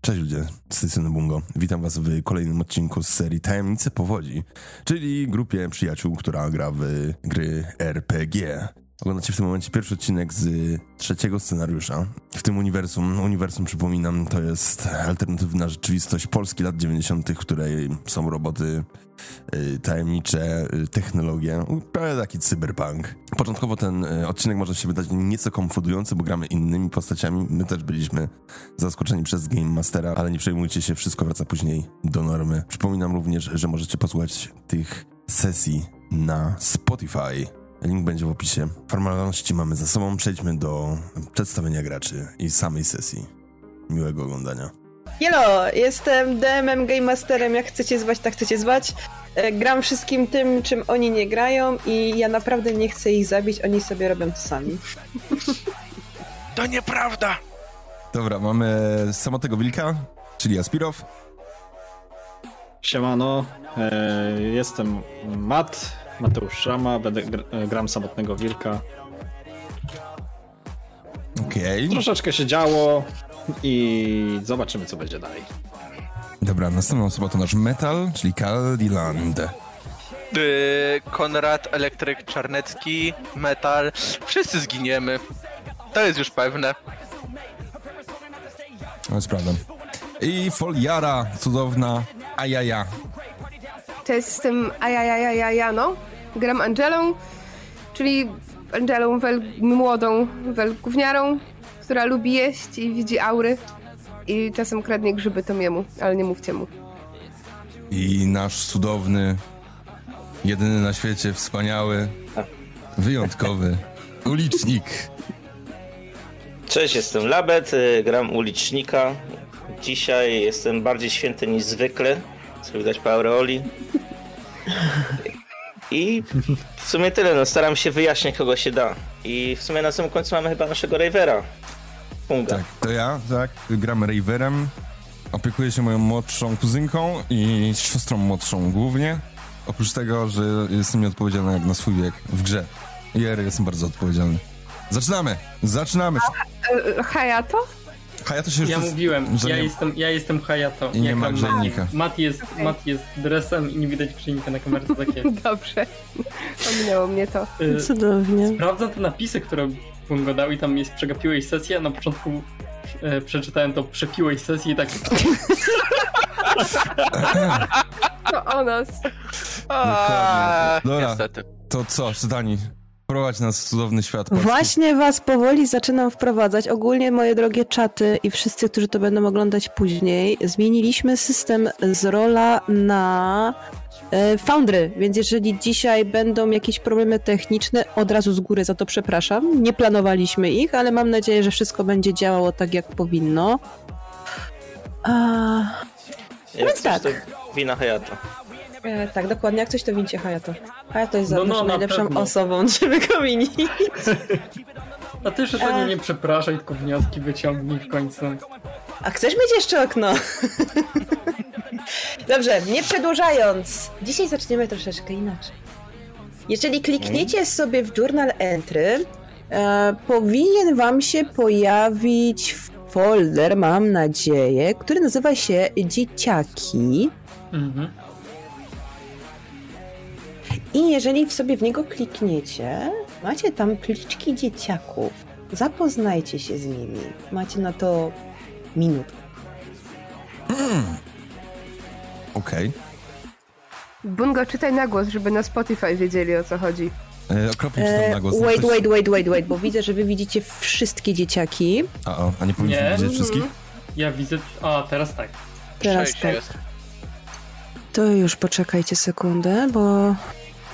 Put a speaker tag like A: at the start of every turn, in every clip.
A: Cześć ludzie, z tej strony Bungo. Witam was w kolejnym odcinku z serii Tajemnice Powodzi, czyli grupie przyjaciół, która gra w gry RPG. Oglądacie w tym momencie pierwszy odcinek z trzeciego scenariusza. W tym uniwersum, uniwersum przypominam, to jest alternatywna rzeczywistość Polski lat 90., w której są roboty y, tajemnicze y, technologie, prawie taki cyberpunk. Początkowo ten y, odcinek może się wydać nieco konfudujący, bo gramy innymi postaciami. My też byliśmy zaskoczeni przez Game Mastera, ale nie przejmujcie się, wszystko wraca później do normy. Przypominam również, że możecie posłuchać tych sesji na Spotify. Link będzie w opisie. Formalności mamy za sobą, przejdźmy do przedstawienia graczy i samej sesji. Miłego oglądania.
B: Jelo, jestem DM-em, Game Masterem, jak chcecie zwać, tak chcecie zwać. E, Gram wszystkim tym, czym oni nie grają i ja naprawdę nie chcę ich zabić, oni sobie robią to sami.
C: To nieprawda!
A: Dobra, mamy samotnego wilka, czyli Aspirow.
D: Siemano, e, jestem Mat, Mateusz Szama, będę gr e, gram samotnego wilka.
A: Okej.
D: Troszeczkę się działo i zobaczymy co będzie dalej.
A: Dobra, następną osobą to nasz metal, czyli Kaldiland.
C: Yy, Konrad, Elektryk, Czarnecki, Metal. Wszyscy zginiemy. To jest już pewne.
A: To jest prawda. I Foliara, cudowna Ajaja.
E: Cześć, jestem Ajajajajajano. Gram Angelą, czyli Angelą wel, młodą welgówniarą, która lubi jeść i widzi aury. I czasem kradnie grzyby Tomiemu, ale nie mówcie mu.
A: I nasz cudowny, jedyny na świecie, wspaniały, wyjątkowy ulicznik.
F: Cześć, jestem Labet, y, gram ulicznika. Dzisiaj jestem bardziej święty niż zwykle, co widać po aureoli. I w sumie tyle, no staram się wyjaśniać kogo się da. I w sumie na samym końcu mamy chyba naszego Ravera. Punga.
A: Tak, to ja, tak, gram Raverem. Opiekuję się moją młodszą kuzynką i siostrą młodszą głównie. Oprócz tego, że jestem nieodpowiedzialny jak na swój wiek w grze. Jer, jestem bardzo odpowiedzialny. Zaczynamy! Zaczynamy!
E: E, e, Hayato?
A: A ja to się już...
G: Ja
A: zas-
G: mówiłem,
A: że
G: ja
A: nie-
G: jestem, ja jestem Hayato.
A: I nie
G: Jak
A: ma
G: tam
A: grzejnika.
G: Mat jest, Mat jest dresem i nie widać grzejnika na kamerce takie.
E: Dobrze. Ominęło mnie to.
G: Y,
H: Cudownie.
G: Sprawdzam te napisy, które Bungo dał i tam jest przegapiłeś sesję, a na początku e, przeczytałem to przepiłeś sesję i tak
E: To o nas.
C: Aaa,
A: Dobra.
C: niestety.
A: To co, Dani? Prowadź nas w cudowny świat polski.
H: Właśnie was powoli zaczynam wprowadzać. Ogólnie, moje drogie czaty i wszyscy, którzy to będą oglądać później, zmieniliśmy system z rola na e, Foundry, więc jeżeli dzisiaj będą jakieś problemy techniczne, od razu z góry za to przepraszam. Nie planowaliśmy ich, ale mam nadzieję, że wszystko będzie działało tak, jak powinno. A...
F: Jak
H: Więc
F: coś,
H: tak.
F: to wina Hayata.
H: E, tak, dokładnie. Jak coś to wincie Hayato. Hayato jest
G: No,
H: zawsze
G: no, na
H: najlepszą
G: pewno.
H: osobą, żeby go winić.
G: a ty jeszcze
H: Ach.
G: nie, nie przepraszaj, tylko wnioski wyciągnij w końcu.
H: A chcesz mieć jeszcze okno? Dobrze, nie przedłużając, dzisiaj zaczniemy troszeczkę inaczej. Jeżeli klikniecie sobie w Journal Entry, e, powinien Wam się pojawić folder, mam nadzieję, który nazywa się Dzieciaki.
G: Mhm.
H: I jeżeli w sobie w niego klikniecie, macie tam pliczki dzieciaków. Zapoznajcie się z nimi. Macie na to minutę.
A: Okej.
E: Bungo, czytaj na głos, żeby na Spotify wiedzieli o co chodzi.
A: Okay. Okropnie czytam na głos.
H: E, Wait,
A: Ktoś-
H: wait, wait, wait, wait, bo widzę, że wy widzicie wszystkie dzieciaki.
A: A, o, a nie powinniśmy
G: Nie.
A: widzieć wszystkich?
G: Ja widzę. A, teraz tak.
H: Teraz
C: Sześć
H: tak.
C: jest.
H: To już poczekajcie sekundę, bo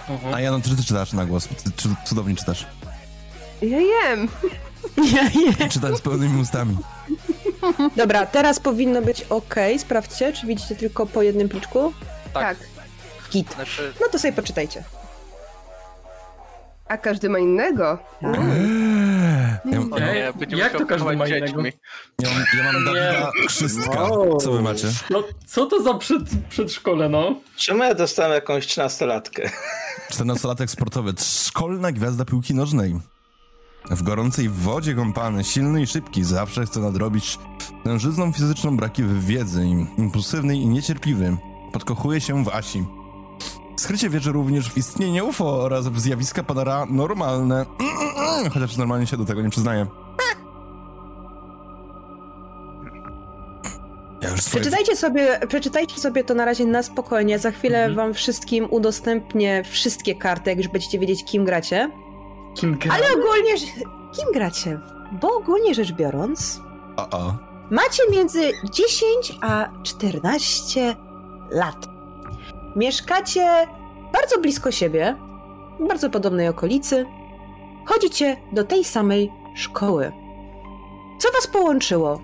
G: Mhm.
A: A ja, no, czy ty czytasz na głos? Ty, czy, cudownie czytasz.
E: Ja jem!
H: ja nie.
A: Czytasz z pełnymi ustami.
H: Dobra, teraz powinno być ok. Sprawdźcie, czy widzicie tylko po jednym pliczku.
C: Tak.
E: Tak.
H: Git.
C: Znaczy,
H: No to sobie poczytajcie.
E: A każdy ma innego.
A: Ja,
C: o nie, będziemy
G: Jak
C: się
G: to każdy ma
C: opiekować
G: innego?
C: dziećmi.
A: ja, mam- ja mam Dawida Krzystka. Co wy macie?
G: No co to za przed, przedszkole, no?
F: Czemu ja dostałem jakąś trzynastolatkę?
A: 14-latek sportowy. Szkolna gwiazda piłki nożnej. W gorącej wodzie kąpany, silny i szybki, zawsze chce nadrobić tężyzną fizyczną braki w wiedzy, im- impulsywny i niecierpliwy. Podkochuje się w Asi. Skrycie wierzy również w istnienie UFO oraz w zjawiska paranormalne, chociaż normalnie się do tego nie przyznaje. Ja już swoje...
H: Przeczytajcie sobie, przeczytajcie sobie to na razie na spokojnie. Za chwilę
A: Mhm.
H: wam wszystkim udostępnię wszystkie karty, jak już będziecie wiedzieć, kim gracie.
G: Kim gra?
A: Tak.
H: Ale ogólnie, rz- kim gracie? Bo ogólnie rzecz biorąc,
A: A, a.
H: macie między 10 a 14 lat. Mieszkacie bardzo blisko siebie, w bardzo podobnej okolicy. Chodzicie do tej samej szkoły. Co was połączyło?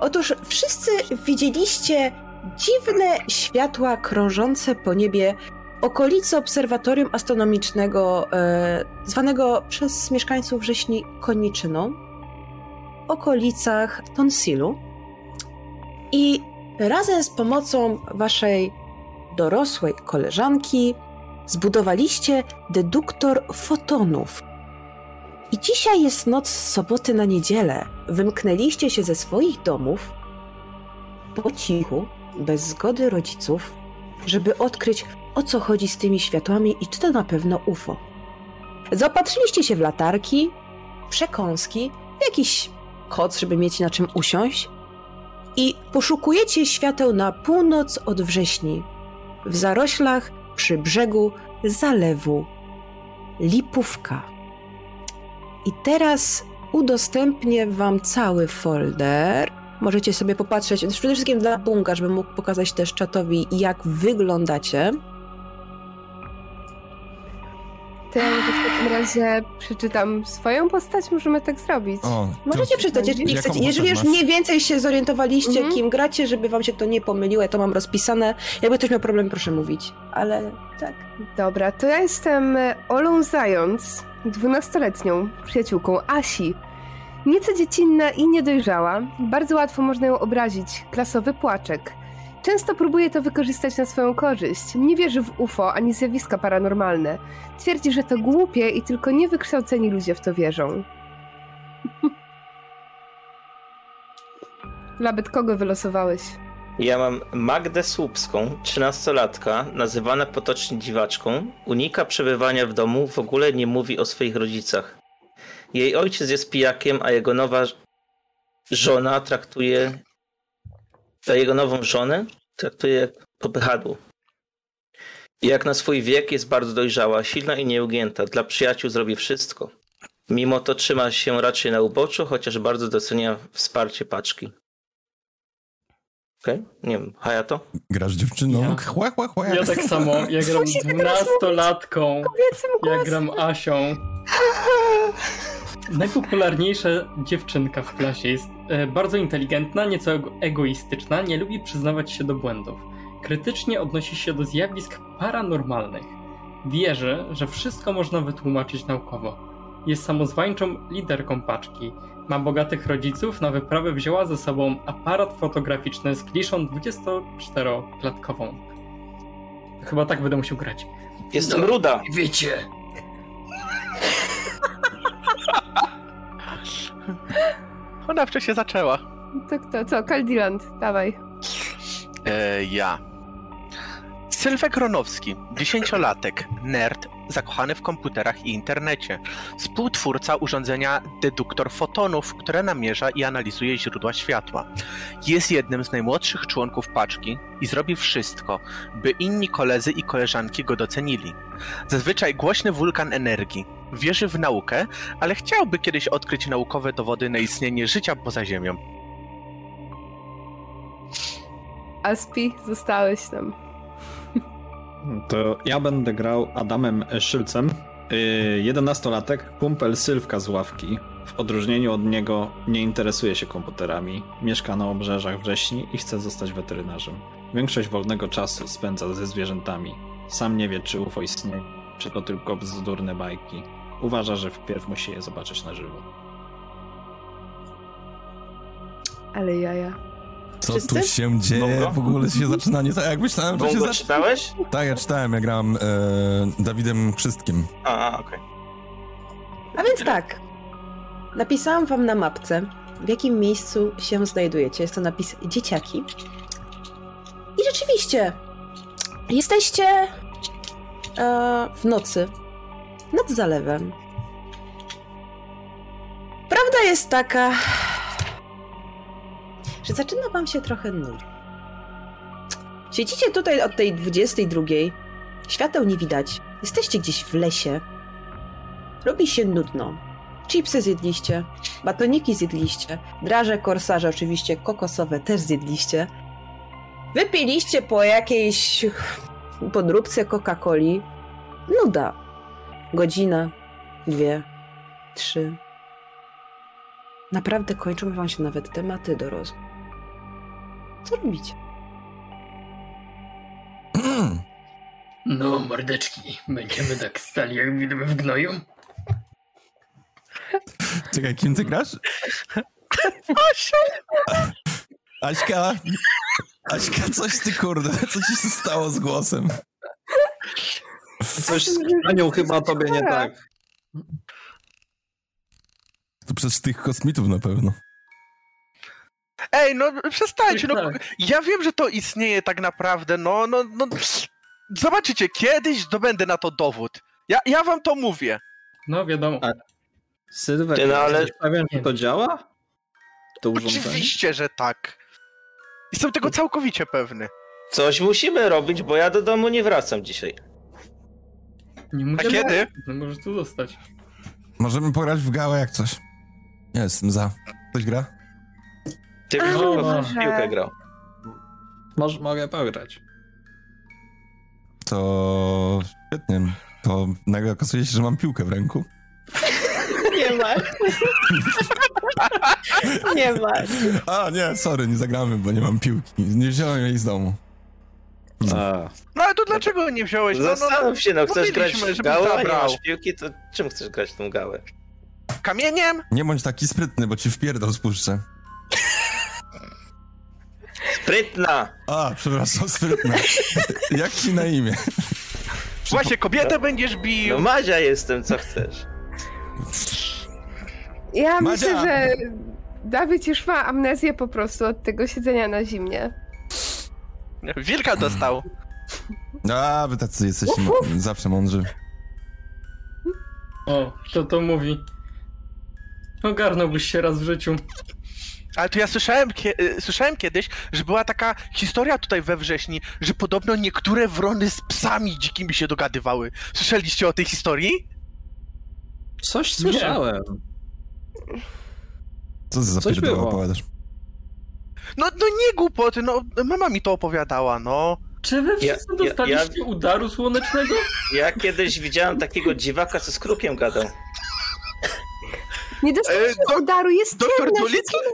H: Otóż wszyscy widzieliście dziwne światła krążące po niebie okolicy obserwatorium astronomicznego, e, zwanego przez mieszkańców Wrześni Koniczyną, okolicach Tonsilu. I razem z pomocą waszej dorosłej koleżanki zbudowaliście deduktor fotonów. I dzisiaj jest noc z soboty na niedzielę. Wymknęliście się ze swoich domów po cichu, bez zgody rodziców, żeby odkryć, o co chodzi z tymi światłami i czy to na pewno UFO. Zaopatrzyliście się w latarki, przekąski, jakiś koc, żeby mieć na czym usiąść i poszukujecie świateł na północ od wrześni, w zaroślach przy brzegu zalewu Lipówka. I teraz udostępnię wam cały folder. Możecie sobie popatrzeć, przede wszystkim dla Bunga, żeby mógł pokazać też czatowi, jak wyglądacie.
E: To ja może w takim razie przeczytam swoją postać, możemy tak zrobić.
A: O,
H: Możecie przeczytać, jeżeli
A: Jaką
H: chcecie.
A: postać
H: Jeżeli już
A: masz?
H: mniej więcej się zorientowaliście,
E: Mhm.
H: kim gracie, żeby wam się to nie pomyliło, ja to mam rozpisane. Jakby ktoś miał problem, proszę mówić. Ale tak.
E: Dobra, to ja jestem e, Olą Zając, dwunastoletnią przyjaciółką Asi. Nieco dziecinna i niedojrzała, bardzo łatwo można ją obrazić, klasowy płaczek. Często próbuje to wykorzystać na swoją korzyść. Nie wierzy w UFO ani zjawiska paranormalne. Twierdzi, że to głupie i tylko niewykształceni ludzie w to wierzą. Labet, kogo wylosowałeś?
F: Ja mam Magdę Słupską, 13-latka, nazywana potocznie dziwaczką, unika przebywania w domu, w ogóle nie mówi o swoich rodzicach. Jej ojciec jest pijakiem, a jego nowa ż- żona traktuje. A jego nową żonę traktuje jak popychadło. Jak na swój wiek jest bardzo dojrzała, silna i nieugięta. Dla przyjaciół zrobi wszystko. Mimo to trzyma się raczej na uboczu, chociaż bardzo docenia wsparcie paczki. Okej? Nie wiem, Hayato?
A: Grasz dziewczyną?
G: Ja.
A: Chła, chła, chła.
G: Ja tak samo, ja gram
E: Musi tak
G: dwunastolatką,
E: Kobiecym
G: ja
E: głosem!
G: gram Asią. Najpopularniejsza dziewczynka w klasie jest e, bardzo inteligentna, nieco ego- egoistyczna, nie lubi przyznawać się do błędów. Krytycznie odnosi się do zjawisk paranormalnych. Wierzy, że wszystko można wytłumaczyć naukowo. Jest samozwańczą liderką paczki. Ma bogatych rodziców, na wyprawę wzięła ze sobą aparat fotograficzny z kliszą 24-klatkową. Chyba tak będę musiał grać.
F: Jestem ruda.
G: Wiecie,
C: Ona wcześniej zaczęła.
E: To kto? Co? Kaldiland, dawaj.
C: E, ja. Sylwek Ronowski, dziesięciolatek, nerd, zakochany w komputerach i internecie. Współtwórca urządzenia deduktor fotonów, które namierza i analizuje źródła światła. Jest jednym z najmłodszych członków paczki i zrobi wszystko, by inni koledzy i koleżanki go docenili. Zazwyczaj głośny wulkan energii. Wierzy w naukę, ale chciałby kiedyś odkryć naukowe dowody na istnienie życia poza Ziemią.
E: Aspi, zostałeś tam.
D: To ja będę grał Adamem Szylcem, yy, 11-latek, kumpel Sylwka z ławki. W odróżnieniu od niego nie interesuje się komputerami, mieszka na obrzeżach wrześni i chce zostać weterynarzem. Większość wolnego czasu spędza ze zwierzętami. Sam nie wie, czy UFO istnieje, czy to tylko bzdurne bajki. Uważa, że wpierw musi je zobaczyć na żywo.
E: Ale jaja.
A: Co tu
H: Wszyscy?
A: się dzieje?
F: Bongo?
A: W ogóle się zaczyna nie tak, jak
C: No,
A: myślałem, że się
F: Bongo
A: zaczyna.
F: czytałeś?
A: Tak, ja czytałem, ja grałem e, Dawidem Krzystkiem.
F: A, a okej.
H: A więc tak.
B: Napisałam wam na mapce, w jakim miejscu się znajdujecie. Jest to napis dzieciaki. I rzeczywiście, jesteście e, w nocy nad zalewem. Prawda jest taka, że zaczyna wam się trochę nudzić. Siedzicie tutaj od tej 22. Świateł nie widać. Jesteście gdzieś w lesie. Robi się nudno. Chipsy zjedliście, batoniki zjedliście, draże korsarze oczywiście, kokosowe też zjedliście. Wypiliście po jakiejś podróbce Coca-Coli. Nuda. Godzina, dwie, trzy. Naprawdę kończą wam się nawet tematy do rozmów. Co robicie?
G: No, mordeczki, będziemy tak stali jak widmy w gnoju.
A: Czekaj, kim ty grasz? Aśka! Aśka, coś ty kurde, co ci się stało z głosem?
D: Coś z Anią chyba tobie nie tak.
A: To przez tych kosmitów na pewno.
C: Ej, no przestańcie, no
G: Tak.
C: ja wiem, że to istnieje tak naprawdę, no, no, no. Zobaczycie, kiedyś zdobędę na to dowód. Ja, ja wam to mówię.
G: No wiadomo.
D: A- Sylwek,
F: Ty, no, ale-
D: jesteś pewien, że to działa? To urządzenie?
C: Oczywiście, że tak. Jestem tego całkowicie pewny.
F: Coś musimy robić, bo ja do domu nie wracam dzisiaj.
G: Nie
C: A
G: musimy-
C: kiedy?
G: No możesz tu zostać.
A: Możemy pograć w gałę jak coś. Ja jestem za. Ktoś gra?
F: Ty
E: Ale
F: no,
E: może.
F: w piłkę grał.
D: Moż, mogę pograć.
A: To... świetnie. To nagle okazuje się, że mam piłkę w ręku.
H: Nie masz. Nie masz.
A: A nie, sorry, nie zagramy, bo nie mam piłki. Nie wziąłem jej z domu.
D: A,
C: No ale to dlaczego nie wziąłeś? No, no, no,
F: Zastanów się, no chcesz grać
C: mówiliśmy,
F: w
C: żebym
F: gałę, a nie
C: zabrał.
F: masz piłki, to czym chcesz grać w tą gałę?
C: kamieniem?
A: Nie bądź taki sprytny, bo ci wpierdol spuszczę.
F: Sprytna!
A: A, przepraszam, sprytna. Jak ci na imię?
C: Właśnie kobietę będziesz bił.
F: No Madzia jestem, co chcesz.
E: Ja
A: Madzia!
E: myślę, że Dawid już ma amnezję po prostu od tego siedzenia na zimnie.
C: Wilka dostał.
A: A, wy tacy jesteście m- zawsze mądrzy.
G: O, kto to mówi? Ogarnąłbyś się raz w życiu.
C: Ale tu ja słyszałem, kie- y, słyszałem kiedyś, że była taka historia tutaj we wrześni, że podobno niektóre wrony z psami dzikimi się dogadywały. Słyszeliście o tej historii?
D: coś słyszałem.
A: Co ty za
D: Coś
A: pierdolę
D: było.
A: opowiadasz?
C: No, no nie głupoty, no mama mi to opowiadała, no.
G: Czy wy
F: Ja-
G: wszyscy
F: ja-
G: dostaliście udaru słonecznego?
F: Ja kiedyś widziałem takiego dziwaka, co z krukiem gadał.
E: Nie dostaliśmy
C: E, dok-
E: udaru, jest
C: doktor
E: ciemno,
C: Dolittle?
E: siedzimy,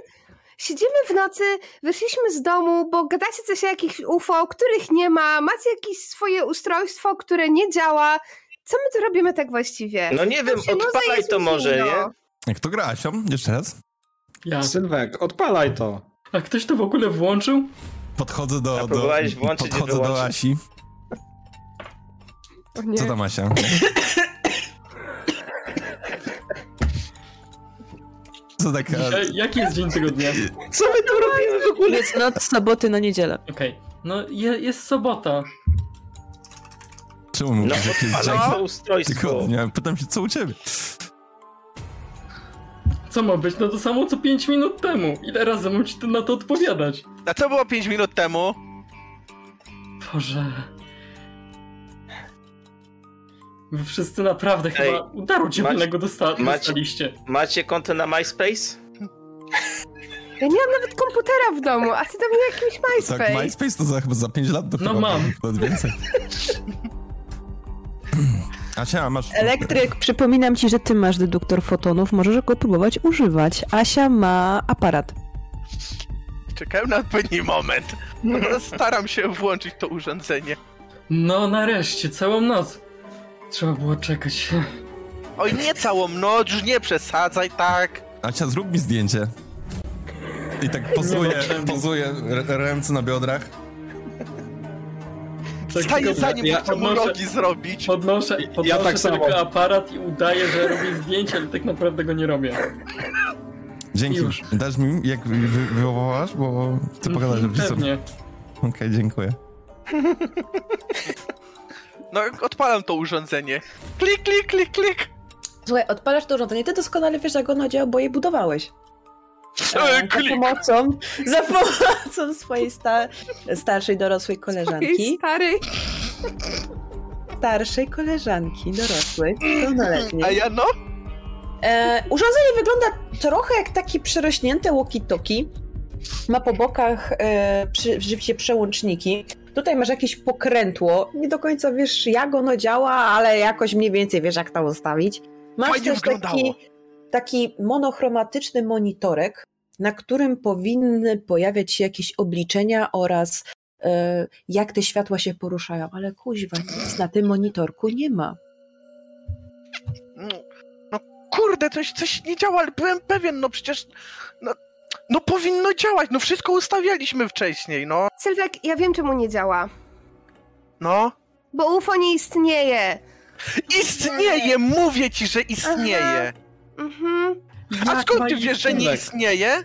E: siedzimy w nocy, wyszliśmy z domu, bo gadacie coś o jakichś UFO, których nie ma, macie jakieś swoje ustrojstwo, które nie działa. Co my tu robimy tak właściwie?
F: No nie wiem,
E: Się nudzę i
F: odpalaj
E: jest
F: to
E: mi
F: może,
E: zimno.
F: nie?
A: Jak to gra, Asią? Jeszcze raz.
G: Ja.
C: Tak.
D: Sylwek, odpalaj to.
G: A ktoś to w ogóle włączył?
A: Podchodzę do...
F: A
A: do
F: próbowałeś włączyć i
A: podchodzę do
F: wyłączyć?
A: Asi.
E: O nie.
A: Co tam, Asia? Co tak, taka...
G: Dzisiaj, jaki jest dzień tego dnia?
F: Co my tu robimy w ogóle?
B: Jest noc soboty na niedzielę.
G: Okej, no je, jest sobota.
A: Czemu mówisz,
F: No
A: że jakieś
F: odpalaj
A: dzień
F: to ustrojstwo.
A: tygodnia? Pytam się, co u ciebie?
G: Co ma być? No to samo co 5 minut temu. Ile razy mam ci to- na to odpowiadać?
C: A co było 5 minut temu?
G: Boże. Wy wszyscy naprawdę chyba udaru cieplnego dosta-
F: macie-
G: dostaliście.
F: Macie konto na MySpace?
E: Ja nie mam nawet komputera w domu, a ty do mnie jakimś
A: Tak,
E: MySpace.
A: MySpace to za, chyba za 5 lat dopiero.
G: No mam.
A: Lat więcej. Asia, masz...
B: Elektryk, przypominam ci, że ty masz deduktor fotonów, możesz go próbować używać. Asia ma aparat.
C: Czekałem na odpowiedni moment. Dobra, Staram się włączyć to urządzenie.
G: No nareszcie, całą noc. Trzeba było czekać.
C: Oj, nie całą noc, już nie przesadzaj tak.
A: Asia, zrób mi zdjęcie. I tak pozuje,
G: czemu.
A: pozuje r- ręce na biodrach.
C: Staję za nim,
D: ja
C: bo chcę mu
G: podnoszę-
C: rogi zrobić.
G: Podnoszę, podnoszę
D: Ja tak
G: tylko
D: samo.
G: aparat i udaję, że robię zdjęcie, ale tak naprawdę go nie robię.
A: Dzięki.
G: Już. Mhm,
A: Dasz mi, jak wy- wy- wywołasz, bo chcę pokazać, że wrzucam. Okej,
G: Pewnie.
A: dziękuję.
C: No, odpalam to urządzenie. Klik, klik, klik, klik.
H: Słuchaj, odpalasz to urządzenie, ty doskonale wiesz, jak ono działa, bo je budowałeś.
C: E,
H: za
C: klik.
H: pomocą, za pomocą swojej sta- starszej dorosłej koleżanki.
E: Stary.
H: Starszej koleżanki dorosłej, pełnoletniej.
C: A ja no?
H: E, urządzenie wygląda trochę jak takie przerośnięte walkie-talkie. Ma po bokach e, przy, żywcie przełączniki. Tutaj masz jakieś pokrętło. Nie do końca wiesz, jak ono działa, ale jakoś mniej więcej wiesz, jak to ustawić. Masz
C: Fajnie
H: też taki,
C: wyglądało.
H: taki monochromatyczny monitorek, na którym powinny pojawiać się jakieś obliczenia oraz e, jak te światła się poruszają. Ale kuźwa, nic na tym monitorku nie ma.
C: No, no kurde, coś, coś nie działa, ale byłem pewien, no przecież... No, no powinno działać, no wszystko ustawialiśmy wcześniej, no.
E: Sylwek, ja wiem czemu nie działa.
C: No.
E: Bo UFO nie istnieje.
C: Istnieje, mówię ci, że istnieje.
E: Mhm.
C: A skąd ty wiesz, że nie
D: Sylwek,
C: istnieje?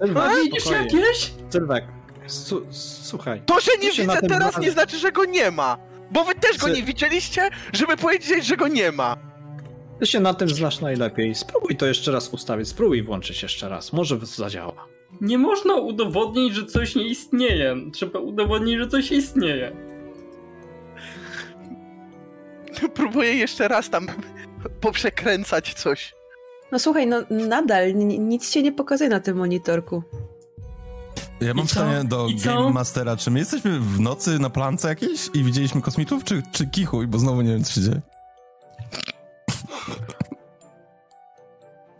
D: Sylwek,
H: tak?
G: A widzisz
D: No, spokojnie.
G: jakieś?
D: Sylwek, su- słuchaj.
C: To, że nie
D: się
C: widzę
D: na tym
C: teraz,
D: bawi.
C: nie znaczy, że go nie ma. Bo wy też go
D: Sy-
C: nie widzieliście, żeby powiedzieć, że go nie ma.
D: Ty się na tym znasz najlepiej. Spróbuj to jeszcze raz ustawić. Spróbuj włączyć jeszcze raz. Może zadziała.
G: Nie można udowodnić, że coś nie istnieje. Trzeba udowodnić, że coś istnieje.
C: Próbuję jeszcze raz tam poprzekręcać coś.
H: No słuchaj, no nadal n- nic się nie pokazuje na tym monitorku.
A: Ja mam
G: I co?
A: pytanie do
G: I co?
A: Game Mastera. Czy my jesteśmy w nocy na plance jakiejś i widzieliśmy kosmitów, czy, czy kichuj, bo znowu nie wiem, co się dzieje.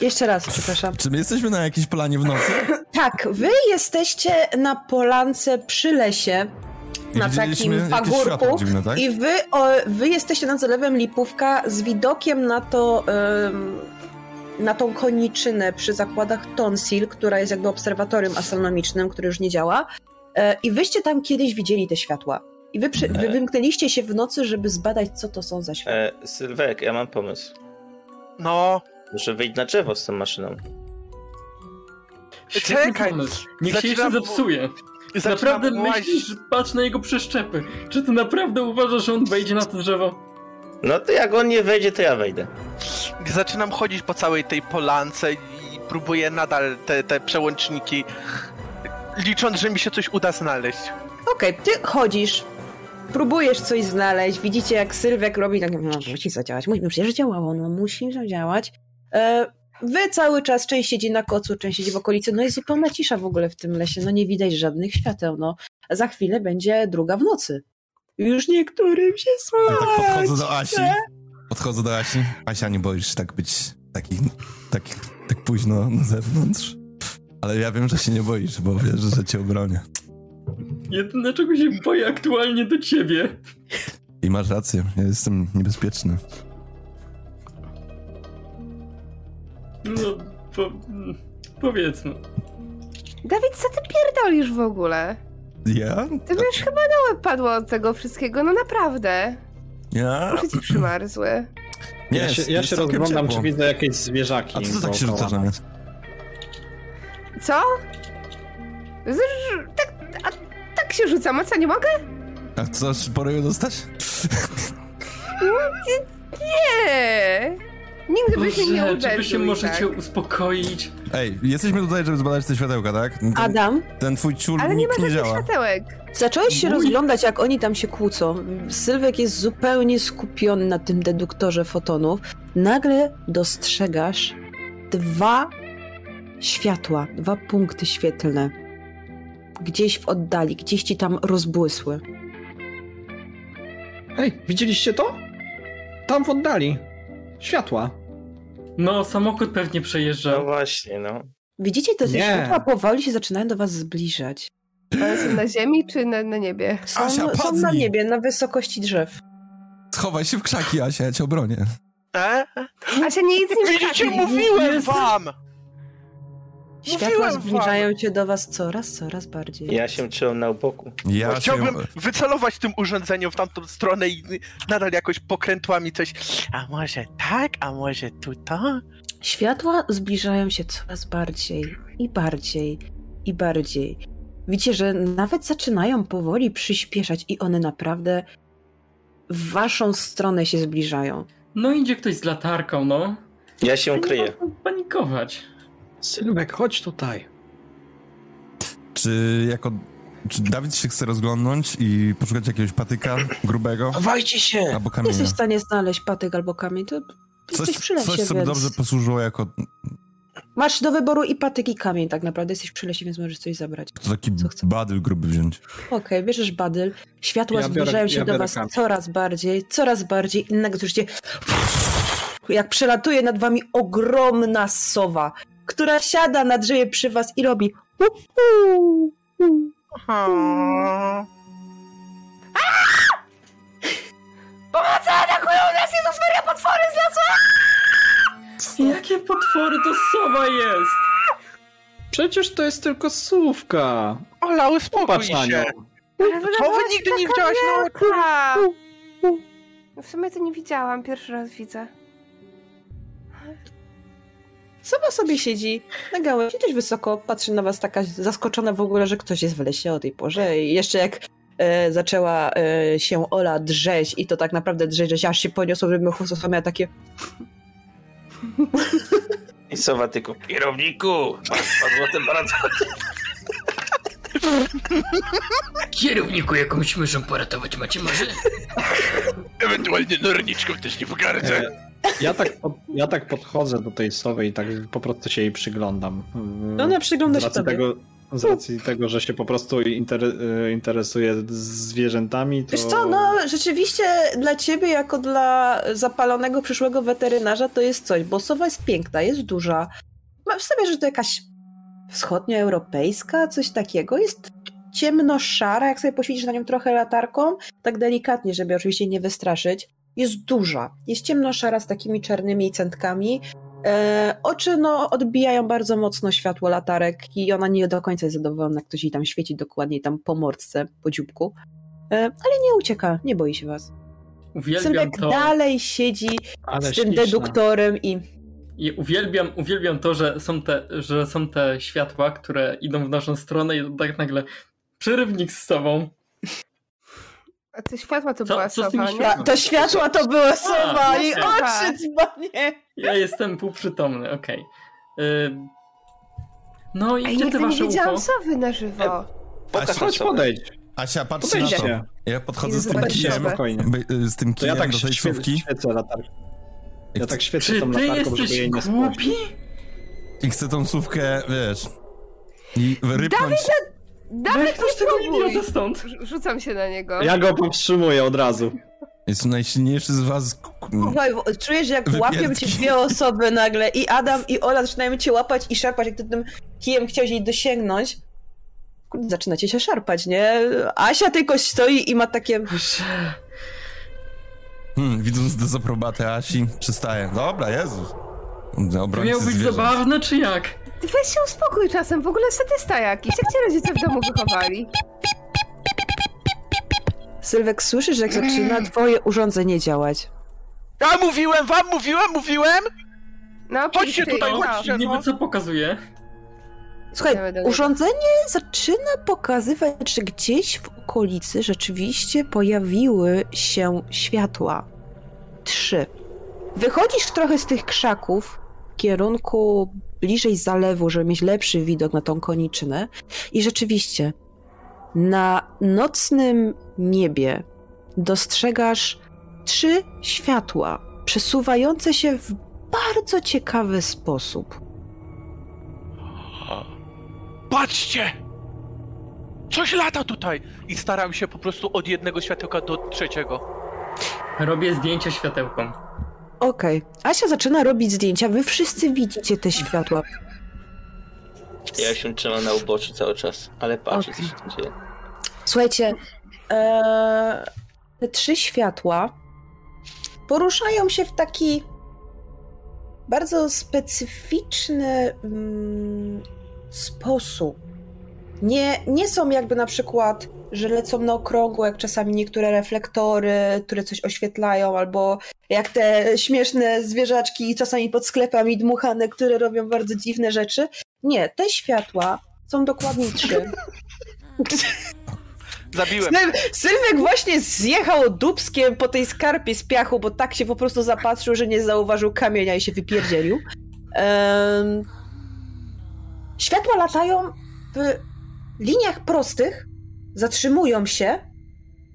H: Jeszcze raz, przepraszam.
A: Czy my jesteśmy na jakiejś planie w nocy?
H: Tak, wy jesteście na polance przy lesie
A: I
H: Na
A: widzieliśmy jakieś
H: takim pagórku
A: światło dziwne, tak?
H: i wy, o, wy jesteście nad zalewem Lipówka z widokiem na to, em, na tą koniczynę przy zakładach Tonsil, która jest jakby obserwatorium astronomicznym, które już nie działa. E, I wyście tam kiedyś widzieli te światła. I wy, przy, wy wymknęliście się w nocy, żeby zbadać, co to są za światła.
F: E, Sylwek, ja mam pomysł.
C: No,
F: Może wyjść na drzewo z tą maszyną.
G: Świetny
C: Czekaj.
G: pomysł. Niech się
C: Zaczynam
G: jeszcze
C: mu-
G: zepsuje.
C: zaczynam
G: Naprawdę
C: łazić.
G: myślisz, że patrz na jego przeszczepy. Czy ty naprawdę uważasz, że on wejdzie na to drzewo?
F: No to jak on nie wejdzie, to ja wejdę.
C: Zaczynam chodzić po całej tej polance i próbuję nadal te, te przełączniki, licząc, że mi się coś uda znaleźć.
H: Okej, ty chodzisz, próbujesz coś znaleźć, widzicie jak Sylwek robi, tak, no musi zadziałać, musi, no przecież działało, no musi zadziałać. E, wy cały czas, część siedzi na kocu, część siedzi w okolicy, no jest zupełna cisza w ogóle w tym lesie, no nie widać żadnych świateł, no. Za chwilę będzie druga w nocy. Już niektórym się
E: No
A: Ja tak
H: słychać.
A: podchodzę do Asi. Podchodzę do Asi. Asia, nie boisz się tak być taki, tak, tak późno na zewnątrz? Ale ja wiem, że się nie boisz, bo wiesz, że cię obronię.
G: Jedyne czego się boję aktualnie do ciebie.
A: I masz rację, ja jestem niebezpieczny.
G: No, po, mm, powiedzmy.
E: Dawid, co ty pierdolisz w ogóle?
A: Ja?
E: Ty by już chyba dołe padło od tego wszystkiego, no naprawdę.
A: Ja?
E: Muszę ci przymarzły.
A: Nie,
D: ja się,
A: jest-
D: ja
A: jest
D: się
A: całkiem
D: rozglądam,
A: ciepło.
D: czy widzę jakieś zwierzaki.
A: A co ty tak się
D: dookoła.
A: rzucasz na mnie?
E: Co? Z, tak, a, tak się rzucam, a co, nie mogę?
A: A chcesz poryju dostać?
E: Nie! Nigdy byś mnie nie
G: Boże,
E: uderzył.
G: czy wy się
E: i
G: możecie
E: tak.
G: uspokoić?
A: Ej, jesteśmy tutaj, żeby zbadać te światełka, tak? Ten,
H: Adam,
A: ten twój ciul
E: Ale nie ma
A: nikt nie
E: żadnych
A: działa.
E: światełek.
H: zacząłeś się
A: Mhm.
G: Mój-
H: rozglądać, jak oni tam się kłócą. Sylwek jest zupełnie skupiony na tym deduktorze fotonów. Nagle dostrzegasz dwa światła, dwa punkty świetlne. Gdzieś w oddali, gdzieś ci tam rozbłysły.
D: Ej, widzieliście to? Tam w oddali. Światła.
G: No, samochód pewnie
F: No
G: przejeżdżał.
F: właśnie, no.
H: Widzicie, te
D: Nie.
H: światła powoli się zaczynają do was zbliżać.
E: One są na ziemi czy na, na niebie?
H: Są,
A: Asia,
H: są na
A: padnij!
H: niebie, na wysokości drzew.
A: Schowaj się w krzaki, Asia, ja cię obronię.
C: E?
E: A się nic nie
C: Widzicie,
E: wpadnie.
C: mówiłem wam!
H: Światła
C: Mówiłem
H: zbliżają cię do was coraz, coraz bardziej.
F: Ja się czułem na oboku.
A: Ja się...
C: No, Chciałbym wycelować tym urządzeniem w tamtą stronę i nadal jakoś pokrętłami coś. A może tak, a może tu to?
H: Światła zbliżają się coraz bardziej i bardziej i bardziej. Widzicie, że nawet zaczynają powoli przyspieszać i one naprawdę w waszą stronę się zbliżają.
G: No idzie ktoś z latarką, no.
F: Ja się
G: Nie
F: kryję.
G: ma co panikować.
D: Sylwek, chodź tutaj.
A: Czy jako... Czy Dawid się chce rozglądnąć i poszukać jakiegoś patyka grubego
F: Chowajcie się!
A: albo
H: Nie jesteś
A: kamienia?
H: w stanie znaleźć patyk albo kamień, to jesteś
A: Coś,
H: przy lesie,
A: coś co by
H: więc...
A: dobrze posłużyło jako
H: Masz do wyboru i patyk, i kamień tak naprawdę. Jesteś przy lesie, więc możesz coś zabrać.
A: to taki
H: Co chcesz?
A: badyl gruby wziąć.
H: Okej, bierzesz badyl. Światła
D: Ja biorę-
H: zbliżają się
D: ja
H: do
D: biorę
H: was
D: kamień.
H: coraz bardziej, coraz bardziej. I nagle słyszycie... Jak przelatuje nad wami ogromna sowa, która siada na drzewie przy was i robi...
C: O,
E: Pomocy atakują nas! Jezus Maria, potwory z lasu!
G: Jakie potwory to sowa jest!
D: Przecież to jest tylko słówka.
C: Ola, uspokój
D: Patrz na nią.
C: się. To wy nigdy nie widziałaś na
E: Tak. No W sumie to nie widziałam, pierwszy raz widzę.
H: Sowa sobie siedzi na gałęzi dość wysoko, patrzy na was taka zaskoczona w ogóle, że ktoś jest w lesie o tej porze i jeszcze jak e, zaczęła e, się Ola drzeć i to tak naprawdę drzeć, że się aż się poniosło, żeby chłosowa miała takie
F: I sowa tylko. Kierowniku! Spadło temperatura.
I: Kierowniku, jakąś myszą poratować macie może?
C: Ewentualnie norniczką też nie pogardzę.
D: Ja tak, pod, ja tak podchodzę do tej sowy i tak po prostu się jej przyglądam. Mm,
H: No, Ona No. przygląda
D: z
H: się
D: racji
H: tobie.
D: tego, Z racji tego, że się po prostu inter, e, interesuje zwierzętami, to...
H: Wiesz co, no rzeczywiście dla ciebie jako dla zapalonego przyszłego weterynarza to jest coś, bo sowa jest piękna, jest duża. Mam w sobie, że to jakaś wschodnioeuropejska, coś takiego. Jest ciemno-szara, jak sobie poświecisz na nią trochę latarką, tak delikatnie, żeby oczywiście nie wystraszyć. Jest duża, jest ciemno-szara z takimi czarnymi centkami. E, oczy no, odbijają bardzo mocno światło latarek i ona nie do końca jest zadowolona, jak ktoś jej tam świeci dokładniej tam po mortce, po dzióbku. E, ale nie ucieka, nie boi się was.
G: Uwielbiam
H: Sylwek
G: to.
H: dalej siedzi
D: ale
H: z tym
D: śliczna.
H: deduktorem i
G: I uwielbiam, uwielbiam to, że są, te, że są te światła, które idą w naszą stronę i tak nagle przerywnik z sobą.
E: A te światła to
G: Co-
E: była
G: co z tymi
E: sowa, nie?
G: światłami?
H: Ta, to światła to była sowa i
G: okej.
H: oczy dzbanie.
G: Ja jestem półprzytomny, okej. Y, No
E: A
G: i
E: ja
G: gdzie
E: nigdy
G: te
E: nie
G: wasze
E: widziałam
G: UFO?
E: sowy na
G: E,
E: żywo.
F: Pokaż
D: Chodź,
F: sobie.
D: podejdź.
A: Asia, patrzcie na
D: Podejdź
A: to.
D: się.
A: Ja podchodzę z tym
E: Zobaczcie.
A: kijem,
D: Spokojnie.
A: by- y, z tym
D: To
A: kijem
D: ja tak
A: do tej
D: świe-
A: sówki
D: świecę latarką.
A: i,
D: Ja
A: chcę,
D: tak świecę
G: Czy
D: tą
G: ty
D: latarką, żeby
G: jesteś
D: jej nie spuścić.
G: głupi?
A: i chcę tą sówkę, wiesz, i rypnąć.
H: no-
E: Dawid,
G: Weź ktoś
E: nie
G: tego
E: próbuj!
G: idiota stąd!
E: Rzu- Rzucam się na niego.
D: Ja go powstrzymuję od razu.
A: Jest najsilniejszy z was. k- k-
H: Słuchaj, bo czujesz jak
A: Wypierdki.
H: łapią cię dwie osoby nagle i Adam i Ola zaczynają cię łapać i szarpać, jak ty tym kijem chciałeś jej dosięgnąć. Kurde, zaczynacie się szarpać, nie? Asia tylko stoi i ma takie...
G: Boże.
A: Hmm, widząc dezaprobatę Asi, przystaje. Dobra, Jezus.
G: To
A: Dobra,
G: miało być zabawne, czy jak?
E: Ty weź się uspokój czasem, w ogóle statysta jakiś. Jak cię rodzice w domu wychowali?
H: Sylwek, słyszysz jak zaczyna twoje urządzenie działać.
C: Ja mówiłem wam, mówiłem, mówiłem!
E: No,
C: Chodźcie
E: ty-
C: tutaj,
E: no.
C: chodźcie.
G: I niby co pokazuje?
H: Słuchaj,
E: Idziemy dalej.
H: urządzenie zaczyna pokazywać, że gdzieś w okolicy rzeczywiście pojawiły się światła. Trzy. Wychodzisz trochę z tych krzaków w kierunku bliżej zalewu, żeby mieć lepszy widok na tą koniczynę. I rzeczywiście, na nocnym niebie dostrzegasz trzy światła przesuwające się w bardzo ciekawy sposób.
C: Patrzcie! Coś lata tutaj! I staram się po prostu od jednego światełka do trzeciego.
G: Robię zdjęcie światełką.
H: Okej. Asia zaczyna robić zdjęcia. Wy wszyscy widzicie te światła.
F: Ja się trzymam na uboczu cały czas, ale patrzę, co się dzieje.
H: Słuchajcie, e, te trzy światła poruszają się w taki bardzo specyficzny mm, sposób. Nie, nie są jakby na przykład, że lecą na okrągło, jak czasami niektóre reflektory, które coś oświetlają, albo jak te śmieszne zwierzaczki czasami pod sklepami dmuchane, które robią bardzo dziwne rzeczy. Nie, te światła są dokładnie trzy.
C: Zabiłem.
H: Syl- Sylwek właśnie zjechał dubskiem po tej skarpie z piachu, bo tak się po prostu zapatrzył, że nie zauważył kamienia i się wypierdzielił. Em, światła latają w liniach prostych, zatrzymują się,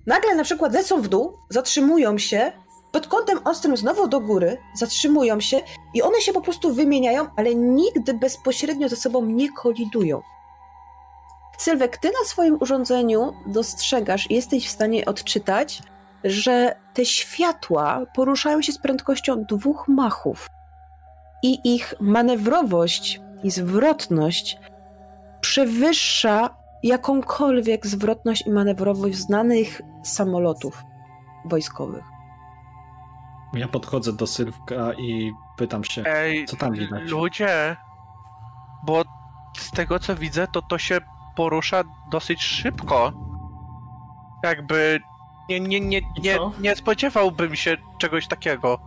H: nagle na przykład lecą w dół, zatrzymują się, pod kątem ostrym znowu do góry, zatrzymują się i one się po prostu wymieniają, ale nigdy bezpośrednio ze sobą nie kolidują. Sylwek, ty na swoim urządzeniu dostrzegasz, jesteś w stanie odczytać, że te światła poruszają się z prędkością dwóch machów i ich manewrowość i zwrotność przewyższa jakąkolwiek zwrotność i manewrowość znanych samolotów wojskowych.
D: Ja podchodzę do Sylwka i pytam się.
C: Ej,
D: Co tam widać?
C: ludzie, bo z tego co widzę, to to się porusza dosyć szybko. Jakby nie, nie, nie,
G: I
C: nie,
G: co?
C: nie spodziewałbym się czegoś takiego.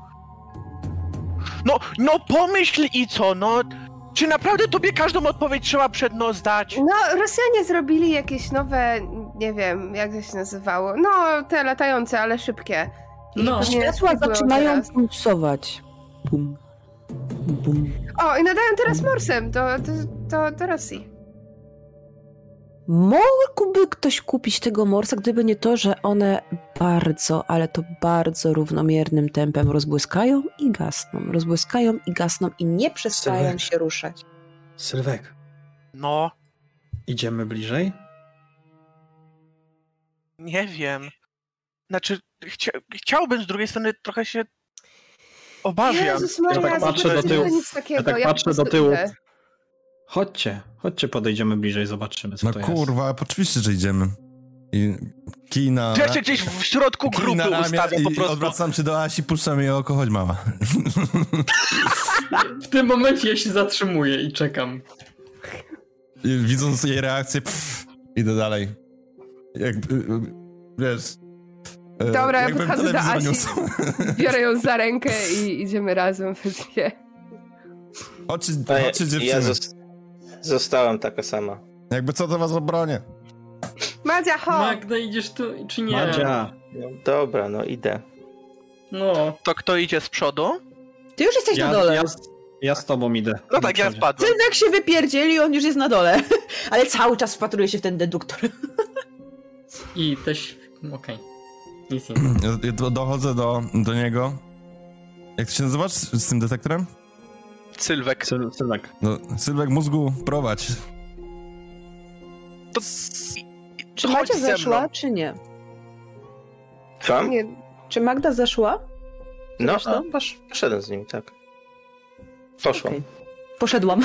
C: No, no pomyśl i co, no. Czy naprawdę tobie każdą odpowiedź trzeba przed nos dać?
E: No, Rosjanie zrobili jakieś nowe, nie wiem, jak to się nazywało. No, te latające, ale szybkie.
G: No.
E: pewnie
B: Światła
E: zwykłe
B: zaczynają
E: teraz.
B: pulsować. Bum. Bum.
E: O, i nadają teraz morsem do, do, do, do Rosji.
B: Mógłby ktoś kupić tego morsa, gdyby nie to, że one bardzo, ale to bardzo równomiernym tempem rozbłyskają i gasną, rozbłyskają i gasną i nie przestają
D: Sylwek.
B: się ruszać.
D: Sylwek,
C: No,
D: idziemy bliżej?
C: nie wiem. Znaczy, chcia chciałbym z drugiej strony trochę się obawiam.
E: Jezus Maria,
D: Ja tak patrzę do
E: zobaczcie,
D: tyłu.
E: to nic takiego.
D: Ja tak
E: po
D: patrzę do
E: prostu
D: tyłu.
E: idę.
D: Chodźcie, chodźcie, podejdziemy bliżej, zobaczymy, co
A: No
D: to
A: kurwa, oczywiście, że idziemy. I kij na...
C: Ja się gdzieś w środku
A: kij na
C: grupy
A: ramię
C: ustawiam po
A: i
C: prostu.
A: odwracam się do Asi, puszczam jej oko, chodź mała.
G: W tym momencie ja się zatrzymuję i czekam.
A: I widząc jej reakcję, pff, idę dalej. Jak, wiesz... e,
E: Dobra, ja
A: jakbym
E: podchodzę do
A: telewizor
E: Asi.
A: niósł.
E: Biorę ją za rękę i idziemy razem we dwie.
A: Oczy,
F: A ja,
A: oczy dziewczyny.
F: ja zos- zostałam taka sama.
A: Jakby co, to was obronię.
E: Madzia, ho!
G: Magda, idziesz tu czy nie?
D: jest. Madzia,
F: No, dobra, no idę.
G: No.
C: To kto idzie z przodu?
H: Ty już jesteś na
D: ja,
H: dole.
D: ja, z- ja z tobą idę.
C: No tak, ja
D: Dobrze.
C: spadłem.
H: Sylwek się wypierdzieli, on już jest na dole. Ale cały czas wpatruje się w ten deduktor.
G: I też. Okej. Nic nie.
A: Ja, ja do- dochodzę do, do niego. Jak się nazywasz z z tym detektorem?
C: Sylwek.
D: Syl- Sylwek,
A: No, Sylwek mózgu, prowadź.
C: To...
H: Czy
C: Chodź
H: Magda
C: ze mną.
H: zeszła, czy nie?
F: Wam?
E: Nie,
H: Czy Magda zeszła?
F: No,
H: Zresztą?
F: a, posz, poszedłem z nim, tak. Poszłam.
H: Okej. Poszedłam.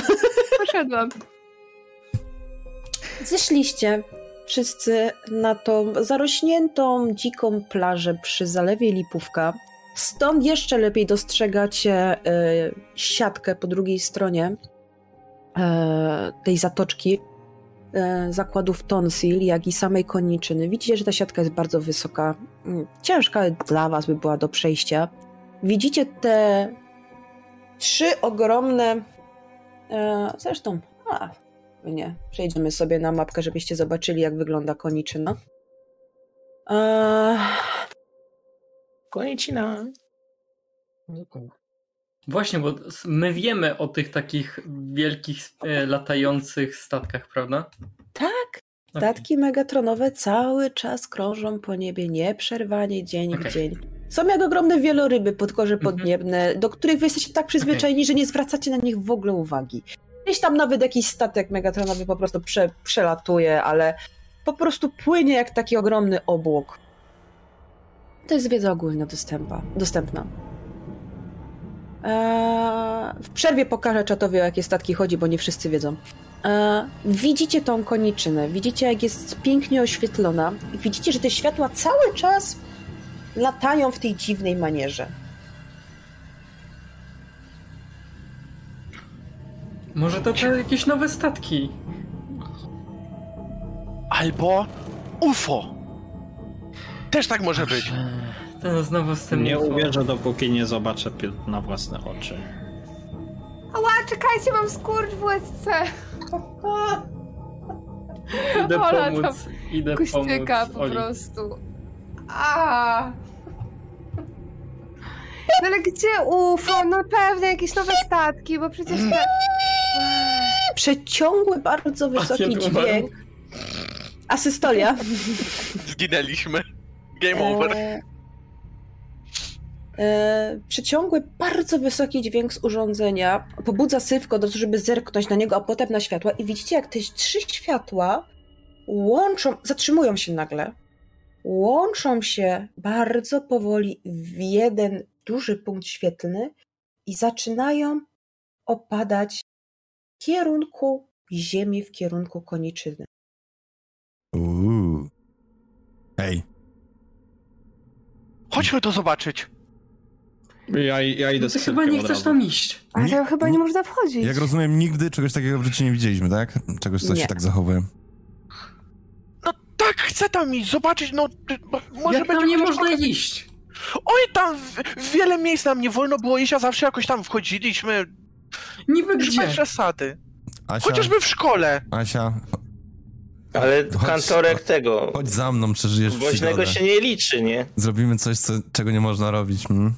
E: poszedłam.
B: Zeszliście wszyscy na tą zarośniętą, dziką plażę przy zalewie Lipówka. Stąd jeszcze lepiej dostrzegacie e, siatkę po drugiej stronie e, tej zatoczki e, zakładów Tonsil, jak i samej koniczyny. Widzicie, że ta siatka jest bardzo wysoka. Mm, Ciężka dla was by była do przejścia. Widzicie te trzy ogromne... E, zresztą... A, nie. Przejdziemy sobie na mapkę, żebyście zobaczyli, jak wygląda koniczyna. Eee,
F: Konicina.
G: Właśnie, bo my wiemy o tych takich wielkich e, latających statkach, prawda?
B: tak,
G: Okej.
B: statki megatronowe cały czas krążą po niebie nieprzerwanie, dzień
G: Okej.
B: w dzień. Są jak ogromne wieloryby podgorze
G: Mhm.
B: podniebne, do których wy jesteście tak przyzwyczajeni, że nie zwracacie na nich w ogóle uwagi. Gdzieś tam nawet jakiś statek megatronowy po prostu prze, przelatuje, ale po prostu płynie jak taki ogromny obłok. To jest wiedza ogólna dostępa, dostępna. Eee, w przerwie pokażę czatowi, o jakie statki chodzi, bo nie wszyscy wiedzą. E, Widzicie tą koniczynę, widzicie jak jest pięknie oświetlona i widzicie, że te światła cały czas latają w tej dziwnej manierze.
G: Może to te jakieś nowe statki.
C: Albo UFO. Też tak może być.
G: To znowu z tym
D: Nie
G: UFO.
D: uwierzę, dopóki nie zobaczę pi- na własne oczy.
E: Ała, czekajcie, mam skurcz w łezce.
G: Idę
E: Ola,
G: pomóc, idę
E: Kościeka
G: pomóc
E: po
G: Oli.
E: prostu. A. No ale gdzie UFO? No pewnie jakieś nowe statki, bo przecież te...
B: Przeciągły, bardzo wysoki
G: Pacjent umarł.
B: dźwięk. Asystolia.
C: Zginęliśmy. Game over.
B: E, e, przeciągły, bardzo wysoki dźwięk z urządzenia pobudza Sywko do tego, żeby zerknąć na niego, a potem na światła i widzicie, jak te trzy światła łączą, zatrzymują się nagle, łączą się bardzo powoli w jeden duży punkt świetlny i zaczynają opadać w kierunku ziemi, w kierunku koniczyny.
A: Uuu. Ej,
C: Chodźmy to zobaczyć.
D: Ja, ja idę z
G: Ty No chyba
D: Sylwkiem
G: nie
D: od
G: chcesz
D: razu.
G: tam iść.
E: Ale
A: Nie-
E: tam chyba nie można wchodzić.
A: jak rozumiem, nigdy czegoś takiego w życiu nie widzieliśmy, tak? Czegoś, co
B: Nie.
A: się tak zachowuje.
C: No tak, chcę tam iść, zobaczyć, no... ty- bo- Może
G: Jak
C: będzie
G: tam nie
C: chociaż
G: można
C: trochę-
G: iść?
C: Oj, tam w, wiele miejsc nam nie wolno było iść, a zawsze jakoś tam wchodziliśmy.
G: Niby
C: Już
G: gdzie?
C: bez przesady.
A: Asia,
C: Chociażby w szkole.
A: Asia,
F: Ale
A: Chodź,
F: kantorek
A: chodź.
F: tego
A: chodź za mną, przeżyjesz
F: woźnego
A: przygodę.
F: się nie liczy, nie?
A: Zrobimy coś, co, czego nie można robić. Hmm?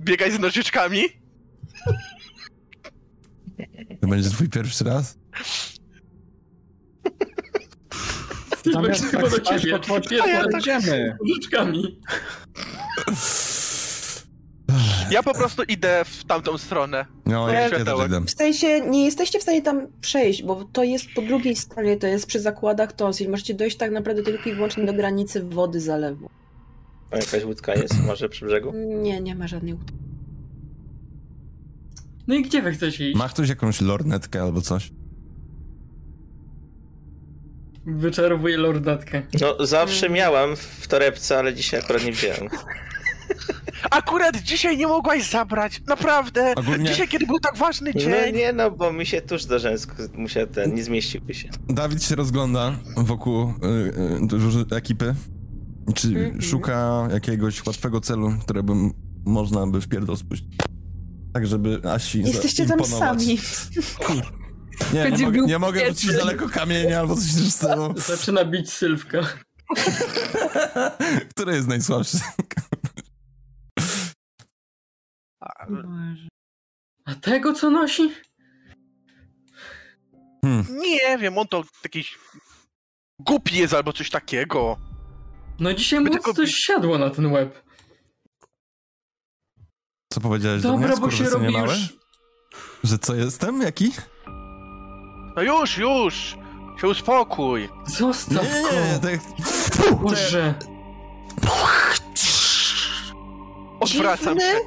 C: Biegaj z nożyczkami.
A: To będzie twój pierwszy raz?
D: Zamiast
G: Sylwek chyba
D: tak
G: do
D: spać,
G: ciebie.
D: to chodź,
G: Pierwszy
C: ja
G: raz
C: tak-
D: Idziemy.
G: z Nożyczkami.
C: Ja po prostu idę w tamtą stronę.
A: No,
C: Ja
A: ja, ja też
C: światełek.
A: idę.
B: W sensie nie jesteście w stanie tam przejść, bo to jest po drugiej stronie, to jest przy zakładach tonsil. Możecie dojść tak naprawdę tylko i wyłącznie do granicy wody zalewu.
F: O, jakaś łódka jest może przy brzegu?
B: Nie, nie ma żadnej utrudnień.
G: No i gdzie wy chcecie iść?
A: Ma ktoś jakąś lornetkę albo coś?
G: Wyczarowuję lordatkę.
F: No zawsze miałam w torebce, ale dzisiaj akurat nie wziąłem.
C: Akurat dzisiaj nie mogłaś zabrać, naprawdę.
A: Ogólnie-
C: Dzisiaj, kiedy był tak ważny
F: No
C: dzień.
F: nie no, bo mi się tuż do rzęsku musiał ten, nie zmieściłby się.
A: Dawid się rozgląda wokół y, y, dużej ekipy. Czy
B: Mhm.
A: szuka jakiegoś łatwego celu, które by m- można by w pierdol spuścić? Tak, żeby Asi
B: Jesteście tam
A: zaimponować.
B: sami.
A: Kur- Nie, nie
E: Będzie
A: mogę,
E: był
A: nie mogę wrócić daleko kamienia albo coś w stylu.
G: Zaczyna bić Sylwka.
A: Który jest najsłabszy?
G: A tego co nosi?
A: Hmm,
C: Nie wiem, on to jakiś głupi jest albo coś takiego.
G: No dzisiaj
C: My
G: mu
C: tylko-
G: coś siadło na ten łeb.
A: Co powiedziałeś do
G: Dobra,
A: mnie?
G: bo się
A: Skurwysynie
G: robi
A: małe?
G: już...
A: Że co jestem? Jaki?
C: No już, już. Się uspokój.
A: Nie,
G: Zostaw
A: nie, nie,
G: go!
A: tak...
G: Boże!
C: Odwracam
B: Dziwny
C: się.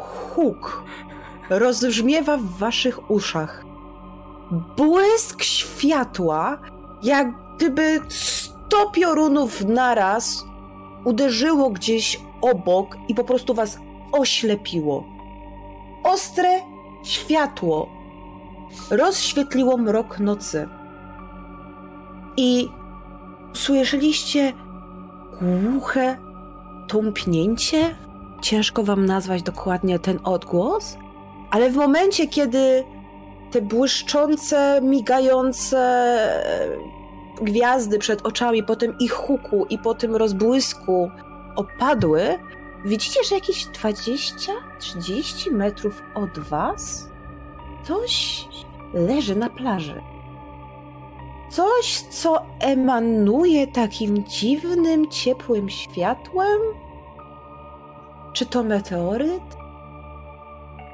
B: huk rozbrzmiewa w waszych uszach. Błysk światła, jak gdyby sto piorunów naraz uderzyło gdzieś obok i po prostu was oślepiło. Ostre światło rozświetliło mrok nocy. I słyszeliście głuche tąpnięcie? ciężko wam nazwać dokładnie ten odgłos, ale w momencie, kiedy te błyszczące, migające e, gwiazdy przed oczami, po tym ich huku i po tym rozbłysku opadły, widzicie, że jakieś 20-30 metrów od was coś leży na plaży. Coś, co emanuje takim dziwnym, ciepłym światłem, czy to meteoryt?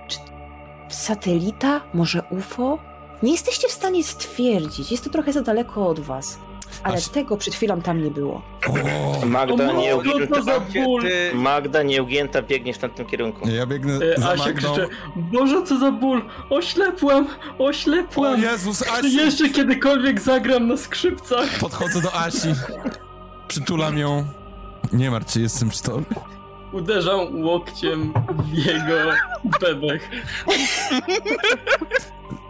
B: Czy satelita? Może UFO? Nie jesteście w stanie stwierdzić. Jest to trochę za daleko od was. Ale
A: Aż-
B: tego przed chwilą tam nie było.
A: O,
F: Magda
G: O
F: nie
G: mordo, to za
F: ugięta,
G: ból!
C: Ty...
F: Magda nieugięta biegnie w tamtym kierunku.
A: ja biegnę
G: E,
A: za
G: Asia
A: Magdą.
G: krzyczy, Boże co za ból! Oślepłem!
A: O
G: Oślepłem!
A: Jezus,
G: Czy
A: Asi!
G: jeszcze kiedykolwiek zagram na skrzypcach?
A: Podchodzę do Asi. Przytulam ją. Nie martw się, jestem przy tobie.
G: Uderzam łokciem w jego bebek.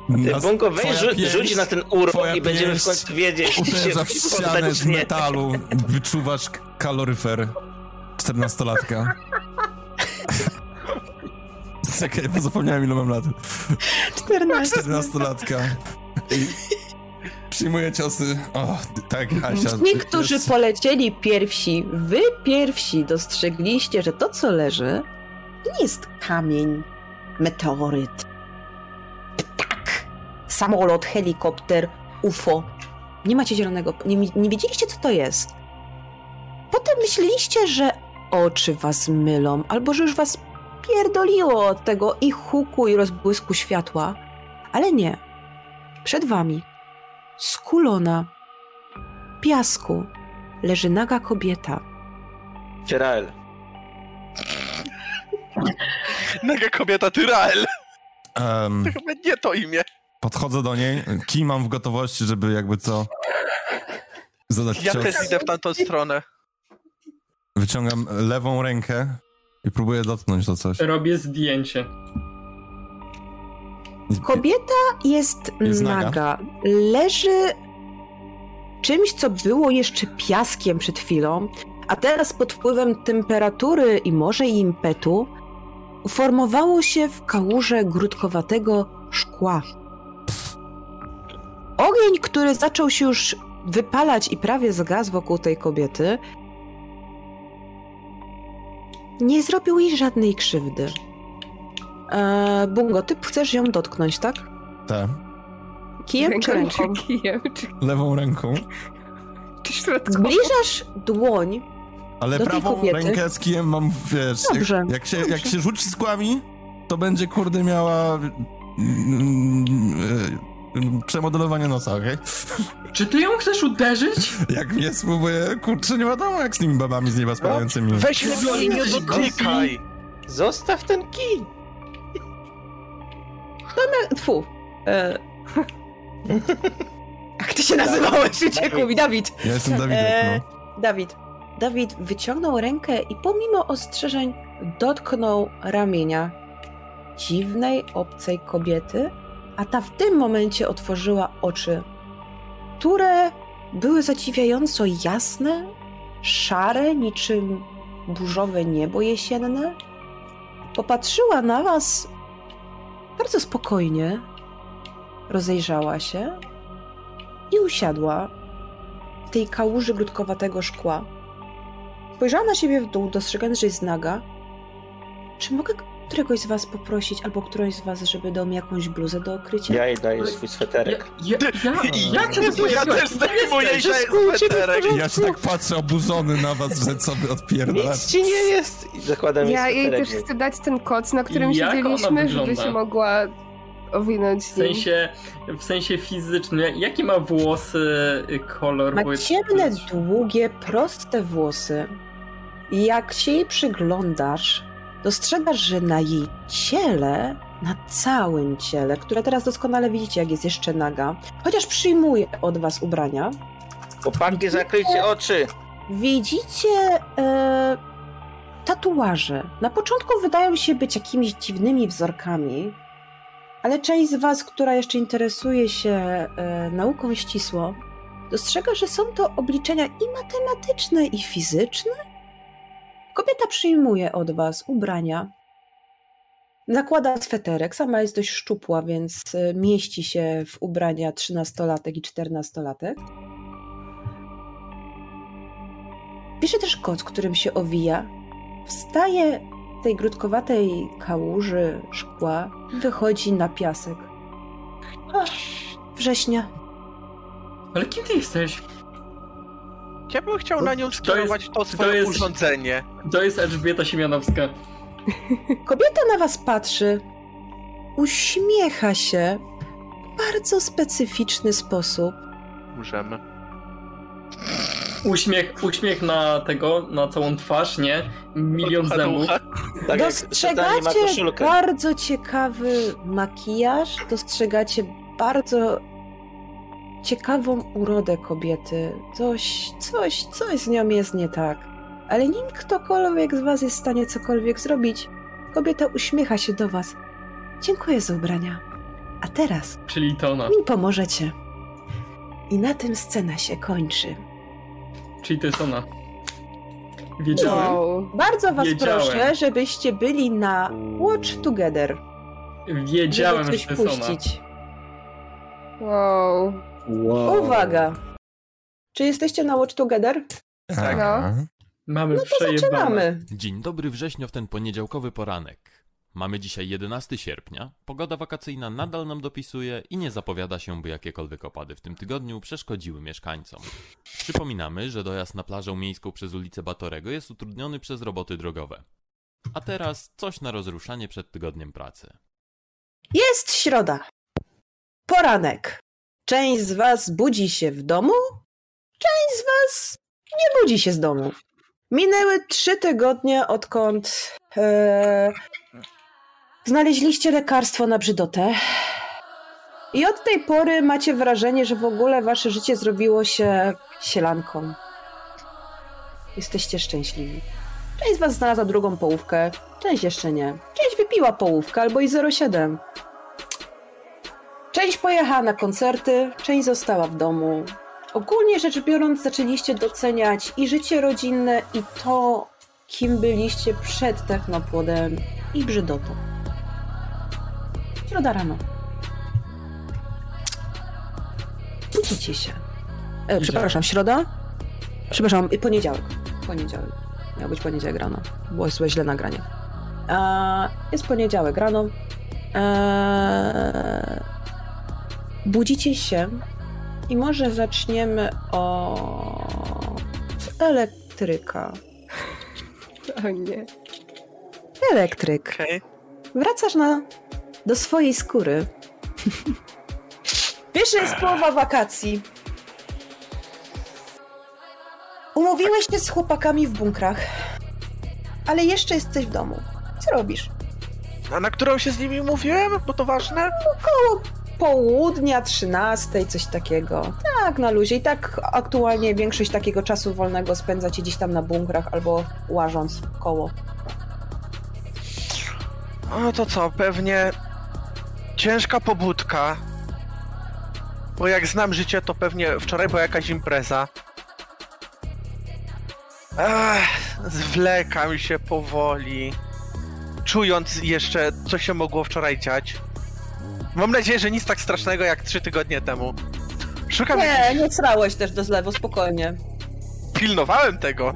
F: Ty,
A: Nas-
F: Bungo, weź
A: twoja
F: rzu-
A: pięść
F: rzuć na ten urok
A: twoja
F: i będziemy
A: pięść
F: w końcu wiedzieć, czy się
A: Uderza w ścianę z
F: poddać, nie.
A: metalu, wyczuwasz k- kaloryfer 14-latka. Czekaj, bo zapomniałem ile mam lat.
B: Tak,
H: 14.
A: 14-latka. I Przyjmuję ciosy. O, tak, Asia.
B: Ci, którzy
A: jest-
B: polecieli pierwsi, wy pierwsi dostrzegliście, że to, co leży, to nie jest kamień, meteoryt, ptak, samolot, helikopter, UFO. Nie macie zielonego, nie, nie wiedzieliście, co to jest. Potem myśleliście, że oczy was mylą, albo że już was pierdoliło od tego i huku, i rozbłysku światła. Ale nie. Przed wami, skulona, piasku leży naga kobieta.
F: Tyrael.
C: Naga kobieta Tyrael.
A: Em,
C: Chyba nie to imię.
A: podchodzę do niej. Kij mam w gotowości, żeby jakby co. Zadać
C: Ja
A: cios.
C: też idę w tamtą stronę.
A: Wyciągam lewą rękę i próbuję dotknąć do coś.
G: Robię zdjęcie.
B: Kobieta jest,
A: Jest
B: naga.
A: naga.
B: Leży czymś, co było jeszcze piaskiem przed chwilą, a teraz pod wpływem temperatury i może i impetu uformowało się w kałuże grudkowatego szkła. Ogień, który zaczął się już wypalać i prawie zgasł wokół tej kobiety, nie zrobił jej żadnej krzywdy. Eee, Bungo, ty chcesz ją dotknąć, tak?
A: Tę
B: Kijem czy ręką?
E: Czy kijem, czy,
A: lewą ręką.
E: czy środką?
B: Zbliżasz dłoń.
A: Ale
B: Do tej
A: prawą
B: kobiety.
A: rękę z kijem mam, wiesz,
B: Dobrze,
A: jak, jak, się, jak
B: dobrze.
A: się rzuci skłami, to będzie kurde miała mm, e, e, przemodelowanie nosa, okej?
I: Czy ty ją chcesz uderzyć?
A: Jak mnie spróbuje, kurczę, nie wiadomo jak z tymi babami z nieba spadającymi.
F: Weź
C: No
F: mnie,
C: nie dotykaj.
F: Zostaw ten kij.
B: tfu. E... Jak ty się nazywałeś? Uciekł mi, Dawid.
A: Ja jestem
B: E,
A: Dawidek, no.
B: Dawid. Dawid wyciągnął rękę i pomimo ostrzeżeń dotknął ramienia dziwnej, obcej kobiety, a ta w tym momencie otworzyła oczy, które były zadziwiająco jasne, szare, niczym burzowe niebo jesienne. Popatrzyła na was bardzo spokojnie, rozejrzała się i usiadła w tej kałuży grudkowatego szkła. Spojrzała na siebie w dół, dostrzegając, że jest naga. Czy mogę któregoś z was poprosić, albo którąś z was, żeby dał mi jakąś bluzę do okrycia?
F: Ja jej daję swój
G: Ja,
F: sweterek.
G: ja, ja, jak się
C: Ja
G: tu pojawiłeś?
C: też
G: Kim
C: zdejmuję
G: jesteś?
C: się z sweterek.
A: Ja się tak patrzę oburzony na was, że co wy
F: Nic
A: odpierdalacie.
F: ci nie jest. I zakładam
E: Ja
F: jej
E: jej też
F: sweterek.
E: chcę dać ten koc, na którym
G: Jak ona
E: siedzieliśmy, żeby
G: wygląda?
E: się mogła owinąć.
G: W sensie, w sensie fizycznym. jak- Jakie ma włosy, y, kolor?
B: Ma
G: bo-
B: ciemne, długie, proste włosy. I Jak się jej przyglądasz, dostrzegasz, że na jej ciele, na całym ciele, które teraz doskonale widzicie, jak jest jeszcze naga, chociaż przyjmuje od was ubrania,
F: Chłopaki, zakryjcie oczy.
B: widzicie e, tatuaże. Na początku wydają się być jakimiś dziwnymi wzorkami, ale część z Was, która jeszcze interesuje się e, nauką ścisło, dostrzega, że są to obliczenia i matematyczne, i fizyczne. Kobieta przyjmuje od Was ubrania. Nakłada sweterek, sama jest dość szczupła, więc e, mieści się w ubrania 13-latek i 14-latek. Bierze też koc, którym się owija, wstaje z tej grudkowatej kałuży szkła i wychodzi na piasek. Ach, września.
G: Ale kim ty jesteś?
C: Ja bym chciał na nią
G: To
C: skierować to
G: to
C: swoje
G: jest-
C: urządzenie.
G: To jest Elżbieta Siemianowska.
B: Kobieta na was patrzy, uśmiecha się w bardzo specyficzny sposób.
C: Możemy.
G: Uśmiech, uśmiech na tego, na całą twarz, nie? Milion
C: Ducha,
G: zębów.
C: ducha.
F: Tak jak szatani ma
B: Dostrzegacie
F: koszulkę.
B: bardzo ciekawy makijaż, dostrzegacie bardzo ciekawą urodę kobiety. Coś, coś, coś z nią jest nie tak.
H: Ale nim ktokolwiek z was jest w stanie cokolwiek zrobić, kobieta uśmiecha się do was. Dziękuję za ubrania. A teraz
G: Czyli to ona.
H: mi pomożecie. I na tym scena się kończy.
G: Czyli to jest ona. Wiedziałem.
E: Wow.
B: Bardzo was
G: Wiedziałem.
B: proszę, żebyście byli na Watch Together, żeby
G: Wiedziałem, że
B: No. coś
G: to jest ona.
B: puścić.
E: Wow.
D: Wow.
B: Uwaga! Czy jesteście na Watch Together?
A: Tak.
E: No.
G: Mamy
B: No to
G: przejebane.
B: zaczynamy.
J: Dzień dobry wrześnio w ten poniedziałkowy poranek. Mamy dzisiaj 11 sierpnia, pogoda wakacyjna nadal nam dopisuje i nie zapowiada się, by jakiekolwiek opady w tym tygodniu przeszkodziły mieszkańcom. Przypominamy, że dojazd na plażę miejską przez ulicę Batorego jest utrudniony przez roboty drogowe. A teraz coś na rozruszanie przed tygodniem pracy.
B: Jest środa. Poranek. Część z was budzi się w domu, część z was nie budzi się z domu. Minęły trzy tygodnie, odkąd e, znaleźliście lekarstwo na brzydotę. I od tej pory macie wrażenie, że w ogóle wasze życie zrobiło się sielanką. Jesteście szczęśliwi. Część z was znalazła drugą połówkę, część jeszcze nie. Część wypiła połówkę albo i 07. Część pojechała na koncerty, część została w domu. Ogólnie rzecz biorąc, zaczęliście doceniać i życie rodzinne, i to, kim byliście przed technopłodem i brzydotą. Środa rano. Budzicie się. E, przepraszam, środa? Przepraszam, y, poniedziałek. Poniedziałek. Miał być poniedziałek rano. Było złe, źle nagranie. A, jest poniedziałek rano. Eee, budzicie się i może zaczniemy od elektryka.
E: O nie.
H: Elektryk.
C: Okej.
H: Wracasz na...
B: Do swojej skóry. Wiesz, że jest połowa wakacji. Umówiłeś się z chłopakami w bunkrach, ale jeszcze jesteś w domu. Co robisz?
C: A na którą się z nimi mówiłem? Bo to ważne?
B: No, południa 13, coś takiego. Tak, na luzie. I tak aktualnie większość takiego czasu wolnego spędzacie gdzieś tam na bunkrach albo łażąc w koło.
C: No to co, pewnie ciężka pobudka. Bo jak znam życie, to pewnie wczoraj była jakaś impreza. Ech, zwlekam się powoli. Czując jeszcze, co się mogło wczoraj dziać. Mam nadzieję, że nic tak strasznego jak trzy tygodnie temu. Szukam.
B: Nie,
C: jakichś-
B: nie srałeś też do zlewu, spokojnie.
C: Pilnowałem tego.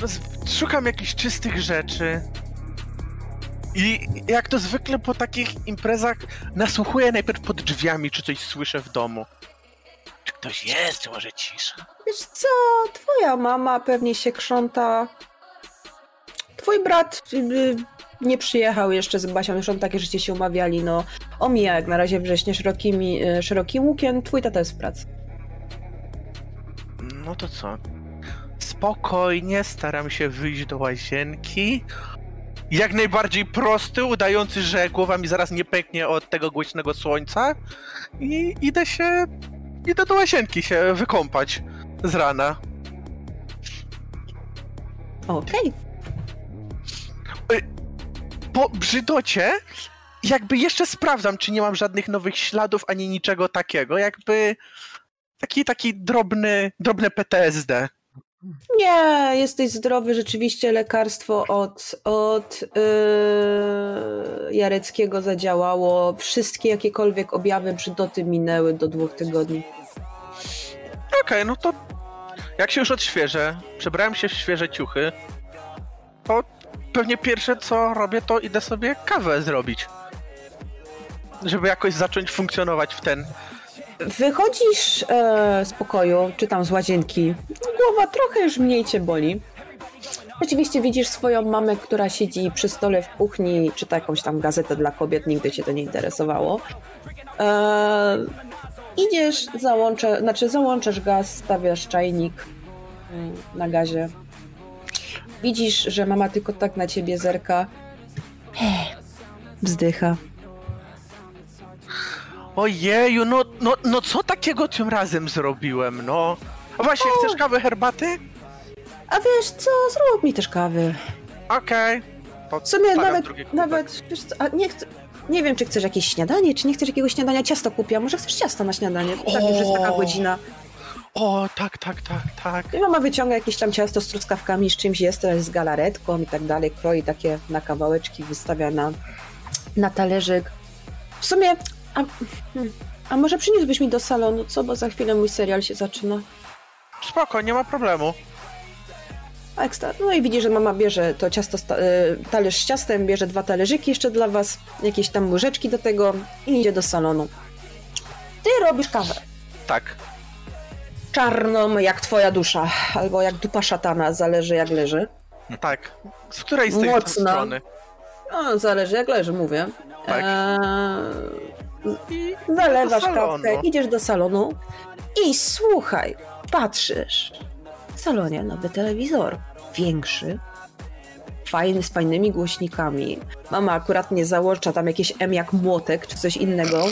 C: No, z- Szukam jakichś czystych rzeczy. I jak to zwykle po takich imprezach nasłuchuję najpierw pod drzwiami, czy coś słyszę w domu. Czy ktoś jest, czy może cisza?
B: Wiesz co, twoja mama pewnie się krząta. Twój brat y, y, nie przyjechał jeszcze z Basią, już on takie życie się umawiali, no. Omija jak na razie wrześnie szerokimi, y, szerokim łukiem, twój tata jest w pracy.
C: No to co? Spokojnie staram się wyjść do łazienki. Jak najbardziej prosty, udający, że głowa mi zaraz nie pęknie od tego głośnego słońca. I idę się. Idę do łazienki się wykąpać z rana.
B: Okej,
C: po brzydocie jakby jeszcze sprawdzam, czy nie mam żadnych nowych śladów ani niczego takiego, jakby taki taki drobny, drobne PTSD.
B: Nie, jesteś zdrowy. Rzeczywiście lekarstwo od, od yy, Jareckiego zadziałało. Wszystkie jakiekolwiek objawy brzydoty minęły do dwóch tygodni.
C: Okej, no to jak się już odświeżę, przebrałem się w świeże ciuchy, to pewnie pierwsze co robię to idę sobie kawę zrobić. Żeby jakoś zacząć funkcjonować w ten.
B: Wychodzisz e, z pokoju, czy tam z łazienki. No, Głowa trochę już mniej cię boli. Rzeczywiście widzisz swoją mamę, która siedzi przy stole w kuchni i czyta jakąś tam gazetę dla kobiet, nigdy cię to nie interesowało. E, idziesz, załączę, znaczy załączasz gaz, stawiasz czajnik mm, na gazie. Widzisz, że mama tylko tak na ciebie zerka. Wzdycha.
C: Ojeju, no, no, no co takiego tym razem zrobiłem, no? A właśnie, chcesz kawę, herbaty?
B: A wiesz co, zrób mi też kawy.
C: Okej.
B: W sumie
C: Podkładam
B: nawet,
C: drugi kubek.
B: nawet, wiesz co, a nie chcę... Nie wiem, czy chcesz jakieś śniadanie, czy nie chcesz jakiegoś śniadania. Ciasto kupiłam, może chcesz ciasto na śniadanie. bo Tak, już jest taka
C: O.
B: godzina.
C: O, tak, tak, tak, tak.
B: I mama wyciąga jakieś tam ciasto z truskawkami, z czymś jest, teraz z galaretką i tak dalej. Kroi takie na kawałeczki, wystawia na, na talerzyk. W sumie, a, hmm, a może przyniósłbyś mi do salonu, co? Bo za chwilę mój serial się zaczyna.
C: Spoko, nie ma problemu.
B: Ekstra. No i widzi, że mama bierze to ciasto, z ta- e, talerz z ciastem, bierze dwa talerzyki jeszcze dla was, jakieś tam łyżeczki do tego i idzie do salonu. Ty robisz kawę.
C: Tak.
B: Czarną jak twoja dusza, albo jak dupa szatana, zależy jak leży.
C: Tak. Z której z tej
B: Mocno.
C: strony?
B: No, zależy jak leży, mówię.
C: Tak.
B: Eee,
C: do
B: zalewasz
C: salonu.
B: kawkę, idziesz do salonu i słuchaj, patrzysz. W salonie nowy telewizor, większy, fajny, z fajnymi głośnikami. Mama akurat nie załącza tam jakieś M jak młotek czy coś innego.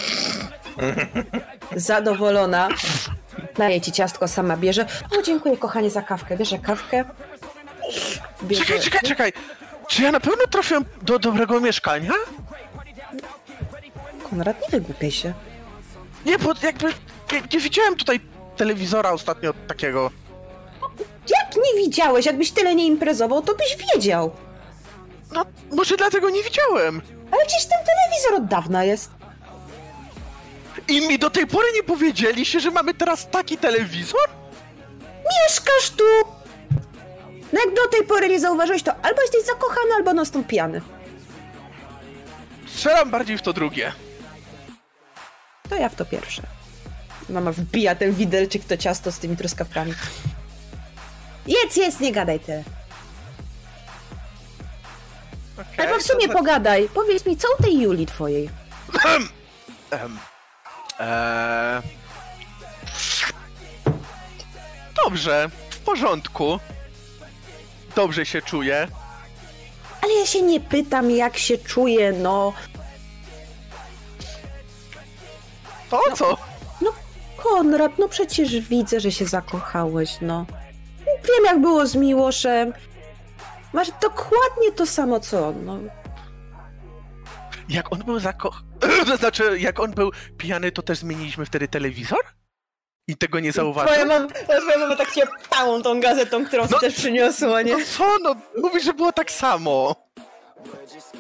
B: Zadowolona. Daje ci ciastko, sama bierze. O, dziękuję kochanie za kawkę. Bierze kawkę. Bierze...
C: Czekaj, czekaj, czekaj. Czy ja na pewno trafiłem do dobrego mieszkania?
B: Konrad, nie wygłupiaj się.
C: Nie, bo jakby nie, nie widziałem tutaj telewizora ostatnio takiego.
B: Jak nie widziałeś? Jakbyś tyle nie imprezował, to byś wiedział.
C: No, może dlatego nie widziałem.
B: Ale przecież ten telewizor od dawna jest.
C: I mi do tej pory nie powiedzieliście, że mamy teraz taki telewizor?
B: Mieszkasz tu! No jak do tej pory nie zauważyłeś, to albo jesteś zakochany, albo non stop pijany.
C: Strzelam bardziej w to drugie.
B: To ja w to pierwsze. Mama wbija ten widelczyk w to ciasto z tymi truskawkami. Jedz, jedz, nie gadaj tyle.
C: Okej,
B: Albo w sumie
C: to-
B: pogadaj. Powiedz mi, co u tej Juli twojej?
C: Ehm, eee... Dobrze, w porządku. Dobrze się czuję.
B: Ale ja się nie pytam, jak się czuje, no...
C: To
B: No.
C: o co?
B: Konrad, no przecież widzę, że się zakochałeś, no. Wiem, jak było z Miłoszem. Masz dokładnie to samo, co on, no.
C: Jak on był zakoch... to znaczy, jak on był pijany, to też zmieniliśmy wtedy telewizor? I tego nie zauważył?
B: mama, twoja mama tak się pałą tą gazetą, którą
C: No-
B: też przyniosła, nie?
C: No co, no mówisz, że było tak samo.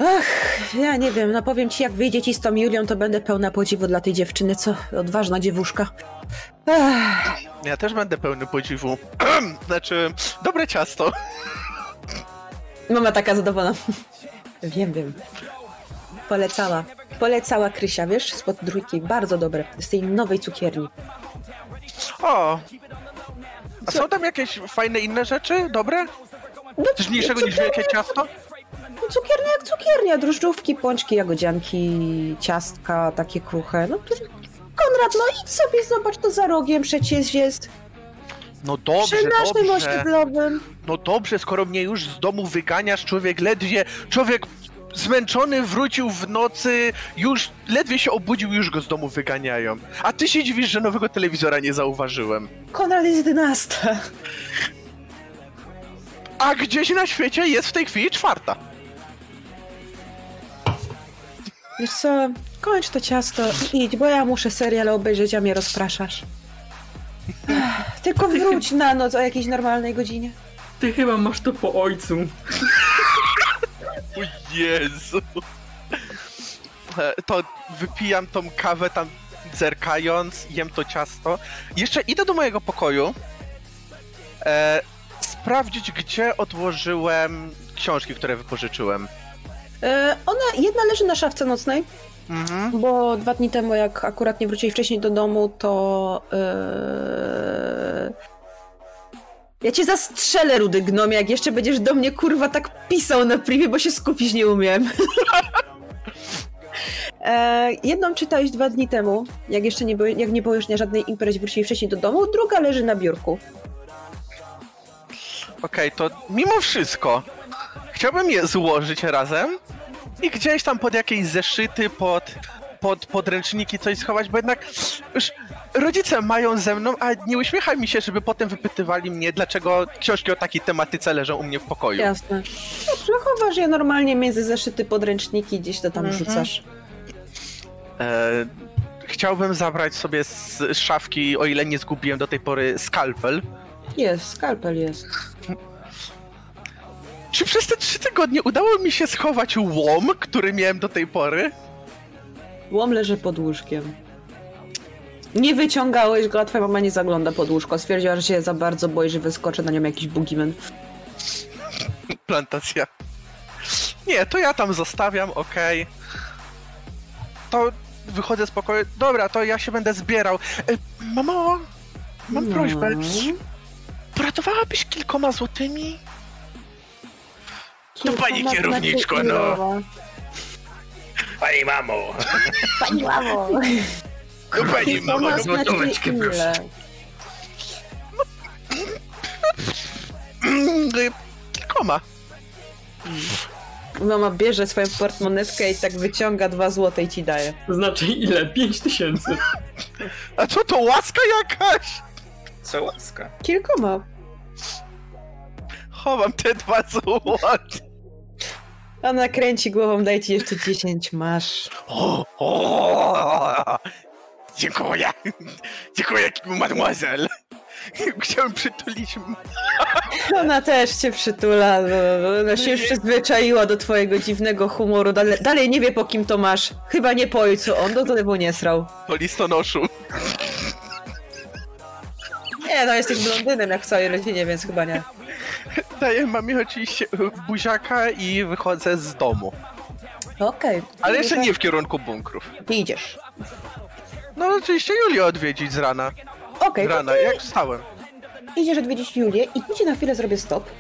B: Ach, ja nie wiem, no powiem ci, jak wyjdzie ci z tą Julią, to będę pełna podziwu dla tej dziewczyny, co? Odważna dziewuszka. Ach,
C: Ja też będę pełny podziwu. znaczy, dobre ciasto.
B: mama taka zadowolona. Wiem, wiem. Polecała. Polecała Krysia, wiesz, spod trójki. Bardzo dobre. Z tej nowej cukierni.
C: O! A są tam jakieś fajne inne rzeczy? Dobre?
B: No,
C: Coś mniejszego niż
B: cukiernia-
C: wielkie ciasto?
B: Cukiernia jak cukiernia, drożdżówki, pączki, jagodzianki, ciastka, takie kruche. No, to- Konrad, no idź sobie, zobacz to za rogiem, przecież jest.
C: No dobrze,
B: Przy naszym
C: dobrze.
B: osiedlowym.
C: No dobrze, skoro mnie już z domu wyganiasz, człowiek ledwie... Człowiek zmęczony wrócił w nocy, już ledwie się obudził, już go z domu wyganiają. A ty się dziwisz, że nowego telewizora nie zauważyłem.
B: Konrad jest jedenasta.
C: A gdzieś na świecie jest w tej chwili czwarta.
B: Wiesz co, kończ to ciasto i idź, bo ja muszę serial obejrzeć, a mnie rozpraszasz. Ech, Tylko wróć na noc o jakiejś normalnej godzinie.
G: Ty chyba masz to po ojcu.
C: O Jezu. E, To wypijam tą kawę tam zerkając, jem to ciasto. Jeszcze idę do mojego pokoju e, sprawdzić, gdzie odłożyłem książki, które wypożyczyłem.
B: E, ona jedna leży na szafce nocnej,
C: Mhm.
B: Bo dwa dni temu, jak akurat nie wrócili wcześniej do domu, to. Yy... Ja cię zastrzelę, rudy gnomie, jak jeszcze będziesz do mnie kurwa tak pisał na privie, bo się skupić nie umiem. E, Jedną czytałeś dwa dni temu, jak jeszcze nie było, jak nie było już na żadnej imprezie, wrócili wcześniej do domu, druga leży na biurku.
C: Okej, to mimo wszystko chciałbym je złożyć razem i gdzieś tam pod jakieś zeszyty, pod, pod podręczniki coś schować, bo jednak już rodzice mają ze mną, a nie uśmiecha mi się, żeby potem wypytywali mnie, dlaczego książki o takiej tematyce leżą u mnie w pokoju.
H: Jasne.
B: Dobrze, chowasz je normalnie między zeszyty podręczniki, gdzieś to tam
C: Mhm.
B: rzucasz.
C: E, chciałbym zabrać sobie z z szafki, o ile nie zgubiłem do tej pory, skalpel.
B: Jest, skalpel jest.
C: Czy przez te trzy tygodnie udało mi się schować łom, który miałem do tej pory?
B: Łom leży pod łóżkiem. Nie wyciągałeś go, a twoja mama nie zagląda pod łóżko. Stwierdziła, że się za bardzo boi, że wyskoczy na nią jakiś bugimen.
C: Plantacja. Nie, to ja tam zostawiam, okej. To wychodzę z pokoju. Dobra, to ja się będę zbierał. E, mamo, mam
B: No.
C: prośbę. Poratowałabyś kilkoma złotymi?
B: Kilka
C: pani
B: lat
C: kierowniczko,
B: znaczy
C: no.
B: ilowa.
I: Pani mamo!
B: Pani mamo.
I: No pani
B: Kilkoma
I: mamo,
B: znaczy
I: złotóweczkę
B: ile?
I: proszę.
C: Mm, e, kilkoma.
B: Mama bierze swoją portmonetkę i tak wyciąga dwa złote i ci daje.
G: To znaczy ile? 5 tysięcy.
C: A co to łaska jakaś?
F: Co łaska.
B: Kilkoma.
C: Chowam te dwa złote.
B: Ona kręci głową, daj ci jeszcze 10, masz.
C: O, o, dziękuję. Dziękuję, mademoiselle. Chciałem przytulić
B: Ona też cię przytula, no, no, no, ona się już przyzwyczaiła do twojego dziwnego humoru. Dalej, dalej nie wie po kim to masz. Chyba nie po ojcu, on do tego nie srał.
C: po listonoszu.
B: Nie, no jesteś blondynem jak w całej rodzinie, więc chyba nie.
C: Daję mamie oczywiście buziaka i wychodzę z domu.
B: Okej.
C: Ale jeszcze nie w kierunku bunkrów.
B: Ty idziesz.
C: No oczywiście Julię odwiedzić z rana.
B: Okej,
C: Z
B: okay,
C: rana, jak wstałem.
B: idziesz odwiedzić Julię i tu ci na chwilę zrobię stop.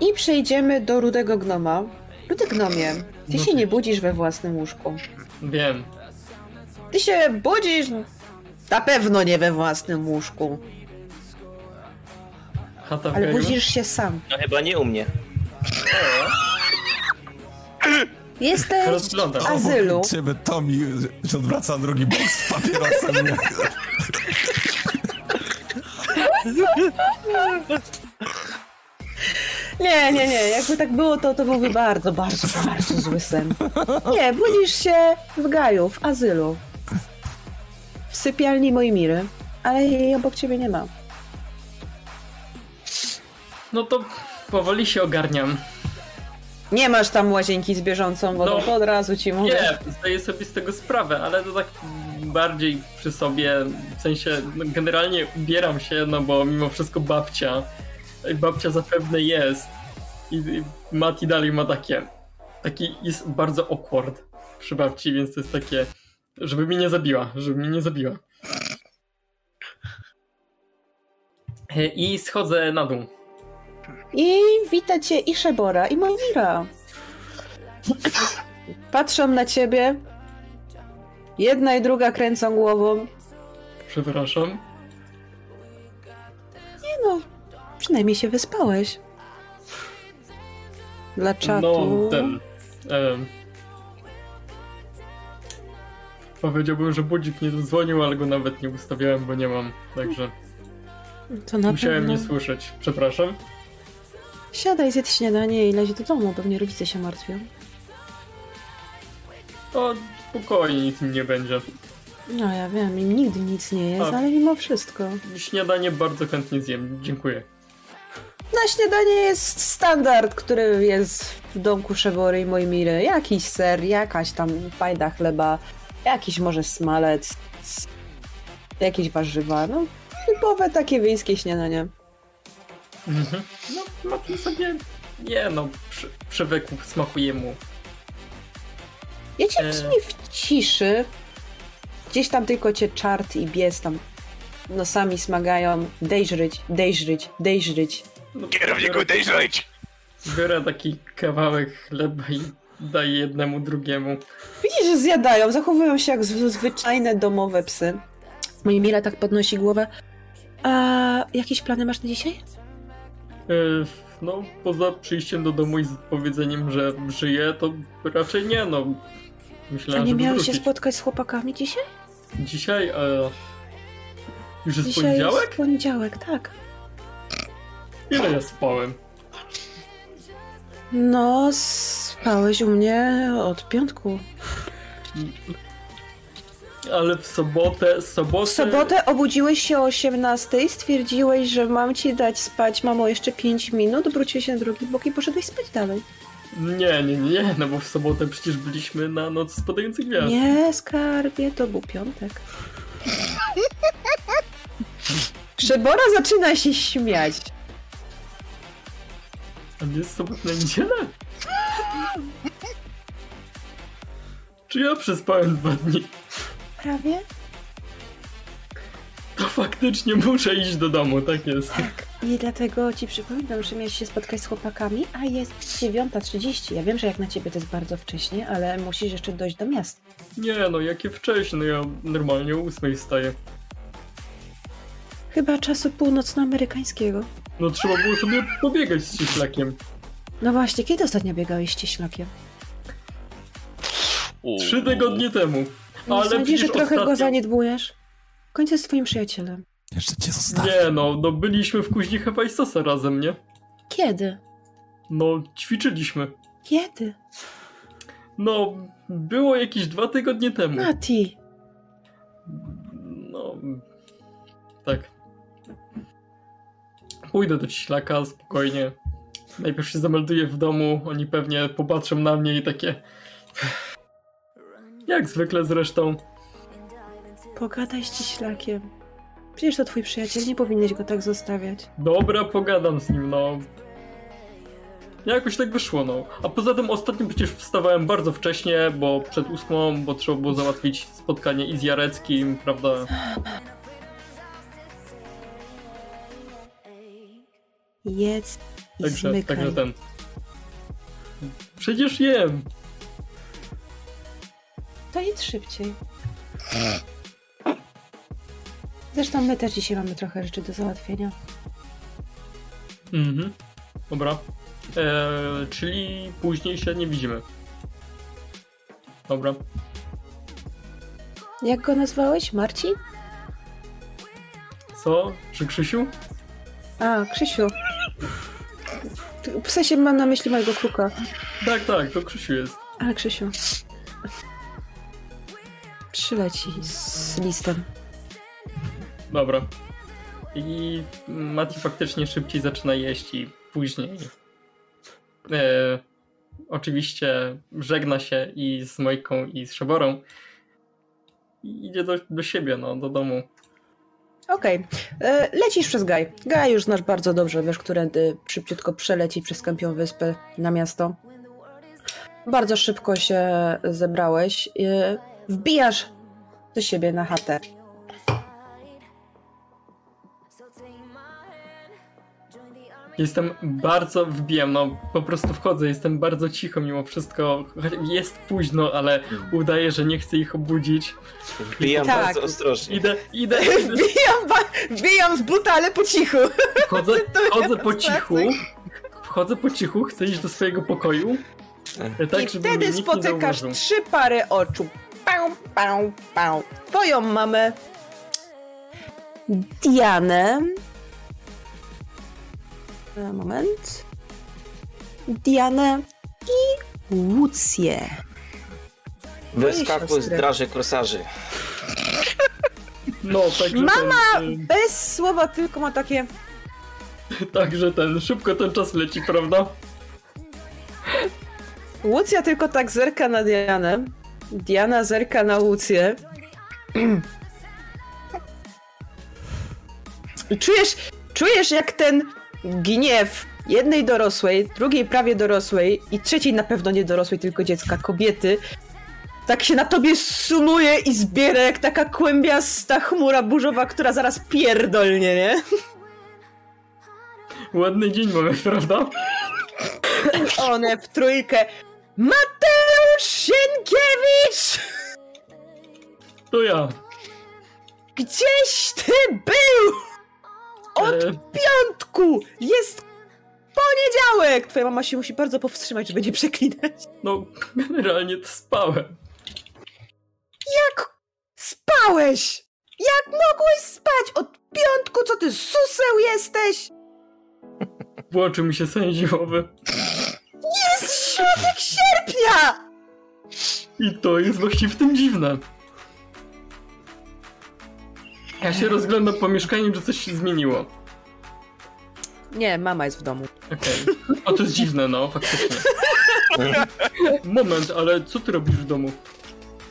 B: I przejdziemy do rudego gnoma. Rudy gnomie, ty
G: No
B: się
G: ty-
B: nie budzisz we własnym łóżku.
G: Wiem.
B: Ty się budzisz na pewno nie we własnym łóżku,
G: Chata w
B: ale
G: gaju.
B: budzisz się sam.
F: No chyba nie u mnie.
B: Jesteś
G: Rozglądam.
B: w azylu.
A: Ciebie Tomi się odwraca na drugi bok z papierosem.
B: Nie, nie, nie. Jakby tak było, to to byłby bardzo, bardzo, bardzo zły sen. Nie, budzisz się w gaju, w azylu. W sypialni Mojmiry, ale jej obok ciebie nie ma.
G: No to powoli się ogarniam.
B: Nie masz tam łazienki z bieżącą wodą,
G: No.
B: to od razu ci mówię.
G: Nie, zdaję sobie z tego sprawę, ale to tak bardziej przy sobie, w sensie no, generalnie ubieram się, no bo mimo wszystko babcia, babcia zapewne jest i, i Mati dalej ma takie, taki jest bardzo awkward przy babci, więc to jest takie, żeby mnie nie zabiła, żeby mnie nie zabiła. E, I schodzę na dół.
B: I wita cię i Szebora, i Mojmira. Patrzą na ciebie. Jedna i druga kręcą głową.
G: Przepraszam.
B: Nie no, przynajmniej się wyspałeś. Dla czatu.
G: No, ten. em, powiedziałbym, że budzik nie dzwonił, ale go nawet nie ustawiałem, bo nie mam. Także
B: To na
G: musiałem
B: pewno.
G: nie słyszeć. Przepraszam.
H: Siadaj, zjedz śniadanie i leć do domu, pewnie rodzice się martwią.
G: To spokojnie, nic mi nie będzie.
H: No ja wiem, im nigdy nic nie jest,
G: A.
H: ale mimo wszystko.
G: Śniadanie bardzo chętnie zjem. Dziękuję.
B: Na śniadanie jest standard, który jest w domku Szebory i Mojmiry. Jakiś ser, jakaś tam fajda chleba, jakiś może smalec, s- jakieś warzywa, no. Typowe takie wiejskie śniadanie.
G: Mhm. No, Mati sobie. Nie no, przy, przywykł, smakuje mu.
B: Jecie
G: E.
B: w sumie w ciszy. Gdzieś tam tylko cię czart i bies tam nosami smagają. Dejrzryć, dejrzryć, dejrzryć.
G: No,
I: Kierowniku,
G: biorę-
I: daj żyć!
G: Biorę taki kawałek chleba i daję jednemu, drugiemu.
B: Widzisz, że zjadają, zachowują się jak zw- zwyczajne domowe psy. Moja Mila tak podnosi głowę. A jakieś plany masz na dzisiaj?
G: E, No, poza przyjściem do domu i z powiedzeniem, że żyję, to raczej nie, no.
B: A
G: Myślałem,
B: nie
G: żeby
B: miałeś się
G: wrócić.
B: spotkać z chłopakami dzisiaj?
G: Dzisiaj, e, Już jest
B: Dzisiaj
G: poniedziałek?
B: jest poniedziałek, tak.
G: Ile ja spałem?
B: No, spałeś u mnie od piątku.
G: Ale w sobotę, sobotę...
B: W sobotę obudziłeś się o 18, stwierdziłeś, że mam ci dać spać, mamo, jeszcze 5 minut, wróciłeś na drugi bok i poszedłeś spać dalej.
G: Nie, nie, nie, no bo w sobotę przecież byliśmy na noc spadających gwiazd.
B: Nie, skarbie, to był piątek.
H: Szybora zaczyna się śmiać.
G: A nie jest sobotna niedziela? Czy ja przespałem dwa dni?
B: Prawie?
G: To faktycznie muszę iść do domu, tak jest.
B: I dlatego ci przypominam, że miałeś się spotkać z chłopakami, a jest 9.30. Ja wiem, że jak na ciebie to jest bardzo wcześnie, ale musisz jeszcze dojść do miasta.
G: Nie no, jakie wcześnie, ja normalnie o ósmej wstaję.
B: Chyba czasu północnoamerykańskiego.
G: No trzeba było sobie pobiegać z ciślakiem.
B: No właśnie, kiedy ostatnio biegałeś ścieślakiem?
G: Trzy tygodnie temu.
B: Mam
G: Ale
B: nadzieję, No, że
G: przecież
B: trochę
G: ostatnio...
B: go zaniedbujesz. W końcu jest twoim przyjacielem.
A: Jeszcze cię zostawię.
G: Nie no, no byliśmy w kuźni Hefajstosa razem, nie?
B: Kiedy?
G: No, ćwiczyliśmy.
B: Kiedy?
G: No, było jakieś dwa tygodnie temu.
B: Mati!
G: No. Tak. Pójdę do ciślaka spokojnie. Najpierw się zamelduję w domu. Oni pewnie popatrzą na mnie i takie. Jak zwykle zresztą.
B: Pogadaj z ściślakiem. Przecież to twój przyjaciel, nie powinieneś go tak zostawiać.
G: Dobra, pogadam z nim, no. Jakoś tak wyszło, no. A poza tym ostatnio przecież wstawałem bardzo wcześnie, bo przed ósmą, bo trzeba było załatwić spotkanie i z Jareckim, prawda?
B: Jedz i
G: Także, tak
B: zmykaj.
G: także ten. Przecież jem.
B: To jedz szybciej. Zresztą my też dzisiaj mamy trochę rzeczy do załatwienia.
G: Mhm. Dobra. Eee, czyli później się nie widzimy. Dobra.
B: Jak go nazwałeś? Marcin?
G: Co? Czy Krzysiu?
B: A, Krzysiu. W sensie mam na myśli mojego kruka.
G: Tak, tak, to Krzysiu jest.
B: Ale Krzysiu. Przyleci z listem.
G: Dobra. I Mati faktycznie szybciej zaczyna jeść i później. E, oczywiście żegna się i z Mojką i z Szeborą. I idzie do, do siebie, no, do domu.
B: Okej, e, lecisz przez Gaj. Gaj już znasz bardzo dobrze, wiesz, którędy szybciutko przeleci przez Kępią Wyspę na miasto. Bardzo szybko się zebrałeś. E, wbijasz do siebie na chatę.
G: Jestem bardzo, wbijam, no po prostu wchodzę, jestem bardzo cicho mimo wszystko. Jest późno, ale udaję, że nie chcę ich obudzić.
F: Bijam
H: Tak.
F: bardzo ostrożnie.
G: Idę, idę, idę,
H: Wbijam, ba- wbijam z buta, ale po cichu.
G: wchodzę, wchodzę po cichu, wchodzę po cichu, chcę iść do swojego pokoju. Tak,
H: I
G: żeby
H: wtedy
G: mnie nikt nie
H: spotykasz
G: zauważył.
H: trzy pary oczu. Pał, pał, pał. Twoją mamę.
B: Dianę. E, Moment. Dianę i Łucję. No
F: Wyskakuj z
B: siostry.
F: draży korsarzy.
G: No, także
B: Mama!
G: Ten, y,
B: Bez słowa tylko ma takie...
G: także ten, szybko ten czas leci, prawda?
H: Łucja tylko tak zerka na Dianę. Diana zerka na Łucję. I czujesz, czujesz jak ten gniew jednej dorosłej, drugiej prawie dorosłej i trzeciej na pewno nie dorosłej, tylko dziecka, kobiety, tak się na tobie sumuje i zbiera jak taka kłębiasta chmura burzowa, która zaraz pierdolnie, nie?
G: Ładny dzień mamy, prawda?
H: One w trójkę. Mateusz Sienkiewicz!
G: To ja.
H: Gdzieś ty był! Od
G: E,
H: piątku! Jest poniedziałek! Twoja mama się musi bardzo powstrzymać, żeby nie przeklinać.
G: no, generalnie to spałem.
H: Jak spałeś? Jak mogłeś spać od piątku? Co ty suseł jesteś?
G: Włączył mi się sen zimowy.
H: Jest środek sierpnia!
G: I to jest właśnie w tym dziwne. Ja się rozglądam po mieszkaniu, czy coś się zmieniło.
H: Nie, mama jest w domu.
G: Okej. O, to jest dziwne, no, faktycznie. Moment, ale co ty robisz w domu?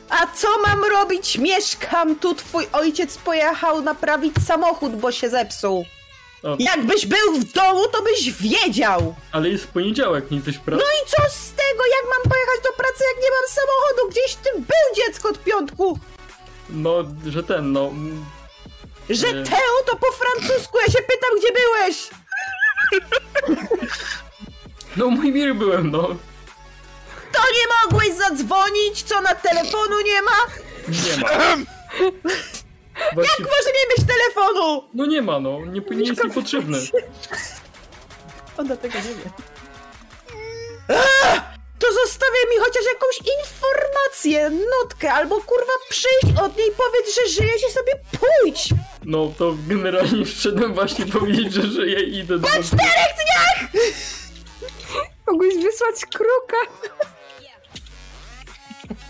H: A co mam robić? Mieszkam tu, twój ojciec pojechał naprawić samochód, bo się zepsuł.
G: O,
H: Jakbyś był w domu, to byś wiedział!
G: ale jest poniedziałek, nie jesteś pracy.
H: No i co z tego? Jak mam pojechać do pracy, jak nie mam samochodu? Gdzieś ty był dziecko od piątku!
G: No, że ten, no. mm,
H: Że
G: Nie.
H: Teo to po francusku, ja się pytam, gdzie byłeś!
G: No, u mojej miry byłem, no.
H: To nie mogłeś zadzwonić, co na telefonu nie ma?
G: Nie ma. Właśnie,
H: Może nie mieć telefonu!
G: no nie ma, no. Nie, nie jest mi potrzebny.
H: Ona tego nie wie. To zostawię mi chociaż jakąś informację, notkę, albo kurwa przyjść od niej, powiedz, że żyje się sobie pójdź!
G: No, to generalnie wszedłem właśnie powiedzieć, że żyję i idę do domu.
E: Mogłeś wysłać kruka.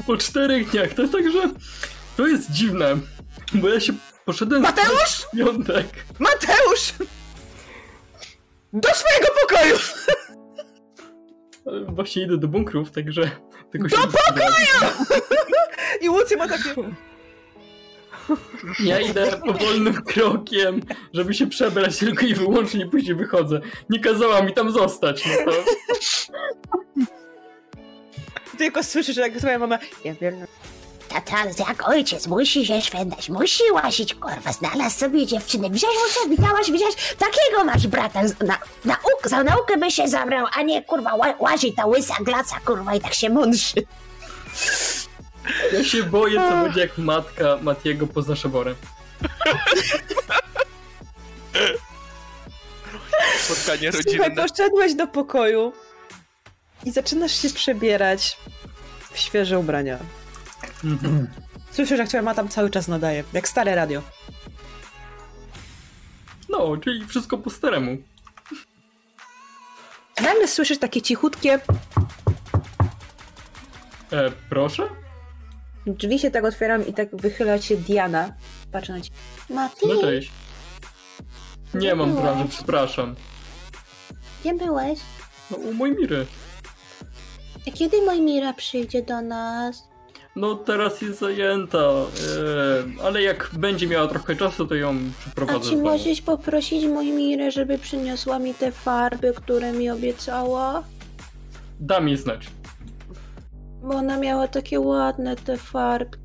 G: po czterech dniach. To także to jest dziwne, bo ja się poszedłem
H: Mateusz?
G: w piątek.
H: Mateusz! Do swojego pokoju!
G: ale Właśnie idę do bunkrów, także tego
H: Do
G: pokoju!
H: I Łucy ma takie...
G: Ja idę powolnym krokiem, żeby się przebrać tylko i wyłącznie, i później wychodzę. Nie kazała mi tam zostać, no to...
H: Tylko słyszysz, jak twoja mama... Ja wiem,
B: Tata, jak ojciec, musi się szwendać, musi łasić, kurwa, znalazł sobie dziewczynę, wziąć mu sobie, dałaś, wziąć, takiego masz brata, z- na, nauk, za naukę by się zabrał, a nie, kurwa, ła, łazi ta łysa glaca, kurwa, i tak się mądrzy.
G: Ja się boję, co będzie jak matka Matiego poza szaborem.
C: Spotkanie
H: Słuchaj,
C: rodzinne.
H: poszedłeś do pokoju i zaczynasz się przebierać w świeże ubrania.
G: Mhm.
H: Słyszysz, jak twoja mama tam cały czas nadaje, jak stare radio.
G: No, czyli wszystko po staremu.
H: Nagle słyszysz takie cichutkie...
G: E, proszę?
H: Drzwi się tak otwieram i tak wychyla się Diana. Patrzę na ciebie.
B: Mati,
G: No cześć. Nie mam branży, przepraszam.
B: gdzie byłeś?
G: No u mojej miry.
B: A kiedy Mojmira przyjdzie do nas?
G: No teraz jest zajęta, e, ale jak będzie miała trochę czasu, to ją
B: A
G: przeprowadzę
B: czy
G: do domu.
B: możesz poprosić Mojmirę, żeby przyniosła mi te farby, które mi obiecała?
G: Dam jej znać.
B: Bo ona miała takie ładne te farby.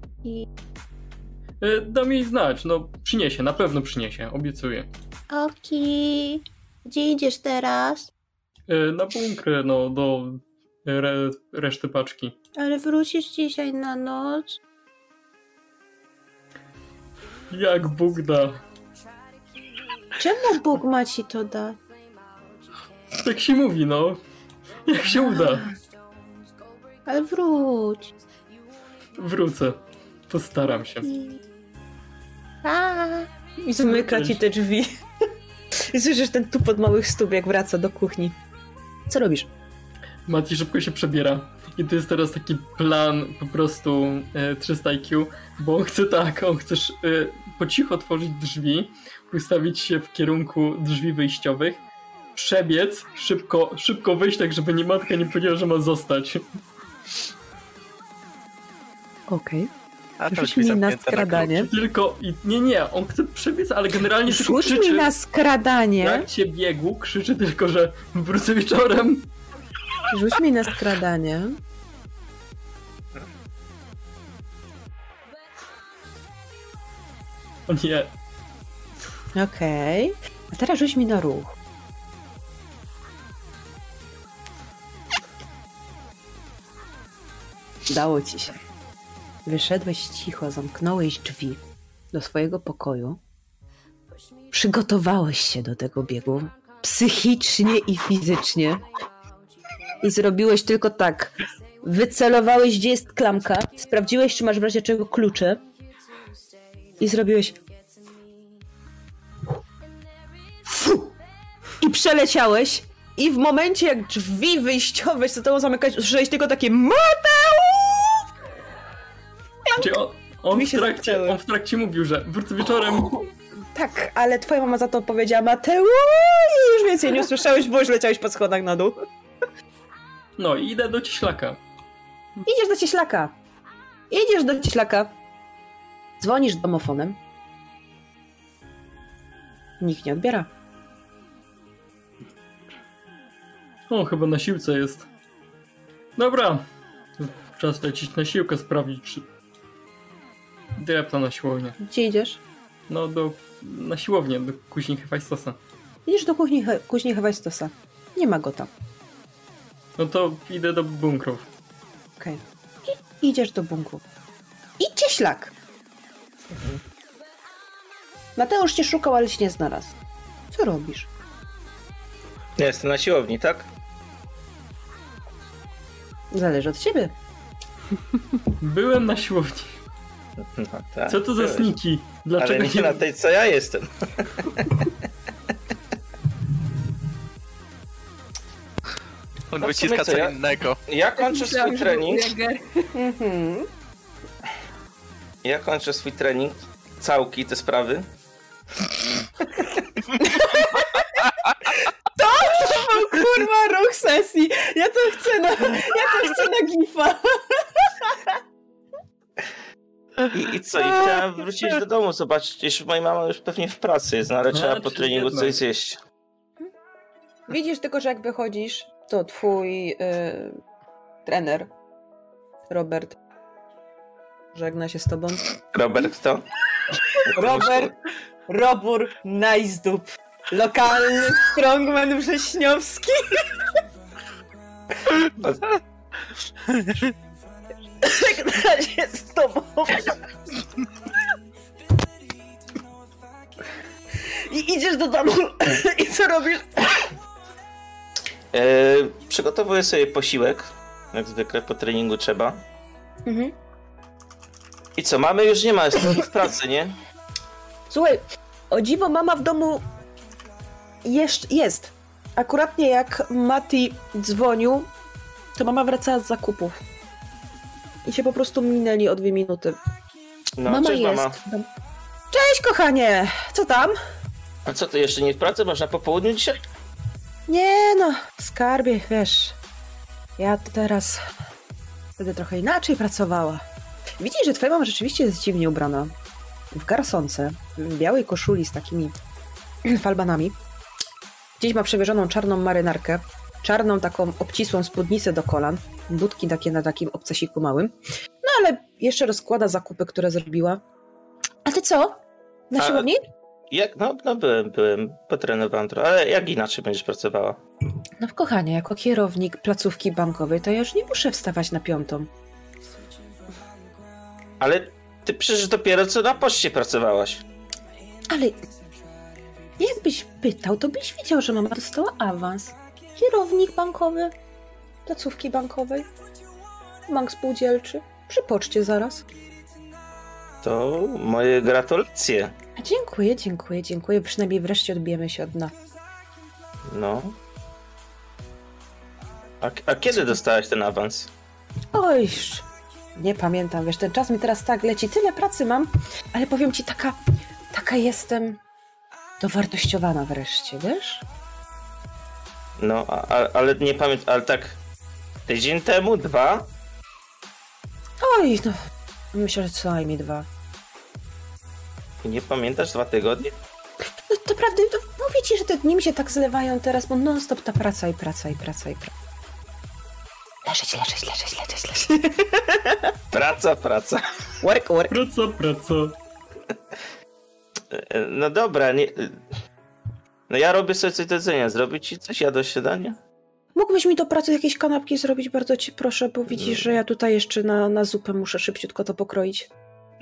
G: E, dam jej znać, no przyniesie, na pewno przyniesie, obiecuję.
B: Oki, gdzie idziesz teraz?
G: E, na bunkry, no do e, re, reszty paczki.
B: Ale wrócisz dzisiaj na noc?
G: Jak Bóg da.
B: Czemu Bóg ma ci to dać?
G: Tak się mówi, no. Jak się uda.
B: Ale wróć.
G: Wrócę. Postaram się.
B: Pa!
H: I zamyka ci te drzwi. I słyszysz ten tupot małych stóp, jak wraca do kuchni. Co robisz?
G: Mati szybko się przebiera. I to jest teraz taki plan po prostu e, 300 IQ, bo on chce tak, on chce sz- e, po cichu otworzyć drzwi, ustawić się w kierunku drzwi wyjściowych, przebiec, szybko, szybko wyjść, tak żeby nie matka nie powiedziała, że ma zostać.
H: Okej.
C: A tam
H: Rzuć
C: drzwi
H: mi na
C: zamknięte
H: skradanie.
G: Tylko, i, nie, nie, on chce przebiec, ale generalnie tylko
K: Rzuć mi
G: krzyczy,
K: na skradanie.
G: jak się biegł, krzyczy tylko, że wrócę wieczorem.
K: Rzuć mi na skradanie.
G: O nie,
K: Okej. A teraz rzuć mi na ruch. Dało ci się. Wyszedłeś cicho, zamknąłeś drzwi do swojego pokoju. Przygotowałeś się do tego biegu psychicznie i fizycznie. I zrobiłeś tylko tak. Wycelowałeś, gdzie jest klamka, sprawdziłeś, czy masz w razie czego klucze.
H: i zrobiłeś.
B: Fu! I przeleciałeś. I w momencie, jak drzwi wyjściowe się zaczęło zamykać, usłyszałeś tylko takie Mateusz!
G: Czyli on, on, w trakcie, on w trakcie mówił, że wrócę wieczorem.
B: Tak, ale twoja mama za to powiedziała Mateusz! I już więcej nie usłyszałeś, bo już leciałeś po schodach na dół.
G: No i idę do cieślaka.
B: Idziesz do cieślaka. Idziesz do cieślaka. Dzwonisz domofonem. Nikt nie odbiera.
G: O, chyba na siłce jest. Dobra. Czas lecieć na siłkę, sprawdzić czy... Drepta na siłownię.
B: Gdzie idziesz?
G: No do... na siłownię, do kuźni Hefajstosa.
B: Idziesz do kuchni, He- kuźni Hewajstosa. Nie ma go tam.
G: No to idę do bunkrów.
B: Okej. I idziesz do bunkru. I cieślak. Mateusz cię szukał, ale cię nie znalazł. Co robisz?
F: Ja jestem na siłowni, tak?
B: Zależy od ciebie.
G: Byłem na siłowni.
F: No, tak.
G: Co to za
F: byłeś.
G: sniki? Dlaczego
F: Ale nie na tej, co ja jestem.
C: On
F: No w sumie
C: wyciska
F: co,
C: co
F: ja-
C: innego.
F: Ja kończę swój trening.
B: Mhm.
F: Ja kończę swój trening. Całki, te sprawy.
B: To, to był kurwa ruch sesji. Ja to chcę na, ja to chcę na gifa.
F: I, I co? I chciałem wrócić do domu, zobaczyć. Już moja mama już pewnie w pracy jest, no ale
G: No,
F: trzeba
G: ale
F: po
G: czy
F: treningu
G: jednak.
F: coś zjeść.
B: Widzisz tylko, że jak wychodzisz, to twój y, trener Robert żegna się z tobą.
F: Robert, kto?
B: Robert Robur Najzdup. Lokalny strongman wrześniowski. Żegna się z tobą. I idziesz do domu i co robisz?
F: E, przygotowuję sobie posiłek. Jak zwykle po treningu trzeba.
B: Mhm.
F: I co, mamy już nie ma, jestem w pracy, nie?
B: Słuchaj, o dziwo mama w domu jest. jest. Akuratnie jak Mati dzwonił, to mama wracała z zakupów. I się po prostu minęli o dwie minuty.
F: No,
B: mama
F: cześć
B: jest.
F: mama.
B: w domu. Cześć kochanie! Co tam?
F: A co, ty jeszcze nie w pracy? Masz na popołudniu dzisiaj?
B: Nie no, skarbie, wiesz. Ja to teraz będę trochę inaczej pracowała. Widzisz, że twoja mama rzeczywiście jest dziwnie ubrana. W garsonce, w białej koszuli z takimi falbanami. Gdzieś ma przewieżoną czarną marynarkę, czarną taką obcisłą spódnicę do kolan, budki takie na takim obcasiku małym. No ale jeszcze rozkłada zakupy, które zrobiła. A ty co? Na
F: A-
B: siłowni?
F: Jak? No, no byłem, byłem, potrenowałem trochę, ale jak inaczej będziesz pracowała?
B: No kochanie, jako kierownik placówki bankowej, to ja już nie muszę wstawać na piątą.
F: Ale ty przecież dopiero co na poczcie pracowałaś.
B: Ale jakbyś pytał, to byś wiedział, że mama dostała awans. Kierownik bankowy, placówki bankowej, bank spółdzielczy. Przy poczcie zaraz.
F: To moje gratulacje.
B: A dziękuję, dziękuję, dziękuję. Przynajmniej wreszcie odbijemy się od dna.
F: No. A, a kiedy dostałaś ten awans?
B: Oj, nie pamiętam, wiesz, ten czas mi teraz tak leci. Tyle pracy mam, ale powiem ci, taka, taka jestem dowartościowana wreszcie, wiesz?
F: No, a, a, ale nie pamiętam, ale tak tydzień temu, dwa?
B: Oj, no, myślę, że co najmniej dwa.
F: I nie pamiętasz dwa tygodnie?
B: No to prawda, to mówię ci, że te dni mi się tak zlewają teraz, bo non stop ta praca i praca i praca i praca. Leżeć, leżeć, leżeć, leżeć, leżeć.
F: Praca, praca.
B: Work, work.
G: Praca, praca.
F: E, No dobra, nie... e, No ja robię sobie coś do jedzenia. Zrobić ci coś? Ja do śniadania?
B: Mógłbyś mi do pracy jakieś kanapki zrobić, bardzo ci proszę, bo widzisz, że ja tutaj jeszcze na, na zupę muszę szybciutko to pokroić.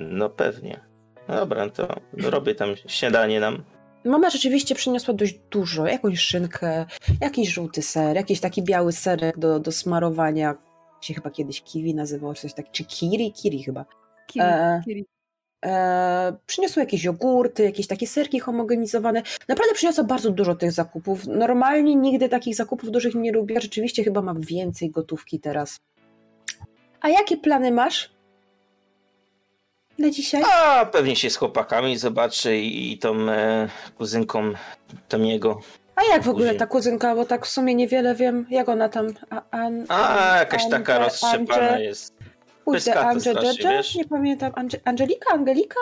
F: No pewnie. No dobra, no to robię tam śniadanie nam.
B: Mama rzeczywiście przyniosła dość dużo, jakąś szynkę, jakiś żółty ser, jakiś taki biały serek do, do tak, smarowania, się chyba kiedyś kiwi nazywało, czy coś takiego, czy kiri, kiri chyba.
E: Kiri,
B: E,
E: kiri.
B: E, przyniosło jakieś jogurty, jakieś takie serki homogenizowane. Naprawdę przyniosło bardzo dużo tych zakupów. Normalnie nigdy takich zakupów dużych nie lubię. Rzeczywiście chyba mam więcej gotówki teraz. A jakie plany masz na dzisiaj?
F: A pewnie się z chłopakami zobaczy i, i tą e, kuzynką Tomiego.
B: A jak w ogóle ta kuzynka, bo tak w sumie niewiele wiem, jak ona tam... A, an,
F: A, jakaś
B: Andrze-
F: taka roztrzepana
B: Andrze-
F: jest.
B: Kurde,
F: Pyskata
B: Andrzej
F: strasznie,
B: Dżedża?
F: wiesz?
B: Nie pamiętam. Andrze- Angelika? Angelika?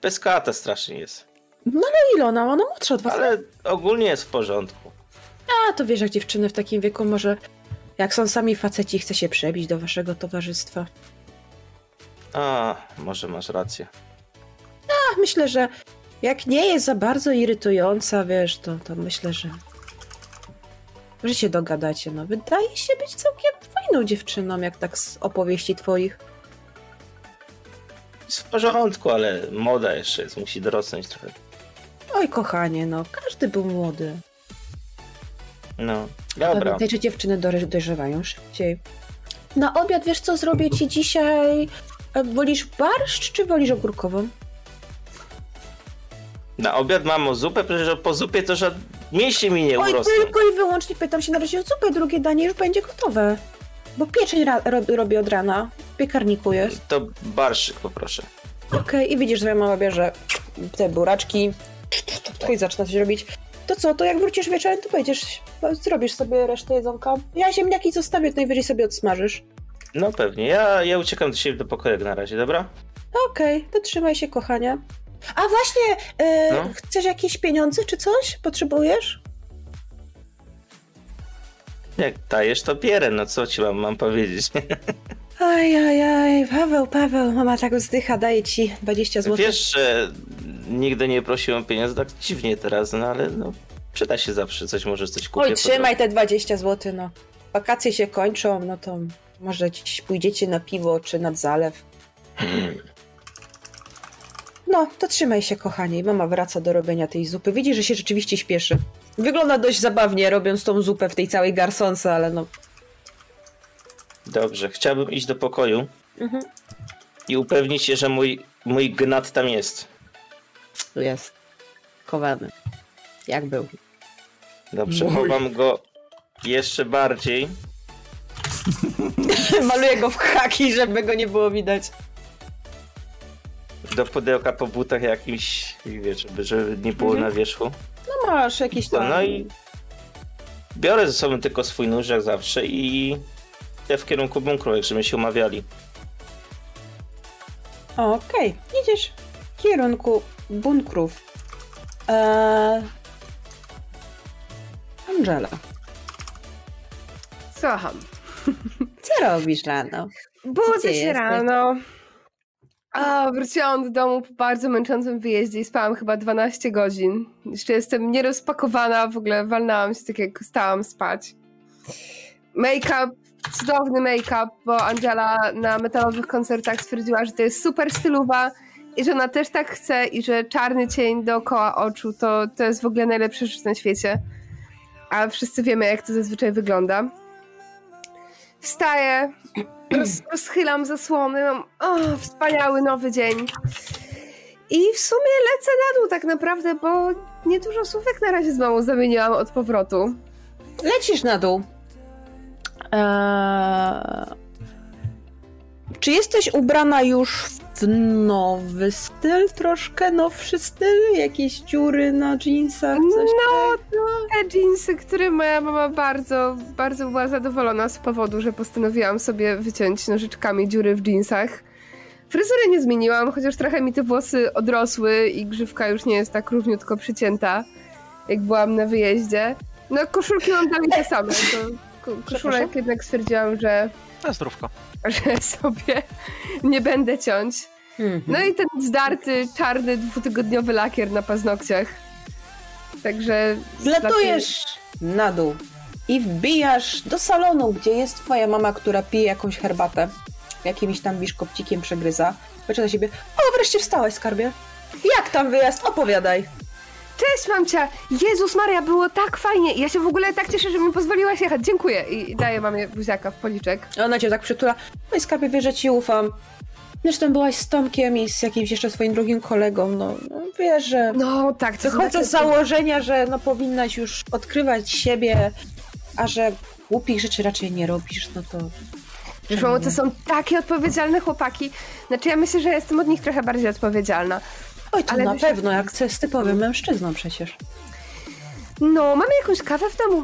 F: Peskata strasznie jest.
B: No ale ile ona? ma? Ona młodsza od was.
F: Ale ogólnie jest w porządku.
B: A, to wiesz, jak dziewczyny w takim wieku może... Jak są sami faceci, chce się przebić do waszego towarzystwa.
F: A, może masz rację.
B: A, myślę, że jak nie jest za bardzo irytująca, wiesz, to, to myślę, że... Że się dogadacie, no. Wydaje się być całkiem fajną dziewczyną, jak tak z opowieści twoich.
F: Jest w porządku, ale moda jeszcze jest, musi dorosnąć trochę.
B: Oj, kochanie, no. Każdy był młody.
F: No, dobra.
B: Pamiętaj, że dziewczyny dore- dojrzewają szybciej. Na obiad wiesz co zrobię ci dzisiaj? E, Wolisz barszcz czy wolisz ogórkową?
F: Na obiad mam zupę, przecież po zupie to żadne mięśnie mi nie
B: Oj,
F: urosną.
B: tylko i wyłącznie pytam się na razie o zupę, drugie danie już będzie gotowe. Bo pieczeń ra- ro- robię od rana, w piekarniku jest.
F: To barszyk poproszę.
B: Okej, i widzisz, że mama bierze te buraczki i zaczyna coś robić. To co, to jak wrócisz wieczorem, to będziesz, zrobisz sobie resztę jedzonka. Ja ziemniaki zostawię, to najwyżej sobie odsmażysz.
F: No pewnie, ja, ja uciekam do siebie do pokojek na razie, dobra?
B: Okej, to trzymaj się, kochania. A właśnie, e,
F: No?
B: chcesz jakieś pieniądze czy coś? Potrzebujesz?
F: Jak dajesz, to bierę, no co ci mam, mam powiedzieć.
B: Aj, aj, aj, Paweł, Paweł, mama tak wzdycha, daje ci 20 zł.
F: Wiesz, że nigdy nie prosiłem o pieniądze, tak dziwnie teraz, no ale no, przyda się zawsze coś, może coś kupię.
B: Oj,
F: po
B: trzymaj te 20 zł, no. Wakacje się kończą, no to może dziś pójdziecie na piwo czy nad zalew. No, to trzymaj się, kochanie. I Mama wraca do robienia tej zupy. Widzi, że się rzeczywiście śpieszy. Wygląda dość zabawnie, robiąc tą zupę w tej całej garsonce, ale no.
F: drodze. Dobrze, chciałbym iść do pokoju
B: Mhm.
F: i upewnić się, że mój, mój gnat tam jest.
B: Tu jest. Kowany. Jak był?
F: Dobrze,
B: Mój.
F: chowam go jeszcze bardziej.
B: Maluję go w haki, żeby go nie było widać.
F: do pudełka po butach jakimś, wiesz, żeby, żeby nie było na wierzchu.
B: No masz jakiś
F: No,
B: tam.
F: no i biorę ze sobą tylko swój nóż jak zawsze i idę w kierunku bunkru, jak żeśmy się umawiali.
B: Okej, idziesz w kierunku bunkrów. Eee... Angela,
E: Słucham.
B: co robisz rano? Gdzie
E: Budzę się
B: jesteś?
E: rano. A, wróciłam do domu po bardzo męczącym wyjeździe i spałam chyba 12 godzin. Jeszcze jestem nierozpakowana, w ogóle walnałam się tak jak stałam spać. Make-up, cudowny make-up, bo Angela na metalowych koncertach stwierdziła, że to jest super stylowa i że ona też tak chce i że czarny cień dookoła oczu to, to jest w ogóle najlepsza rzecz na świecie. A wszyscy wiemy, jak to zazwyczaj wygląda. Wstaję, roz, rozchylam zasłony, mam o, wspaniały nowy dzień. I w sumie lecę na dół tak naprawdę, bo niedużo słówek na razie z mamą zamieniłam od powrotu.
B: Lecisz na dół. Eee... Czy jesteś ubrana już w nowy styl, troszkę nowszy styl? Jakieś dziury na jeansach, coś
E: No, te jeansy, które moja mama bardzo, bardzo była zadowolona z powodu, że postanowiłam sobie wyciąć nożyczkami dziury w jeansach. Fryzurę nie zmieniłam, chociaż trochę mi te włosy odrosły i grzywka już nie jest tak równiutko przycięta, jak byłam na wyjeździe. No, koszulki mam dalej te same. To ko- koszulek jednak stwierdziłam, że
C: Na zdrówko.
E: że sobie nie będę ciąć.
B: Hmm.
E: No i ten zdarty, czarny, dwutygodniowy lakier na paznokciach. Także...
B: Zlatujesz na dół i wbijasz do salonu, gdzie jest twoja mama, która pije jakąś herbatę. Jakimś tam biszkopcikiem przegryza. Patrzę na siebie. O, wreszcie wstałaś, skarbie. Jak tam wyjazd? Opowiadaj.
E: Cześć, mamcia! Jezus Maria, było tak fajnie! I Ja się w ogóle tak cieszę, że mi pozwoliłaś jechać. Dziękuję! I daję mamie buziaka w policzek.
B: Ona cię tak przytula. No i skarbie, wiesz, że ci ufam. Zresztą byłaś z Tomkiem i z jakimś jeszcze swoim drugim kolegą, no, no wiesz, że...
E: No tak, to
B: Wychodzę
E: znaczy-
B: z założenia, że no powinnaś już odkrywać siebie, a że głupich rzeczy raczej nie robisz, no to...
E: Wiesz, mamo, to są takie odpowiedzialne chłopaki. Znaczy ja myślę, że ja jestem od nich trochę bardziej odpowiedzialna.
B: Oj, to na pewno, jak co jest typowym mężczyzną przecież.
E: No, mamy jakąś kawę w domu.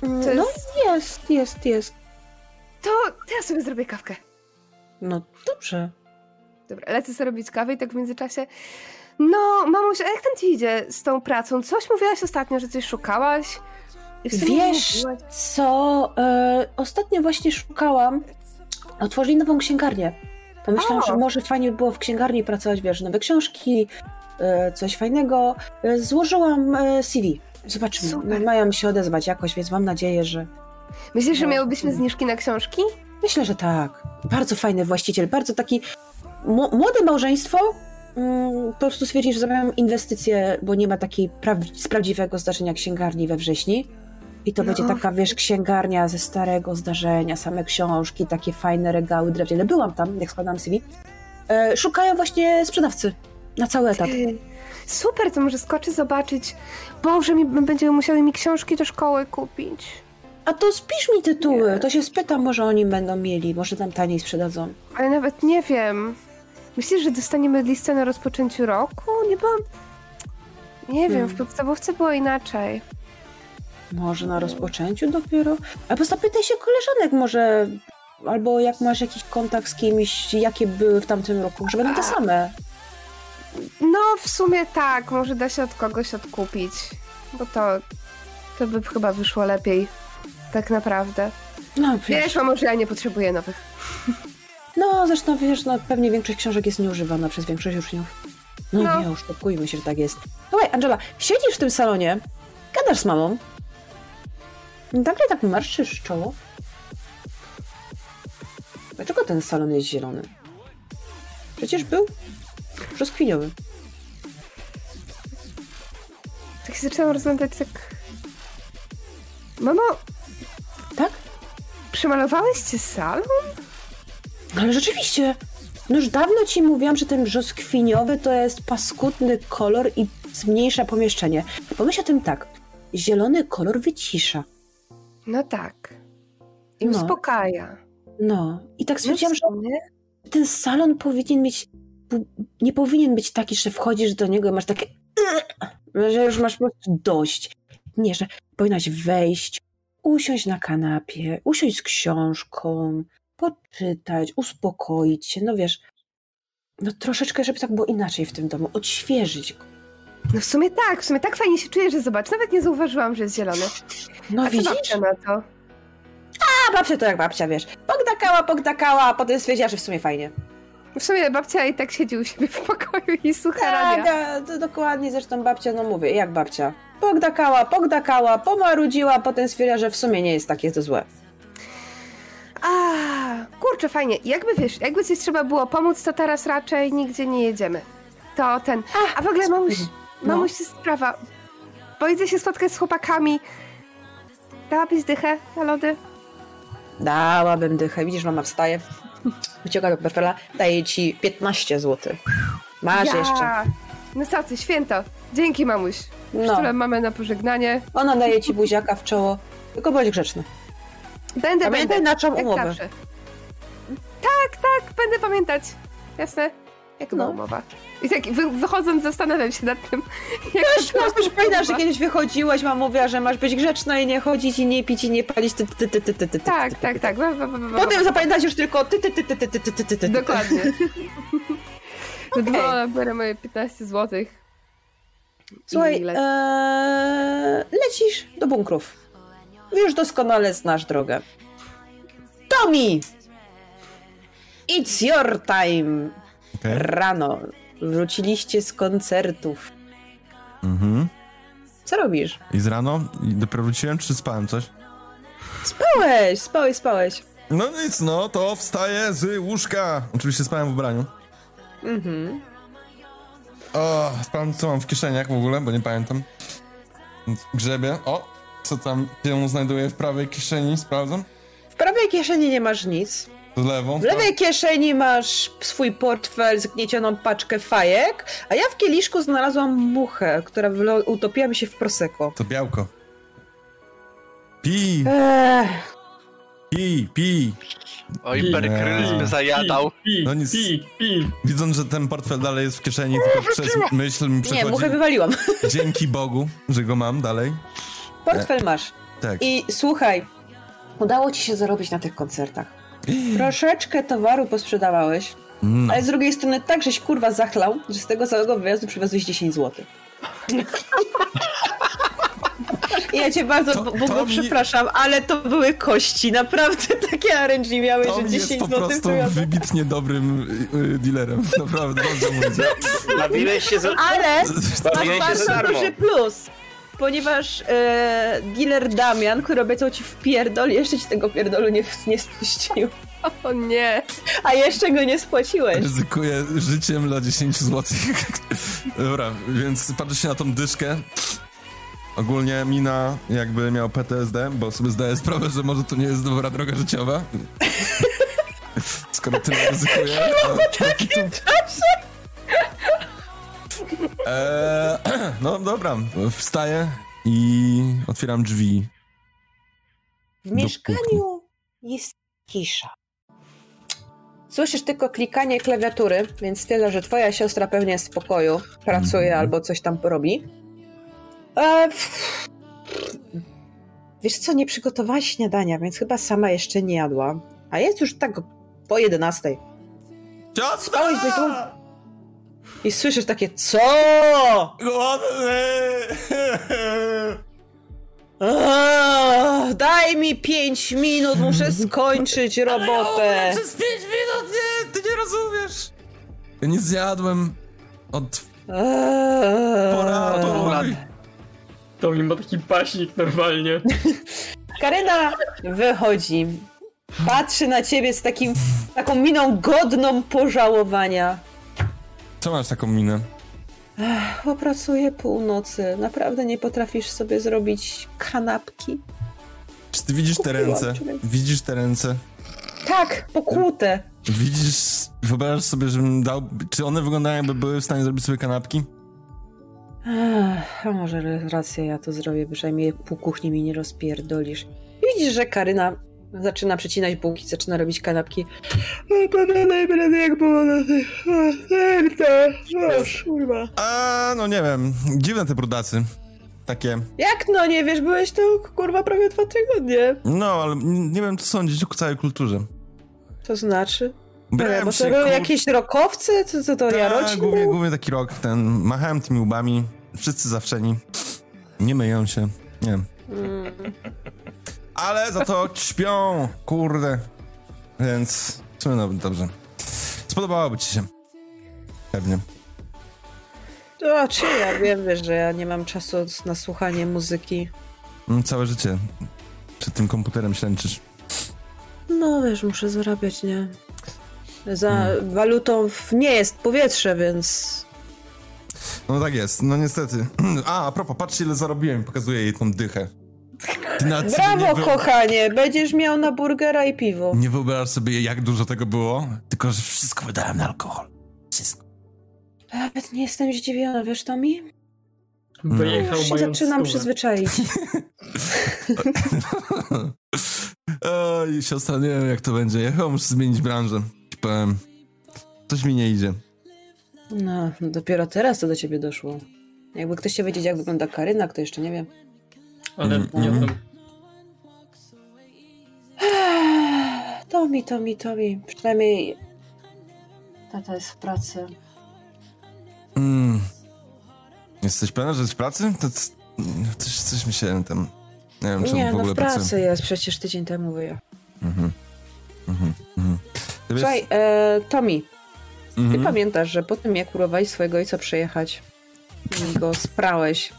E: To
B: No
E: jest-
B: jest, jest, jest.
E: To, to ja sobie zrobię kawkę.
B: No dobrze.
E: Dobra, lecę sobie robić kawę i tak w międzyczasie... No, mamuś, a jak tam ci idzie z tą pracą? Coś mówiłaś ostatnio, że coś szukałaś? I w sumie nie
B: Wiesz
E: mówiłaś.
B: co, e, ostatnio właśnie szukałam, otworzyli nową księgarnię. Pomyślałam,
E: O.
B: że może fajnie by było w księgarni pracować, wiesz, nowe książki, e, coś fajnego. E, Złożyłam e, CV. Zobaczymy,
E: Super.
B: mają się odezwać jakoś, więc mam nadzieję, że...
E: Myślisz,
B: No.
E: że miałybyśmy zniżki na książki?
B: Myślę, że tak. Bardzo fajny właściciel, bardzo taki mł- młode małżeństwo. Mm, Po prostu stwierdził, że zrobią inwestycję, bo nie ma takiej praw- z prawdziwego zdarzenia księgarni we wrześni. I to
E: No.
B: będzie taka, wiesz, księgarnia ze starego zdarzenia, same książki, takie fajne regały drewniane. Byłam tam, jak składam CV. E, szukają właśnie sprzedawcy na cały etat.
E: Ty. Super, to może skoczy zobaczyć. Boże, mi będziemy musiały mi książki do szkoły kupić.
B: A to spisz mi tytuły, to się spytam, może oni będą mieli, może tam taniej sprzedadzą.
E: Ale nawet nie wiem. Myślisz, że dostaniemy listę na rozpoczęciu roku? Nie byłam... Nie wiem, w podstawówce było inaczej.
B: Może na rozpoczęciu dopiero? Albo zapytaj się koleżanek może, albo jak masz jakiś kontakt z kimś, jakie były w tamtym roku, może będą te same.
E: No, w sumie tak, może da się od kogoś odkupić. Bo to... To by chyba wyszło lepiej. Tak naprawdę.
B: No
E: Wiesz,
B: wiesz,
E: mamo, że ja nie potrzebuję nowych.
B: no zresztą wiesz, no pewnie większość książek jest nieużywana przez większość uczniów. No,
E: No.
B: nie, uszczepkujmy się, że tak jest. Słuchaj, Angela, siedzisz w tym salonie, gadasz z mamą, nagle tak marszysz czoło. Dlaczego ten salon jest zielony? Przecież był brzoskwiniowy.
E: Tak się zaczęłam rozglądać tak... Mamo,
B: Tak?
E: przemalowałeś cię salon?
B: Ale rzeczywiście, no już dawno ci mówiłam, że ten brzoskwiniowy to jest paskudny kolor i zmniejsza pomieszczenie. Pomyśl o tym tak, zielony kolor wycisza.
E: No tak. I
B: No.
E: uspokaja.
B: No, i tak stwierdziłam,
E: No w sumie.
B: że ten salon powinien mieć, bu- nie powinien być taki, że wchodzisz do niego i masz takie "Ugh", że już masz po prostu dość. Nie, że powinnaś wejść, usiąść na kanapie, usiąść z książką, poczytać, uspokoić się, no wiesz, no troszeczkę, żeby tak było inaczej w tym domu, odświeżyć go.
E: No w sumie tak, w sumie tak fajnie się czuję, że zobacz, nawet nie zauważyłam, że jest zielony.
B: No
E: A co
B: widzisz?
E: babcia na to?
B: A babcia to jak babcia, wiesz, pogdakała, pogdakała, a potem stwierdziła, że w sumie fajnie.
E: W sumie babcia i tak siedzi u siebie w pokoju i słucha
B: Tak,
E: radia.
B: a, to dokładnie zresztą babcia, no mówię, jak babcia. Pogdakała, pogdakała, pomarudziła, potem stwierdziła, że w sumie nie jest takie to złe.
E: tak. A, kurczę, fajnie. Jakby wiesz, jakby coś trzeba było pomóc, to teraz raczej nigdzie nie jedziemy. To ten. A w ogóle mamuś,
B: No.
E: mamuś jest sprawa. Bo idę się spotkać z chłopakami. Dałabyś dychę na lody?
B: Dałabym dychę, widzisz, mama wstaje, ucieka do portfela, daje ci 15 zł. Masz jeszcze.
E: No co ty, święto. Dzięki, mamuś.
B: No.
E: No. mamy na pożegnanie.
B: Ona daje ci buziaka w czoło, tylko bądź grzeczny.
E: Będę,
B: Pamiętaj,
E: będę.
B: na czym
E: Jak
B: umowę.
E: zawsze. Tak, tak, będę pamiętać. Jasne. Jak była
B: No.
E: umowa? I tak wy, wychodząc zastanawiam się nad tym, jak
B: Wiesz,
E: była
B: no, już pamiętasz, że
E: umowa.
B: kiedyś wychodziłeś, mama mówiła, że masz być grzeczna i nie chodzić, i nie pić, i nie palić, ty, ty, ty, ty, ty, ty, ty.
E: Tak, tak, tak. Ba, ba, ba, ba, ba.
B: Potem zapamiętasz już tylko ty, ty, ty, ty, ty, ty, ty, ty, ty, ty.
E: Dokładnie. Okay. Dwa biorę moje 15 zł.
B: Słuchaj,
E: I le-
B: eee, lecisz do bunkrów. Już doskonale znasz drogę. Tommy! It's your time!
A: Okej.
B: Rano wróciliście z koncertów.
A: Mhm.
B: Co robisz?
A: I z rano? I dopiero wróciłem, czy spałem coś?
B: Spałeś, spałeś, spałeś.
A: No nic, no to wstaję z łóżka. Oczywiście spałem w ubraniu.
B: Mhm.
A: O, spałem co mam w kieszeniach w ogóle, bo nie pamiętam. Więc Grzebię. O, co tam się znajduję w prawej kieszeni, sprawdzam.
B: W prawej kieszeni nie masz nic.
A: Z lewą?
B: W lewej kieszeni masz swój portfel, zgniecioną paczkę fajek, a ja w kieliszku znalazłam muchę, która wylo- utopiła mi się w prosecco.
A: To białko. Pi,
B: Eee,
A: pi, pi.
C: Oj, perkryzm
A: Eee.
C: zajadał.
A: No nic. Widząc, że ten portfel dalej jest w kieszeni, tylko przez myśl mi
B: nie,
A: przechodzi.
B: muchę wywaliłam.
A: Dzięki Bogu, że go mam dalej.
B: Portfel masz.
A: Tak.
B: I słuchaj, udało ci się zarobić na tych koncertach. Troszeczkę towaru posprzedawałeś,
A: Mm.
B: ale z drugiej strony tak, żeś kurwa zachlał, że z tego całego wyjazdu przywiozłeś 10 zł. Ja cię bardzo b- Bogu
A: to mi-
B: przepraszam, ale to były kości. Naprawdę takie arrężnie miałeś, że
A: Tom
B: 10
A: jest po
B: zł
A: prostu wybitnie dobrym y, y, dealerem. Naprawdę, dobrze mówię.
F: Nabiłeś się za...
B: Ale
F: Bawiłem
B: masz
F: się za
B: bardzo
F: darmo.
B: duży plus, ponieważ e, dealer Damian, który obiecał ci wpierdol, jeszcze ci tego pierdolu nie, nie spuścił.
E: O nie.
B: A jeszcze go nie spłaciłeś.
A: Ryzykuję życiem dla 10 zł. Dobra, więc patrzcie na tą dyszkę. Ogólnie Mina jakby miał PTSD, bo sobie zdaję sprawę, że może to nie jest dobra droga życiowa. Skoro tyle ryzykuje. to- Eee, no dobra, wstaję i otwieram drzwi.
B: W mieszkaniu jest cisza. Słyszysz tylko klikanie klawiatury, więc stwierdzam, że twoja siostra pewnie jest w pokoju, pracuje albo coś tam robi. E, pff. Wiesz co, nie przygotowałaś śniadania, więc chyba sama jeszcze nie jadła. A jest już tak po 11.
A: Ciastka!
B: Spałeś dość długo. I słyszysz takie, co? Aaa, daj mi 5 minut, muszę skończyć robotę.
A: Przez 5 minut, nie, ty nie rozumiesz. Ja nie zjadłem od
B: Eee.
A: poradu.
G: To mi ma taki paśnik normalnie.
B: Karyna wychodzi. Patrzy na ciebie z takim, taką miną godną pożałowania.
A: Co masz taką minę?
B: Popracuję północy. Naprawdę nie potrafisz sobie zrobić kanapki?
A: Czy ty widzisz te
B: Kupiłam,
A: ręce?
B: człowiek.
A: Widzisz te ręce?
B: Tak, pokłute.
A: Widzisz, wyobrażasz sobie, żebym dał... Czy one wyglądają, jakby były w stanie zrobić sobie kanapki?
B: Ach, A może rację, ja to zrobię, przynajmniej pół kuchni mi nie rozpierdolisz. I widzisz, że Karyna zaczyna przecinać bułki, zaczyna robić kanapki. No A banana i banany jak było na tych serce. O, kurwa.
A: A, no nie wiem. Dziwne te brudacy. Takie...
B: Jak no nie wiesz, byłeś tu kurwa prawie dwa tygodnie.
A: No, ale n- nie wiem, co sądzić o całej kulturze.
B: To znaczy? Ale,
A: Brałem
B: bo
A: się,
B: to były
A: kur-
B: jakieś rokowcy? Co, co to,
A: Tak,
B: Jaroci?
A: głównie, głównie taki rok ten. Machałem tymi łbami. Wszyscy zawszeni. Nie myją się. Nie wiem.
B: Mm.
A: Ale za to śpią, kurde. Więc w sumie no, dobrze. Spodobałoby ci się. Pewnie.
B: To czy ja wiem, wiesz, że ja nie mam czasu na słuchanie muzyki.
A: Mm, Całe życie przed tym komputerem ślęczysz.
B: No wiesz, muszę zarabiać, nie? Za walutą w... nie jest powietrze, więc.
A: No tak jest, no niestety. A, a propos, patrzcie ile zarobiłem. Pokazuję jej tą dychę. Ty nawet sobie
B: Brawo,
A: nie wyob-
B: kochanie! Będziesz miał na burgera i piwo.
A: Nie wyobrażasz sobie, jak dużo tego było? Tylko, że wszystko wydałem na alkohol. Wszystko.
B: Nawet nie jestem zdziwiona, wiesz, to mi?
G: Wyjechał
B: Już się
G: mając
B: zaczynam
G: stówę.
B: przyzwyczaić.
A: Oj, siostra, nie wiem jak to będzie. Ja chyba muszę zmienić branżę. Ci Powiem. Coś mi nie idzie.
B: No, dopiero teraz to do ciebie doszło. Jakby ktoś chciał wiedzieć, jak wygląda Karyna, kto jeszcze nie wie.
G: Ale nie
A: Mhm.
G: wiem.
B: To mi, to mi, to mi. Przynajmniej tata jest w pracy.
A: Mm. Jesteś pewna, że jest w pracy? To c- coś, coś mi się tam... Nie wiem, czy
B: Nie,
A: on w
B: no
A: ogóle
B: w pracy
A: pracuje.
B: jest, przecież tydzień temu wyjechał.
A: Mhm. Mhm. Mhm. To wiesz-
B: Słuchaj, e, Tomi, ty
A: Mhm.
B: pamiętasz, że po tym jak urwałeś swojego ojca przejechać, go sprałeś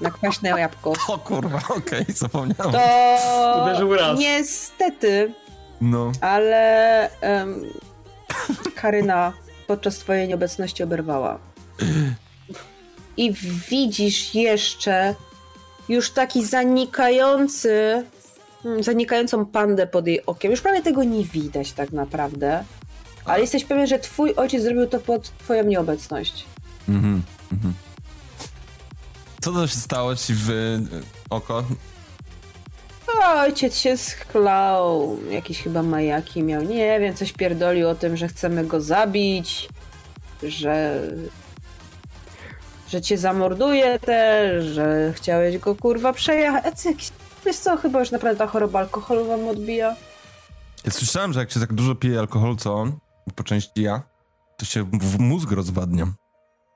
B: na kwaśne jabłko,
A: O kurwa, okej, zapomniałem.
G: Uderzył
B: to
G: raz.
B: niestety,
A: No.
B: ale em, Karyna podczas twojej nieobecności oberwała. I widzisz jeszcze już taki zanikający mm, zanikającą pandę pod jej okiem. Już prawie tego nie widać tak naprawdę.
G: Tak.
B: Ale jesteś pewien, że twój ojciec zrobił to pod twoją nieobecność.
A: Mhm, mhm. Co to się stało ci w e, oko?
B: Ojciec się schlał, jakieś chyba majaki miał, nie wiem, coś pierdolił o tym, że chcemy go zabić, że... że cię zamorduje też, że chciałeś go kurwa przejechać, Jacy jakieś- wiesz co, chyba już naprawdę ta choroba alkoholowa mu odbija.
A: Ja słyszałem, że jak się tak dużo pije alkohol, co on, po części ja, to się w mózg rozwadnia.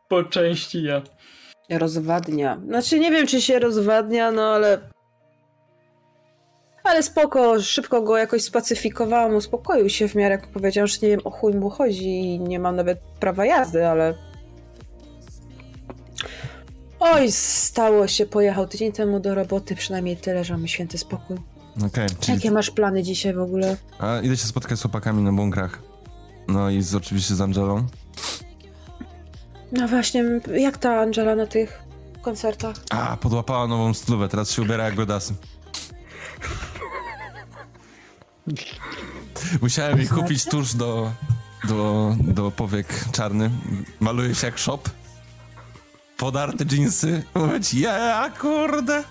G: Po części ja.
B: Rozwadnia. Znaczy nie wiem, czy się rozwadnia, no ale... Ale spoko, szybko go jakoś spacyfikowałam, uspokoił się w miarę, jak powiedział, że nie wiem o chuj mu chodzi i nie mam nawet prawa jazdy, ale... Oj, stało się, pojechał tydzień temu do roboty, przynajmniej tyle, że mamy święty spokój.
A: Okej, czyli...
B: Jakie masz plany dzisiaj w ogóle?
A: A idę się spotkać z chłopakami na bunkrach. No i z, oczywiście z Angelą.
B: No właśnie, jak ta Angela na tych koncertach?
A: A, podłapała nową stylówę, teraz się ubiera jak godasy. Musiałem jej kupić tusz do, do, do powiek czarny. Maluje się jak shop. Podarte jeansy. Mówić, ja kurde.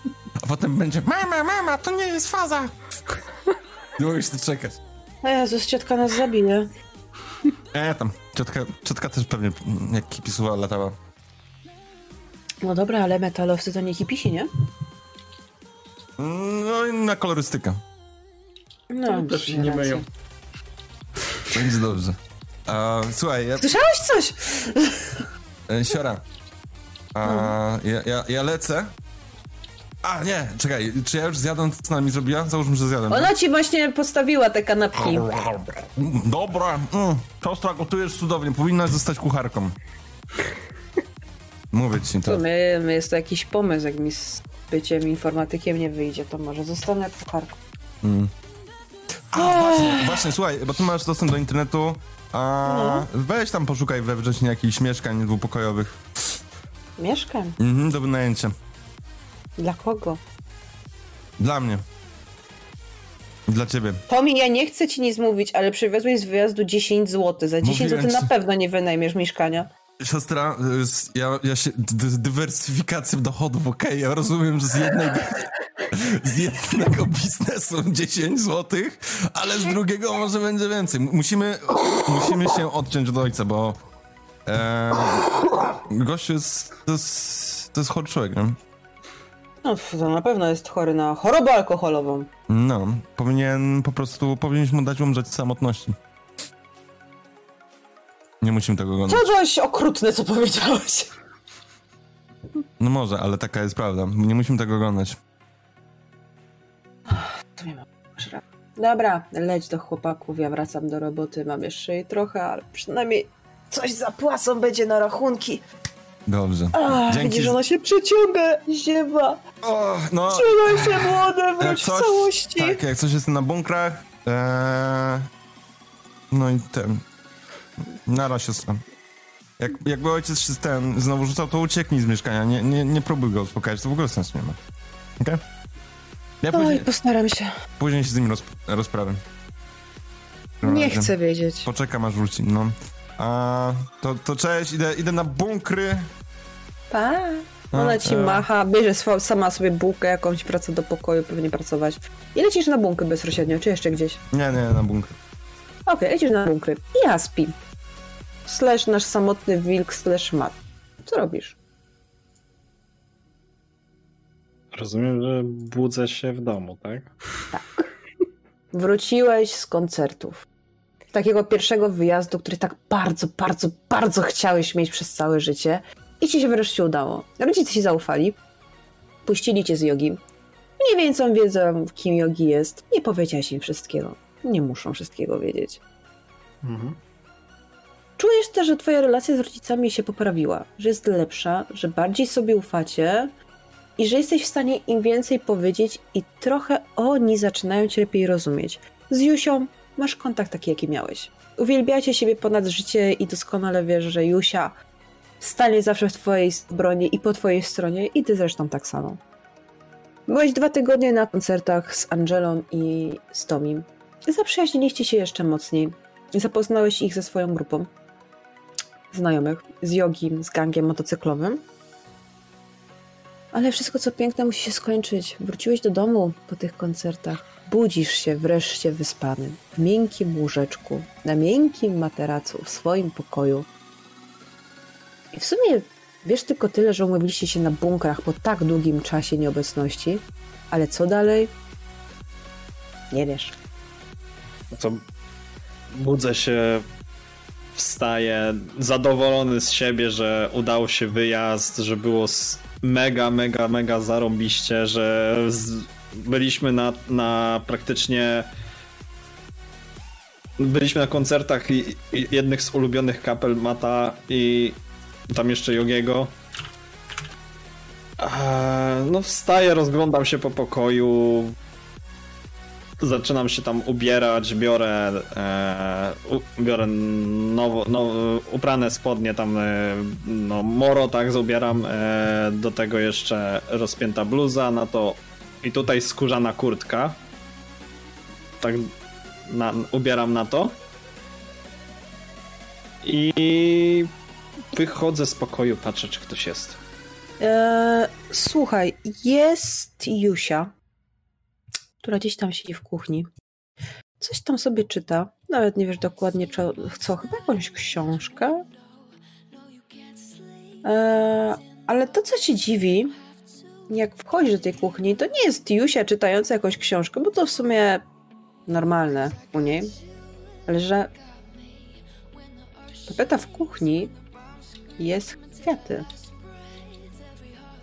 A: A potem będzie, mama, mama, to nie jest faza. Nie mogę się doczekać.
B: O Jezus, ciotka nas zabije.
A: E, tam, ciotka, ciotka też pewnie mm, jak pisuła latała.
B: No dobra, ale metalowcy to nie hipisi, nie?
A: No i na kolorystykę.
B: No,
G: też się
B: masz
G: nie
B: rację.
G: myją.
A: Będzie dobrze. A, słuchaj, ja...
B: Słyszałeś coś?
A: E, Siora. A, ja, ja, ja lecę. A, nie, czekaj, czy ja już zjadłem to, co ona mi zrobiła? Załóżmy, że zjadłem.
B: Ona No ci właśnie postawiła te kanapki.
A: Mm, Dobra, mm, siostra gotujesz cudownie, powinnaś zostać kucharką. Mówię ci to.
B: To my, my jest to jakiś pomysł, jak mi z byciem informatykiem nie wyjdzie, to może zostanę kucharką.
A: Mm. A, właśnie, właśnie, słuchaj, bo ty masz dostęp do internetu, a weź tam poszukaj we wrześniu jakichś mieszkań dwupokojowych.
B: Mieszkam.
A: Mhm, do wynajęcia.
B: Dla kogo?
A: Dla mnie. Dla ciebie.
B: Tomi, ja nie chcę ci nic mówić, ale przywiozłeś z wyjazdu 10 zł. Za 10
A: Mówiłem
B: zł
A: ci.
B: na pewno nie wynajmiesz mieszkania.
A: Siostra, y, s- ja, ja się. Dy, dywersyfikacją dochodów, okej, ja rozumiem, że z jednego, z jednego biznesu 10 zł, ale z drugiego może będzie więcej. M- Musimy, musimy się odciąć od ojca, bo. E, gościu jest. To jest, to jest chory człowiek, nie?
B: No, pf, to na pewno jest chory na chorobę alkoholową.
A: No, powinien po prostu. Powinniśmy mu dać umrzeć z samotności. Nie musimy tego
B: To
A: oglądać.
B: coś okrutne, No, co powiedziałeś.
A: No może, ale taka jest prawda. Nie musimy tego oglądać.
B: To nie ma. masz rację. Dobra, leć do chłopaków, ja wracam do roboty, mam jeszcze jej trochę, ale przynajmniej coś za płacą będzie na rachunki.
A: Dobrze.
B: A,
A: Dzięki
B: widzisz,
A: za-
B: ona no się przeciąga, ziewa.
A: no.
B: Trzymaj się, młode,
A: Jak
B: wróć
A: coś-
B: w całości.
A: Tak, jak coś jest na bunkrach. Eee, no i ten. Nara siostra. Jak, jakby ojciec się ten znowu rzucał, to ucieknij z mieszkania. Nie, nie, nie próbuj go uspokajać, to w ogóle sensu nie ma. Okej? Ja
B: Oj,
A: później,
B: postaram się.
A: później się z nim rozp- rozprawię.
B: Nie
A: Razem.
B: chcę wiedzieć.
A: Poczekam aż wróci, no. A, to, to cześć, idę, idę na bunkry.
B: Pa.
A: A,
H: No,
B: Ona ci
A: e.
B: macha, bierze swo- sama sobie bułkę jakąś, pracę do pokoju, pewnie pracować. I lecisz na bunkę bezpośrednio, czy jeszcze gdzieś?
A: Nie, nie, na bunkry.
B: Okej, lecisz na bunkry. I Aspi. Slash nasz samotny wilk, slash mat. Co robisz?
D: Rozumiem, że budzę się w domu, tak?
B: Wróciłeś z koncertów. Takiego pierwszego wyjazdu, który tak bardzo, bardzo, bardzo chciałeś mieć przez całe życie. I ci się wreszcie udało. Rodzice ci zaufali. Puścili cię z jogi. Mniej więcej wiedzą, kim jogi jest. Nie powiedziałeś im wszystkiego. Nie muszą wszystkiego wiedzieć.
D: Mhm.
B: Czujesz też, że twoja relacja z rodzicami się poprawiła, że jest lepsza, że bardziej sobie ufacie i że jesteś w stanie im więcej powiedzieć i trochę oni zaczynają cię lepiej rozumieć. Z Jusią masz kontakt taki, jaki miałeś. Uwielbiacie siebie ponad życie i doskonale wiesz, że Jusia stanie zawsze w twojej s- obronie i po twojej stronie i ty zresztą tak samo. Byłeś dwa tygodnie na koncertach z Angelą i z Tomim. Zaprzyjaźniliście się jeszcze mocniej. Zapoznałeś ich ze swoją grupą znajomych, z jogim, z gangiem motocyklowym. Ale wszystko co piękne musi się skończyć. Wróciłeś do domu po tych koncertach. Budzisz się wreszcie wyspany, w miękkim łóżeczku, na miękkim materacu, w swoim pokoju. I w sumie wiesz tylko tyle, że umówiliście się na bunkrach po tak długim czasie nieobecności, ale co dalej? Nie wiesz.
D: No to budzę się, wstaję, zadowolony z siebie, że udało się wyjazd, że było s- mega, mega, mega zarąbiście, że z... byliśmy na, na praktycznie byliśmy na koncertach i, i jednych z ulubionych kapel Mata i tam jeszcze Jogiego. Eee, No wstaję, rozglądam się po pokoju. Zaczynam się tam ubierać, biorę, e, u, biorę nowo, no, uprane spodnie, tam e, no, moro tak zubieram, e, do tego jeszcze rozpięta bluza, na to i tutaj skórzana kurtka. Tak na, ubieram na to. I wychodzę z pokoju, patrzę, czy ktoś jest.
B: Eee, słuchaj, jest Jusia, która gdzieś tam siedzi w kuchni. Coś tam sobie czyta. Nawet nie wiesz dokładnie czo- co, chyba jakąś książkę. Eee, ale to, co cię dziwi, jak wchodzisz do tej kuchni, to nie jest Jusia czytająca jakąś książkę, bo to w sumie normalne u niej. Ale że tapeta w kuchni jest kwiaty.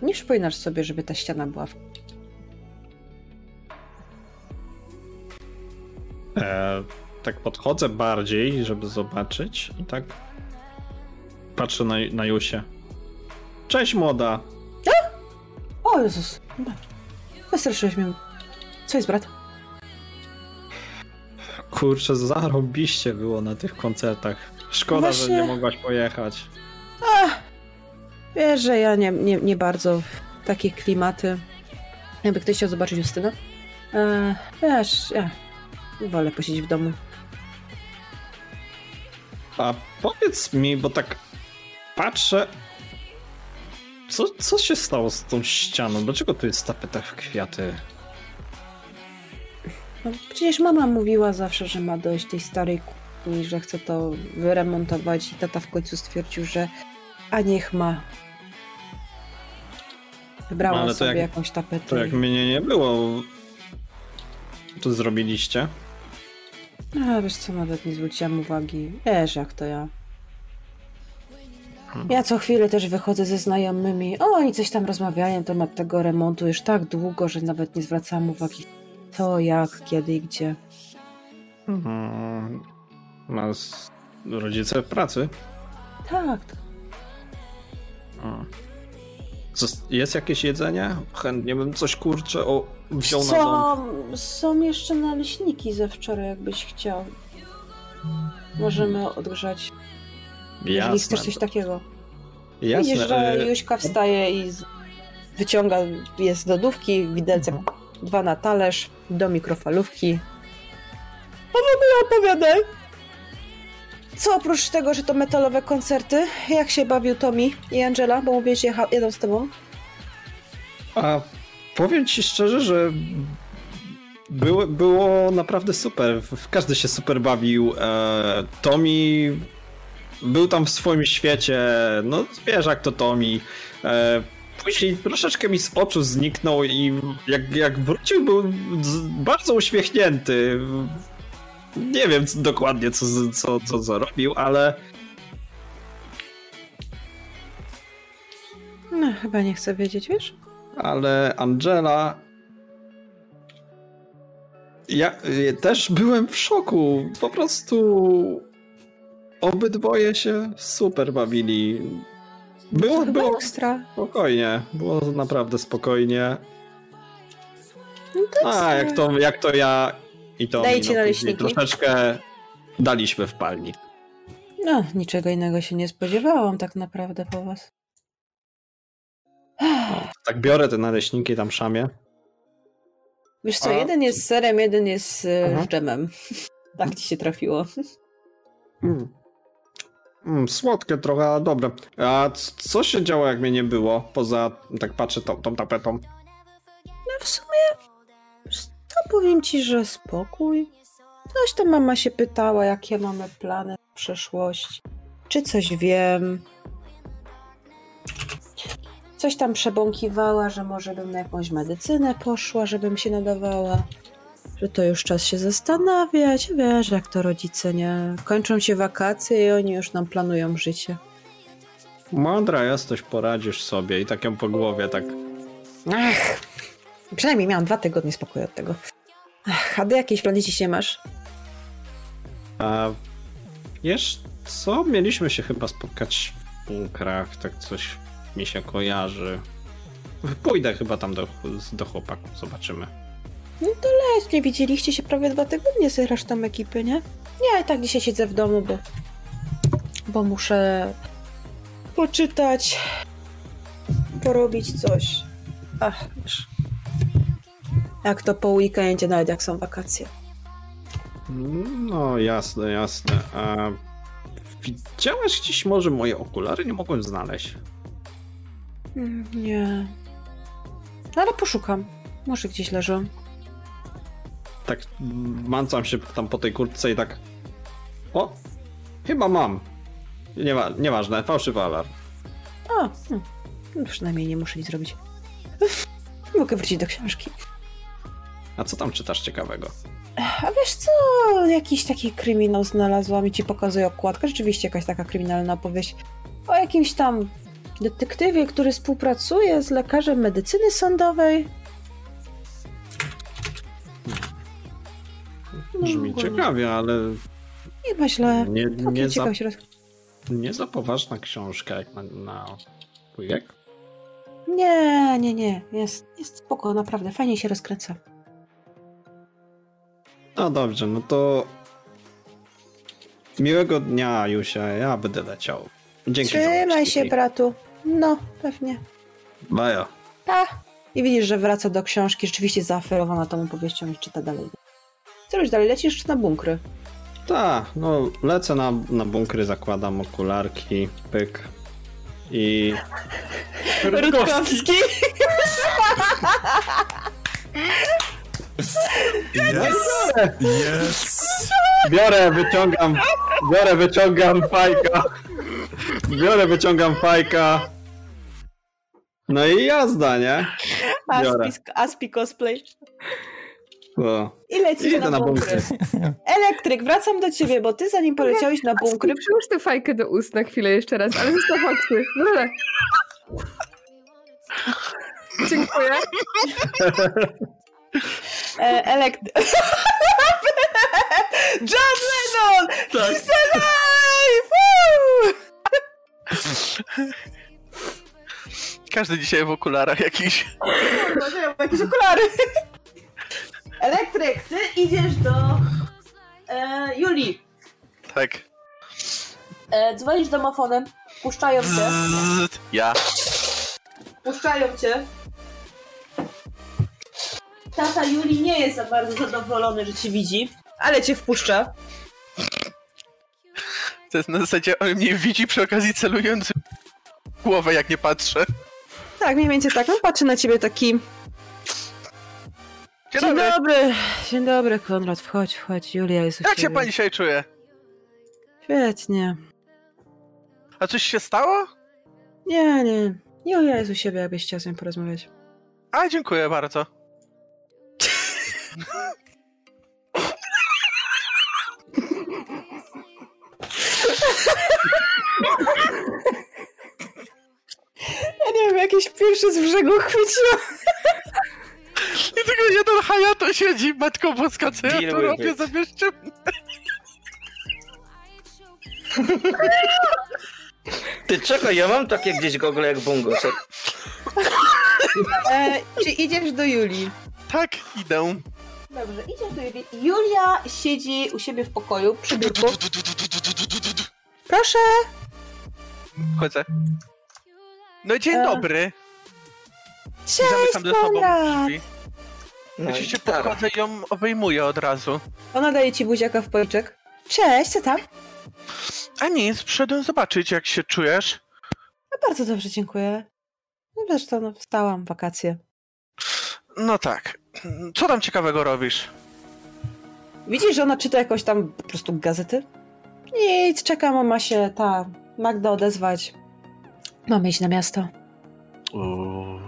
B: Nie przypominasz sobie, żeby ta ściana była w...
D: E, tak podchodzę bardziej, żeby zobaczyć i tak patrzę na, na Jusię. Cześć młoda!
B: O Jezus! Wystraszyłeś mnie. Co jest, brat?
D: Kurczę, zarobiście było na tych koncertach. Szkoda, że
B: Właśnie-
D: nie mogłaś pojechać.
B: Ach, wiesz, że ja nie, nie, nie bardzo w takie klimaty. Jakby ktoś chciał zobaczyć Justynę. E, wiesz, ja wolę posiedzieć w domu.
D: A powiedz mi, bo tak patrzę. Co, co się stało z tą ścianą? Dlaczego tu jest tapeta w kwiaty?
B: No, przecież mama mówiła zawsze, że ma dojść tej starej kuchni, że chce to wyremontować i tata w końcu stwierdził, że a niech ma. Wybrała
D: No, ale to
B: sobie
D: jak-
B: jakąś tapetę.
D: To jak
B: i-
D: mnie nie było. To zrobiliście?
B: A No, wiesz co, nawet nie zwróciłam uwagi. Wiesz jak to ja. Ja co chwilę też wychodzę ze znajomymi. O, oni coś tam rozmawiają na temat tego remontu już tak długo, że nawet nie zwracałam uwagi. To jak, kiedy i gdzie.
D: Mm, Nas rodzice w pracy.
B: Tak,
D: Mm. Zos- Jest jakieś jedzenie? Chętnie bym coś kurczę o, wziął na
B: Co?
D: dom.
B: Są jeszcze naleśniki ze wczoraj, jakbyś chciał. Możemy odgrzać. Jeżeli
D: Jasne.
B: chcesz coś takiego.
D: Jasne.
B: Widzisz, że
D: e,
B: Juśka wstaje i z... wyciąga, jest z lodówki, widelcem dwa na talerz, do mikrofalówki. A w ogóle opowiadaj! Co oprócz tego, że to metalowe koncerty, jak się bawił Tommy i Angela, bo mówię, że jecha- jadą z tobą?
D: A powiem ci szczerze, że było, było naprawdę super. W- Każdy się super bawił. E, Tommy był tam w swoim świecie. No wiesz jak to Tommy. E, później troszeczkę mi z oczu zniknął i jak, jak wrócił był z- bardzo uśmiechnięty. Nie wiem co, dokładnie co, z- co, co zrobił, ale
B: No, chyba nie chcę wiedzieć, wiesz?
D: ale Angela. Ja y, też byłem w szoku. Po prostu obydwoje się super bawili. Było, było
B: Ekstra.
D: spokojnie. Było naprawdę spokojnie. A jak
B: ekstra.
D: to, jak to ja i to
B: Daję
D: mi,
B: ci
D: później
B: naleśniki.
D: troszeczkę daliśmy w palni.
B: No, niczego innego się nie spodziewałam tak naprawdę po was.
D: Tak biorę te naleśniki tam szamie.
B: Wiesz co,
H: A-
B: jeden jest z serem, jeden jest z
D: Aha.
B: z dżemem. Tak ci się trafiło.
D: Mm. Mm, słodkie trochę, ale dobre. A c- co się działo, jak mnie nie było? Poza, tak patrzę, tą, tą tapetą.
B: No w sumie, to powiem ci, że spokój. Coś tam mama się pytała, jakie mamy plany w przeszłości. Czy coś wiem? Coś tam przebąkiwała, że może bym na jakąś medycynę poszła, żebym się nadawała. Że to już czas się zastanawiać. Wiesz, jak to rodzice, nie? Kończą się wakacje i oni już nam planują życie.
D: Mądra jesteś, poradzisz sobie. I tak ją po głowie, tak.
B: Ach, przynajmniej miałam dwa tygodnie spokoju od tego. Ach, a do jakiejś planecie się masz?
D: A wiesz co? Mieliśmy się chyba spotkać w bunkrach, tak coś mi się kojarzy. Pójdę chyba tam do, do chłopaków, zobaczymy.
B: No to leć, nie widzieliście się prawie dwa tygodnie z resztą ekipy, nie? Ja i tak dzisiaj siedzę w domu, bo, bo muszę poczytać, porobić coś. Ach, wiesz. Jak to po weekendzie, nawet jak są wakacje.
D: No jasne, jasne. A widziałaś gdzieś może moje okulary? Nie mogłem znaleźć.
B: Mm, Nie. No ale poszukam. Może gdzieś leżą.
D: Tak mancam się tam po tej kurtce i tak. O! Chyba mam. Niewa- nieważne, fałszywy alarm.
B: A, no. No przynajmniej nie muszę nic robić. Mogę wrócić do książki.
D: A co tam czytasz ciekawego?
B: A wiesz co, jakiś taki kryminał znalazłam i ci pokazuję okładkę. Rzeczywiście jakaś taka kryminalna opowieść o jakimś tam detektywie, który współpracuje z lekarzem medycyny sądowej.
D: Brzmi
B: No, ogólnie.
D: ciekawie, ale
B: Nie ma źle.
D: Nie-
B: Całkiem
D: nie za-
B: ciekawa się roz...
D: nie za poważna książka jak na, na twój wiek.
B: Nie, nie, nie. Jest, jest spoko, naprawdę. Fajnie się rozkręca.
D: No dobrze, no to miłego dnia, Jusia. Ja będę leciał. Dzięki
B: Trzymaj
D: za
B: się, bratu. No, pewnie.
D: Maja.
B: Pa! I widzisz, że wraca do książki, rzeczywiście zaaferowana tą opowieścią i czyta dalej. Co robisz dalej? Lecisz czy na bunkry?
D: Tak, no lecę na, na bunkry, zakładam okularki, pyk i...
H: Rutkowski.
A: Yes! Yes!
D: Biorę, wyciągam, biorę, wyciągam fajka. Biorę, wyciągam fajka. No i jazda, nie? Biorę.
H: Aspi, Aspi cosplay.
D: No.
B: I lecisz
D: Idę
B: na,
D: na
B: bunkry.
D: bunkry.
B: Elektryk, wracam do ciebie, bo ty zanim poleciałeś na bunkry...
E: Przyłóż tę fajkę do ust na chwilę jeszcze raz, ale zostaw oczy. Dobra. Dziękuję.
H: E, elekt... John Lennon! He's alive! Woo!
C: Każdy dzisiaj w okularach jakiś.
H: Kurwa, że ja mam jakieś okulary. Elektryk, ty idziesz do e, Julii.
C: Tak.
H: E, dzwonisz domofonem, puszczają cię,
C: Zzzt. Ja.
H: puszczają cię. Tata Julii nie jest za bardzo zadowolony, że cię widzi, ale cię wpuszcza.
C: To jest na zasadzie on mnie widzi przy okazji celując w głowę jak nie patrzę.
B: Tak, mniej więcej tak. No patrzy na ciebie taki...
C: Dzień
B: Dzień
C: dobry.
B: dobry, dzień dobry Konrad, wchodź, wchodź, Julia jest u
C: Jak się
B: ciebie.
C: pani dzisiaj czuje?
B: Świetnie.
C: A coś się stało?
B: Nie, nie. Julia jest u siebie, jakbyś chciał z nią porozmawiać.
C: A, dziękuję bardzo.
B: Ja nie wiem, jakieś pierwsze z brzegu chwyciło.
C: I tylko jeden hajato siedzi, matko boska, co ja
F: Deal
C: tu
F: with
C: robię,
F: it.
C: zabierzcie
F: Ty czego? Ja mam takie gdzieś gogle jak bungo. co-
H: E, czy idziesz do Julii?
C: Tak, idę.
H: Dobrze, idziesz do Julii. Julia siedzi u siebie w pokoju przy biurku. Proszę!
C: Chodzę. No dzień
H: E.
C: dobry.
B: Cześć,
C: Zamykam za sobą
B: Konrad!
C: drzwi.
F: No i
C: Oczywiście
F: gitara.
C: podchodzę i ją obejmuję od razu.
B: Ona daje ci buziaka w policzek. Cześć, co tam?
C: A nic, przyszedłem zobaczyć, jak się czujesz.
B: No bardzo dobrze, dziękuję. No zresztą no, wstałam w wakacje.
C: No tak. Co tam ciekawego robisz?
B: Widzisz, że ona czyta jakąś tam po prostu gazety? Nic, czekam, ma się ta Magda odezwać. Mam iść na miasto.
C: Uuu,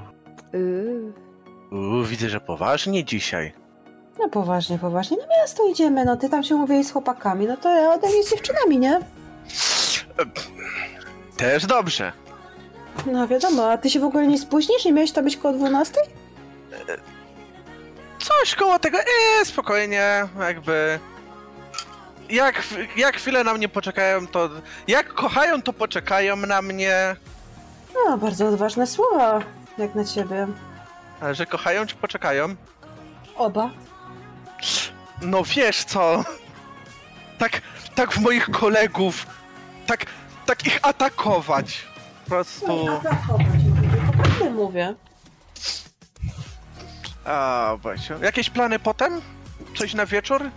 C: uuu, widzę, że poważnie dzisiaj.
B: No poważnie, poważnie. Na miasto idziemy, no ty tam się mówiłeś z chłopakami, no to ja ode mnie z dziewczynami, nie?
C: Też dobrze.
B: No wiadomo, a ty się w ogóle nie spóźnisz? Nie miałeś to być koło 12?
C: Coś koło tego, eee, spokojnie, jakby... Jak, jak chwilę na mnie poczekają, to... Jak kochają, to poczekają na mnie.
B: No, bardzo odważne słowa, jak na ciebie.
C: Ale że kochają, czy poczekają?
B: Oba.
C: No wiesz co? Tak, tak w moich kolegów, tak, tak ich atakować. Po
B: No
C: prostu...
B: Ty mówię.
C: A, właśnie. Jakieś plany potem? Coś na wieczór?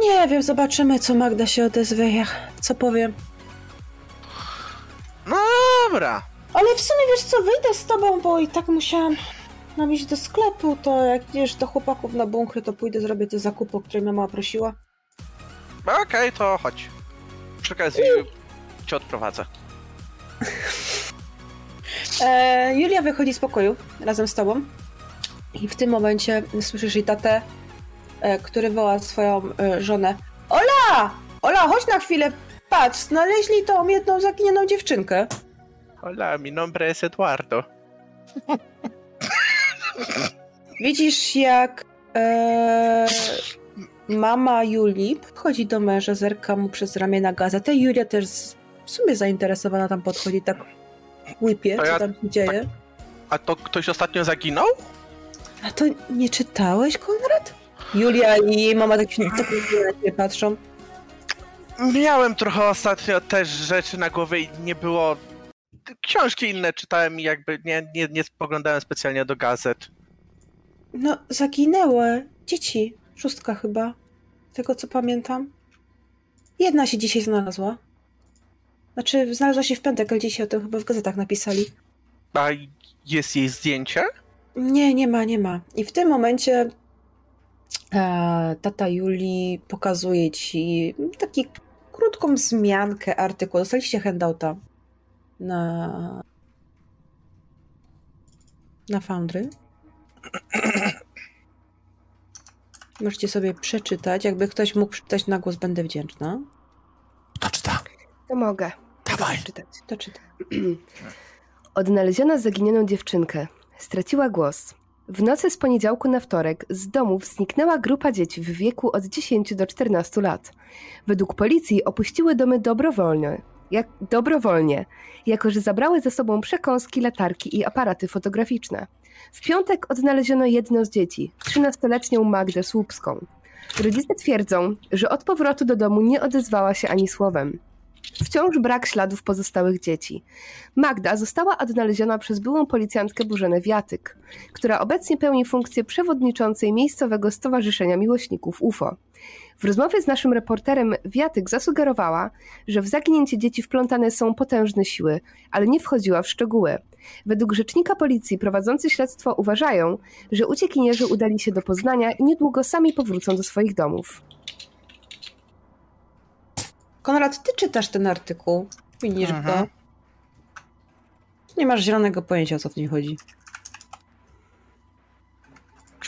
B: Nie wiem, zobaczymy, co Magda się odezwie, jak, co powiem.
C: No dobra.
B: Ale w sumie wiesz co, wyjdę z tobą, bo i tak musiałam nam iść do sklepu, to jak idziesz do chłopaków na bunkry, to pójdę zrobię te zakupy, o które mama prosiła.
C: Okej, to chodź. Przy okazji cię odprowadzę.
B: E, Julia wychodzi z pokoju razem z tobą i w tym momencie słyszysz jej tatę, e, który woła swoją e, żonę. Ola! Ola, chodź na chwilę, patrz, znaleźli tą jedną zaginioną dziewczynkę.
C: Hola, mi nombre es Eduardo.
B: Widzisz, jak e, mama Julii podchodzi do męża, zerka mu przez ramię na gazetę. Julia też z- w sumie zainteresowana tam podchodzi, tak łypie,
C: To ja- tak
B: co tam się dzieje.
C: A to ktoś ostatnio zaginął?
B: A to nie czytałeś, Konrad? Julia i jej mama tak się tak na ciebie patrzą.
C: Miałem trochę ostatnio też rzeczy na głowie i nie było... Książki inne czytałem i jakby nie, nie, nie spoglądałem specjalnie do gazet.
B: No, zaginęły dzieci. Szóstka chyba. Z tego co pamiętam. Jedna się dzisiaj znalazła. Znaczy, znalazła się w piątek, ale dzisiaj o tym chyba w gazetach napisali.
C: A jest jej zdjęcie?
B: Nie, nie ma, nie ma. I w tym momencie e, tata Julii pokazuje ci taki krótką zmiankę artykułu. Dostaliście handouta na na Foundry. Możecie sobie przeczytać. Jakby ktoś mógł przeczytać na głos, będę wdzięczna.
E: To mogę.
A: Dawaj.
E: Czytać.
B: To czytam.
E: Odnaleziono zaginioną dziewczynkę. Straciła głos. W nocy z poniedziałku na wtorek z domów zniknęła grupa dzieci w wieku od 10 do 14 lat. Według policji opuściły domy dobrowolnie, jak, dobrowolnie, jako że zabrały ze sobą przekąski, latarki i aparaty fotograficzne. W piątek odnaleziono jedno z dzieci, 13-letnią Magdę Słupską. Rodzice twierdzą, że od powrotu do domu nie odezwała się ani słowem. Wciąż brak śladów pozostałych dzieci. Magda została odnaleziona przez byłą policjantkę Burzenę Wiatyk, która obecnie pełni funkcję przewodniczącej miejscowego Stowarzyszenia Miłośników UFO. W rozmowie z naszym reporterem Wiatyk zasugerowała, że w zaginięcie dzieci wplątane są potężne siły, ale nie wchodziła w szczegóły. Według rzecznika policji prowadzący śledztwo uważają, że uciekinierzy udali się do Poznania i niedługo sami powrócą do swoich domów.
B: Konrad, ty czytasz ten artykuł. Widzisz
C: Mhm.
B: go. Nie masz zielonego pojęcia, o co w nim chodzi.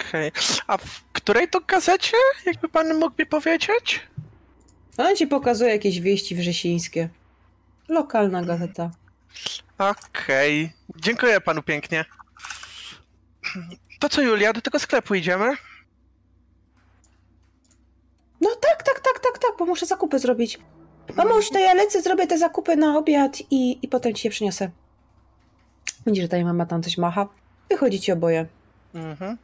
C: Okej. A w której to gazecie? Jakby pan mógł mi powiedzieć?
B: Ona ci pokazuje jakieś wieści wrzesińskie. Lokalna gazeta.
C: Okej. Dziękuję panu pięknie. To co, Julia, do tego sklepu idziemy?
B: No tak, tak, tak, tak, tak, bo muszę zakupy zrobić. Mamuś, to ja lecę, zrobię te zakupy na obiad i, i potem ci je przyniosę. Widzisz, że ta jej mama tam coś macha. Wychodzicie oboje.
C: Mhm.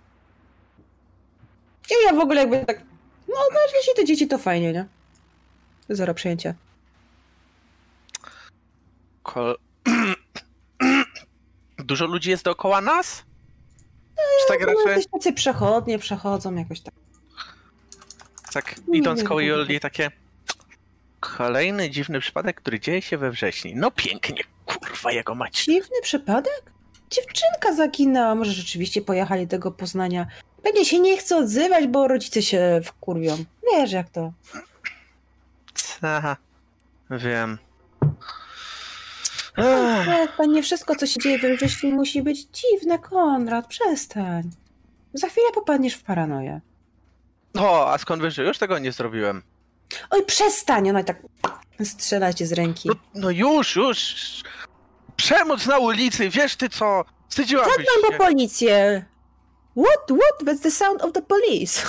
B: I ja w ogóle jakby tak... No, znaleźli się te dzieci, to fajnie, nie? Zero przejęcia.
C: Ko... Dużo ludzi jest dookoła nas? Czy tak
B: No,
C: raczej?
B: Jakieś tacy przechodnie przechodzą jakoś tak.
C: Tak
B: Nie
C: idąc
B: wiem,
C: koło
B: tak.
C: Joli takie... Kolejny dziwny przypadek, który dzieje się we wrześniu. No pięknie, kurwa jego mać.
B: Dziwny przypadek? Dziewczynka zaginęła, może rzeczywiście pojechali do tego Poznania. Pewnie się nie chce odzywać, bo rodzice się wkurwią. Wiesz jak to.
C: Aha, wiem.
B: Konrad, nie wszystko, co się dzieje we wrześniu musi być dziwne, Konrad, przestań. Za chwilę popadniesz w paranoję.
C: O, a skąd wiesz, że już tego nie zrobiłem?
B: Oj, przestań, ona tak strzela cię z ręki.
C: No już, już! Przemoc na ulicy, wiesz ty co? Wstydziłabyś
B: Zadbam
C: się.
B: po policję. What, what, that's the sound of the police.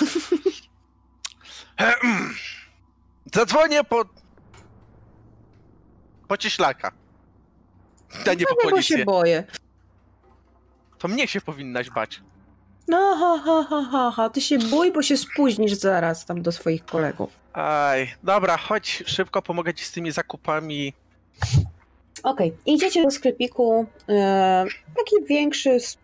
C: Ehem. Zadzwonię po... Po cieślaka. Da nie po
B: Dlatego
C: policję.
B: się boję.
C: To mnie się powinnaś bać.
B: No, ha, ha, ha, ha, ha, ty się bój, bo się spóźnisz zaraz tam do swoich kolegów.
C: Aj, dobra, chodź szybko, pomogę ci z tymi zakupami.
B: Okej, idziecie do sklepiku. E, taki większy, s-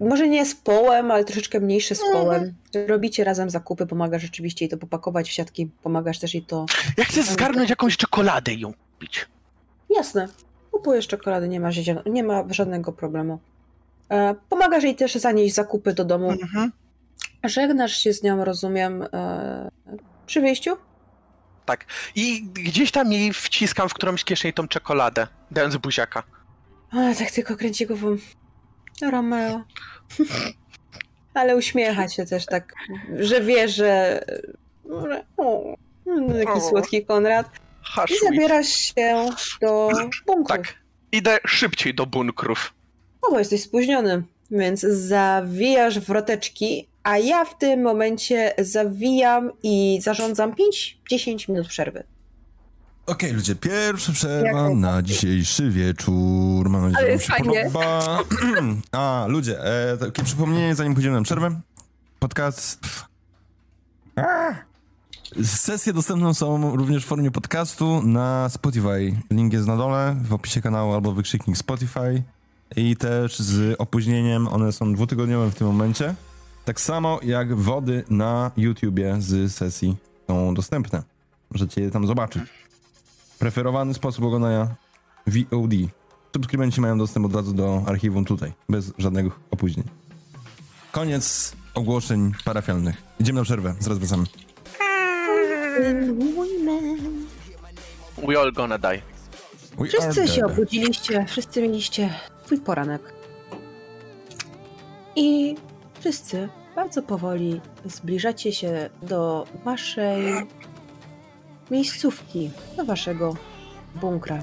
B: może nie z połem, ale troszeczkę mniejszy z połem. Robicie razem zakupy, pomagasz rzeczywiście jej to popakować w siatki, pomagasz też jej to.
C: Ja chcę zgarnąć jakąś czekoladę i ją kupić.
B: Jasne, kupujesz czekolady, nie ma, zielon- nie ma żadnego problemu. E, pomagasz jej też zanieść zakupy do domu. Żegnasz się z nią, rozumiem, e, przy wyjściu?
C: Tak. I gdzieś tam jej wciskam w którąś kieszeń tą czekoladę, dając buziaka.
B: A, tak tylko kręci głową. Romeo. Ale uśmiecha się też tak, że wie, że... że- O, taki
C: O.
B: słodki Konrad.
C: Hasz
B: I zabierasz się do bunkrów.
C: Tak. Idę szybciej do bunkrów.
B: O, bo jesteś spóźniony, więc zawijasz wroteczki, a ja w tym momencie zawijam i zarządzam 5-10 minut przerwy.
A: Okej, ludzie, pierwsza przerwa na dzisiejszy wieczór. Mam nadzieję,
B: Ale
A: że wam
B: jest
A: się
B: fajnie.
A: podoba. A, ludzie, e, takie przypomnienie, zanim pójdziemy na przerwę. Podcast... A! Sesje dostępne są również w formie podcastu na Spotify. Link jest na dole, w opisie kanału albo wykrzyknik Spotify. I też z opóźnieniem, one są dwutygodniowe w tym momencie. Tak samo jak wody na YouTubie z sesji są dostępne. Możecie je tam zobaczyć. Preferowany sposób oglądania VOD. Subskrybenci mają dostęp od razu do archiwum tutaj, bez żadnych opóźnień. Koniec ogłoszeń parafialnych. Idziemy na przerwę, zaraz wracamy.
C: We all gonna die.
A: We
B: Wszyscy
A: are
B: się
A: dead.
B: obudziliście, wszyscy mieliście swój poranek. I wszyscy bardzo powoli zbliżacie się do waszej miejscówki, do waszego bunkra.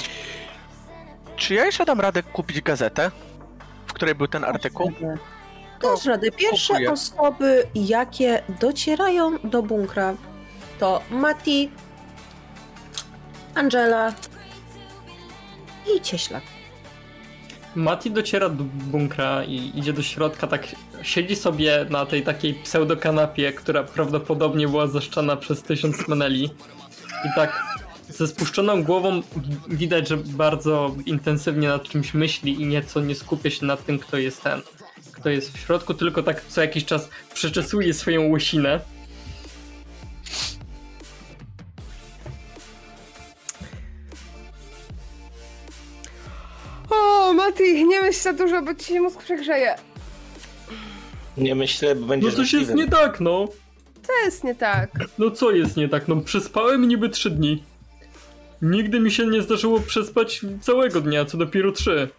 C: Czy ja jeszcze dam radę kupić gazetę, w której był ten artykuł?
B: Dasz radę. Pierwsze
C: kupuję.
B: osoby, jakie docierają do bunkra, to Mati, Angela i Cieślak.
G: Mati dociera do bunkra i idzie do środka, tak siedzi sobie na tej takiej pseudokanapie, która prawdopodobnie była zaszczana przez tysiąc meneli. I tak ze spuszczoną głową w- widać, że bardzo intensywnie nad czymś myśli i nieco nie skupia się nad tym, kto jest ten, kto jest w środku, tylko tak co jakiś czas przeczesuje swoją łysinę.
E: O, Mati, nie myśl za dużo, bo ci się mózg przegrzeje.
F: Nie myślę, bo
G: No
F: będziesz
G: coś jest
F: myśliwym.
G: nie tak, no.
E: To jest nie tak.
G: No co jest nie tak? No przespałem niby 3 dni. Nigdy mi się nie zdarzyło przespać całego dnia, co dopiero 3.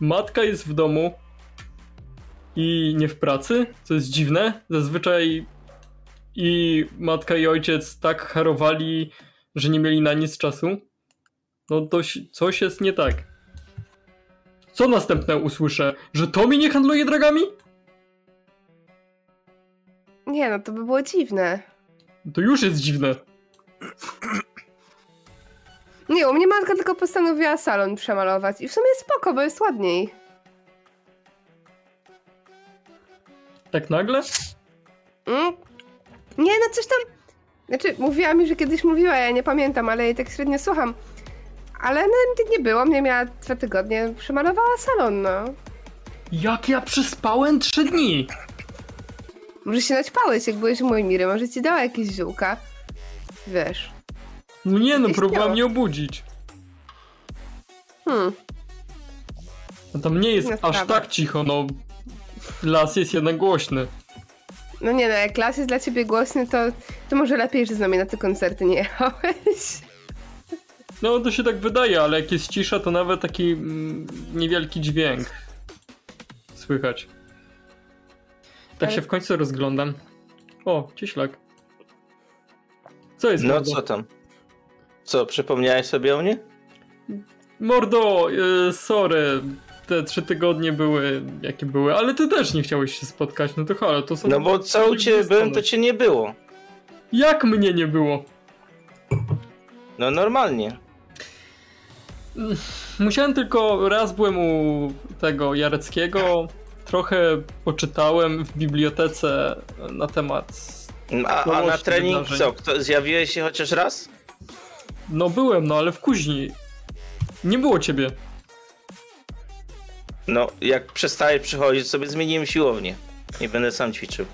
G: Matka jest w domu i nie w pracy, co jest dziwne. Zazwyczaj i matka i ojciec tak harowali, że nie mieli na nic czasu. No to si- coś jest nie tak. Co następne usłyszę? Że Tommy nie handluje dragami?
E: Nie, no to by było dziwne.
G: To już jest dziwne.
E: Nie, u mnie matka tylko postanowiła salon przemalować. I w sumie spoko, bo jest ładniej.
G: Tak nagle?
E: Mm? Nie, no coś tam... Znaczy, mówiła mi, że kiedyś mówiła, ja nie pamiętam, ale jej tak średnio słucham. Ale no, nie było, mnie miała dwa tygodnie, przemalowała salon, no.
G: Jak ja przespałem trzy dni?
E: Może się naćpałeś, jak byłeś u Mojmiry, może ci dała jakieś ziółka. Wiesz.
G: No nie no,
E: Istniało.
G: próbowałem mnie obudzić.
E: Hmm.
G: No tam nie jest
E: No
G: aż
E: dobra.
G: tak cicho, no. Las jest jednak głośny.
E: No nie no, jak las jest dla ciebie głośny, to, to może lepiej, że z nami na te koncerty nie jechałeś.
G: No to się tak wydaje, ale jak jest cisza, to nawet taki mm, niewielki dźwięk słychać. Tak
E: Ale-
G: się w końcu rozglądam. O, cieślak. Co jest?
F: No
G: mordo?
F: co tam? Co, przypomniałeś sobie o mnie?
G: Mordo, y, sorry. Te trzy tygodnie były, jakie były, ale ty też nie chciałeś się spotkać, no to halo, to są...
F: No bo co u ciebie byłem, to cię nie było.
G: Jak mnie nie było?
F: No normalnie.
G: Musiałem tylko, raz byłem u tego Jareckiego, trochę poczytałem w bibliotece na temat...
F: A, a na
G: całości
F: trening
G: wydarzeń.
F: co? Kto, zjawiłeś się chociaż raz?
G: No byłem, no ale w kuźni. Nie było ciebie.
F: No, jak przestałeś przychodzić, to sobie zmieniłem siłownię. Nie będę sam ćwiczył.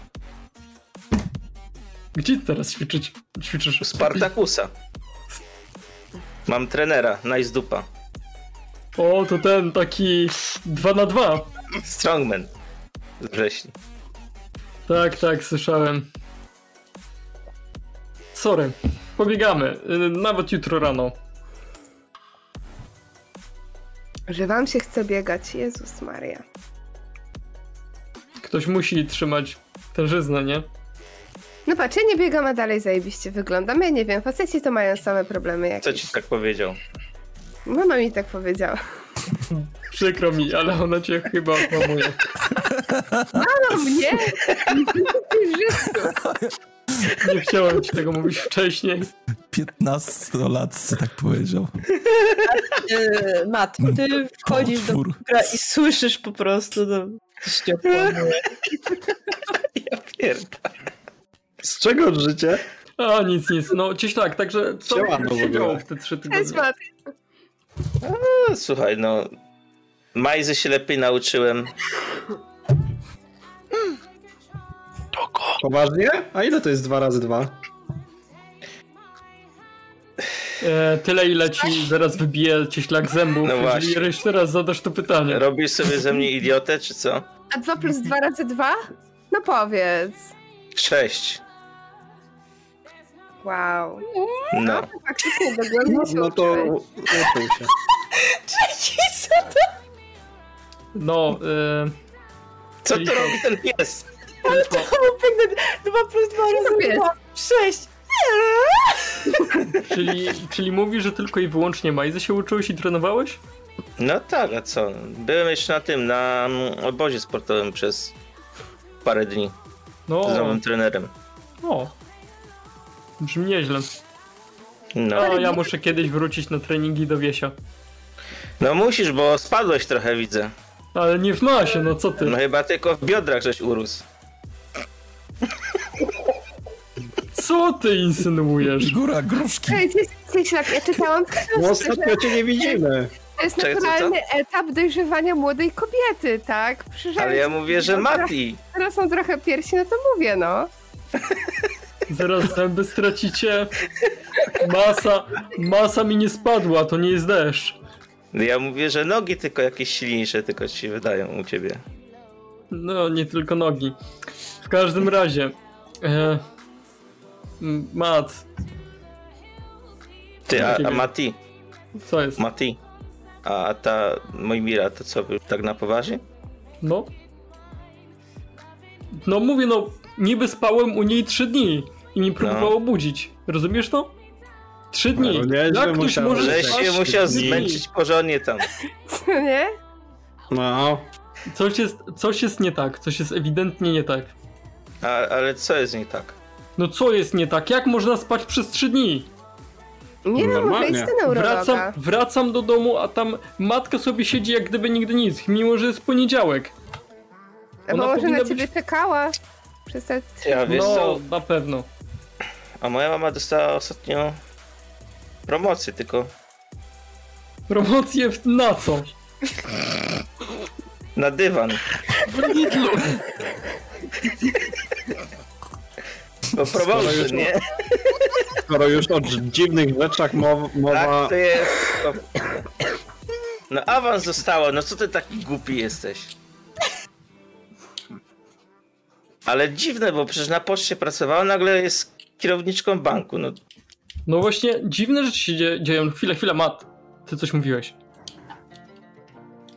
G: Gdzie ty teraz ćwiczyć? ćwiczysz?
F: Spartakusa. Mam trenera, nice dupa.
G: O, to ten taki 2 na 2
F: Strongman. Z wrześni.
G: Tak, tak, słyszałem. Sorry, pobiegamy. y, Nawet jutro rano.
E: Że wam się chce biegać, Jezus Maria.
G: Ktoś musi trzymać tężyznę, nie?
E: No patrz, ja nie biegam, a dalej zajebiście wyglądam. Ja nie wiem, faceci to mają same problemy jak...
F: Co ci tak powiedział?
E: Mama mi tak powiedziała.
G: Przykro mi, ale ona cię chyba okłamuje.
E: Mama mnie!
G: Nie chciałem ci tego mówić wcześniej.
A: 15-latce tak powiedział.
B: Yy, Mat, ty wchodzisz do
A: Potwór.
B: kukra i słyszysz po prostu no, do...
D: Z czego życie?
G: A, nic, nic. No, cieślak, także co
D: Siema,
G: by
D: no w
G: się
D: ogóle.
G: działo w te trzy
E: Cześć,
G: tygodnie?
E: Mat.
F: No, słuchaj, no. Majzy się lepiej nauczyłem.
D: Poważnie? A ile to jest dwa razy dwa?
G: E, tyle, ile ci zaraz wybije cieślak zębów,
F: No
G: jeżeli
F: właśnie.
G: jeszcze raz zadasz to pytanie.
F: Robisz sobie ze mnie idiotę, czy co?
E: A dwa plus dwa razy dwa? No powiedz.
F: Sześć.
E: Wow.
F: No.
E: Faktycznie dogłębnie się
D: No to
E: uczyłeś.
D: uczył się.
G: No, e,
F: Co to robi ten pies?
B: Dwa plus dwa razy
E: Jest.
B: dwa. Sześć.
G: czyli, czyli mówisz, że tylko i wyłącznie Majzy się uczyłeś i trenowałeś?
F: No tak, a co? Byłem jeszcze na tym, na mm, obozie sportowym przez parę dni
G: No,
F: z nowym trenerem.
G: o. Brzmi nieźle.
F: No.
G: No, ja muszę kiedyś wrócić na treningi do Wiesia.
F: no musisz, bo spadłeś trochę, widzę.
G: Ale nie w masie, no co ty?
F: No chyba tylko w biodrach żeś urósł.
G: Co ty insynuujesz?
A: Góra gruszki.
E: Hej, cześć, cześć, tak, ja czytałam,
D: No
E: że
D: ostatnio cię nie widzimy.
E: to jest
F: Czekaj, co to?
E: naturalny etap dojrzewania młodej kobiety, tak? Przyszedł,
F: Ale ja mówię, że Mati.
E: Teraz są trochę piersi, no to mówię, no.
G: Zaraz zęby stracicie. Masa, masa mi nie spadła, to nie jest deszcz.
F: Ja mówię, że nogi tylko jakieś silniejsze tylko ci się wydają u ciebie.
G: No, nie tylko nogi. W każdym razie. E, m- mat,
F: Ty, a, a
G: Ciebie.
F: Mati,
G: co jest?
F: Mati. A ta Mojmira, to co, już tak na poważnie?
G: No. No mówię, no, niby spałem u niej trzy dni i mi próbowało budzić. Rozumiesz to? Trzy dni.
D: No, nieźle
G: Jak ktoś
D: musiało
G: może
D: być.
F: Że
G: spać
F: się
D: Właśnie,
F: musiał
G: trzy dni?
F: zmęczyć porządnie tam.
E: Co nie?
D: No.
G: Coś jest, coś jest nie tak, coś jest ewidentnie nie tak.
F: A, ale co jest nie tak?
G: No co jest nie tak? Jak można spać przez trzy dni?
E: Nie wiem, może
D: Normalnie.
E: iść do neurologa.
G: Wracam, wracam do domu, a tam matka sobie siedzi jak gdyby nigdy nic, mimo że jest poniedziałek.
E: Albo
G: ona
E: może na
G: powinna
E: ciebie
G: być-
E: czekała przez te trzy...
F: Ja wiesz
G: No,
F: co,
G: na pewno.
F: a moja mama dostała ostatnio promocję tylko.
G: Promocje w, na co?
F: Na dywan.
C: W Lidlu.
F: Bo
D: Skoro
F: promotion,
D: już-
F: nie?
D: Skoro już o dziwnych rzeczach mowa, mowa
F: Tak, to jest. To... No awans zostało, no co ty taki głupi jesteś? Ale dziwne, bo przecież na poczcie pracowała, nagle jest kierowniczką banku. No
G: No właśnie, dziwne rzeczy się dzie- dzieją. Chwila, chwila, Mat. Ty coś mówiłeś.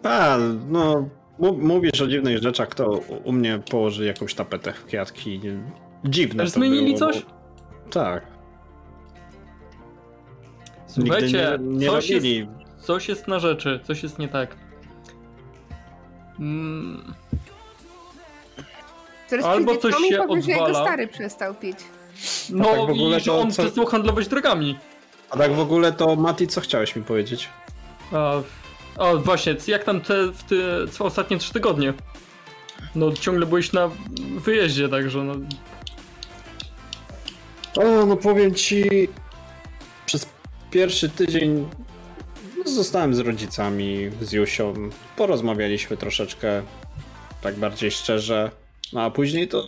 D: A, no, mu- mówisz o dziwnych rzeczach, to u- u mnie położy jakąś tapetę w kwiatki. Dziwne
G: Też
D: to
G: zmienili
D: było,
G: coś?
D: Bo... Tak.
G: Słuchajcie,
D: Nigdy nie, nie
G: coś,
D: robili.
G: jest, coś jest na rzeczy, coś jest nie tak. Mm,
E: Teraz
G: Albo
E: przyjdzie
G: coś
E: Tom i
G: się
E: powie, że jego
G: odwala.
E: stary przestał pić.
G: no
D: tak w ogóle
G: i że
D: to
G: on
D: co-
G: przestał handlować drogami.
D: A tak w ogóle to, Mati, co chciałeś mi powiedzieć?
G: A, a właśnie, c- jak tam te, w te co ostatnie trzy tygodnie? No ciągle byłeś na wyjeździe, także no...
D: O, no powiem ci, przez pierwszy tydzień no, zostałem z rodzicami, z Jusią. Porozmawialiśmy troszeczkę, tak bardziej szczerze. No a później to,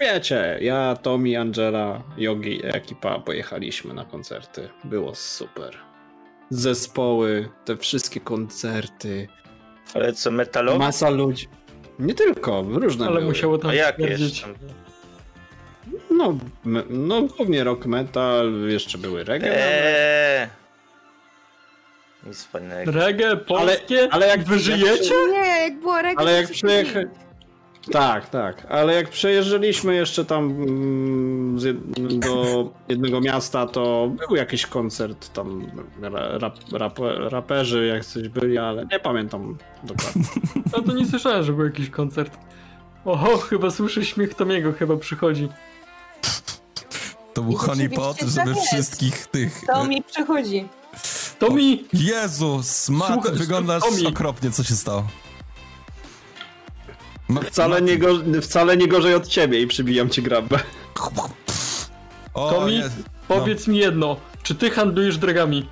D: wiecie, ja, Tomi, Angela, Yogi, ekipa pojechaliśmy na koncerty. Było super. Zespoły, te wszystkie koncerty.
F: ale co, metalowe?
D: Masa ludzi. Nie tylko, różne
G: Ale
D: były.
G: musiało tam
F: A jak
G: stwierdzić.
F: jeszcze?
D: No, me- no głównie rock metal, jeszcze były reggae.
F: Eee. no. Nic wspaniałego.
G: Reggae polskie? Ale,
D: ale jak-
G: wy żyjecie?
E: Nie, jak było reggae,
D: Ale
E: to
D: jak
E: się
D: przyjechać. Tak, tak, ale jak przejeżdżaliśmy jeszcze tam mm, z jed... do jednego miasta, to był jakiś koncert tam ra- rap, rap, raperzy jak coś byli, ale nie pamiętam dokładnie.
G: No to nie słyszałem, że był jakiś koncert. Oho, chyba słyszę śmiech Tomiego, chyba przychodzi.
A: To był honeypot,
B: rzeczywiście
A: żeby
B: tak jest.
A: wszystkich tych...
B: To mi przychodzi.
G: Tomi!
A: Jezus, Mat,
G: Słuchaj,
A: wyglądasz
G: Tomi.
A: okropnie, co się stało? Ma-
D: Wcale nie, go, wcale nie gorzej od ciebie i przybijam ci grabę.
A: O,
G: Tomi,
A: jest.
G: powiedz mi jedno. Czy ty handlujesz drogami?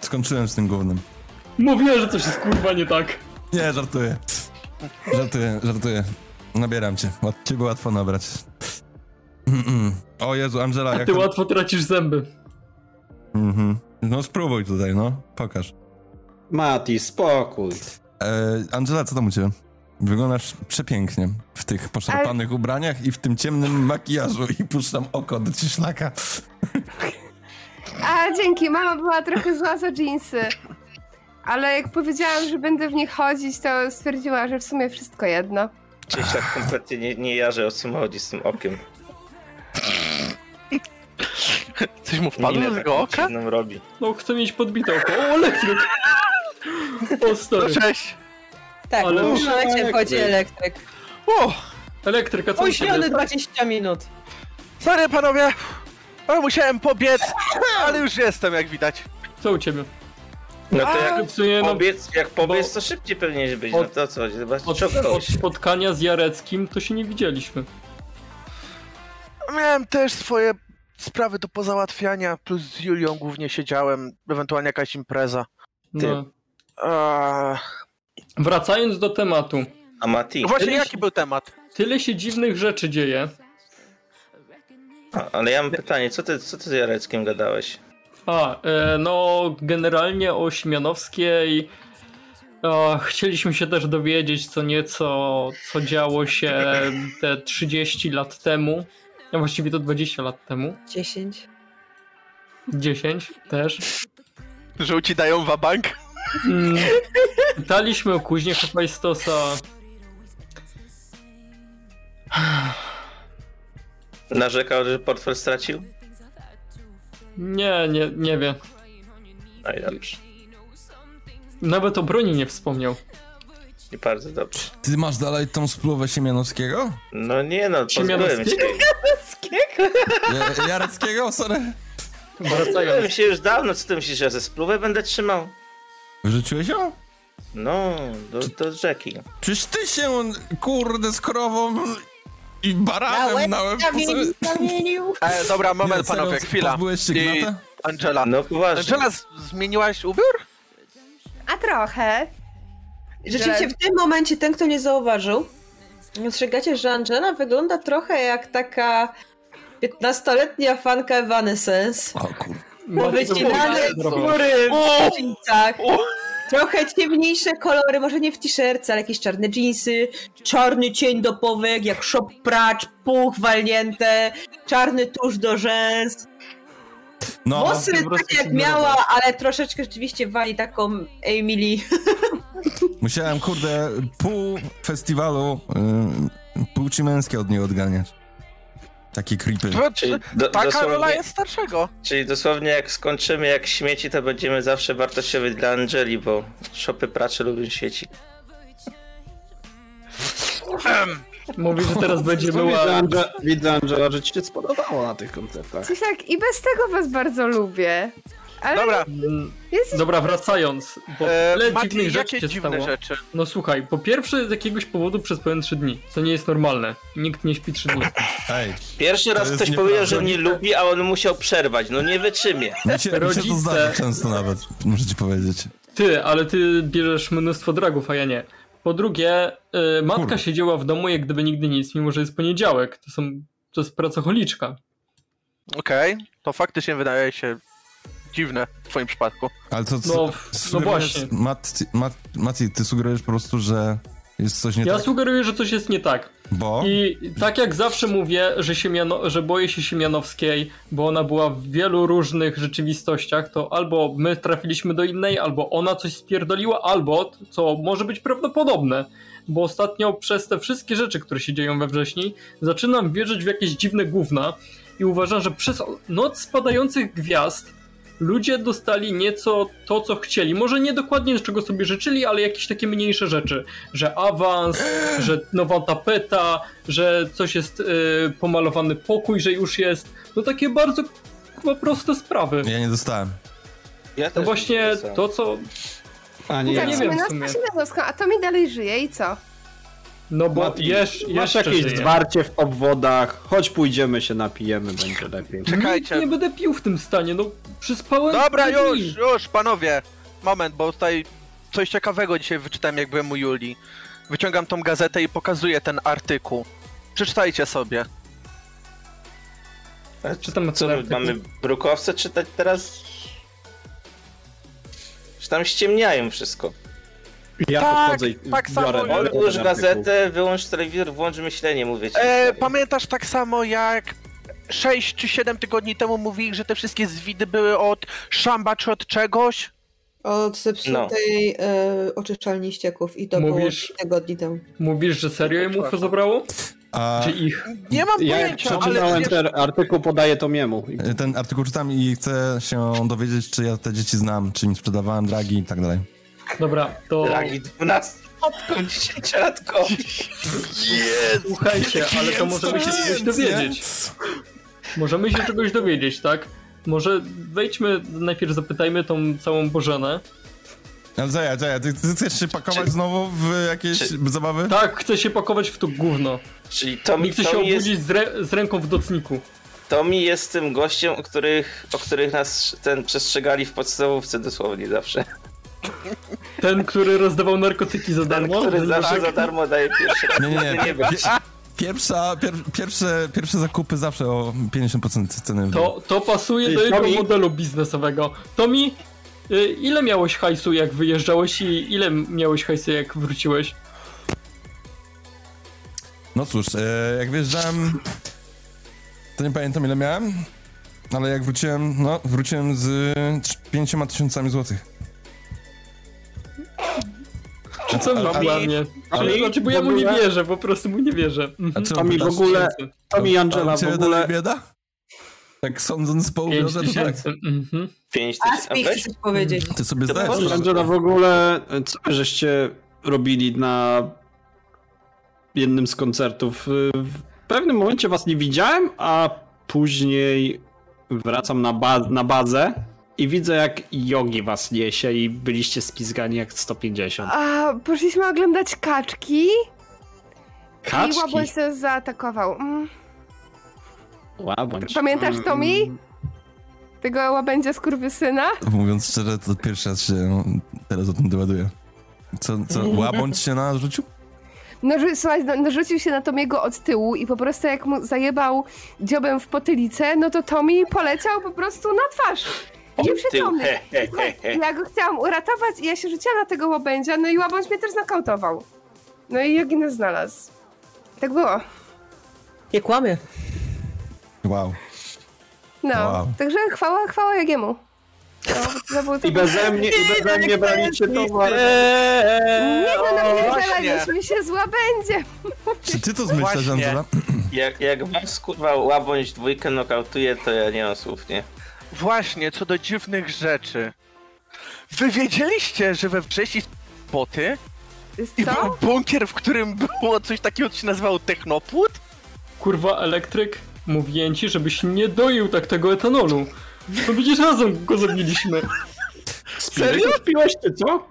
A: Skończyłem z tym głównym.
G: Mówiłem, że coś jest kurwa nie tak.
A: Nie, żartuję. Żartuję, żartuję. Nabieram cię. Łat- Ciebie łatwo nabrać. Mm-mm. O Jezu, Angela,
G: A
A: jak
G: ty
A: to...
G: łatwo tracisz zęby.
A: Mhm. No spróbuj tutaj, no. Pokaż.
D: Mati, spokój.
A: E, Angela, co tam u ciebie? Wyglądasz przepięknie w tych poszarpanych ubraniach i w tym ciemnym makijażu i puszczam oko do ciślaka.
E: A dzięki, mama była trochę zła za dżinsy. Ale jak powiedziałam, że będę w nich chodzić, to stwierdziła, że w sumie wszystko jedno.
F: Przecież tak kompletnie nie, nie jarzę o co mu chodzi z tym okiem.
C: Coś mu wpadło
F: Minę
C: do tego
F: taką
C: oka?
F: dziwną robi.
G: No chcę mieć podbite oko. O, elektryk! O,
C: No
G: stary.
C: cześć.
B: Tak,
G: Ale
B: w tym
G: muszę
B: momencie
D: elektryk.
B: wchodzi elektryk.
C: O,
G: Elektryka, co u
B: Późniony
G: ciebie?
B: 20 minut.
C: sorry panowie. O, musiałem pobiec, ale już jestem jak widać.
G: Co u ciebie?
F: No to jak
G: W sumie, no,
F: pobiec, jak pobiec,
G: bo-
F: to szybciej pewnie być.
G: od-
F: no to o co chodzi? Zobaczcie,
G: od,
F: czołgałeś
G: od
F: się.
G: spotkania z Jareckim to się nie widzieliśmy.
C: Miałem też swoje sprawy do pozałatwiania, plus z Julią głównie siedziałem, ewentualnie jakaś impreza.
G: No.
C: Eee,
G: Wracając do tematu.
F: A Mati,
C: właśnie jaki był temat?
G: Tyle się dziwnych rzeczy dzieje.
F: a, ale ja mam pytanie, co ty, co ty z Jareckiem gadałeś?
G: A, e, no generalnie o Siemianowskiej e, chcieliśmy się też dowiedzieć co nieco, co działo się te 30 lat temu. A właściwie to 20 lat temu.
H: 10.
G: 10 też.
C: Żółci dają wabank?
G: Mm, pytaliśmy o kuźnię Hepajstosa.
F: Narzekał, że portfel stracił?
G: Nie, nie, nie wiem.
F: No i dobrze,
G: Nawet o broni nie wspomniał.
F: i bardzo dobrze.
A: Ty masz dalej tą spluwę Siemianowskiego?
F: No nie no, pozbyłem się.
G: Siemianowskiego?
A: Ja- Jareckiego? Sorry.
G: Wracając.
F: Pozbyłem się już dawno, co ty myślisz, że ja ze spluwę będę trzymał?
A: Wyrzuciłeś ją?
F: No, do, do rzeki.
A: Czyż ty się, kurde, z krową i baranem na łeb...
B: zamienił.
C: E, dobra, moment
A: Nie, serio,
C: panowie, chwila.
A: pozbyłeś się
C: I-
A: gnata?
C: Angela.
F: No poważnie.
C: Angela, z- zmieniłaś ubiór?
E: A trochę.
B: Rzeczywiście w tym momencie ten, kto nie zauważył, dostrzegacie, że Angela wygląda trochę jak taka 15-letnia fanka Evanescence.
A: O kur...
B: Po wycinanych skóry, w jeansach. Trochę ciemniejsze kolory, może nie w t-shirtce, ale jakieś czarne jeansy, czarny cień do powiek, jak shop pracz, puch walnięte, czarny tusz do rzęs.
A: No,
B: Włosy
H: tak
A: po prostu
B: takie jak
A: się
B: miała, ale troszeczkę rzeczywiście wali taką Emily.
A: Musiałem, kurde, pół festiwalu y, płci męskie od niej odganiać. Takie creepy.
F: Do-
C: Taka
F: dosłownie-
C: rola jest starszego.
F: Czyli dosłownie jak skończymy jak śmieci, to będziemy zawsze wartościowi dla Angeli, bo szopy pracy lubią świeci.
G: Mówi, że teraz będziemy
D: Widzę,
G: łamać.
D: Ange- widzę Angela, że ci się spodobało na tych koncertach.
E: Coś tak, i bez tego was bardzo lubię. Ale
C: Dobra,
E: Jesteś...
G: Dobra, wracając, bo
C: e,
G: tyle
C: Mati,
G: dziwnych rzeczy
C: jakie
G: się
C: dziwne
G: stało.
C: rzeczy?
G: No słuchaj, po pierwsze z jakiegoś powodu przez pełen 3 dni, co nie jest normalne. Nikt nie śpi 3 dni.
A: Ej,
F: Pierwszy raz
A: jest
F: ktoś powiedział,
A: nieprawda.
F: że nie lubi, a on musiał przerwać. No nie wytrzymie.
A: mi się, mi się to
G: Rodzice.
A: zdarza często nawet, muszę ci powiedzieć.
G: Ty, ale ty bierzesz mnóstwo dragów, a ja nie. Po drugie, y, matka
A: Kurde.
G: siedziała w domu jak gdyby nigdy nic, mimo że jest poniedziałek. To są to jest pracocholiczka.
C: Okej, to faktycznie wydaje się dziwne w twoim przypadku.
A: Ale co, co
G: No, no
A: sugerujesz-
G: właśnie.
A: Mat, mat, Maciej, ty sugerujesz po prostu, że jest coś nie
G: Ja
A: tak,
G: sugeruję, że coś jest nie tak.
A: bo...
G: I tak jak zawsze mówię, że, Siemiano, że boję się Siemianowskiej, bo ona była w wielu różnych rzeczywistościach, to albo my trafiliśmy do innej, albo ona coś spierdoliła, albo, co może być prawdopodobne, bo ostatnio przez te wszystkie rzeczy, które się dzieją we wrześni, zaczynam wierzyć w jakieś dziwne gówna i uważam, że przez noc spadających gwiazd ludzie dostali nieco to, co chcieli. Może nie dokładnie czego sobie życzyli, ale jakieś takie mniejsze rzeczy. Że awans, że nowa tapeta, że coś jest y, pomalowany pokój, że już jest. No takie bardzo chyba proste sprawy.
A: Ja nie dostałem.
F: Ja
G: To właśnie to, co...
D: A
E: I
D: nie,
E: tak,
G: nie
D: nie
G: wiem.
E: Siemianowska,
G: w sumie.
E: Siemianowska, a to mi dalej żyje i co?
G: No bo
D: Mati,
G: jesz,
D: Masz
G: jeszcze
D: jakieś
G: żyje.
D: zwarcie w obwodach, choć pójdziemy się napijemy,
C: Tak,
D: będzie lepiej.
C: Czekajcie.
G: Nie będę pił w tym stanie, no przez pełen
C: Dobra,
G: dni.
C: już, już, panowie. Moment, bo tutaj coś ciekawego dzisiaj wyczytałem, jak byłem u Julii. Wyciągam tą gazetę i pokazuję ten artykuł. Przeczytajcie sobie. E,
G: Czytam
F: No Co, my
G: artykuł.
F: mamy brukowce czytać teraz? Czy tam ściemniają wszystko?
D: Ja
C: Tak,
D: podchodzę i
C: tak samo
D: biorę
C: ja.
D: ten
F: Odłóż
D: artykuł.
F: gazetę, wyłącz telewizor, włącz myślenie, mówię ci.
C: E, pamiętasz tak samo jak 6 czy 7 tygodni temu mówili, że te wszystkie zwidy były od szamba czy od czegoś?
B: Od
F: No,
B: zepsutej e, oczyszczalni ścieków i to
G: Mówisz-
B: było tygodni temu.
G: Mówisz, że serio im UFO zabrało?
A: A
G: Czy ich?
C: Nie mam
D: Ja jak
C: pojęcia,
D: przeczytałem
C: ale wiesz,
D: ten artykuł, podaję to miemu. I
A: y, ten artykuł czytam i chcę się dowiedzieć, czy ja te dzieci znam, czy im sprzedawałem dragi i tak dalej.
G: Dobra, to
F: Dragi 12-latką, 10-latką.
G: słuchajcie, ale to możemy się czegoś dowiedzieć. Możemy się czegoś dowiedzieć, tak? Może wejdźmy, najpierw zapytajmy tą całą Bożenę.
A: Ale Zaja, Zaja, ty, ty chcesz się pakować znowu w jakieś zabawy?
G: Tak, chce się pakować w to gówno.
F: Czyli to,
G: Nie
F: mi,
G: chce
F: to,
G: No się
F: mi jest,
G: obudzić z, re- z ręką w docniku.
F: to mi jest tym gościem, o których, o których nas ten przestrzegali w podstawówce dosłownie zawsze.
G: Ten, który rozdawał narkotyki za
F: Ten,
G: darmo.
F: który
G: ten
F: zawsze
G: Bożek.
F: za darmo daje pierwszy raz.
A: Nie, nie, nie.
F: Nie wiem.
A: Pie- Pierwsza, pier, pierwsze, pierwsze zakupy zawsze o 50% ceny. w dół.
G: To, to pasuje
D: Ty,
G: do jego
D: Tomi?
G: modelu biznesowego. Tomi, y, ile miałeś hajsu jak wyjeżdżałeś i ile miałeś hajsu jak wróciłeś?
A: No cóż, e, jak wyjeżdżałem, to nie pamiętam ile miałem, ale jak wróciłem, no wróciłem z 5 tysiącami złotych.
G: Czy co
A: a-
G: mi kłamie? Ale
D: Tomi,
G: znaczy, bo ja
D: w
G: mu nie
D: ogóle-
G: wierzę, po prostu mu nie wierzę. Mhm.
A: czemu
D: To mi w
A: pytasz?
D: ogóle, to mi Angela w
A: Ciebie dalej
D: ogóle,
A: bieda? Tak sądząc po
G: Pięć
A: ubiorze, to tak.
G: tysięcy. Mhm.
F: 5 tysięcy.
B: Aspi
F: A weź,
B: chcesz powiedzieć.
A: Ty sobie
F: To
A: zdajesz.
F: może-
A: sprawę.
D: Angela w ogóle, e, co wy żeście robili na jednym z koncertów? E, W pewnym momencie was nie widziałem, a później wracam na, ba- na bazę i widzę jak jogi was niesie i byliście spizgani jak 150.
E: A, poszliśmy oglądać kaczki, i
D: Kaczki?
E: łaboń się zaatakował. Mm.
D: Łabądź.
E: Pamiętasz,
G: Mm.
E: Tomi? Tego łabędzia skurwysyna?
A: Tak, Mówiąc szczerze, to pierwszy raz się teraz o tym dowiaduję. Co, co łabądź się na nas rzucił?
E: Narzu- słuchaj, na- narzucił się na Tomiego od tyłu i po prostu jak mu zajebał dziobem w potylicę, no to Tomi poleciał po prostu na twarz. Nieprzytomny.
F: He, he, he, he.
E: Ja go chciałam uratować i ja się rzuciłam na tego łabędzia, no i łabędź mnie też znokautował. No i Jogi nas znalazł. Tak było.
B: Nie kłamie.
A: Wow.
E: No,
A: Wow.
E: także chwała, chwała Jogiemu. No, to było to...
D: I beze mnie, i
E: no,
D: beze mnie braliście towar.
E: Nie, no
F: właśnie.
E: napierdzielaliśmy się z łabędziem.
A: Czy ty to
F: zmyślasz,
A: zmyślasz,
F: Właśnie.
A: Angela?
F: Angela? Jak, jak was kurwa łabądź dwójkę nokautuje, to ja nie mam słów, nie?
C: Właśnie, co do dziwnych rzeczy. Wy wiedzieliście, że we wrześniu poty i był bunkier, w którym było coś takiego, co się nazywało technopłód?
G: Kurwa, elektryk, mówiłem ci, żebyś nie doił tak tego etanolu. No przecież razem go zabiliśmy.
C: Serio?
G: Piłeś ty, co?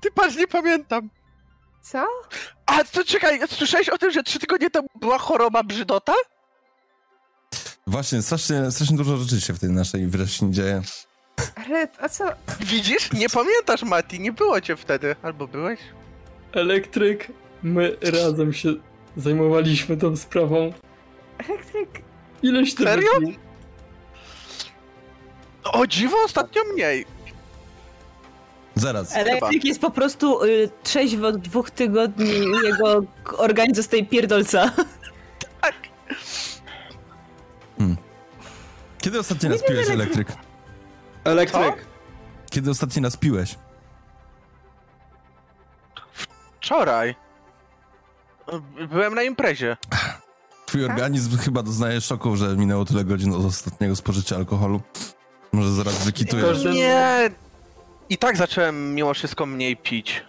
C: Ty patrz, nie pamiętam.
E: Co?
C: A to czekaj, słyszałeś o tym, że trzy tygodnie temu była choroba brzydota?
A: Właśnie, strasznie, strasznie dużo rzeczy się w tej naszej wrześni dzieje.
E: Ale, a co?
C: Widzisz? Nie pamiętasz, Mati, nie było cię wtedy. Albo byłeś?
G: Elektryk, my razem się zajmowaliśmy tą sprawą.
E: Elektryk...
G: Ileś ty
C: Serio?
G: wypił?
C: O dziwo, ostatnio mniej.
A: Zaraz.
B: Elektryk jest po prostu y, trzeźwy od dwóch tygodni i jego k- organizm zostaje pierdolca.
A: Kiedy ostatni raz piłeś elektryk?
D: Elektryk.
A: Kiedy ostatni raz piłeś?
C: Wczoraj. Byłem na imprezie.
B: Tak?
A: Twój organizm chyba doznaje szoku, że minęło tyle godzin od ostatniego spożycia alkoholu. Może zaraz wykitujesz.
G: Każdy-
C: Nie. I tak zacząłem mimo wszystko mniej pić.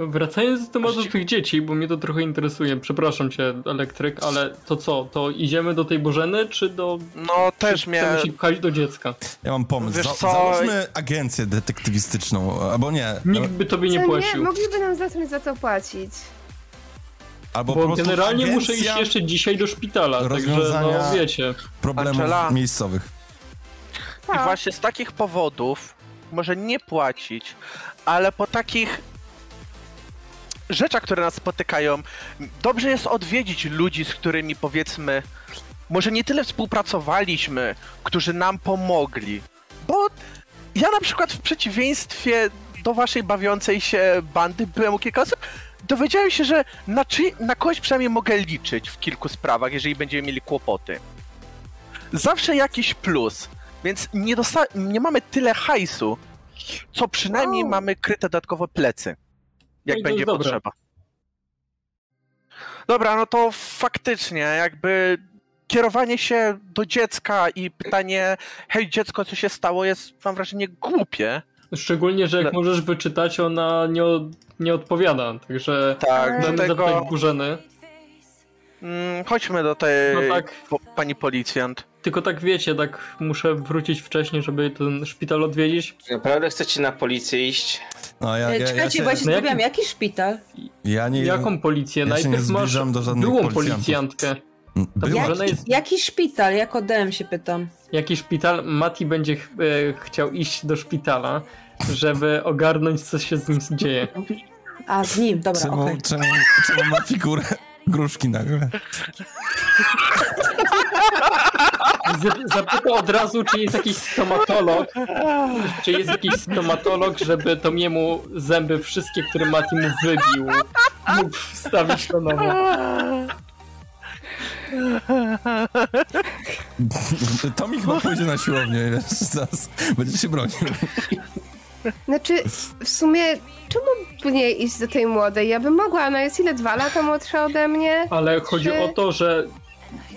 G: Wracając do tematu tych dzieci, bo mnie to trochę interesuje, przepraszam cię, elektryk, ale to co, to idziemy do tej Bożeny, czy do...
C: No też
G: czy Chcemy
C: miałem...
G: się pchać do dziecka.
A: Ja mam pomysł.
C: Wiesz
A: Za-
C: co?
A: Załóżmy agencję detektywistyczną, albo nie.
G: Nikt by tobie nie
E: co, no.
G: płacił.
E: mogliby nam zacząć za to płacić.
A: Albo po
G: Bo
A: prostu
G: generalnie muszę iść
A: agencja
G: jeszcze dzisiaj do szpitala, także
A: rozwiązania-
G: no wiecie.
A: problemów
C: Angela.
A: miejscowych.
C: I
E: Tak.
C: właśnie z takich powodów może nie płacić, ale po takich rzeczach, które nas spotykają, dobrze jest odwiedzić ludzi, z którymi powiedzmy, może nie tyle współpracowaliśmy, którzy nam pomogli. Bo ja na przykład w przeciwieństwie do waszej bawiącej się bandy byłem u kilka osób, dowiedziałem się, że na, czy, na kogoś przynajmniej mogę liczyć w kilku sprawach, jeżeli będziemy mieli kłopoty zawsze jakiś plus, więc nie, dosta- nie mamy tyle hajsu, co przynajmniej mamy kryte dodatkowo plecy,
G: No
C: jak
G: i to
C: będzie
G: jest dobre.
C: potrzeba. Dobra, no to faktycznie jakby kierowanie się do dziecka i pytanie hej dziecko, co się stało jest mam wrażenie głupie.
G: Szczególnie, że jak
C: Ale-
G: możesz wyczytać, ona nie, od- nie odpowiada, także...
C: Tak, do
G: Będę
C: tego...
G: zapytać Burzeny.
C: Mm, chodźmy do tej
G: No tak.
C: po, pani policjant.
G: Tylko tak wiecie, tak muszę wrócić wcześniej, żeby ten szpital odwiedzić.
F: Czy naprawdę chcecie na policję iść?
A: No, ja, ja, ja,
B: Czekajcie,
A: się,
B: właśnie
G: No jak-
B: zastanawiam, jaki szpital?
A: ja nie.
G: Jaką policję?
A: ja się nie
G: Najpierw masz
A: zbliżam do żadnych
G: byłą
A: policjantów.
G: policjantkę. Ta
A: Była.
G: Burzena jest...
B: Jaki szpital? Jak DM się pytam.
G: Jaki szpital? Mati będzie ch e, chciał iść do szpitala, żeby ogarnąć, co się z nim dzieje.
B: A, z nim, dobra,
A: Czemu,
B: okej.
A: czemu, czemu ma figurę gruszki nagle?
G: Z- Zapytał od razu, czy jest jakiś stomatolog, czy jest jakiś stomatolog, żeby to jemu zęby wszystkie, które Mati mu wybił, mógł wstawić na nowo.
A: To mi chyba pójdzie na siłownię, wiesz, zaraz będzie się bronił.
E: Znaczy, w sumie, czemu by nie iść do tej młodej? Ja bym mogła, ona jest ile? Dwa lata młodsza ode mnie?
G: Ale chodzi
E: Czy-
G: o to, że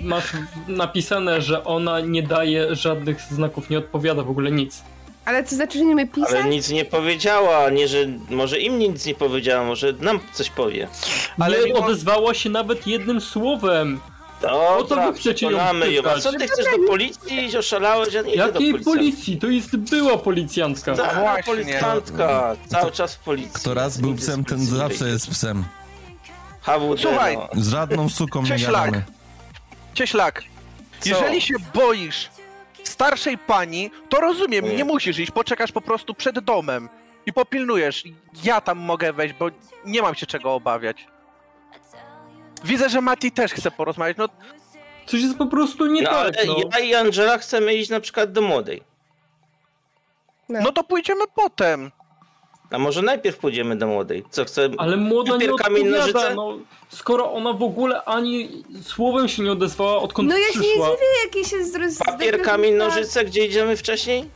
G: masz napisane, że ona nie daje żadnych znaków, nie odpowiada w ogóle nic.
E: Ale to znaczy, że nie my pisać?
F: Ale nic nie powiedziała, nie, że może im nic nie powiedziała, może nam coś powie.
G: Ale
C: Ale
G: nie
C: mimo-
G: odezwała się nawet jednym słowem.
F: Dobra,
G: Po co wy chcecie ją
F: przekonamy ją. A
G: pytać?
F: co ty chcesz do policji iść? Oszalałeś, ja nie idę do Tak.
G: Jakiej
F: policji.
G: policji? To jest była policjantka.
F: Ta
C: No Właśnie.
F: policjantka, cały czas w policji.
A: Kto raz był
F: Nigdy z
A: psem, ten
F: policji nie
A: zawsze
F: wyjdzie.
A: jest psem.
F: HWD,
C: Słuchaj,
F: no.
A: Z żadną suką nie
C: Cieślak.
A: gadamy.
C: Cieślak, jeżeli się boisz starszej pani, to rozumiem, nie musisz iść, poczekasz po prostu przed domem. I popilnujesz. Ja tam mogę wejść, bo nie mam się czego obawiać. Widzę, że Mati też chce porozmawiać. No,
G: Coś jest po prostu nie
F: No ale
G: tak. No.
F: ja i Angela chcemy iść na przykład do młodej.
C: no to pójdziemy potem.
F: A może najpierw pójdziemy do młodej? Co chce?
G: Ale młoda nie
F: Papierkami
G: odpowiada,
F: nożyce?
G: no, skoro ona w ogóle ani słowem się nie odezwała, odkąd
E: No ja się nie
G: przyszła.
E: dziwię, jakie się zroz...
F: Papier, kamień, nożyce, gdzie idziemy wcześniej?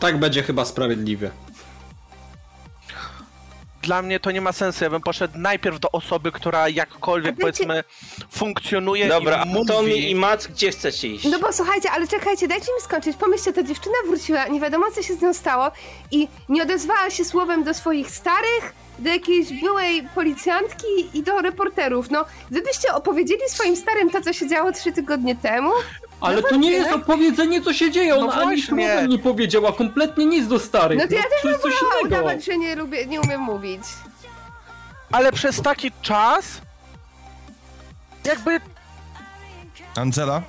D: Tak będzie chyba sprawiedliwie.
C: Dla mnie to nie ma sensu. Ja bym poszedł najpierw do osoby, która jakkolwiek, powiedzmy, funkcjonuje
F: Dobra,
C: i mówi.
F: Tommy i Matt, gdzie chcecie iść?
E: No bo słuchajcie, ale czekajcie, dajcie mi skończyć. Pomyślcie, ta dziewczyna wróciła, nie wiadomo co się z nią stało i nie odezwała się słowem do swoich starych, do jakiejś byłej policjantki i do reporterów. No, gdybyście opowiedzieli swoim starym to, co się działo trzy tygodnie temu...
G: Ale
E: no
G: to nie
E: właśnie,
G: jest
E: no.
G: opowiedzenie, co się dzieje.
C: No
G: Ona ani
C: właśnie.
G: słowem nie powiedziała kompletnie nic do starych.
E: No to ja
G: to
E: też
G: jest
E: bym
G: coś
E: wolała
G: innego.
E: udawać, że nie, lubię, nie umiem mówić.
C: Ale przez taki czas. Jakby
A: Angela,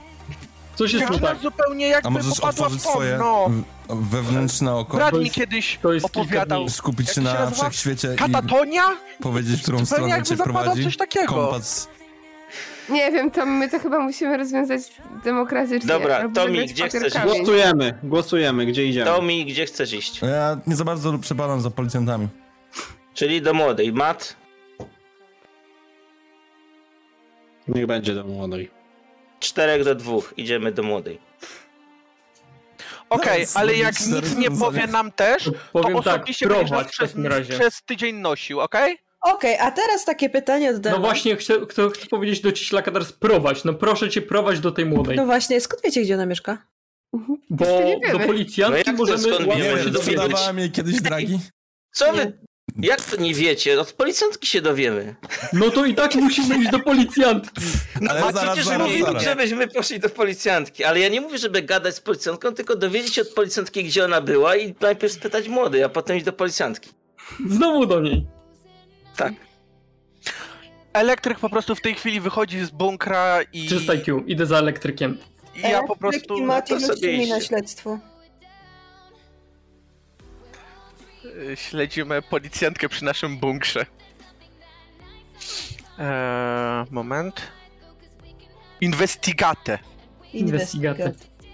G: Coś jest nie
C: dziewczyna
G: tak.
C: zupełnie jakby
A: a możesz
C: popadła w
A: otworzyć swoje
C: pomno.
A: w- wewnętrzne oko?
C: Brat
G: To
C: mi
G: jest-
C: kiedyś
G: to jest kilka
C: opowiadał.
G: dni.
A: Skupić
C: jak
A: się
C: się
A: na
C: nazywa?
A: wszechświecie i
C: Katatonia?
A: powiedzieć, w którą
C: Zupełnie
A: stronę
C: jakby
A: cię
C: zapadał
A: prowadzi?
C: coś takiego.
A: Kompas.
E: Nie wiem, to my to chyba musimy rozwiązać demokratycznie.
F: Dobra,
E: albo
F: Tomi,
E: wygrać
F: gdzie
E: papier
F: chcesz?
E: kamień.
D: Głosujemy, głosujemy, gdzie idziemy.
F: Tommy, gdzie chcesz iść?
A: Ja nie za bardzo przepadam za policjantami.
F: Czyli do młodej. Matt,
D: Niech będzie do młodej.
F: 4 do 2, idziemy do młodej.
C: Okej,
A: Zaraz
C: ale
A: zrobić
C: jak nic nie
A: zaraz-
C: powie nam też, to
G: Powiem tak,
C: osobiście
G: prowadź
C: będziesz nas
G: w
C: przez,
G: takim razie.
C: przez tydzień nosił, okej?
H: Okej, a teraz takie pytanie od
G: No
H: Dema.
G: właśnie, chcę, chcę, chcę powiedzieć do ciślaka teraz prowadź. No proszę cię, prowadź do tej młodej.
H: No właśnie, skąd wiecie, gdzie ona mieszka?
G: Bo
E: jeszcze nie wiemy.
G: do
F: No
G: policjantki
F: jak to
G: możemy
F: skąd
A: Nie
F: wiemy,
G: łatwo
A: wiem,
F: że
G: się
F: dowiedzieć?
G: dowiedzieć.
A: sprzedawała mnie kiedyś dragi.
F: Co wy... Jak to nie wiecie? Od policjantki się dowiemy.
G: No to i tak musimy iść do policjantki.
F: No,
A: Ale
F: a
A: zaraz,
F: przecież
A: zaraz,
F: mówiłem,
A: zaraz.
F: żebyśmy poszli do policjantki. Ale ja nie mówię, żeby gadać z policjantką, tylko dowiedzieć się od policjantki, gdzie ona była i najpierw spytać młodej, a potem iść do policjantki.
G: Znowu do niej.
F: Tak.
C: Elektryk po prostu w tej chwili wychodzi z bunkra i,
G: 300 IQ, idę za elektrykiem.
C: i ja po prostu...
F: to rzucił sobie mi na
H: na
F: iść.
H: no śledztwo.
C: Y, Śledzimy policjantkę przy naszym bunkrze. Eee, moment. Investigate.
G: Investigaty.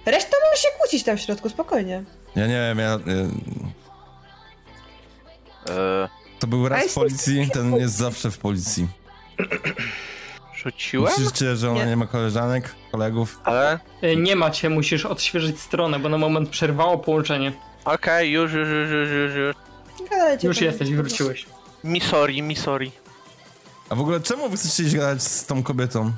H: Reszta może się kłócić tam w środku, spokojnie.
A: Ja nie wiem, ja... y,
C: Eee,
A: To był
E: A
A: raz w
E: jeśli-
A: policji, ten jest zawsze w policji.
C: rzuciłem?
A: Myślicie, że ona nie ma koleżanek, kolegów?
C: Ale...
G: E, Nie macie, musisz odświeżyć stronę, bo na moment przerwało połączenie.
C: Okej, już, już, już, już, już, już.
H: Gadajcie
G: Już
H: tam.
G: jesteś, wróciłeś.
C: Mi sorry, mi sorry.
A: A w ogóle czemu wy chcecie iść gadać z tą kobietą?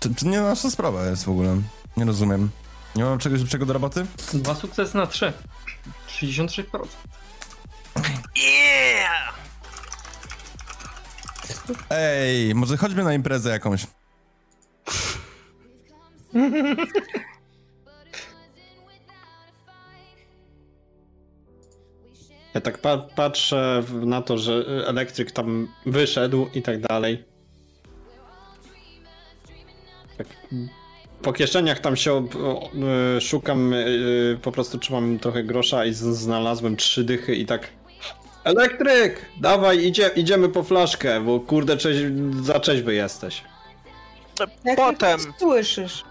A: To, to nie nasza sprawa jest w ogóle. Nie rozumiem. Nie mam czegoś lepszego do roboty?
G: Dwa sukcesy na trzy. 66%.
A: Ej, może chodźmy na imprezę jakąś.
D: Ja tak pa patrzę w- na to, że y, elektryk tam wyszedł i tak dalej. Tak. Po kieszeniach tam się ob- o- y, szukam, y, po prostu trzymam trochę grosza i z- znalazłem trzy dychy i tak. Elektryk! Dawaj, idzie, idziemy po flaszkę, bo kurde, cześć, za trzeźwy jesteś.
H: Jak
C: Potem.
H: tylko Słyszysz.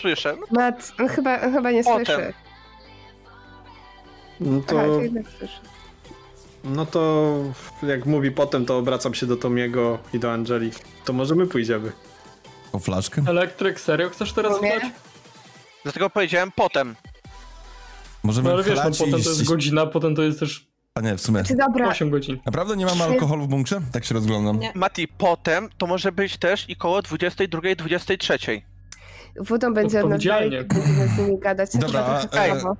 C: Słyszę.
E: Mat, on no chyba, on chyba nie
C: Potem.
E: słyszy.
D: No
E: Aha,
D: to,
E: to jednak słyszy.
D: no to jak mówi potem, to obracam się do Tomiego i do Angeli. To może my pójdziemy.
A: O flaszkę?
G: Elektryk, serio? Chcesz teraz
E: Rozumiem.
G: grać?
C: Dlatego powiedziałem potem.
A: Możemy
G: No ale wiesz, no
A: chlać i
G: potem to jest
A: iść-
G: godzina, potem to jest też
A: A nie, w sumie.
E: Czy dobra,
G: 8 godzin.
A: Naprawdę nie mamy alkoholu w bunkrze? Tak się rozglądam.
H: Nie.
C: Mati, potem to może być też i koło 22, 23.
E: wodą będzie od nas dalej,
G: Odpowiedzialnie.
E: będziemy z nimi gadać.
A: Dobra,
E: Chyba trochę
A: a, e,
E: słabo.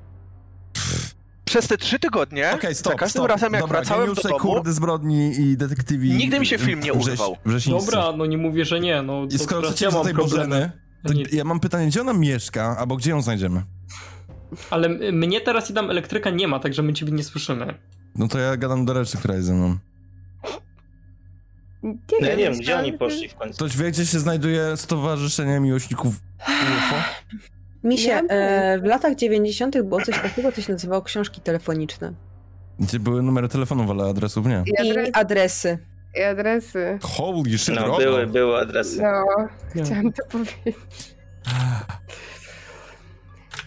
C: Przez te trzy tygodnie,
A: Okej, stop,
C: Tak, za każdym
A: stop.
C: razem jak
A: Dobra,
C: wracałem do
A: geniusze,
C: domu,
A: kurde, zbrodni i detektywi...
C: Nigdy mi się film nie
A: wrześ-
C: urwał.
A: Wrzesińscy.
G: Dobra, no nie mówię, że nie, no
A: I
G: to
A: skoro
G: teraz
A: chcecie
G: ja
A: do
G: mam
A: tej
G: problemy.
A: Bożeny, to
G: Nic.
A: ja mam pytanie, gdzie ona mieszka, albo gdzie ją znajdziemy?
G: Ale m- mnie teraz i tam elektryka nie ma, także my ciebie nie słyszymy.
A: No to ja gadam do reszty, która jest ze mną.
F: No Ja nie wiem,
E: myślałam,
F: gdzie oni
E: że-
F: poszli w końcu.
A: Ktoś wie, gdzie się znajduje Stowarzyszenie Miłośników UFO?
H: Mi się
B: Miałam
H: e, w latach 90. było coś takiego, co się nazywało książki telefoniczne.
A: Gdzie były numery telefonów, ale adresów nie.
H: I
E: adresy.
H: adresy.
E: I adresy.
A: Holy shit,
F: No,
A: Robo.
F: były, były adresy.
E: No, chciałam to powiedzieć.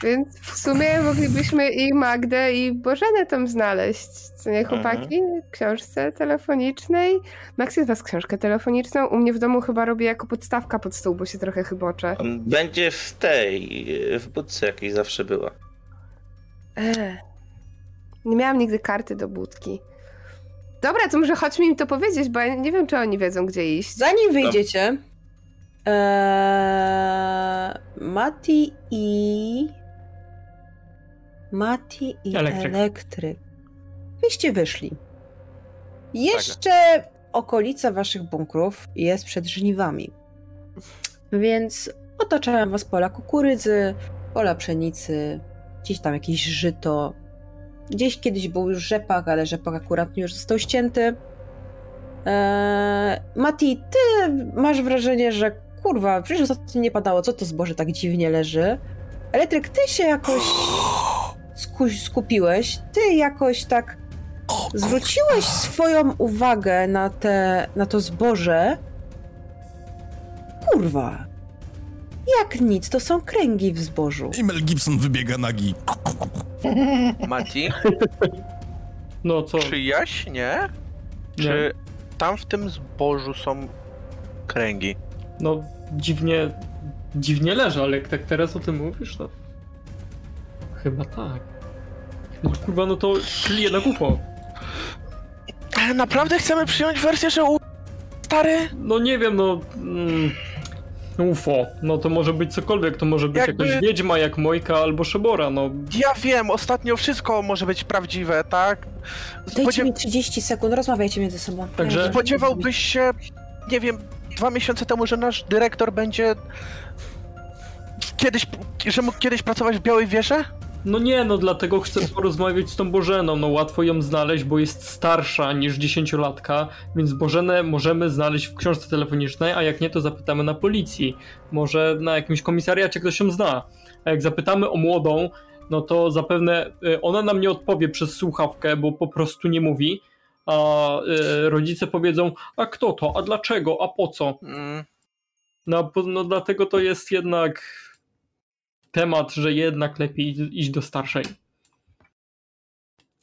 E: Więc w sumie moglibyśmy i Magdę, i Bożenę tam znaleźć. Co nie, chłopaki? W książce telefonicznej. Max jest was książkę telefoniczną. U mnie w domu chyba robię jako podstawka pod stół, bo się trochę chyboczę.
F: Będzie w tej, w budce jakiej zawsze była.
E: Eee. Nie miałam nigdy karty do budki. Dobra, to może chodźmy im to powiedzieć, bo ja nie wiem, czy oni wiedzą, gdzie iść.
H: Zanim wyjdziecie, e, Mati i. Mati i
G: Elektryk.
H: elektryk. Wyście wyszli. Jeszcze okolica waszych bunkrów jest przed żniwami. Więc otaczają was pola kukurydzy, pola pszenicy, gdzieś tam jakieś żyto. Gdzieś kiedyś był już rzepak, ale rzepak akurat już został ścięty. Eee, Mati, ty masz wrażenie, że kurwa, przecież ostatnio nie padało, co to zboże tak dziwnie leży? Elektryk, ty się jakoś sku- skupiłeś, ty jakoś tak zwróciłeś swoją uwagę na, te, na to zboże. Kurwa, jak nic, to są kręgi w zbożu.
A: I Mel Gibson wybiega nagi.
C: Mati,
G: No co?
C: czy jaś nie? Czy tam w tym zbożu są kręgi?
G: No dziwnie, dziwnie leży, ale jak tak teraz o tym mówisz, to chyba tak. No kurwa, no to czyli jednak UFO.
C: E, Naprawdę chcemy przyjąć wersję, że u... stary?
G: No nie wiem, no... Mm, UFO, no to może być cokolwiek, to może być
C: Jakby-
G: jakaś wiedźma jak Mojka albo Szebora, no.
C: Ja wiem, ostatnio wszystko może być prawdziwe, tak?
H: Dajcie
C: Spodziew...
H: mi 30 sekund, rozmawiajcie między sobą.
G: Także-
H: Ja-
C: Spodziewałbyś się, nie wiem, dwa miesiące temu, że nasz dyrektor będzie... Kiedyś, że mógł kiedyś pracować w Białej Wieży?
G: No nie, no dlatego chcę porozmawiać z tą Bożeną, no łatwo ją znaleźć, bo jest starsza niż dziesięciolatka, więc Bożenę możemy znaleźć w książce telefonicznej, a jak nie, to zapytamy na policji. Może na jakimś komisariacie ktoś ją zna. A jak zapytamy o młodą, no to zapewne y, ona nam nie odpowie przez słuchawkę, bo po prostu nie mówi, a y, rodzice powiedzą, a kto to, a dlaczego, a po co?
C: Mm.
G: No, po- no dlatego to jest jednak temat, że jednak lepiej iść do starszej.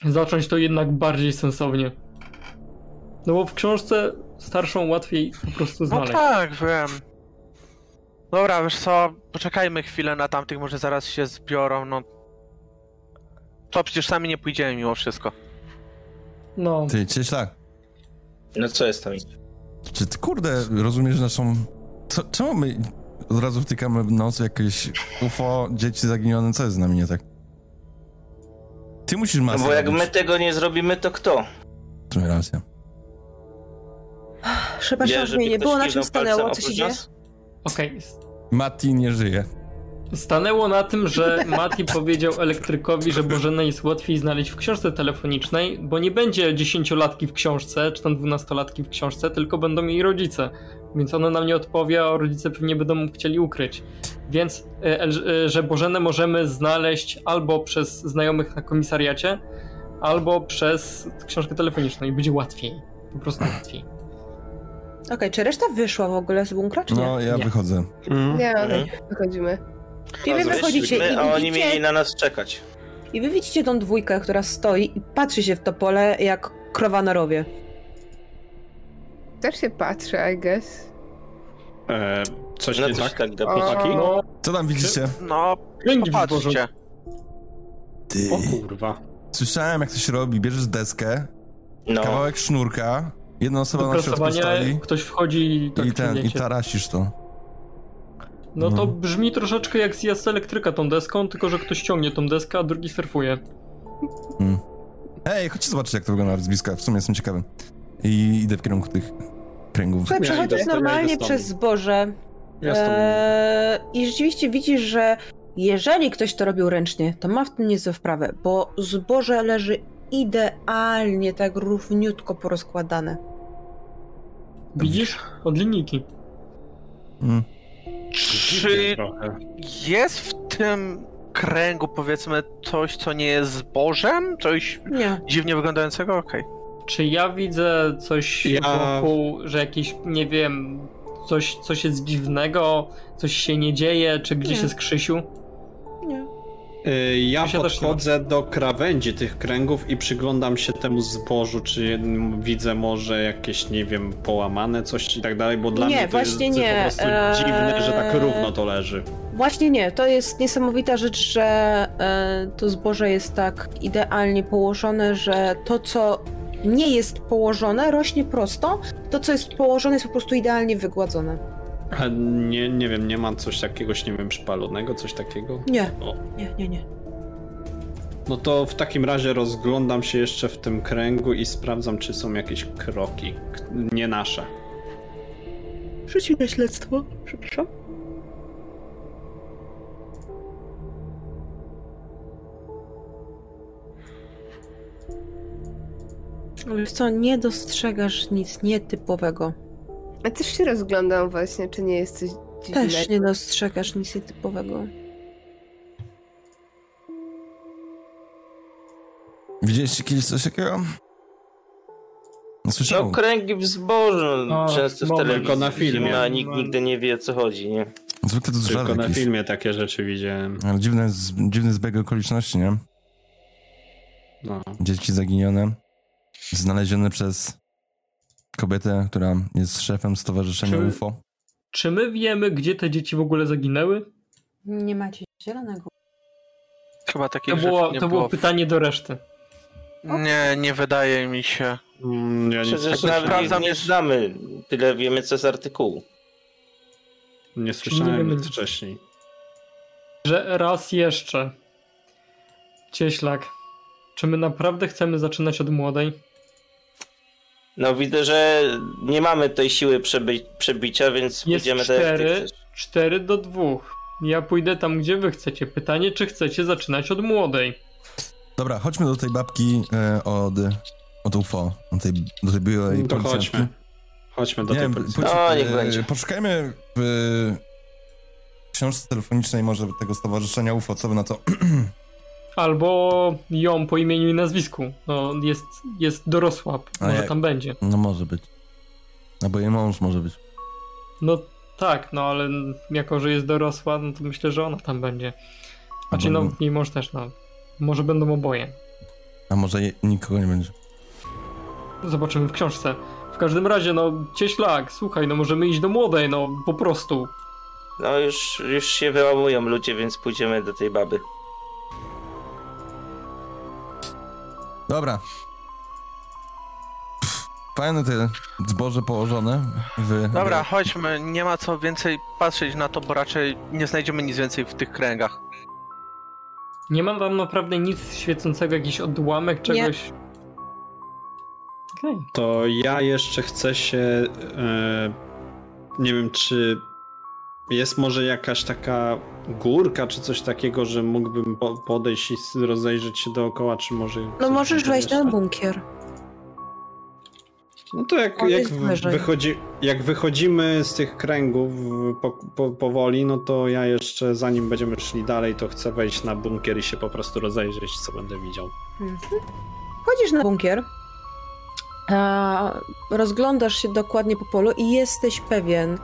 G: Zacząć to jednak bardziej sensownie. No bo w książce starszą łatwiej po prostu
C: No
G: znaleźć.
C: tak, wiem. Dobra, wiesz co, poczekajmy chwilę na tamtych, może zaraz się zbiorą, no... To przecież sami nie pójdziemy mimo wszystko.
G: No,
A: Ty, cieśla,
F: No co jest tam?
A: czy ty kurde rozumiesz naszą... Co, czemu my od razu wtykamy w nos jakieś UFO, dzieci zaginione, co jest z nami nie tak? Ty musisz
F: No
A: masę
F: bo jak
A: robić.
F: my tego nie zrobimy, to kto?
A: W sumie racja.
H: Przepraszam, że
F: żeby
H: mnie nie
F: ktoś
H: było, na czym
F: kiwnął
H: stanęło,
F: palcem
H: co się
F: oprócz
H: dzieje?
F: nas?
G: okej.
A: Mati nie żyje.
G: Stanęło na tym, że Mati powiedział elektrykowi, że Bożenę jest łatwiej znaleźć w książce telefonicznej, bo nie będzie dziesięciolatki w książce, czy tam dwunastolatki w książce, tylko będą jej rodzice. Więc ona nam nie odpowie, a rodzice pewnie będą chcieli ukryć. Więc, e, El- e, że Bożenę możemy znaleźć albo przez znajomych na komisariacie, albo przez książkę telefoniczną i będzie łatwiej. Po prostu łatwiej.
H: Okej, czy reszta wyszła w ogóle z bunkra, czy nie?
A: No, ja
G: Nie.
A: wychodzę.
E: Nie,
F: Mhm.
E: wychodzimy.
H: I wy
F: Wyszliśmy,
H: wychodzicie i
F: a oni
H: widzicie,
F: mieli na nas czekać.
H: i wy widzicie tą dwójkę, która stoi i patrzy się w to pole jak krowa na rowie.
E: Też się patrzę, I guess.
D: E, coś
F: No
D: nie
F: coś
D: tak?
F: tak do
D: Chłopaki?
G: No,
A: Co tam widzicie?
C: No,
G: kręgi w Bożu.
C: popatrzcie.
A: Ty,
D: O kurwa.
A: słyszałem jak to się robi. Bierzesz deskę,
F: No,
A: kawałek sznurka, jedna osoba na środku
G: Wyprasowanie,
A: stoi
G: ktoś wchodzi i tak
A: i, ten, i
G: ciągniecie.
A: tarasisz to.
G: No to
A: No.
G: brzmi troszeczkę jak zjazd z elektryka tą deską, tylko że ktoś ciągnie tą deskę, a drugi surfuje.
A: Ej, chodźcie zobaczyć, jak to wygląda z bliska. W sumie jestem ciekawy. I idę w kierunku tych kręgów.
H: Słuchaj,
D: Ja idę
H: przechodzisz
D: stąd, ja idę
H: normalnie
D: stąd.
H: przez zboże
D: Ja z tobą.
H: eee, i rzeczywiście widzisz, że jeżeli ktoś to robił ręcznie, to ma w tym niezłe wprawę, bo zboże leży idealnie, tak równiutko porozkładane.
G: Widzisz? Od linijki.
A: Mm.
C: Czy
D: Trochę.
C: jest w tym kręgu powiedzmy coś, co nie jest zbożem? Coś
G: Nie.
C: dziwnie wyglądającego? Okej.
G: Czy ja widzę coś
C: Ja-
G: wokół, że jakieś, nie wiem, coś, coś jest dziwnego, coś się nie dzieje, czy gdzieś
D: Nie.
G: jest Krzysiu?
D: Y, Ja podchodzę do krawędzi tych kręgów i przyglądam się temu zbożu, czy widzę może jakieś, nie wiem, połamane coś i tak dalej, bo dla
H: Nie,
D: mnie to
H: właśnie
D: jest
H: nie.
D: po prostu
H: Eee.
D: dziwne, że tak równo to leży.
H: Właśnie nie, to jest niesamowita rzecz, że e, to zboże jest tak idealnie położone, że to, co nie jest położone, rośnie prosto, to, co jest położone, jest po prostu idealnie wygładzone.
D: A E, nie, nie wiem, nie ma coś jakiegoś, nie wiem, przypalonego, coś takiego?
H: Nie,
D: O.
H: nie, nie, nie.
D: No to w takim razie rozglądam się jeszcze w tym kręgu i sprawdzam, czy są jakieś kroki, k- nie nasze.
H: Rzucił na śledztwo, przepraszam. Wiesz co, nie dostrzegasz nic nietypowego.
E: A też się rozglądam właśnie, czy nie jest coś dziwnego.
H: Też nie dostrzegasz nic nietypowego.
A: Widzieliście kiedyś coś takiego? Słyszałem.
F: No kręgi w zbożu
A: No,
F: często w
A: moment,
F: telewizji.
A: tylko na filmie.
F: No, a nikt nigdy nie wie o co chodzi, nie?
A: Zwykle to z
D: Tylko
A: żarek
D: na
A: jakiś.
D: filmie takie rzeczy widziałem.
A: Ale dziwne, z- dziwny zbieg okoliczności, nie?
D: No.
A: Dzieci zaginione, znalezione przez kobietę, która jest szefem stowarzyszenia
G: Czy-
A: UFO.
G: Czy my wiemy, gdzie te dzieci w ogóle zaginęły?
H: Nie macie zielonego.
C: Chyba takie
G: To było,
C: rzeczy nie
G: to było pytanie do reszty.
C: Nie, nie wydaje mi się.
D: Mm, Ja
F: Przecież nawet nie znamy. Tyle wiemy co z artykułu.
D: Nie słyszałem
G: wiemy
D: nic wcześniej.
G: Że raz jeszcze. Cieślak, czy my naprawdę chcemy zaczynać od młodej?
F: No widzę, że nie mamy tej siły przebi- przebicia, więc
G: Jest
F: pójdziemy
G: cztery, cztery do dwóch. Ja pójdę tam, gdzie wy chcecie. Pytanie, czy chcecie zaczynać od młodej?
A: Dobra, chodźmy do tej babki e, od, od UFO, od tej, do tej byłej
D: No to
A: policjantki.
D: chodźmy. Chodźmy do
A: Nie
D: tej
A: wiem,
D: policji.
A: pójdźmy,
G: No,
A: e, Poszukajmy w książce telefonicznej może tego stowarzyszenia UFO, co by na to...
G: Albo ją po imieniu i nazwisku. No, jest, jest dorosła,
A: A
G: może
A: jak-
G: tam będzie.
A: No może być. Albo jej mąż może być.
G: No tak, no ale jako, że jest dorosła, no to myślę, że ona tam będzie. Znaczy, no
A: Albo-
G: i może też, no. Może będą oboje.
A: A może je, nikogo nie będzie.
G: Zobaczymy w książce. W każdym razie, no, cieślak, słuchaj, no możemy iść do młodej, no, po prostu.
F: No już, już się wyłamują ludzie, więc pójdziemy do tej baby.
A: Dobra. Pff, Fajne te zboże położone. W...
C: Dobra, chodźmy, nie ma co więcej patrzeć na to, bo raczej nie znajdziemy nic więej w tych kręgach.
G: Nie mam tam naprawdę nic świecącego, jakiś odłamek czegoś. Okej.
D: To ja jeszcze chcę się. e, nie wiem, czy jest może jakaś taka górka, czy coś takiego, że mógłbym po- podejść i s- rozejrzeć się dookoła, czy może.
H: No możesz wejść na bunkier.
D: No to jak,
H: On
D: jak,
H: jest
D: w-
H: wyżej.
D: wychodzi, jak wychodzimy z tych kręgów w- po, po, powoli, no to ja jeszcze zanim będziemy szli dalej, to chcę wejść na bunkier i się po prostu rozejrzeć, co będę widział.
H: Chodzisz na bunkier, a, rozglądasz się dokładnie po polu i jesteś pewien,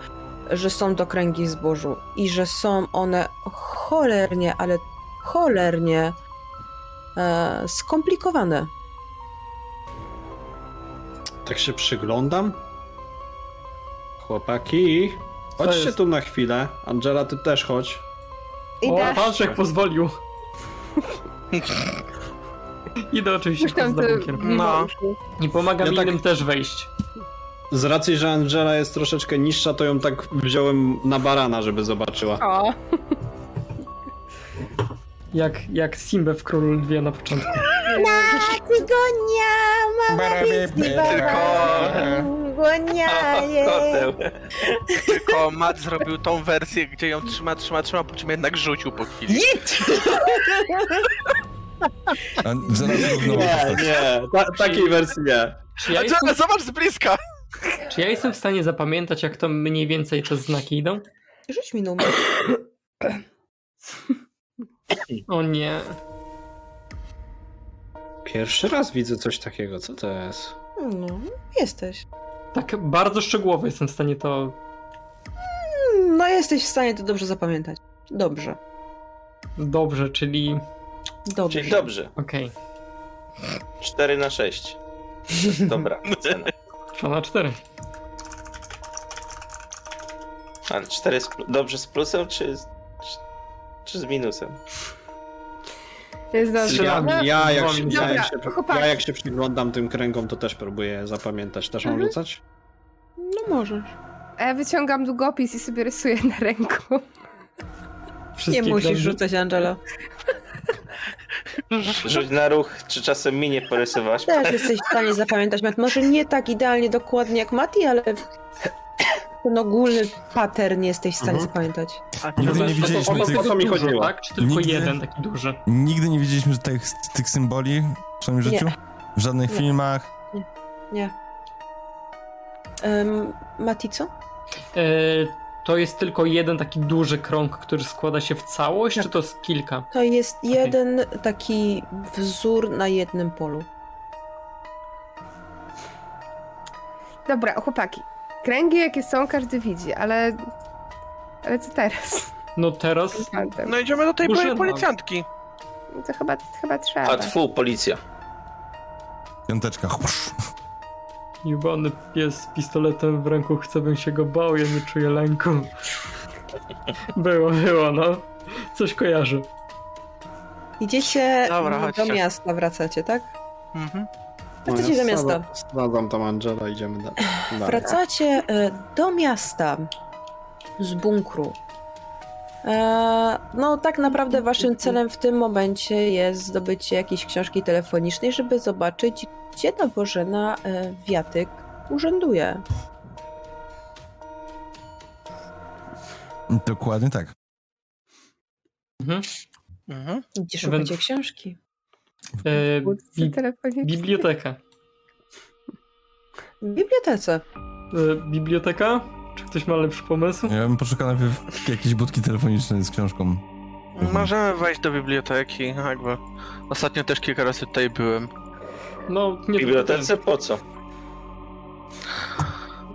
H: że są to kręgi zbożu i że są one cholernie, ale cholernie e, skomplikowane.
D: Tak się przyglądam. Chłopaki, chodźcie
G: jest?
D: tu na chwilę. Angela, ty też chodź.
G: O, Paszek pozwolił. Idę oczywiście
E: Myślałam,
G: z
E: że
G: bunkiem.
E: No.
G: I pomagam
D: Ja tak-
G: innym też wejść.
D: Z racji, że Angela jest troszeczkę niższa, to ją tak wziąłem na barana, żeby zobaczyła.
E: O.
G: Jak, jak Simbe w Królu Lwie na początku.
L: Na tygonia, mama
A: Disney
C: Eee.
L: Tygonia,
C: Koteł. Tylko Matt zrobił tą wersję, gdzie ją trzyma, trzyma, trzyma, po czym jednak rzucił po chwili.
A: A, zaraz
D: Nie, nie, ta, takiej wersji nie.
G: Czy ja, jestem,
C: Angela, no, zobacz z bliska!
G: czy ja jestem w stanie zapamiętać, jak to mniej więcej te znaki idą?
H: Rzuć mi numer.
G: O nie.
D: Pierwszy raz widzę coś takiego, co to jest?
B: No, jesteś.
G: Tak bardzo szczegółowo jestem w stanie to...
B: Mm, No, jesteś w stanie to dobrze zapamiętać. Dobrze.
G: Dobrze, czyli...
B: Dobrze.
F: Czyli dobrze.
G: Okej,
F: 4 na 6. Dobra, cena.
G: okay. na cztery.
F: Ale 4 z, plu- dobrze z plusem, czy z, czy, czy z minusem?
E: Jest dobrze. No,
D: Ja, ja, jak się, ja,
E: Dobra,
D: jak się,
E: chłopaki.
D: ja jak się przyglądam tym kręgom, to też próbuję zapamiętać. Też mam
E: Mhm.
D: rzucać?
B: No możesz.
E: A ja wyciągam długopis i sobie rysuję na ręku.
B: Nie
G: Wszystkie
B: musisz
G: kręgi?
B: rzucać, Angelo.
F: Rzuć na ruch, czy czasem mi nie porysowałaś?
B: Też jesteś w stanie zapamiętać Mat. Może nie tak idealnie dokładnie jak Mati, ale ten ogólny pattern jesteś w stanie
D: Mhm.
B: zapamiętać.
A: Nigdy nie
G: To- to-
A: widzieliśmy
G: to-
A: tych-
G: to- to mi
D: Dużo,
G: chodziło.
D: tak?
G: Tak? Czy tylko
A: Nigdy?
G: jeden taki duży?
A: Nigdy nie widzieliśmy tych, tych symboli w swoim życiu? W żadnych
B: Nie.
A: filmach?
B: Nie. Um, Mati, co?
G: E, to jest tylko jeden taki duży krąg, który składa się w całość, czy to jest kilka?
B: To jest jeden taki wzór na jednym polu.
E: Dobra, chłopaki. Kręgi jakie są, każdy widzi, ale... Ale co teraz?
G: No teraz
E: Z fantem?
C: No idziemy do tej
G: Już
C: byłej
G: jedno.
C: policjantki.
E: No to chyba, chyba trzeba.
F: A tfu, policja.
A: Piąteczka. Chłusz.
G: jubany pies z pistoletem w ręku, chcę bym się go bał, ja nie czuję lęku. Było, było, no. Coś kojarzy.
B: Idziecie
C: Dobra,
B: do
C: chodźcie.
B: miasta, wracacie, tak?
C: Mhm.
B: Wracacie do miasta.
D: Zdadzam tam Angela, idziemy dalej. dalej.
B: Wracacie e, do miasta z bunkru. E, No, tak naprawdę waszym celem w tym momencie jest zdobycie jakiejś książki telefonicznej, żeby zobaczyć, gdzie ta Bożena e, Wiatyk urzęduje.
A: Dokładnie tak.
G: Mhm.
C: Mhm.
B: Gdzie
G: Węd-
B: szukacie książki?
G: E,
E: Budce
G: bi-
E: telefoniczne.
G: biblioteka.
B: W bibliotece.
G: E, biblioteka? Czy ktoś ma lepszy pomysł?
A: Ja bym poszukał najpierw jakiejś budki telefonicznej z książką.
C: Możemy wejść do biblioteki, jakby. Ostatnio też kilka razy tutaj byłem.
G: No,
F: W
G: nie
F: bibliotece po co?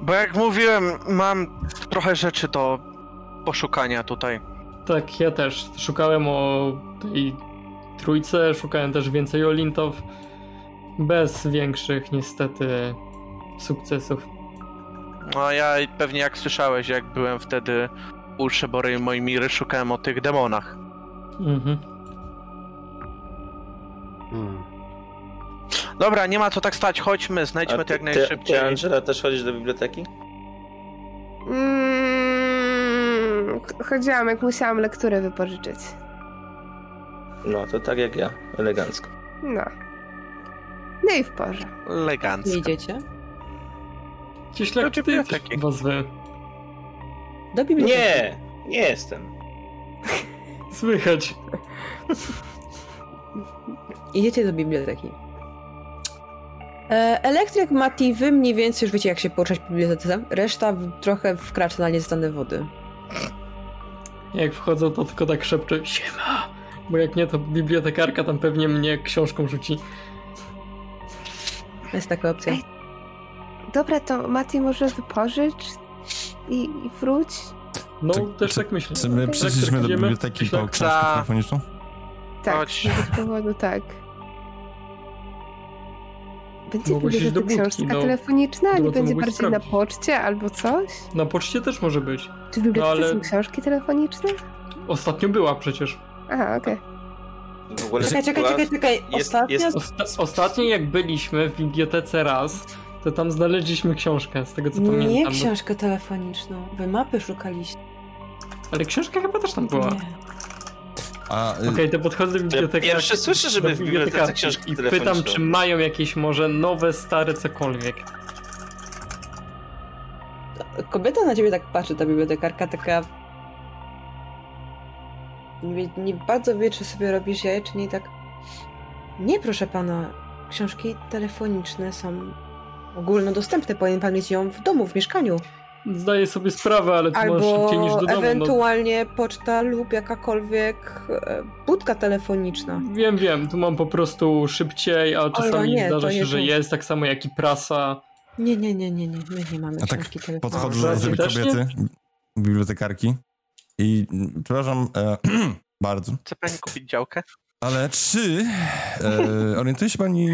C: Bo jak mówiłem, mam trochę rzeczy do poszukania tutaj.
G: Tak, ja też. Szukałem o tej trójce, szukałem też więcej o Lintow. Bez większych, niestety, sukcesów.
C: No ja pewnie jak słyszałeś, jak byłem wtedy u Szebory i Mojmiry, szukałem o tych demonach.
G: Mhm.
D: Hmm.
C: Dobra, nie ma co tak stać, chodźmy,
F: A
C: znajdźmy to
F: ty,
C: jak
F: ty,
C: najszybciej.
F: ty Angela też chodzisz do biblioteki?
E: Mm, ch- chodziłam, jak musiałam lekturę wypożyczyć.
F: No, to tak jak ja, elegancko.
E: No. No i w porze.
B: Gdzie
C: Elegancko.
B: idziecie?
G: Cieślak,
C: Znaczy,
G: czy ty
C: biblioteki.
G: was wy.
B: Do biblioteki.
F: Nie, nie jestem.
G: Słychać.
B: Idziecie do biblioteki. E, Elektryk Mati, wy mniej więcej już wiecie, jak się poruszać po bibliotece. Reszta w- trochę wkracza na niestane wody.
G: Jak wchodzę, to tylko tak szepczę, siema! Bo jak nie, to bibliotekarka tam pewnie mnie książką rzuci.
B: Jest taka opcja.
E: Ej. Dobra, to Mati może wypożycz i, i wróć.
G: No,
A: Czy-
G: też
A: czy-
G: tak myślę.
A: Czy my
G: Tak,
A: przyszliśmy
G: tak
A: do
G: idziemy.
A: biblioteki po
G: Tak.
A: książkę
C: Za-
A: telefoniczną?
E: Tak,
C: Chodź.
E: z powodu tak. Będzie w
G: Mogłeś iść do
E: bibliotece
G: budki,
E: książka
G: no.
E: telefoniczna, a
G: Było
E: nie
G: to
E: będzie
G: mogłeś
E: bardziej
G: sprawdzić.
E: na poczcie albo coś?
G: Na poczcie też może być.
E: Czy w bibliotece
G: No, ale-
E: są książki telefoniczne?
G: Ostatnio była przecież.
E: Aha, okej.
F: W ogóle
B: Czekaj, czekaj, czekaj, czekaj.
F: jest-
B: Ostatnia
F: jest-
G: Osta ostatnio jak byliśmy w bibliotece raz, to tam znaleźliśmy książkę, z tego co
B: Nie
G: pamiętam.
B: książkę telefoniczną. Wy mapy szukaliście.
G: Ale książka chyba też tam była.
B: Nie.
G: Okej,
A: A, y,
G: to podchodzę do biblioteki.
F: pierwszy słyszę, żeby
G: do
F: w bibliotece
G: bibliotekarki
F: książki
G: I pytam,
F: telefoniczne.
G: czy mają jakieś może nowe, stare, cokolwiek.
B: Kobieta na ciebie tak patrzy, ta bibliotekarka taka... Nie, wie- nie bardzo wie, czy sobie robisz jaje, czy nie tak... Nie, proszę pana. Książki telefoniczne są ogólnodostępne. Powinien pan mieć ją w domu, w mieszkaniu.
G: Zdaję sobie sprawę, ale to masz
B: Albo
G: No, szybciej niż no, do domu.
B: ewentualnie poczta lub jakakolwiek e, budka telefoniczna.
G: No, wiem, wiem, tu mam po prostu szybciej, a czasami
B: nie, to
G: zdarza się,
B: nie
G: że
B: tu.
G: jest, tak samo jak i prasa.
B: Nie, nie, nie, nie, nie, my nie mamy
A: A tak
B: książki telefonicznej.
A: Podchodzę do tej
G: Też nie?
A: kobiety, bibliotekarki i mm, przepraszam e, bardzo,
C: Chce pani kupić działkę?
A: ale czy e, orientuje się pani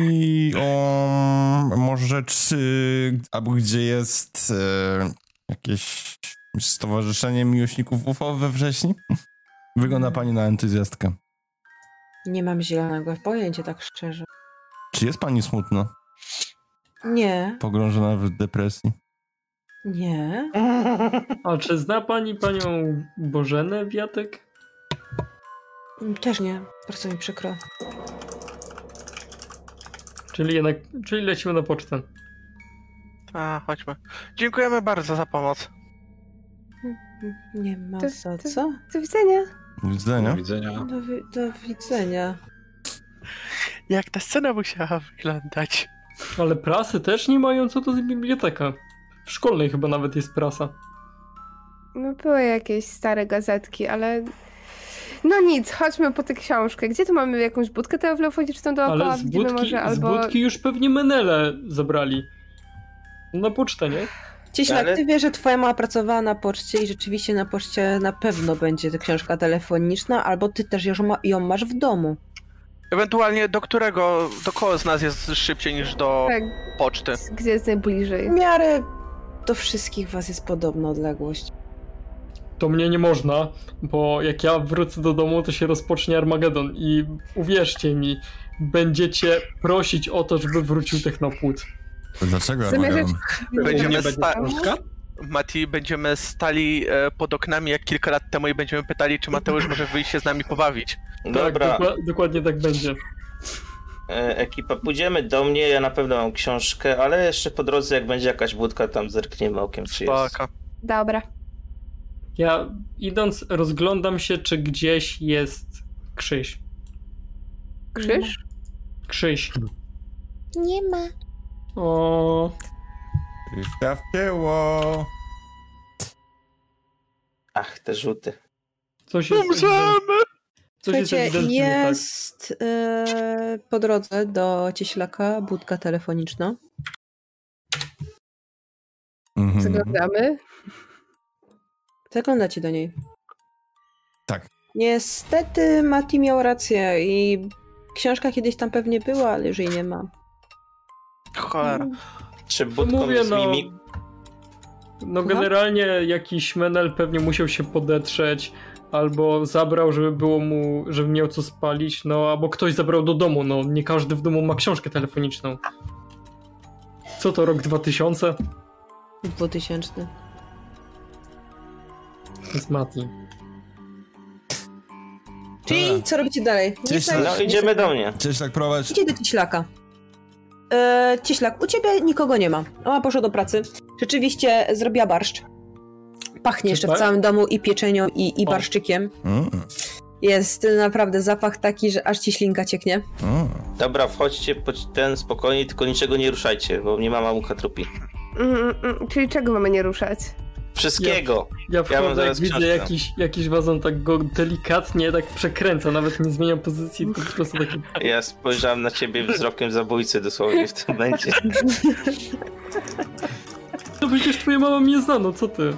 A: o może czy albo gdzie jest e, jakieś stowarzyszenie miłośników UFO we wrześni? Wygląda pani na entuzjastkę.
B: Nie mam zielonego pojęcia, tak szczerze.
A: Czy jest pani smutna,
B: Nie,
A: pogrążona w depresji?
B: nie.
G: A czy zna pani panią Bożenę Wiatek?
B: Też nie, bardzo mi przykro.
G: Czyli jednak, czyli lecimy na pocztę.
C: A, chodźmy. Dziękujemy bardzo za pomoc.
B: Nie ma
E: To-
B: za
E: to-
B: co.
E: Do widzenia.
A: Do widzenia.
D: Do widzenia.
B: Do, wi- do widzenia.
C: Jak ta scena musiała wyglądać?
G: Ale prasy też nie mają, co to za biblioteka? W szkolnej chyba nawet jest prasa.
E: No były jakieś stare gazetki, ale... No nic, chodźmy po tę książkę. Gdzie tu mamy jakąś budkę telefoniczną
B: No
E: dookoła?
G: Ale z
E: Widzimy
G: budki,
E: może
G: z
E: albo...
G: budki już pewnie menele zabrali. Na pocztę, nie?
B: Cieśla,
F: Ale-
B: ty wiesz, że twoja mama pracowała na poczcie i rzeczywiście na poczcie na pewno będzie ta książka telefoniczna, albo ty też już ma, ją masz w domu.
C: Ewentualnie do którego, do kogo z nas jest szybciej niż do
E: Tak,
C: poczty?
E: gdzie jest najbliżej.
B: W miarę do wszystkich was jest podobna odległość.
G: To mnie nie można, bo jak ja wrócę do domu, to się rozpocznie Armagedon i uwierzcie mi, będziecie prosić o to, żeby wrócił Technopłód.
A: Dlaczego?
E: Zamiast-
A: Armageddon?
C: Będziemy
D: będzie
C: sta-
D: książka?
C: Mati, będziemy stali e, pod oknami jak kilka lat temu i będziemy pytali, czy Mateusz może wyjść się z nami pobawić.
F: Dobra,
G: Tak, dokła- dokładnie tak będzie.
F: e, ekipa, pójdziemy do mnie, ja na pewno mam książkę, ale jeszcze po drodze, jak będzie jakaś budka, tam zerkniemy okiem, czy jest.
C: Spoko.
E: Dobra.
G: Ja idąc, rozglądam się, czy gdzieś jest Krzyś.
E: Krzyż?
G: Krzyś.
L: Nie ma.
G: O,
A: Krzysztof Kieło.
F: Ach, te rzuty.
G: coś jest. Umrzemy! Coś jest
B: Słuchajcie,
G: ewidentnie nie tak.
B: jest e, po drodze do Cieślaka budka telefoniczna.
A: Mhm.
E: Zaglądamy.
B: Zaglądacie do niej.
A: Tak.
B: Niestety Mati miał rację i książka kiedyś tam pewnie była, ale już jej nie ma.
C: Cholera.
F: Czy
G: To
F: budką
G: mówię,
F: jest
G: no.
F: mimik?
G: No generalnie jakiś menel pewnie musiał się podetrzeć, albo zabrał, żeby było mu, żeby miał co spalić, no albo ktoś zabrał do domu, no nie każdy w domu ma książkę telefoniczną. Co to, rok 2000?
B: 2000.
G: Z Mati.
B: Czyli co robicie dalej? Nie
A: Cieśla-
B: znajdziesz-
F: No, idziemy do mnie.
A: Cześć, tak prowadź.
B: Idzie do Cieślaka. E, cieślak, u ciebie nikogo nie ma. Mama poszła do pracy. Rzeczywiście zrobiła barszcz. Pachnie jeszcze w
G: Super.
B: całym domu i pieczenią, i, i
G: O.
B: barszczykiem.
A: Mm,
B: Jest naprawdę zapach taki, że aż ci ślinka cieknie.
A: mm.
F: Dobra, wchodźcie, po ten spokojnie, tylko niczego nie ruszajcie, bo mnie mama mucha trupi.
E: Mm, mm, mm, czyli czego mamy nie ruszać?
F: Wszystkiego!
G: Ja wchodzę,
F: mam
G: jak
F: zaraz
G: widzę
F: książkę.
G: jakiś, jakiś wazon, tak go delikatnie tak przekręca, nawet nie zmienia pozycji, to po prostu taki...
F: Ja spojrzałem na ciebie wzrokiem zabójcy dosłownie w tym momencie.
G: No przecież twoja mama mnie zna, no co ty?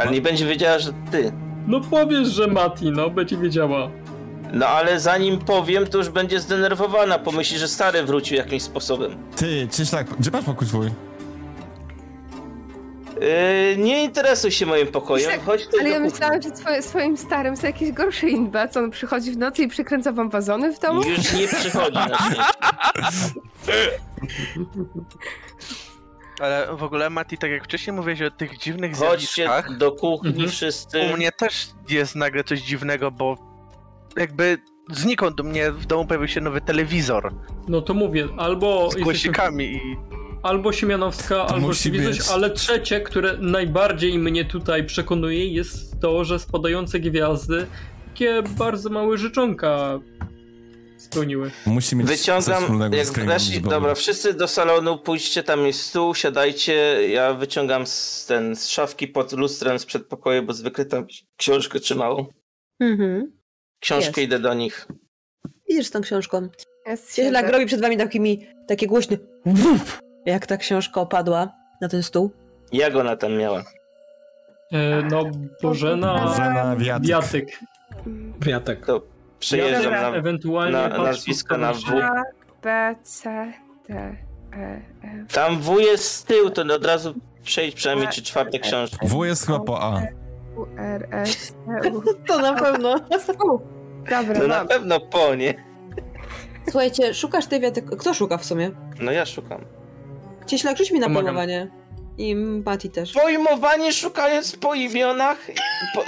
F: Ale nie będzie wiedziała, że ty.
G: No powiesz, że Mati, no, będzie wiedziała.
F: No ale zanim powiem, to już będzie zdenerwowana. Pomyśli, że stary wrócił jakimś sposobem.
A: Ty, Cieślak, gdzie masz pokój swój?
F: Yy, nie interesuj się moim pokojem,
E: Tak,
F: chodź tutaj
E: Ale
F: do
E: ja
F: kuchni.
E: myślałam, że twoje, swoim starym są jakieś gorsze inba, co on przychodzi w nocy i przekręca wam wazony w domu?
F: Już nie przychodzi na szczęście.
C: Ale w ogóle Mati, tak jak wcześniej mówiłeś o tych dziwnych
F: Chodźcie
C: zjawiskach,
F: do kuchni
G: Mhm.
F: wszyscy.
C: u mnie też jest nagle coś dziwnego, bo jakby znikąd u mnie w domu pojawił się nowy telewizor
G: No to mówię, albo...
C: z
G: jesteśmy w
C: głośnikami i
G: Albo Siemianowska,
A: To
G: albo
A: musi być.
G: Siwizość, ale trzecie, które najbardziej mnie tutaj przekonuje, jest to, że spadające gwiazdy, takie bardzo małe życzonka spełniły.
A: Musi mieć coś
F: Wyciągam,
A: wspólnego
F: jak
A: z kręgiem
F: weszli,
A: zbrojnym.
F: dobra, wszyscy do salonu, pójdźcie, tam jest stół, siadajcie, ja wyciągam z, ten, z szafki pod lustrem z przedpokoju, bo zwykle tam książkę trzymał.
H: Mhm.
F: Książkę
H: Jest.
F: idę do nich.
H: Idziesz z tą książką.
E: Jest
H: Się
E: siedzę.
H: nagrobi przed wami takimi, takie głośne wuf, jak ta książka opadła na ten stół.
F: Jak ona tam miała?
G: E, no, Bożena...
A: Bożena Wiatyk.
G: Wiatyk.
E: Mm,
D: Wiatek.
F: To przejeżdżam
G: Wiatyk,
F: na,
G: Ewentualnie
F: na
G: patrząc
F: nazwisko na W.
E: A, B, C, D, E, F.
F: Tam W jest z tyłu, to od razu przejdź przynajmniej czy czwarte książki.
A: W jest chyba po A.
E: U, R, S, T, U.
B: To na pewno.
E: U. Dobra, no.
F: To No na
E: mam.
F: pewno po nie.
H: Słuchajcie, szukasz tej wiaty... Kto szuka w sumie?
F: No ja szukam.
H: Cieślak, rzuć mi na
G: Pomagam.
H: pojmowanie. I Mati też.
F: Pojmowanie szukając po imionach? Po...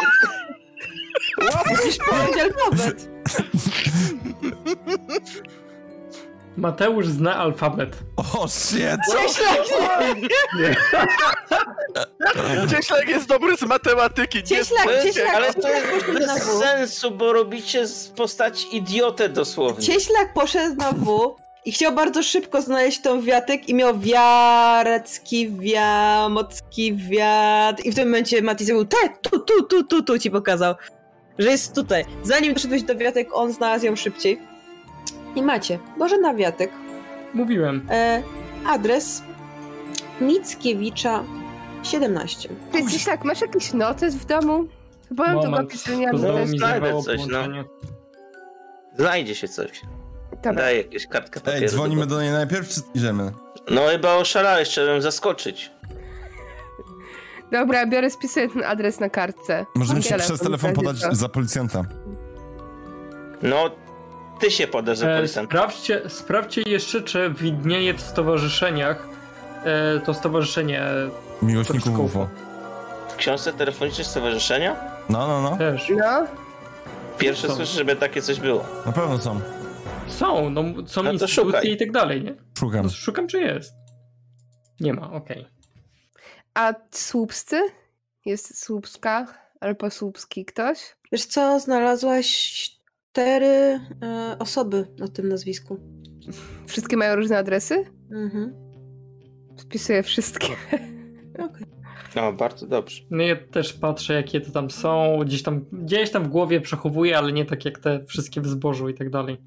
H: Musisz powiedzieć alfabet.
G: Mateusz zna alfabet.
A: O, shit!
C: Cieślak jest dobry z matematyki. nie
E: Tak,
H: Cieślak,
C: z
H: Cieślak,
C: tego.
F: Ale to jest
H: Poszedł na
F: bez
H: W.
F: sensu, bo robicie z postaci idiotę dosłownie.
H: Cieślak poszedł na W i chciał bardzo szybko znaleźć tą wiatek i miał wiarecki, wiamocki wiat. I w tym momencie Mati zrobił te, tu, tu, tu, tu, tu ci pokazał, że jest tutaj. Zanim doszedłeś do wiatek, on znalazł ją szybciej. I macie, Boże na wiatek,
G: Mówiłem.
H: e, adres Mickiewicza 17.
E: Ty gdzieś tak, masz jakiś notes w domu? Bo mam to
G: Moment.
E: kopię, że nie mam
G: Znowu
E: notes.
G: mi
F: znajdę
G: zerwało
F: coś, no.
G: połączenie.
F: Znajdzie się coś.
E: Dobra.
F: Daj jakieś kartkę papieru.
A: Ej, dzwonimy do niej najpierw, czy idziemy?
F: No chyba oszalałeś, trzeba ją zaskoczyć.
E: Dobra, biorę, spisuję ten adres na kartce.
A: Możemy się
E: Telefon,
A: przez telefon podać
E: telewizor.
A: za policjanta.
F: No, ty się podasz za
G: E,
F: policjant.
G: sprawdźcie, sprawdźcie jeszcze, czy widnieje w stowarzyszeniach e, to stowarzyszenie
A: Miłośników
G: Troszkę
A: UFO.
F: W książce telefonicznej stowarzyszenia?
A: No, no, no.
G: też.
E: No,
F: Pierwsze
G: Są.
F: słyszę, żeby takie coś było.
A: Na pewno są.
G: Są, no są
F: No to
G: instytucje
F: szukaj.
G: i tak dalej, nie?
A: Szukam.
G: No, szukam, czy jest. Nie ma, okej.
E: a słupscy? Jest słupska albo słupski ktoś?
H: Wiesz co, znalazłaś cztery e, osoby na tym nazwisku.
E: Wszystkie mają różne adresy?
H: Mhm.
E: Spisuję wszystkie.
H: Okej.
F: No, bardzo dobrze.
G: No ja też patrzę, jakie to tam są. Gdzieś tam, gdzieś tam w głowie przechowuję, ale nie tak jak te wszystkie w zbożu i tak dalej.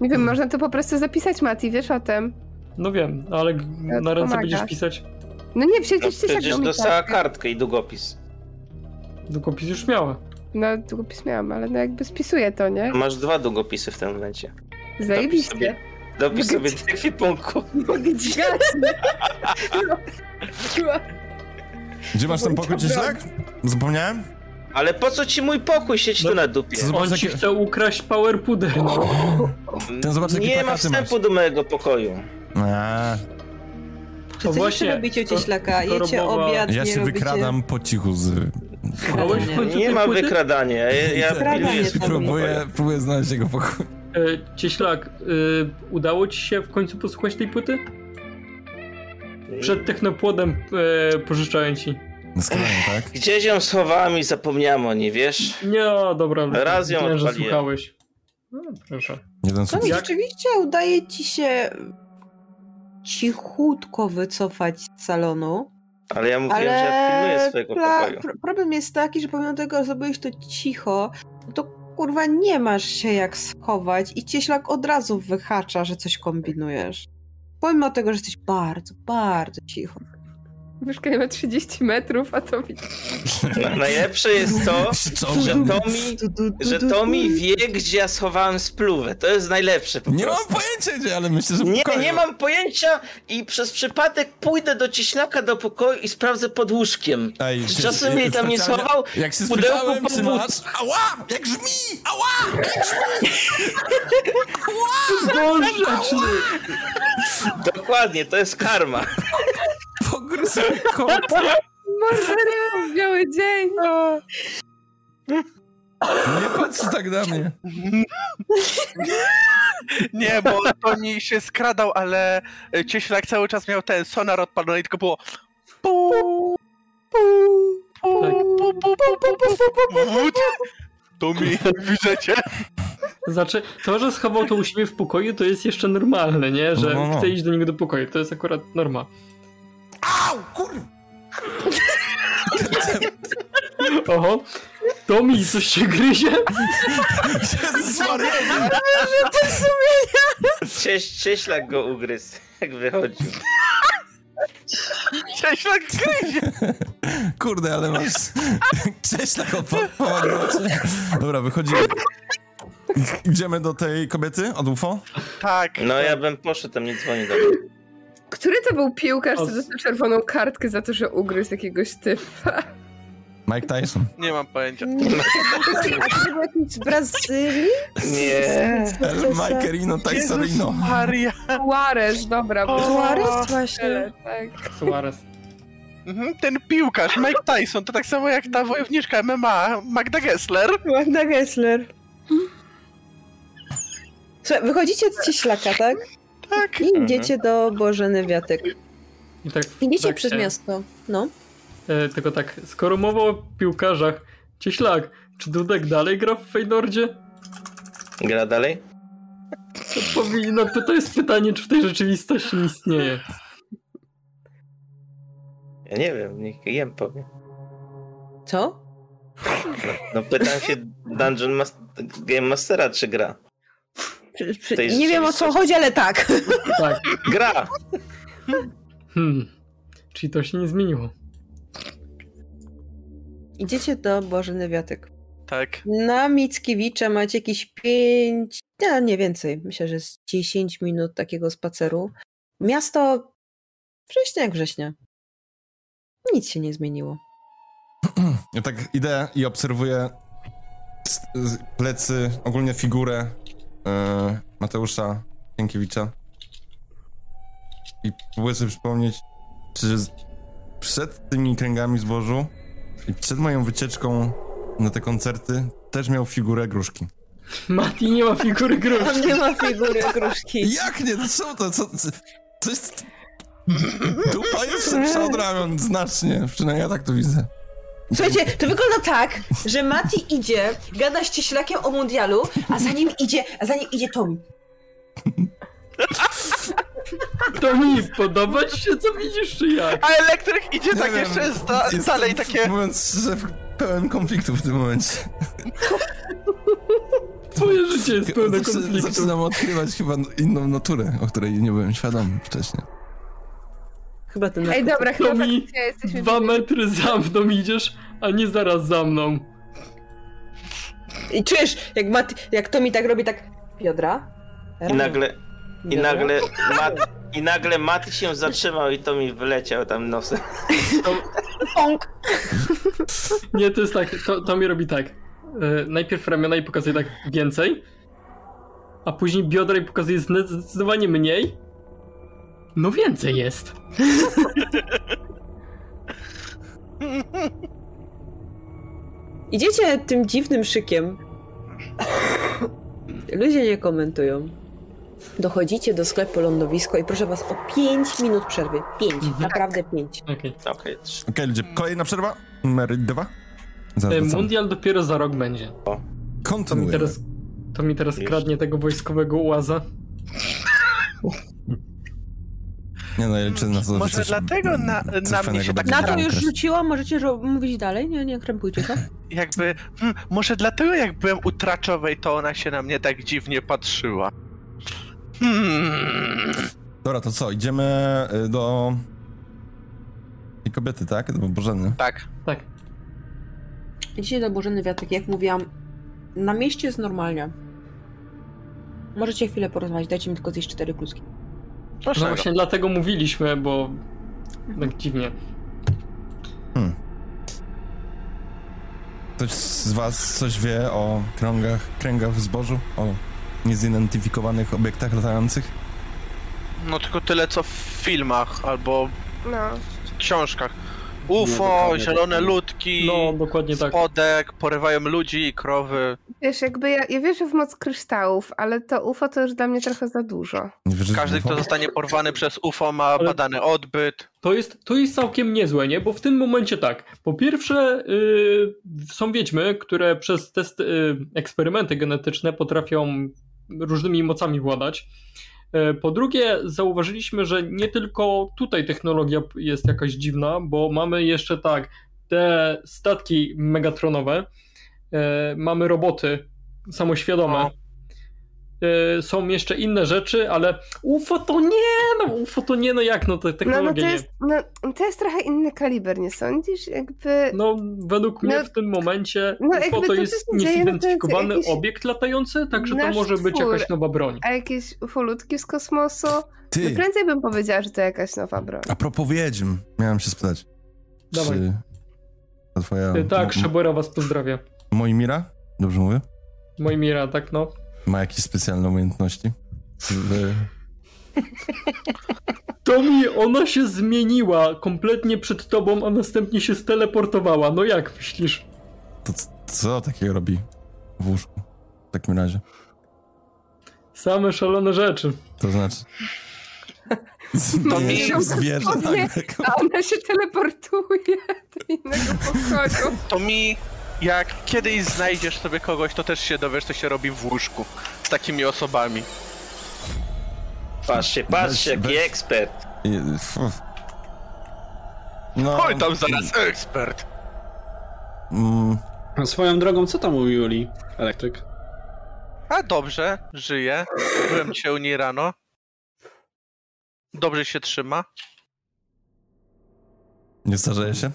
E: Nie wiem, można to po prostu zapisać, Mati, wiesz o tym?
G: No wiem, no ale g-
E: Ja
G: na ręce
E: pomagasz.
G: będziesz pisać.
E: No nie,
F: No,
E: wsiedliście się tak-
F: przecież dostała kartkę i długopis.
G: Długopis już miała.
E: No, długopis miałam, ale no jakby spisuję to, nie?
F: Masz dwa długopisy w tym momencie. Dopisz No, sobie,
E: Zajebiście.
F: dopisz sobie tych ekwipunku.
A: Gdzie masz ten pokój, Cieślak? Zapomniałem?
F: Ale po co ci mój pokój? Siedź
G: No.
F: tu na dupie.
A: Co- Zobacz,
G: On ci
A: jakie-
G: chce ukraść power puder. No.
A: Ten zobacz, jakie
F: Nie ma
A: plakaty masz.
F: wstępu do mojego pokoju.
A: Eee,
H: Czy coś
G: właśnie,
H: jeszcze robicie u
G: to-
H: cieślaka?
G: to
H: Jecie
G: robowa-
H: obiad,
A: ja
H: nie
A: się
H: robicie...
A: wykradam po cichu z...
H: Wykradanie.
G: Kogoś w końcu
F: Nie
G: tej
F: ma
G: płyty?
F: wykradania. Ja, ja
H: Wykradanie
F: pilnuję
H: jest
F: swojego
A: Próbuję,
F: pokoju.
A: próbuję znaleźć jego pokój.
G: E, Cieślak, e, udało ci się w końcu posłuchać tej płyty? Przed technopłodem e, pożyczałem ci.
A: Skrajnie, tak?
F: Gdzieś ją schowałem i zapomniałem o niej, wiesz?
G: Nie, dobra.
F: Raz ją
G: wiem, że
F: odpaliłem.
G: słuchałeś. No, proszę.
A: Jeden
H: No
A: sukces.
H: i
G: Jak-
H: rzeczywiście udaje ci się cichutko wycofać z salonu,
F: Ale ja mówiłem, że ja pilnuję
H: ale
F: swojego
H: pla-
F: pokoju.
H: pro- problem jest taki, że pomimo tego, że zrobiłeś to cicho, no to kurwa nie masz się jak schować i cieślak od razu wyhacza, że coś kombinujesz. Pomimo tego, że jesteś bardzo, bardzo cicho.
E: Mieszkanie ma 30 metrów, a to widzę.
F: No, najlepsze jest to, że Tomi,
H: Tu, tu, tu,
F: że
H: tu,
F: Tomi
H: tu.
F: wie, gdzie ja schowałem spluwę. To jest najlepsze po
A: Nie mam
F: prostu.
A: pojęcia, gdzie, ale myślę, że w
F: Nie,
A: pokoju.
F: nie mam pojęcia i przez przypadek pójdę do cieślaka do pokoju i sprawdzę pod łóżkiem.
A: Ej,
F: Czy
A: się-
F: czasem jej tam nie
A: specjalnie-
F: schował?
A: Jak się
F: W pudełku
A: spytałem, czy
F: powód.
A: masz... Ała! Jak brzmi! Ała!
G: Boże,
F: Dokładnie, to jest karma.
A: Pogryzłem kot!
E: Marzenę, biały dzień!
A: Nie patrz tak na mnie.
C: Nie, bo Toni się skradał, ale e, Cieślak cały czas miał ten sonar odpalony i tylko było pu, pu,
G: Tak.
C: pu, pu, pu, pu, pu, pu, pu, pu. Wód. Tomi, widzę cię.
G: Znaczy, to, że schował to u siebie w pokoju, to jest jeszcze normalne, nie? Że
A: No, no, no.
G: chce iść do niego do pokoju, to jest akurat norma. Au, kur... Oho, to mi coś się gryzie.
F: Wyrzuty sumienia! Cześć, cześlak go ugryzł, jak wychodził.
C: Cieślak gryzie!
A: Kurde, ale masz... Cześć tak pomogło ci. Dobra, wychodzimy. Idziemy do tej kobiety od UFO?
C: Tak.
F: No ja bym poszedł, tam nie dzwoni do mnie.
E: Który to był piłkarz, co dostał czerwoną kartkę za to, że ugryzł jakiegoś typa?
A: Mike Tyson.
C: Nie mam pojęcia.
H: A to był jakiś z Brazylii?
A: Nie.
F: E.
A: El
H: Sukcesa.
A: Makerino Tysorino.
C: No, Maria.
E: Suarez, dobra. bo-
H: Suarez właśnie.
E: Tak.
G: Suarez.
C: Mhm, Ten piłkarz, Mike Tyson, to tak samo jak ta wojowniczka MMA, Magda Gessler.
B: Magda Gessler. Słuchaj, wychodzicie z cieślaka, tak?
C: Tak.
B: I idziecie do Bożeny Wiatek.
G: I tak w
B: Idziecie
G: trakcie,
B: przez miasto, no.
G: E, tylko tak, skoro mowa o piłkarzach, cieślak, czy Dudek dalej gra w Feynordzie?
F: Gra dalej?
G: To powinno, no to, to jest pytanie, czy w tej rzeczywistości istnieje.
F: Ja nie wiem, niech jem powie.
B: Co?
F: No pytam się Dungeon Mas- Game Mastera, czy gra.
B: Przy-
F: tej
B: Nie wiem o co chodzi, ale tak.
G: Tak.
F: Gra!
G: Hmm. Czyli to się nie zmieniło.
B: Idziecie do Bożeny Wiatek.
C: Tak.
B: Na No, Mickiewicza macie jakieś 5, no nie więcej, myślę, że z 10 minut takiego spaceru. Miasto września jak września. Nic się nie zmieniło.
A: Ja tak idę i obserwuję z, z plecy, ogólnie figurę e, Mateusza Sienkiewicza. I próbuję sobie przypomnieć, czy z, przed tymi kręgami zbożu i przed moją wycieczką na te koncerty też miał figurę gruszki.
G: Mati nie ma figury
B: Tam
G: gruszki.
B: nie ma figury gruszki.
A: Jak nie? No co to? Co, co, to jest... Dupa jest szybsza od ramion, znacznie. Przynajmniej ja tak to widzę.
B: Słuchajcie, to wygląda tak, że Mati idzie, gada z cieślakiem o mundialu, a za nim idzie, a za nim idzie Tom.
G: To mi podoba ci się, co widzisz, czy jak?
C: A elektryk idzie
A: Nie
C: tak
A: wiem,
C: jeszcze zda-
A: jestem,
C: dalej takie...
A: Mówiąc szczerze, pełen konfliktów w tym momencie.
G: Twoje życie jest pełne
A: Zaczy-
G: konfliktu.
A: Zaczynam odkrywać chyba inną naturę, o której nie byłem świadom wcześniej.
B: Chyba ten
E: Ej, dobra, chyba
G: mi
E: faktycznie jesteśmy...
G: Dwa metry za mną idziesz, a nie zaraz za mną.
B: I czujesz, jak, Mati, jak Tomi tak robi, tak biodra.
F: I
B: ramię,
F: nagle, i
B: biodra.
F: nagle, Mat, i nagle Maty się zatrzymał i to mi wyleciał tam nosem.
B: Pąk.
G: Nie, to jest tak, to, to mi robi tak. E, najpierw ramiona i pokazuje tak więcej, a później biodra i pokazuje zde- zdecydowanie mniej. No więcej jest.
B: Idziecie tym dziwnym szykiem. Ludzie nie komentują. Dochodzicie do sklepu lądowisko i proszę was o 5 minut przerwy. 5, naprawdę 5.
G: Okej.
F: Okej,
A: Okej, ludzie, kolejna przerwa. Numer dwa.
G: E,
A: Zaraz wracam.
G: Mundial dopiero za rok będzie. To mi
A: Kontynuujemy.
G: teraz, to mi teraz
F: Wiesz.
G: kradnie tego wojskowego No łaza.
A: Nie no, ja liczę na to, że
C: Może
A: coś-
C: dlatego na-
A: coś
C: na mnie
A: fajnego
C: się tak
A: będzie
B: Na
A: miał
B: to już
A: okres.
B: rzuciłam, możecie żo- mówić dalej, nie, nie krępujcie się.
C: Jakby, hmm, może dlatego jak byłem u Traczowej, to ona się na mnie tak dziwnie patrzyła. Hmm.
A: Dobra, to co, idziemy y, do... I kobiety, tak? Do Bożeny.
C: Tak.
G: Tak.
B: Idziecie do Bożeny Wiatek, jak mówiłam, na mieście jest normalnie. Możecie chwilę porozmawiać, dajcie mi tylko zjeść cztery kluski.
C: Proszę.
G: No właśnie dlatego mówiliśmy, bo tak dziwnie.
A: Ktoś z was coś wie o krągach, kręgach w zbożu? O niezidentyfikowanych obiektach latających?
C: No tylko tyle co w filmach albo
E: No.
C: w książkach. UFO,
G: dokładnie
C: zielone
G: tak.
C: ludki,
G: No, dokładnie tak.
C: spodek, porywają ludzi i krowy.
E: Wiesz, jakby ja, ja wierzę w moc kryształów, ale to UFO to już dla mnie trochę za dużo.
C: Każdy,
A: Mhm.
C: kto zostanie porwany przez UFO ma badany odbyt.
G: To jest, to jest całkiem niezłe, nie? Bo w tym momencie tak. Po pierwsze, y, są wiedźmy, które przez test, y, eksperymenty genetyczne potrafią różnymi mocami władać. Y, Po drugie, zauważyliśmy, że nie tylko tutaj technologia p- jest jakaś dziwna, bo mamy jeszcze tak te statki megatronowe, y, mamy roboty
E: No.
G: samoświadome. Y, Są jeszcze inne rzeczy, ale UFO to nie, no UFO to nie, no jak, no te
E: No,
G: technologie
E: no to
G: nie.
E: jest, no, to jest trochę inny kaliber, nie sądzisz? Jakby...
G: No, według mnie
E: No-
G: w tym momencie
E: no, jakby
G: UFO
E: to, co
G: to jest
E: się dzieje, no to jest
G: niezidentyfikowany
E: jakiś
G: obiekt latający, także to
E: nasz
G: może być
E: twór.
G: jakaś nowa broń.
E: A jakieś ufolutki z kosmosu?
A: Ty.
E: No prędzej bym powiedziała, że to jakaś nowa broń.
A: A propos wiedźm, miałem się spytać.
G: Dawaj.
A: Czy ta twoja...
G: E,
A: mo-
G: Tak, Szebora was pozdrawia.
A: Moimira? Dobrze mówię?
G: Moimira, tak no.
A: Ma jakieś specjalne umiejętności? W...
G: To mi ona się zmieniła kompletnie przed tobą, a następnie się steleportowała. No jak myślisz?
A: To c- co takiego robi w łóżku? W takim razie.
G: Same szalone rzeczy.
A: To znaczy... Zmienia się w zwierzę. tak.
E: O nie, a ona się teleportuje do innego pokoju.
C: To mi, jak kiedyś znajdziesz sobie kogoś, to też się dowiesz, co się robi w łóżku z takimi osobami.
F: Patrzcie, patrzcie,
A: Bez-
F: jaki
A: bez-
F: ekspert.
A: Je- fu. No,
C: Oj, tam zaraz ekspert.
A: mm,
D: A Swoją drogą, co tam u Juli? Elektryk.
C: A dobrze, żyje. Byłem cię u niej rano. Dobrze się trzyma.
A: nie starzeje się?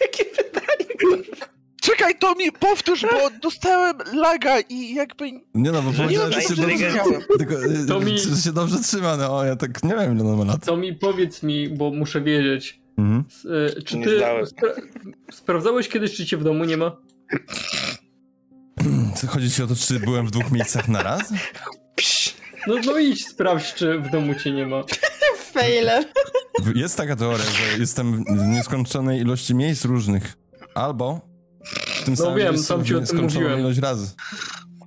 C: Jakie pytanie, kurwa. Czekaj, to mi powtórz, bo dostałem laga i jakby...
A: Nie no, bo
C: Że
A: powiedziałem,
C: nie
A: że się
C: ma
A: dobrze...
C: inteligencji.
A: Tylko, y,
G: To mi-
A: Że się dobrze trzyma, no o, ja tak nie wiem ile ona ma lat.
G: To mi powiedz mi, bo muszę wiedzieć.
A: Mhm.
G: S- e, Czy
F: Nie
G: ty
F: zdałem.
G: spra- sprawdzałeś kiedyś, czy cię w domu nie ma?
A: Co, Chodzi ci o to, czy byłem w dwóch miejscach na raz?
G: No, no idź sprawdź, czy w domu cię nie ma.
B: Fejle.
A: W- Jest taka teoria, że jestem w nieskończonej ilości miejsc różnych. Albo w tym
G: No
A: samym
G: wiem,
A: miejscu
G: sam
A: w
G: ci o tym
A: nieskończoną
G: mówiłem.
A: ilość razy.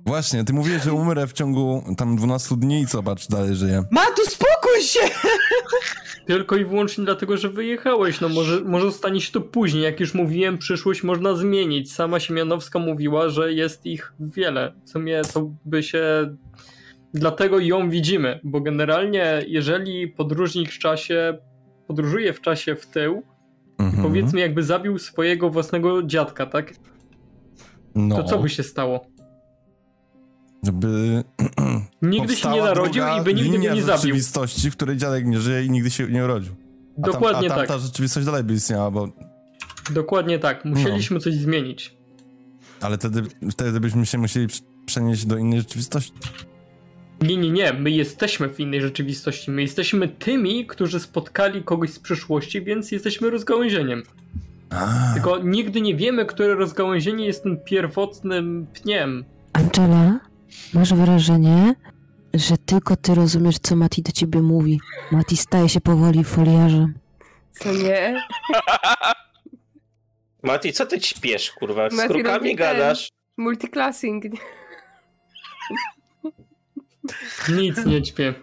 A: Właśnie, ty mówiłeś, że umrę w ciągu tam 12 dni i zobacz, dalej żyję.
B: Matu, spokój się!
G: Tylko i wyłącznie dlatego, że wyjechałeś. No może, może stanie się to później. Jak już mówiłem, przyszłość można zmienić. Sama Siemianowska mówiła, że jest ich wiele. W sumie to by się... Dlatego ją widzimy, bo generalnie jeżeli podróżnik w czasie podróżuje w czasie w tył,
A: Mhm.
G: powiedzmy jakby zabił swojego własnego dziadka, tak?
A: no.
G: To co by się stało?
A: By...
G: Nigdy się nie
A: powstała
G: narodził
A: druga
G: i by nigdy
A: linia
G: go nie zabił.
A: rzeczywistości, w której dziadek nie żyje i nigdy się nie urodził. A
G: Dokładnie
A: tam, a tam
G: tak.
A: ta rzeczywistość dalej by istniała, bo...
G: Dokładnie
A: No.
G: tak. Musieliśmy coś zmienić.
A: Ale wtedy, wtedy byśmy się musieli prz- przenieść do innej rzeczywistości.
G: Nie, nie, nie. My jesteśmy w innej rzeczywistości. My jesteśmy tymi, którzy spotkali kogoś z przyszłości, więc jesteśmy rozgałęzieniem.
A: A,
G: Tylko nigdy nie wiemy, które rozgałęzienie jest tym pierwotnym pniem.
H: Angela, masz wrażenie, że tylko ty rozumiesz, co Mati do ciebie mówi. Mati staje się powoli foliarzem.
E: Co nie?
F: Mati, co ty ćpiesz, kurwa? Z
E: Mati robi
F: krukami
E: ten.
F: gadasz.
E: Multiclassing. nie?
G: Nic nie ćpie.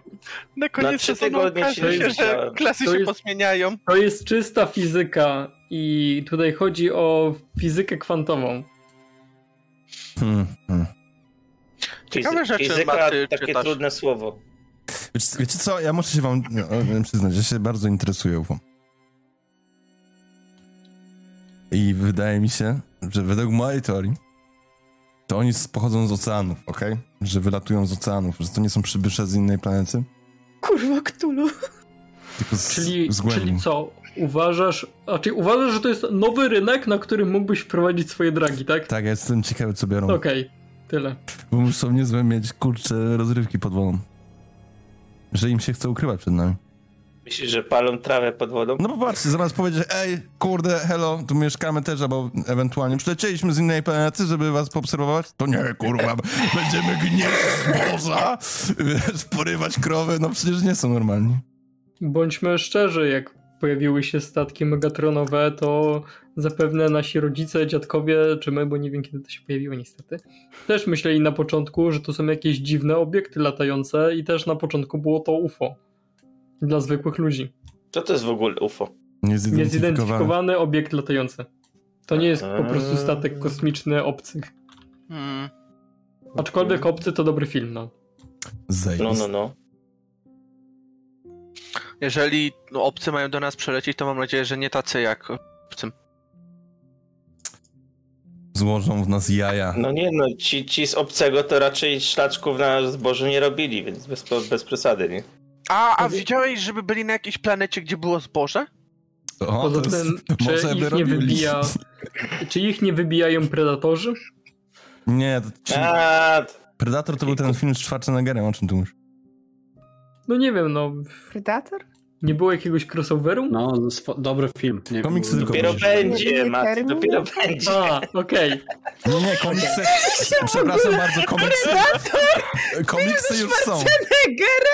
C: Na koniec
F: trzy
C: sezonu
F: tygodnie
C: okaże
F: się nie
G: to
C: się,
G: jest-
C: że
F: widziałem.
C: klasy
G: to
C: się
G: jest-
C: pozmieniają.
G: To jest czysta fizyka i tutaj chodzi o fizykę kwantową.
A: hmm, hmm.
C: Ciekawe
F: Fizy-
C: rzeczy,
F: Fizyka,
C: Maty,
F: takie
C: czytasz.
F: trudne słowo.
A: Wiecie, wiecie co, ja muszę się wam no, e, przyznać, że się bardzo interesuję UFO. I wydaje mi się, że według mojej teorii, to oni z- pochodzą z oceanów, okej? Że wylatują z oceanów, że to nie są przybysze z innej planety,
B: Kurwa, Ktulu.
A: tylko z,
G: Czyli,
A: z głębi.
G: czyli co? Uważasz, a czyli uważasz, że to jest nowy rynek, na którym mógłbyś wprowadzić swoje dragi, tak?
A: Tak, ja jestem ciekawy, co biorą,
G: Okej, tyle.
A: bo muszą niezłe mieć, kurcze, rozrywki pod wodą. Że im się chce ukrywać przed nami.
F: Myślisz, że palą trawę pod wodą?
A: No popatrzcie, zamiast powiedzieć, ej, kurde, hello, tu mieszkamy też, albo ewentualnie przylecieliśmy z innej planety, żeby was poobserwować, to nie, kurwa, będziemy gnieść z morza, wiesz, porywać krowy, no przecież nie są normalni.
G: Bądźmy szczerzy, jak pojawiły się statki megatronowe, to zapewne nasi rodzice, dziadkowie, czy my, bo nie wiem kiedy to się pojawiło niestety, też myśleli na początku, że to są jakieś dziwne obiekty latające i też na początku było to UFO. Dla zwykłych ludzi.
F: Co to jest w ogóle UFO?
G: Niezidentyfikowany obiekt latający. To nie jest po prostu
F: Eee.
G: statek kosmiczny obcych.
C: Hmm.
G: Aczkolwiek obcy to dobry film, no.
A: Zajebisty.
F: No, no, no.
C: Jeżeli no, obcy mają do nas przelecieć, to mam nadzieję, że nie tacy jak obcym.
A: Złożą w nas jaja.
F: No nie no, ci, ci z obcego to raczej szlaczków na zbożu nie robili, więc bez, bez przesady, nie?
C: A, a widziałeś, żeby byli na jakiejś planecie, gdzie było zboże?
A: O,
G: No, Poza
A: to jest-
G: tym,
A: może
G: czy
A: by
G: ich nie
A: robili.
G: wybija... Czy ich nie wybijają predatorzy?
A: Nie, to, ci...
F: A,
A: Predator to był ten film z Schwarzeneggerem, o czym tu mówisz?
G: No nie wiem, no.
E: Predator?
G: Nie było jakiegoś crossoveru?
D: No, swo- dobry film. Nie,
A: Komiks
D: nie-
A: tylko
F: Dopiero
A: Dobrze.
F: będzie, Maty,
E: Termin?
F: dopiero będzie.
G: A, okej.
A: Nie, nie, komiksy... Przepraszam bardzo, komiksy... Komiksy już są.
E: Terminator!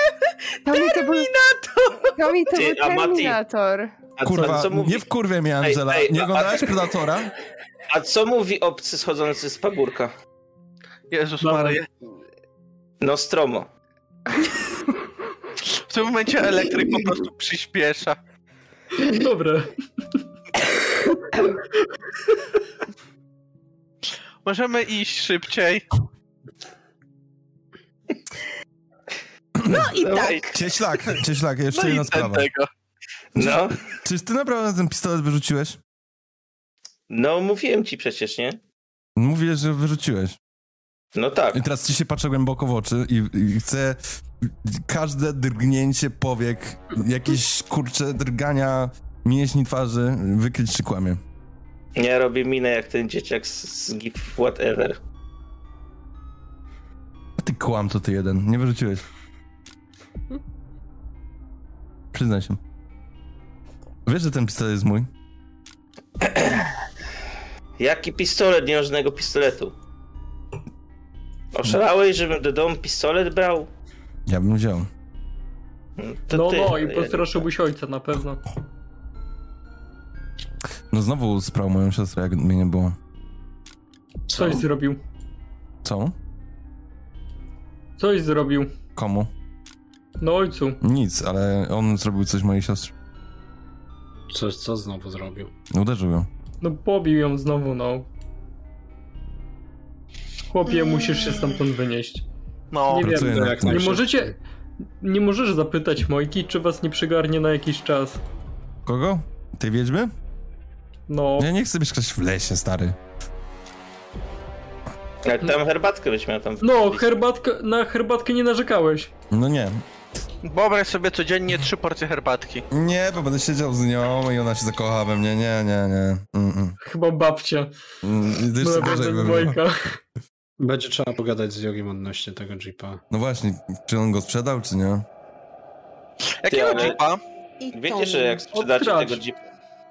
E: To mi to
F: Ty,
E: był
F: a Mati-
E: Terminator.
F: A
A: Kurwa,
F: co, co mówi,
A: nie wkurwia mnie
F: Ej,
A: Angela.
F: ej, no,
A: Nie
F: a-
A: oglądałeś Predatora?
F: a co mówi obcy schodzący z pagórka? No,
C: Jezus
G: Dobra.
C: Maria.
F: Nostromo.
C: W tym momencie elektryk po prostu przyspiesza.
G: Dobra.
C: Możemy iść szybciej.
E: No i tak.
F: Ej,
A: Cieślak, cieślak, jeszcze
C: No
A: jedna
C: i ten
A: sprawa.
F: tak.
C: tego.
F: No,
A: Czyż ty naprawdę ten pistolet wyrzuciłeś?
F: no mówiłem ci przecież, nie?
A: Mówię, że wyrzuciłeś.
F: No tak.
A: I teraz ci się patrzę głęboko w oczy i, i chcę każde drgnięcie powiek, jakieś kurcze drgania mięśni twarzy wykryć, czy kłamie.
F: Ja robię minę jak ten dzieciak z, z GIF whatever.
A: A ty kłam, to ty jeden. Nie wyrzuciłeś. Przyznaj się. Wiesz, że ten pistolet jest mój?
F: Jaki pistolet? Nie ma żadnego pistoletu. Oszalałeś, żebym do domu pistolet brał?
A: Ja bym wziął.
F: To
G: no,
F: ty,
G: no,
F: ale
G: i
F: ja-
G: postraszyłbyś ojca na pewno.
A: No znowu sprał moją siostrę, jak mnie nie było.
G: Coś zrobił.
A: Co?
G: Coś zrobił.
A: Komu?
G: No ojcu.
A: Nic, ale on zrobił coś mojej siostrze.
D: Co, co znowu zrobił?
A: Uderzył ją.
G: No pobił ją znowu, no. Chłopie, musisz się stamtąd wynieść.
C: No,
G: Nie
A: Pracuję
G: wiem,
A: nad
D: jak
A: tym.
G: nie
D: najszybciej.
G: możecie... Nie możesz zapytać Mojki, czy was nie przygarnie na jakiś czas.
A: Kogo? Tej wiedźmy?
G: No,
A: Ja nie chcę mieszkać w lesie, stary.
F: Jak tam herbatkę byś miał tam.
G: no
F: wpilić.
G: herbatkę, na herbatkę nie narzekałeś.
A: No nie.
C: wyobraź sobie codziennie trzy porcje herbatki.
A: Nie, bo będę siedział z nią i ona się zakocha we mnie. Nie, nie, nie. Mm-mm.
G: Chyba babcia. No,
A: Mm, to jeszcze
G: Była
A: gorzej by
G: bardzo
A: było.
G: Mojka.
D: Będzie trzeba pogadać z Jogiem odnośnie tego jeepa.
A: No właśnie, czy on go sprzedał, czy nie?
C: Jakiego
F: ale-
C: jeepa?
H: I
F: Wiecie, że jak sprzedacie
G: Odtracz.
F: tego jeepa...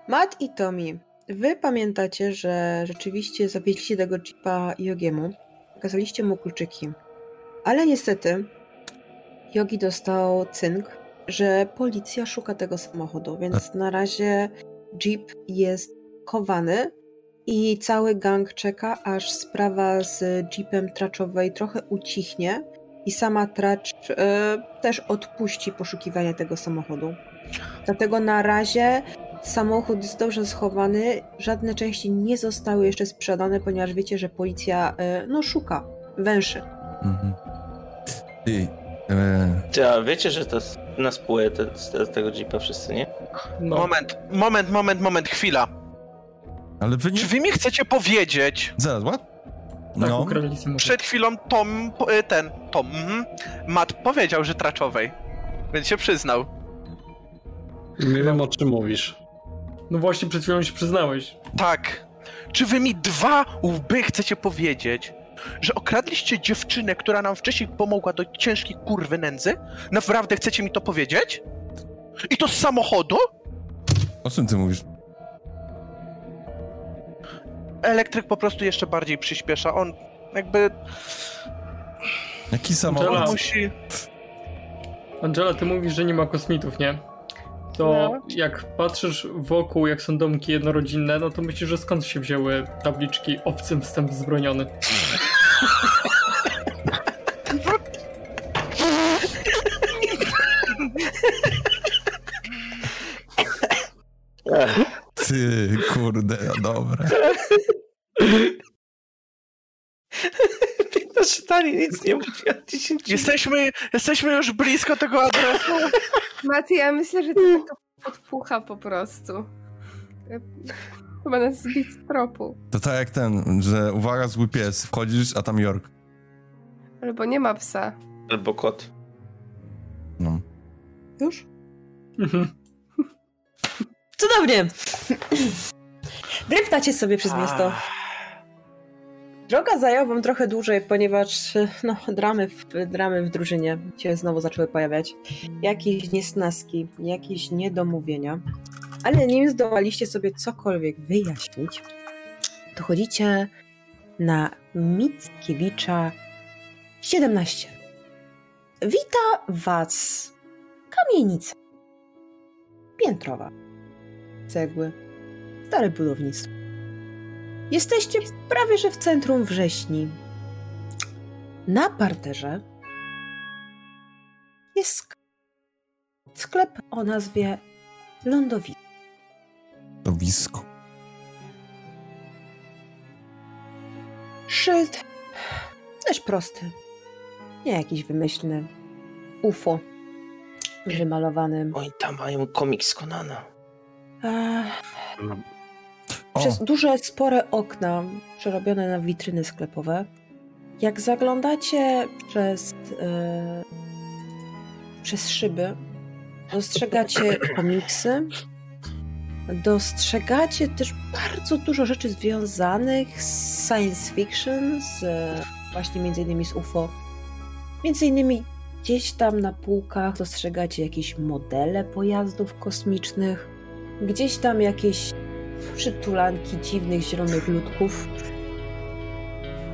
H: Matt i Tommy, wy pamiętacie, że rzeczywiście zawieźliście tego jeepa Jogiemu, pokazaliście mu kluczyki, ale niestety Jogi dostał cynk, że policja szuka tego samochodu, więc na razie jeep jest chowany i cały gang czeka, aż sprawa z jeepem traczowej trochę ucichnie i sama tracz e, też odpuści poszukiwania tego samochodu. Dlatego na razie Samochód jest dobrze schowany, żadne części nie zostały jeszcze sprzedane, ponieważ wiecie, że policja e, no szuka, węszy.
A: Mhm. Ty, e,
F: Ty, a wiecie, że to s- na spółę te, z te, z tego jeepa wszyscy, nie?
G: No.
C: Moment, moment, moment, moment, chwila.
A: ale wy nie...
C: Czy wy mi chcecie powiedzieć?
A: Zaraz, what?
G: Tak,
A: No,
G: ukradli samochód.
C: Przed chwilą Tom, po- y, ten, Tom, mhm, Matt powiedział, że traczowej. Więc się przyznał.
D: Nie wiem o czym mówisz.
G: No właśnie, przed chwilą się przyznałeś.
C: Tak. Czy wy mi dwa łby chcecie powiedzieć, że okradliście dziewczynę, która nam wcześniej pomogła do ciężkiej kurwy nędzy? Naprawdę chcecie mi to powiedzieć? I to z samochodu?
A: o czym ty mówisz?
C: Elektryk po prostu jeszcze bardziej przyspiesza. On jakby.
A: Jaki
C: On
A: samochód?
G: Angela.
A: Tak.
C: musi.
G: Angela, ty mówisz, że nie ma kosmitów, nie? to
F: No.
G: jak patrzysz wokół, jak są domki jednorodzinne, no to myślisz, że skąd się wzięły tabliczki obcym wstęp wzbroniony.
A: Ty, kurde, no dobra.
F: Na czytanie No nic nie mówię. 10
C: Jesteśmy, jesteśmy już blisko tego adresu.
E: Maty, ja myślę, że to tak to podpucha po prostu. Chyba nas zbić z tropu.
A: To tak jak ten, że uwaga, zły pies, wchodzisz, a tam Jork.
E: Albo nie ma psa.
F: Albo kot.
A: No.
B: Już? Cudownie! Dreptacie sobie przez miasto. Droga zajęła wam trochę dłużej, ponieważ no, dramy, w, dramy w drużynie się znowu zaczęły pojawiać. Jakieś niesnaski, jakieś niedomówienia. Ale nim zdołaliście sobie cokolwiek wyjaśnić, dochodzicie na Mickiewicza 17. Wita was kamienica piętrowa cegły, stare budownictwo. Jesteście prawie że w centrum wrześni. Na parterze jest sklep. Sklep o nazwie Lądowisko.
A: To wisko.
B: Szyld też prosty. Nie jakiś wymyślny. UFO wymalowany.
F: Oni tam mają komiks Konana.
B: Eee,
F: No.
B: Przez duże, spore okna przerobione na witryny sklepowe. Jak zaglądacie przez, e, przez szyby, dostrzegacie komiksy. Dostrzegacie też bardzo dużo rzeczy związanych z science fiction, z, e, właśnie między innymi z UFO. Między innymi gdzieś tam na półkach dostrzegacie jakieś modele pojazdów kosmicznych, gdzieś tam jakieś przytulanki dziwnych zielonych ludków.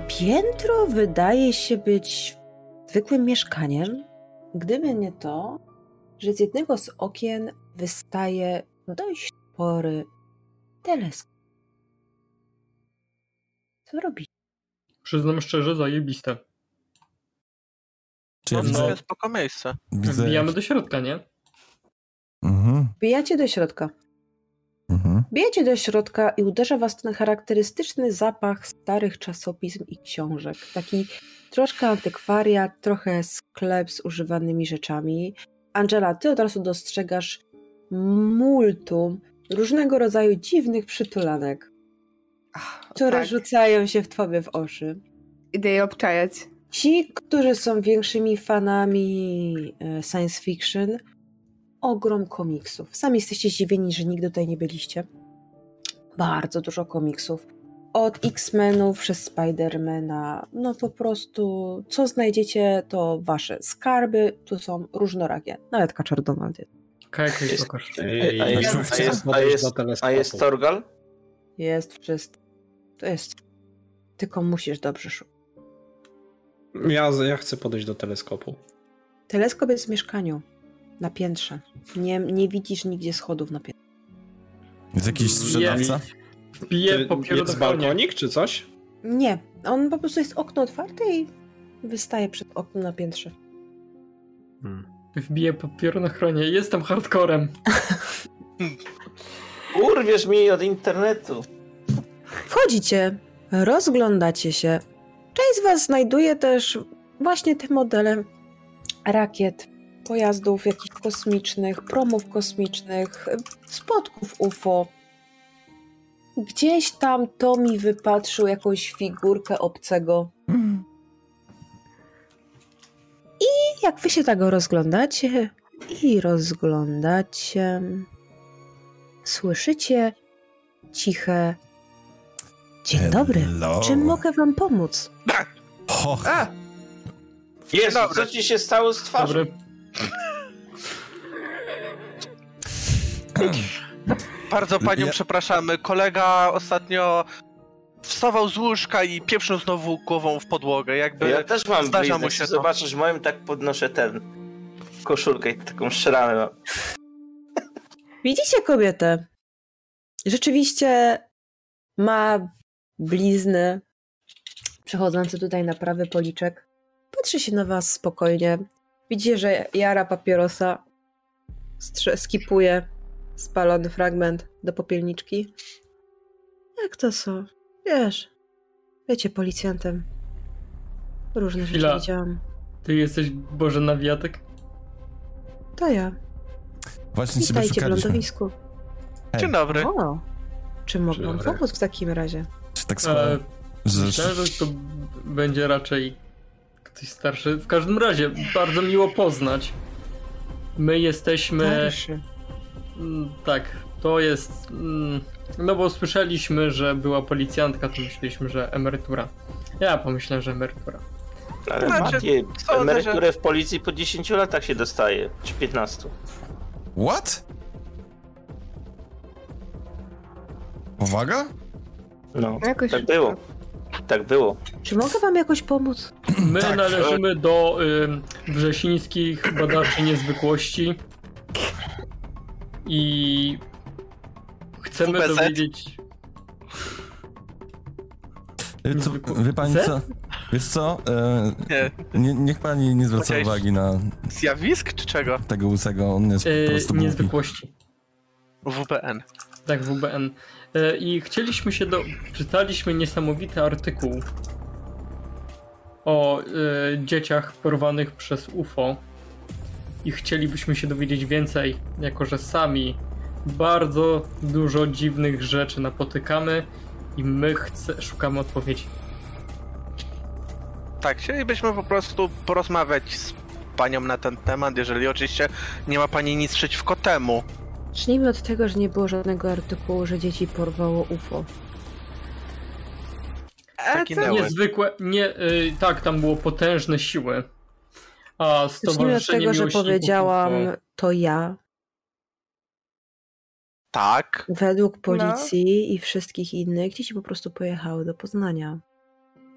B: Piętro wydaje się być zwykłym mieszkaniem, gdyby nie to, że z jednego z okien wystaje dość spory teleskop. Co robicie?
G: Przyznam szczerze, zajebiste.
A: Czy ja
C: No, to
A: widzę?
C: jest spoko miejsce.
A: Widzę-
G: Wbijamy do środka, nie?
A: Mhm,
B: Wbijacie do środka.
A: mhm.
B: Wbijacie do środka i uderza was ten charakterystyczny zapach starych czasopism i książek. Taki troszkę antykwariat, trochę sklep z używanymi rzeczami. Angela, ty od razu dostrzegasz multum różnego rodzaju dziwnych przytulanek, które
E: tak.
B: rzucają się w tobie w oczy.
E: Idę je obczajać.
B: Ci, którzy są większymi fanami e, science fiction, ogrom komiksów. Sami jesteście zdziwieni, że nigdy tutaj nie byliście. Bardzo dużo komiksów. Od X-Menów przez Spidermana, no po prostu co znajdziecie, to wasze skarby, tu są różnorakie, nawet kaczor Donald jest.
G: Kajka i
F: Jest-
G: pokaż.
D: Ej,
F: A jest, a jest, a jest, a jest Torgal?
B: Jest wszystko. To jest. Tylko musisz dobrze szukać.
D: Ja, ja chcę podejść do teleskopu.
B: Teleskop jest w mieszkaniu, na piętrze. Nie, nie widzisz nigdzie schodów na piętrze.
A: Jest jakiś sprzedawca?
G: Wbiję
D: Ty-
G: popierodochronie.
D: Jest balkonik czy coś?
B: Nie, on po prostu jest okno otwarte i wystaje przed okno na piętrze.
G: Wbiję papier na chronie. Jestem hardcorem.
F: Urwiesz mi od internetu.
B: Wchodzicie, rozglądacie się. Część z Was znajduje też właśnie te modele rakiet, pojazdów jakichś kosmicznych, promów kosmicznych, spotków UFO. Gdzieś tam Tomi wypatrzył jakąś figurkę obcego. I jak wy się tego rozglądacie i rozglądacie, słyszycie ciche Dzień dobry.
A: Hello.
B: Czym mogę wam pomóc?
A: Ho,
F: A! Jezu, co ci się stało z twarzą?
G: Dobry.
C: Bardzo panią
A: Ja-
C: przepraszamy. Kolega ostatnio wstawał z łóżka i pieprzył znowu głową w podłogę. Jakby
F: Ja też mam
C: zdarza mu
F: blizny.
C: się
F: Się
C: to.
F: zobaczysz, moim tak podnoszę ten koszulkę i taką szramę mam.
B: Widzicie kobietę? Rzeczywiście ma blizny. Przechodzący tutaj na prawy policzek. Patrzy się na was spokojnie. Widzicie, że jara papierosa. Strze- skipuje spalony fragment do popielniczki. Jak to są? Wiesz, wiecie, policjantem. Różne
G: Chwila.
B: rzeczy widziałam.
G: Ty jesteś Boże Nawiatek?
B: To ja.
A: Właśnie ciebie
B: Witajcie w
A: szukaliśmy.
B: lądowisku.
A: Hej.
C: Dzień dobry.
B: O, czy mogę wam
A: dobry.
B: pomóc w takim razie?
A: Czy tak składa,
G: E,
A: że...
G: Myślałem, że to będzie raczej ktoś starszy. W każdym razie, bardzo miło poznać. My
F: Tak,
G: jesteśmy.
B: Starszy.
G: Mm, Tak, to jest. mm, No bo słyszeliśmy, że była policjantka, to myśleliśmy, że emerytura. Ja pomyślałem, że emerytura.
F: Ale
C: Znaczy,
F: Maciej,
C: że-
F: emeryturę w policji po 10 latach się dostaje, czy 15.
A: What? Powaga?
F: No,
E: Jakoś
F: tak było. Tak było.
B: Czy mogę wam jakoś pomóc?
G: My
A: Tak,
G: należymy do y, Wrzesińskich Badaczy Niezwykłości i chcemy
C: WBZ?
G: dowiedzieć...
A: Y, Co,
G: Niezwykłe.
A: wie pani
G: Ze?
A: co? Wiesz co? E,
C: Nie.
A: nie, niech pani nie zwraca
C: Powiedziałeś-
A: uwagi na
C: Zjawisk czy czego?
A: tego łysego, on jest po
G: Y,
A: prostu głupi.
G: niezwykłości.
C: WPN.
G: Tak, WBN. Y, I chcieliśmy się do... Czytaliśmy niesamowity artykuł o y, dzieciach porwanych przez UFO i chcielibyśmy się dowiedzieć więcej, jako że sami bardzo dużo dziwnych rzeczy napotykamy i my chce, szukamy odpowiedzi.
C: Tak, chcielibyśmy po prostu porozmawiać z panią na ten temat, jeżeli oczywiście nie ma pani nic przeciwko temu.
B: Zacznijmy od tego, że nie było żadnego artykułu, że dzieci porwało UFO.
E: A
C: Taki
E: co?
C: Miałem.
G: Niezwykłe, nie, y, tak, tam było potężne siły. A
B: Zacznijmy od
G: stowarzyszenie
B: tego, że
G: miłośników
B: powiedziałam
G: UFO.
B: to ja,
C: Tak.
B: według policji i wszystkich innych, dzieci po prostu pojechały do Poznania.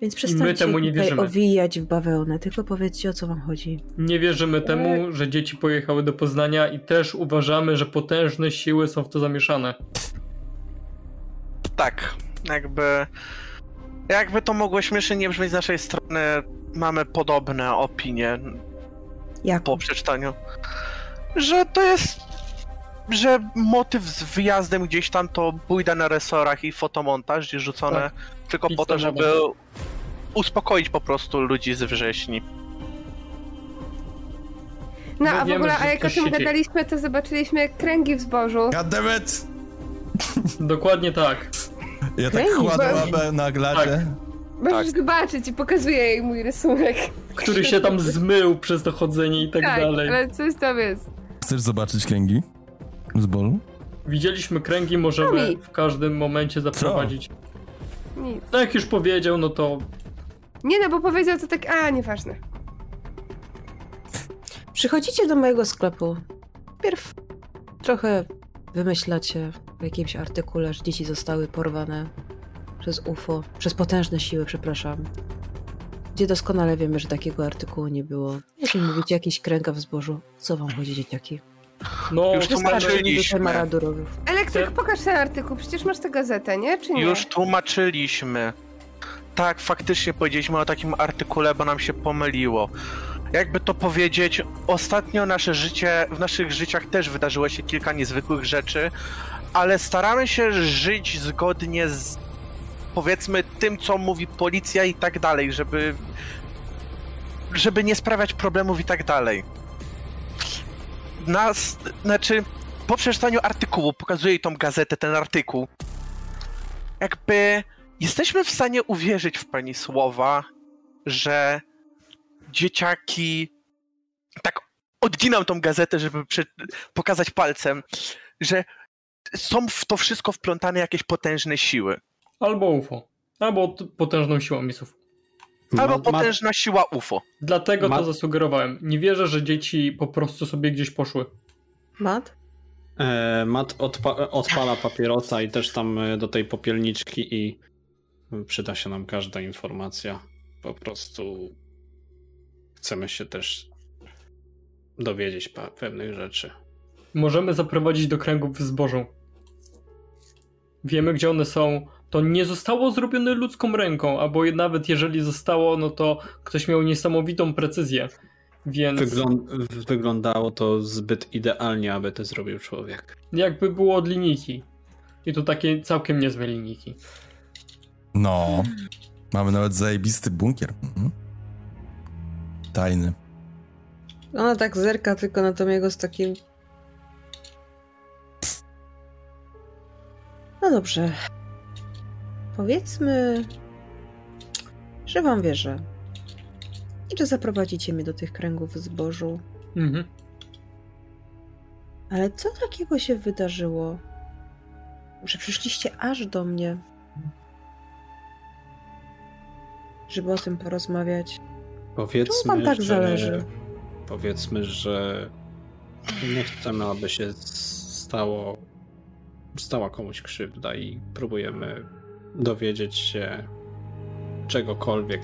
B: Więc przestańcie
G: temu nie
B: tutaj
G: wierzymy.
B: owijać w bawełnę, tylko powiedzcie o co wam chodzi.
G: Nie wierzymy temu, że dzieci pojechały do Poznania i też uważamy, że potężne siły są w to zamieszane.
C: Tak. Jakby. Jakby to mogło śmiesznie brzmieć z naszej strony, mamy podobne opinie
B: Jak?
C: po przeczytaniu. Że to jest. Że motyw z wyjazdem gdzieś tam to bójda na resorach i fotomontaż i rzucone
G: Tak.
C: tylko po to,
G: Pizza
C: żeby uspokoić po prostu ludzi z wrześni.
E: No,
G: My
E: a w
G: wiemy,
E: ogóle,
G: że
E: a jak o
G: coś
E: tym
G: się dzieje.
E: gadaliśmy, to zobaczyliśmy kręgi w zbożu.
A: God damn it!
G: Dokładnie tak.
A: Ja tak
B: Kręgi,
A: kładę
B: bo-
A: łapę na glacie.
E: Możesz
G: Tak.
E: zobaczyć i pokazuję jej mój rysunek.
G: Który się tam zmył przez to chodzenie i tak,
E: Tak,
G: dalej.
E: ale coś tam jest.
A: Chcesz zobaczyć kręgi? Z bolu?
G: Widzieliśmy kręgi, możemy
E: Sami.
G: w każdym momencie zaprowadzić.
E: Nic.
G: No jak już powiedział, no to
E: Nie no, bo powiedział to tak, a nieważne.
B: Przychodzicie do mojego sklepu. Pierw trochę wymyślacie w jakimś artykule, że dzieci zostały porwane przez UFO, przez potężne siły, przepraszam. Gdzie doskonale wiemy, że takiego artykułu nie było. Jeśli mówicie jakiś kręga w zbożu, co wam chodzi, dzieciaki?
G: no
C: Już
B: Wystarczy mi
C: tłumaczyliśmy.
B: tutaj maradurowów.
E: Elektryk,
G: Chcę-
E: pokaż ten artykuł, przecież masz tę gazetę, nie? Czy nie?
C: Już tłumaczyliśmy. Tak, faktycznie powiedzieliśmy o takim artykule, bo nam się pomyliło. Jakby to powiedzieć, ostatnio nasze życie, w naszych życiach też wydarzyło się kilka niezwykłych rzeczy, ale staramy się żyć zgodnie z powiedzmy tym, co mówi policja i tak dalej, żeby żeby nie sprawiać problemów i tak dalej. Nas, znaczy, po przeczytaniu artykułu, pokazuję jej tą gazetę, ten artykuł, jakby jesteśmy w stanie uwierzyć w pani słowa, że dzieciaki. Tak, odginam tą gazetę, żeby prze- pokazać palcem, że są w to wszystko wplątane jakieś potężne siły.
G: albo UFO, albo t- potężną siłą misów.
C: Albo
D: Ma- ma-
C: potężna siła UFO.
G: Dlatego
D: Ma-
G: to zasugerowałem. Nie wierzę, że dzieci po prostu sobie gdzieś poszły.
B: Mat?
D: E, Mat odpa- odpala papierosa i też tam e, do tej popielniczki i przyda się nam każda informacja. Po prostu chcemy się też dowiedzieć pa- pewnych rzeczy.
G: możemy zaprowadzić do kręgów z zbożą. Wiemy, gdzie one są. To nie zostało zrobione ludzką ręką, albo nawet jeżeli zostało, no to ktoś miał niesamowitą precyzję. Więc
D: Wyglą- wyglądało to zbyt idealnie, aby to zrobił człowiek.
G: jakby było od linijki. I to takie całkiem niezłe linijki.
A: No. Mamy nawet zajebisty bunkier. Mhm. Tajny.
B: Ona tak zerka tylko na Tomiego z takim... No dobrze. Powiedzmy, że wam wierzę. I że zaprowadzicie mnie do tych kręgów zbożu.
G: Mhm.
B: Ale co takiego się wydarzyło, że przyszliście aż do mnie, żeby o tym porozmawiać?
D: Powiedzmy,
B: Czemu wam tak
D: że...
B: zależy?
D: Powiedzmy, że nie chcemy, aby się stało... stała komuś krzywda i próbujemy dowiedzieć się czegokolwiek,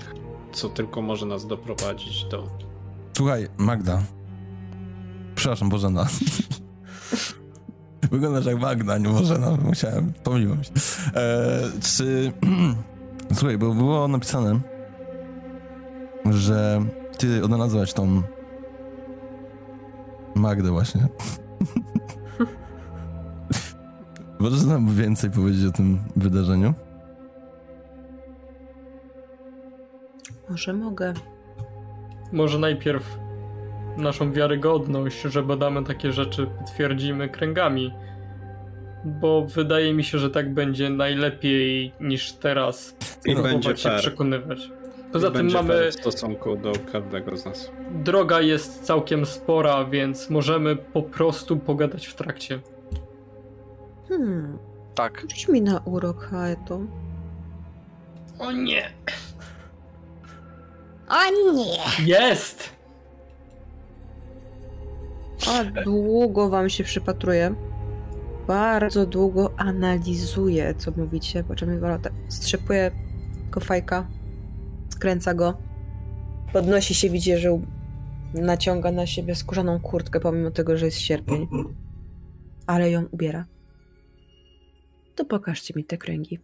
D: co tylko może nas doprowadzić do...
A: Słuchaj, Magda. Przepraszam, Bożena. Wyglądasz jak Magda, nie Bożena. Musiałem, pomyliłem się. E, czy... Słuchaj, bo było napisane, że ty odnalazłaś tą Magdę właśnie. Możesz nam więcej powiedzieć o tym wydarzeniu?
B: Może mogę.
G: Może najpierw naszą wiarygodność, że badamy takie rzeczy, potwierdzimy kręgami. Bo wydaje mi się, że tak będzie najlepiej niż teraz
D: I
G: próbować
D: będzie
G: się
D: fair.
G: No, przekonywać. Poza
D: I No,
G: tym
D: będzie
G: mamy
D: fair w stosunku do każdego z nas.
G: droga jest całkiem spora, więc możemy po prostu pogadać w trakcie.
B: Hmm,
C: Tak.
B: rzuć mi na urok, Haeto.
G: O nie!
M: O nie!
G: Jest!
B: A długo wam się przypatruje. Bardzo długo analizuje, co mówicie, po czym Iwola tak strzepuje go fajka, skręca go, podnosi się, widzi, że u- naciąga na siebie skórzaną kurtkę, pomimo tego, że jest sierpień, ale ją ubiera. To pokażcie mi te kręgi.
A: Ja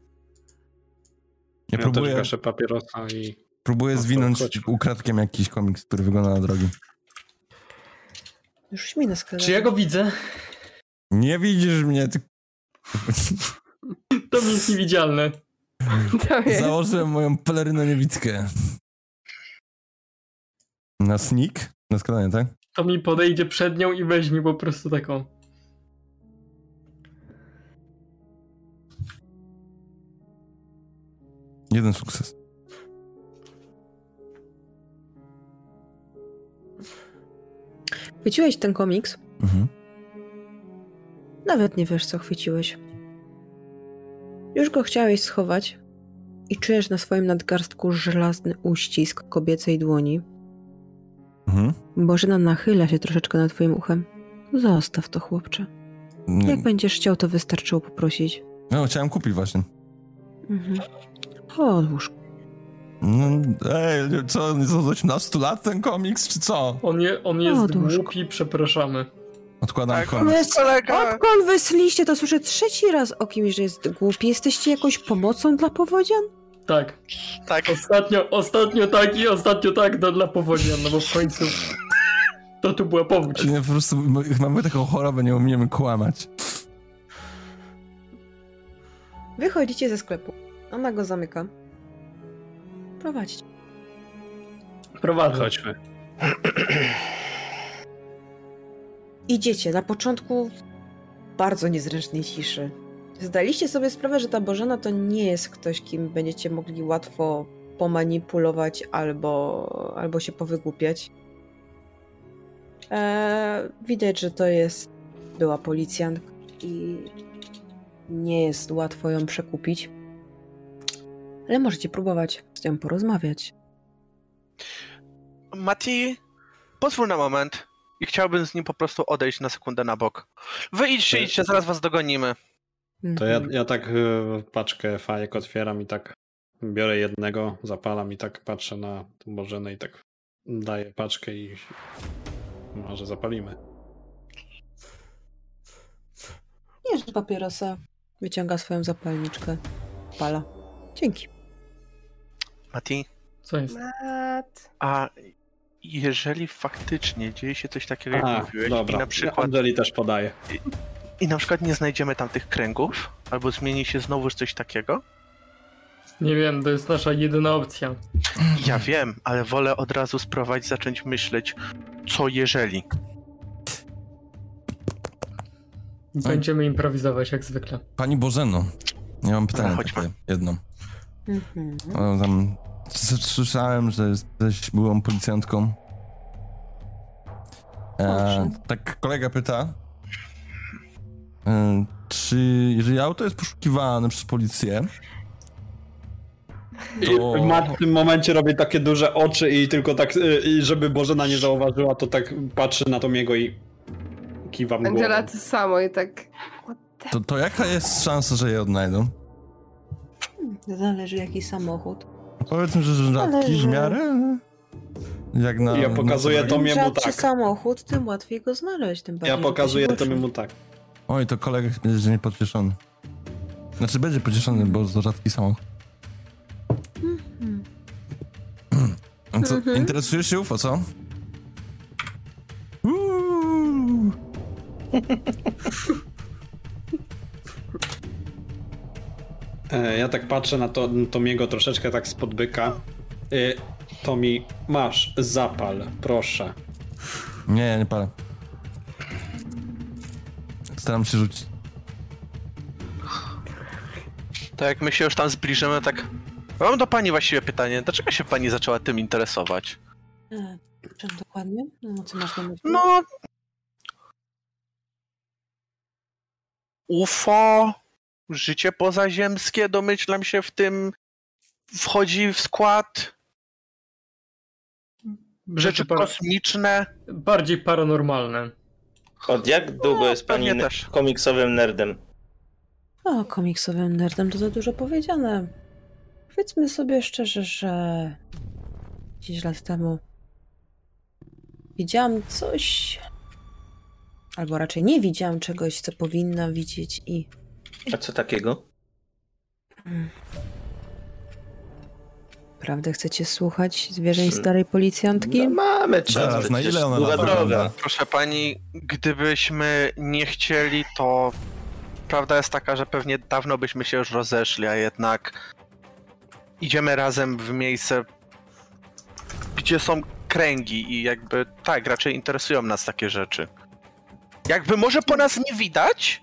D: Ja też
A: próbuję-
D: gaszę papierosa i...
A: Próbuję
D: to
A: zwinąć
D: chodź.
A: ukradkiem jakiś komiks, który wygląda na drogi.
B: Już mi na skalę.
G: Czy ja go widzę?
A: Nie widzisz mnie, ty...
G: To jest niewidzialne.
N: To jest.
A: Założyłem moją pelerynę niewidkę. Na sneak? Na skradanie, tak?
G: To mi podejdzie przed nią i weźmie po prostu taką.
A: Jeden sukces.
B: Chwyciłeś ten komiks?
A: Mhm.
B: Nawet nie wiesz, co chwyciłeś. Już go chciałeś schować i czujesz na swoim nadgarstku żelazny uścisk kobiecej dłoni.
A: Mhm.
B: Bożena nachyla się troszeczkę nad twoim uchem. Zostaw to, chłopcze.
A: Nie,
B: Jak będziesz chciał, to wystarczyło poprosić.
A: no, chciałem kupić właśnie.
B: Mhm. Odłóż.
A: No, ej, co, on jest od 18 lat ten komiks, czy co?
G: On, je, on jest
B: O, duszko.
G: głupi, przepraszamy.
A: Odkładam
C: Tak,
A: komiks.
C: kolega!
B: Odkąd wy sliście, to słyszę trzeci raz o kimś, że jest głupi. Jesteście jakąś pomocą dla powodzian?
G: Tak.
C: Tak.
G: Ostatnio, ostatnio tak i ostatnio tak do, dla powodzenia, no bo w końcu to tu była powódź.
A: Czyli po prostu my- mamy taką chorobę, nie umiemy kłamać.
B: Wychodzicie ze sklepu. Ona go zamyka. Prowadźcie.
G: Prowadzę.
D: Chodźmy.
B: Idziecie na początku w bardzo niezręcznej ciszy. Zdaliście sobie sprawę, że ta Bożena to nie jest ktoś, kim będziecie mogli łatwo pomanipulować albo, albo się powygłupiać. Eee, widać, że to jest była policjantka i nie jest łatwo ją przekupić. Ale możecie próbować z nią porozmawiać.
C: Mati, pozwól na moment. I chciałbym z nim po prostu odejść na sekundę na bok. Wy idźcie,
D: Ty-
C: idźcie, zaraz was dogonimy.
D: To ja,
B: Mhm.
D: ja tak y, paczkę fajek otwieram i tak biorę jednego, zapalam i tak patrzę na tą Bożenę i tak daję paczkę i może zapalimy.
B: Bierz papierosa. Wyciąga swoją zapalniczkę. Pala. Dzięki.
C: Mati,
G: Co jest?
E: Mat.
C: a jeżeli faktycznie dzieje się coś takiego, jak
D: A,
C: mówiłeś,
D: dobra.
C: i na przykład
D: Angeli też podaje.
C: I na przykład nie znajdziemy tamtych kręgów, albo zmieni się znowu coś takiego?
G: Nie wiem, to jest nasza jedyna opcja.
C: Ja wiem, ale wolę od razu spróbować zacząć myśleć, co jeżeli.
G: Będziemy improwizować jak zwykle.
A: Pani Bożeno, ja mam pytanie
C: chodźmy.
A: takie, jedno.
B: Mhm.
A: O, tam, s- słyszałem, że jesteś byłą policjantką. E, tak kolega pyta, e, czy jeżeli auto jest poszukiwane przez policję, to...
D: I Matt w tym momencie robi takie duże oczy i tylko tak, y, i żeby Bożena nie zauważyła, to tak patrzy na Tomiego i kiwam głową.
E: Angela to samo i tak.
A: To, to jaka jest szansa, że je odnajdą?
B: Zależy jaki samochód.
A: Powiedzmy, że rzadki
B: Zależy.
A: w miarę. Jak na...
D: Ja pokazuję
A: na-
D: to
B: Im
D: jemu
B: rzadszy
D: tak.
B: samochód, tym łatwiej go znaleźć. Tym bardziej,
D: Ja
B: że to się
D: pokazuję
B: musi.
D: Tomiemu tak.
A: Oj, to kolega będzie niepocieszony. Znaczy będzie pocieszony, bo to rzadki samochód. A Co, Interesujesz się UFO, co? Uuu.
D: E, Ja tak patrzę na to, Tomiego troszeczkę tak spod byka. Y, Tomi, masz, zapal, proszę.
A: Nie, ja nie palę. Staram się rzucić.
C: To Tak jak my się już tam zbliżymy, tak... Mam do pani właściwie pytanie, dlaczego się pani zaczęła tym interesować?
B: E, Czym dokładnie? No, co masz na myśli?
C: No... UFO, życie pozaziemskie, domyślam się w tym, wchodzi w skład, rzeczy
G: Par-
C: kosmiczne.
G: bardziej paranormalne.
F: Od jak długo jest pani
C: No, pewnie
F: ne-
C: też.
F: komiksowym nerdem?
B: O, komiksowym nerdem to za dużo powiedziane. Powiedzmy sobie szczerze, że 10 lat temu widziałam coś, albo raczej nie widziałam czegoś, co powinna widzieć i
F: A co takiego?
B: prawdę chcecie słuchać zwierzeń starej policjantki?
F: No, mamy czas.
A: Zaraz, na
F: przecież
A: ile ona
F: długa
A: nas
F: droga.
A: wygląda?
C: Proszę pani, gdybyśmy nie chcieli, to prawda jest taka, że pewnie dawno byśmy się już rozeszli, a jednak idziemy razem w miejsce, gdzie są kręgi i jakby tak, raczej interesują nas takie rzeczy. Jakby może po nas nie widać,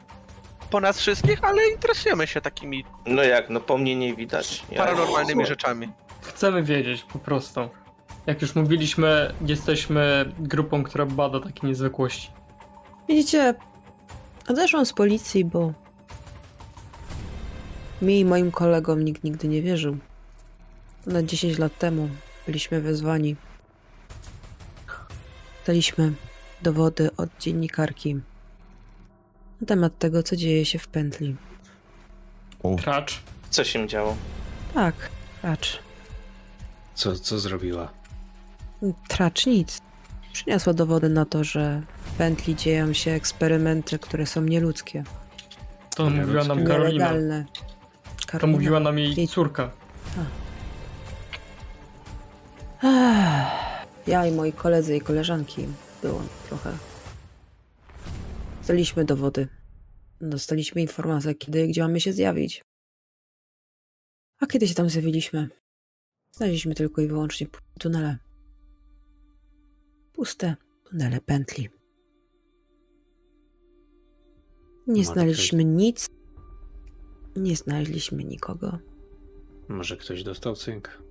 C: po nas wszystkich, ale interesujemy się takimi
F: No jak, no po mnie nie widać. Ja-
C: paranormalnymi rzeczami.
G: Chcemy wiedzieć po prostu. Jak już mówiliśmy, jesteśmy grupą, która bada takie niezwykłości.
B: Widzicie, odeszłam z policji, bo mi i moim kolegom nikt nigdy nie wierzył. Ponad 10 lat temu byliśmy wezwani. Dostaliśmy dowody od dziennikarki na temat tego, co dzieje się w pętli.
G: Tracz.
F: Co się działo?
B: Tak, tracz.
D: Co, co zrobiła?
B: Tracz nic. Przyniosła dowody na to, że w pętli dzieją się eksperymenty, które są nieludzkie,
G: To mówiła nam Karolina.
B: nielegalne.
G: To
B: Karolina.
G: mówiła nam jej córka.
B: Ech, Ja i moi koledzy i koleżanki było trochę. Dostaliśmy dowody. Dostaliśmy informację, kiedy i gdzie mamy się zjawić. A kiedy się tam zjawiliśmy? Znaleźliśmy tylko i wyłącznie pu- tunele. Puste tunele pętli. Nie
D: Może
B: znaleźliśmy nic. Nie znaleźliśmy nikogo.
D: Może ktoś dostał cynk?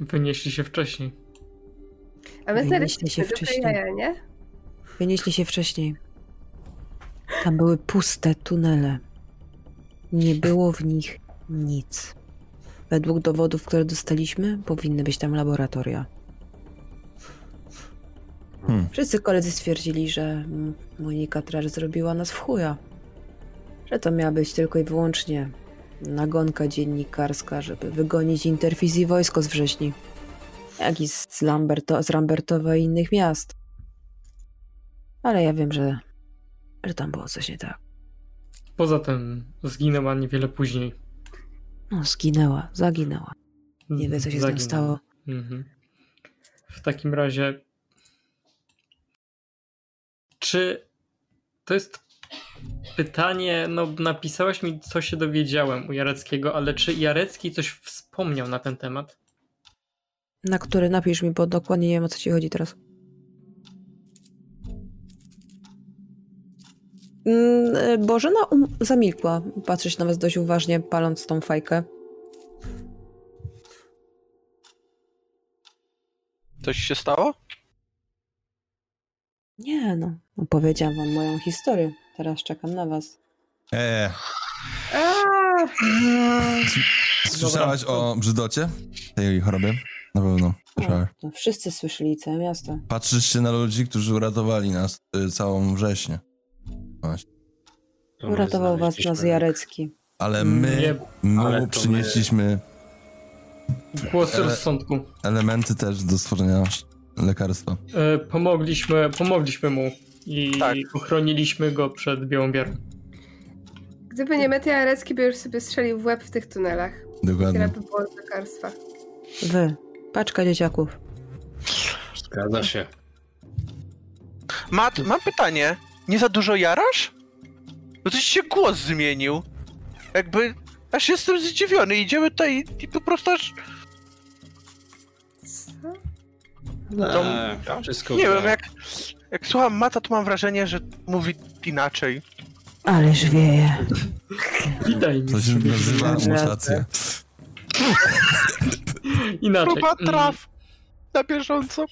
G: Wynieśli się
E: A
G: wcześniej.
B: Wynieśli
E: my znaleźliśmy
B: się
E: duże
B: wcześniej.
E: jaja, nie?
B: Wynieśli się wcześniej. Tam były puste tunele. Nie było w nich nic. Według dowodów, które dostaliśmy, powinny być tam laboratoria.
A: Hmm.
B: Wszyscy koledzy stwierdzili, że mm, Monika Trasz zrobiła nas w chuja. Że to miała być tylko i wyłącznie nagonka dziennikarska, żeby wygonić interfizji wojsko z wrześni. Jak i z, Lamberto, z Lambertowa i innych miast. Ale ja wiem, że, że tam było coś nie tak.
G: Poza tym zginęła niewiele później.
B: No, zginęła, zaginęła. Nie wie, co się z nią
G: Zaginęła.
B: stało.
G: Mhm. W takim razie. Czy to jest pytanie? No, napisałeś mi, co się dowiedziałem u Jareckiego, ale czy Jarecki coś wspomniał na ten temat?
B: Na który napisz mi, bo dokładnie nie wiem, o co ci chodzi teraz. Mm, e, Bożena um- zamilkła, patrzy się na was dość uważnie, paląc tą fajkę.
C: Coś się stało?
B: Nie no, opowiedziałam wam moją historię. Teraz czekam na was.
A: Eee, słyszałaś o brzydocie? Tej choroby? Na pewno. Słyszałaś.
B: No, wszyscy słyszeli, całe miasto.
A: Patrzysz się na ludzi, którzy uratowali nas y, całą wrześnię. Właśnie.
B: Uratował was nas Jarecki.
A: Ale my, my
G: ale to my-
A: przynieśliśmy
G: Głosy
A: Ele-
G: rozsądku.
A: elementy też do stworzenia sz- lekarstwa.
G: E, Pomogliśmy, pomogliśmy mu i
A: Tak.
G: ochroniliśmy go przed białą wiarą.
E: Gdyby nie Metia Jarecki, by już sobie strzelił w łeb w tych tunelach. Tyle
G: Mhm.
A: Dokładnie.
E: by było z lekarstwa.
B: Wy, paczka dzieciaków.
D: Zgadza się.
C: Mat, mam pytanie. Nie za dużo jarasz? Bo coś się głos zmienił. Jakby... Aż jestem zdziwiony. Idziemy tutaj i, i po prostu aż... To-
D: Eee, wszystko
C: nie
D: gra.
C: wiem, jak... Jak słucham Mata, to mam wrażenie, że mówi inaczej.
B: Ależ wieje.
G: Witaj,
A: To się
G: mistrzu.
A: nazywa mutacja.
G: Inaczej.
C: Próba
G: mm,
C: traf. Na bieżąco.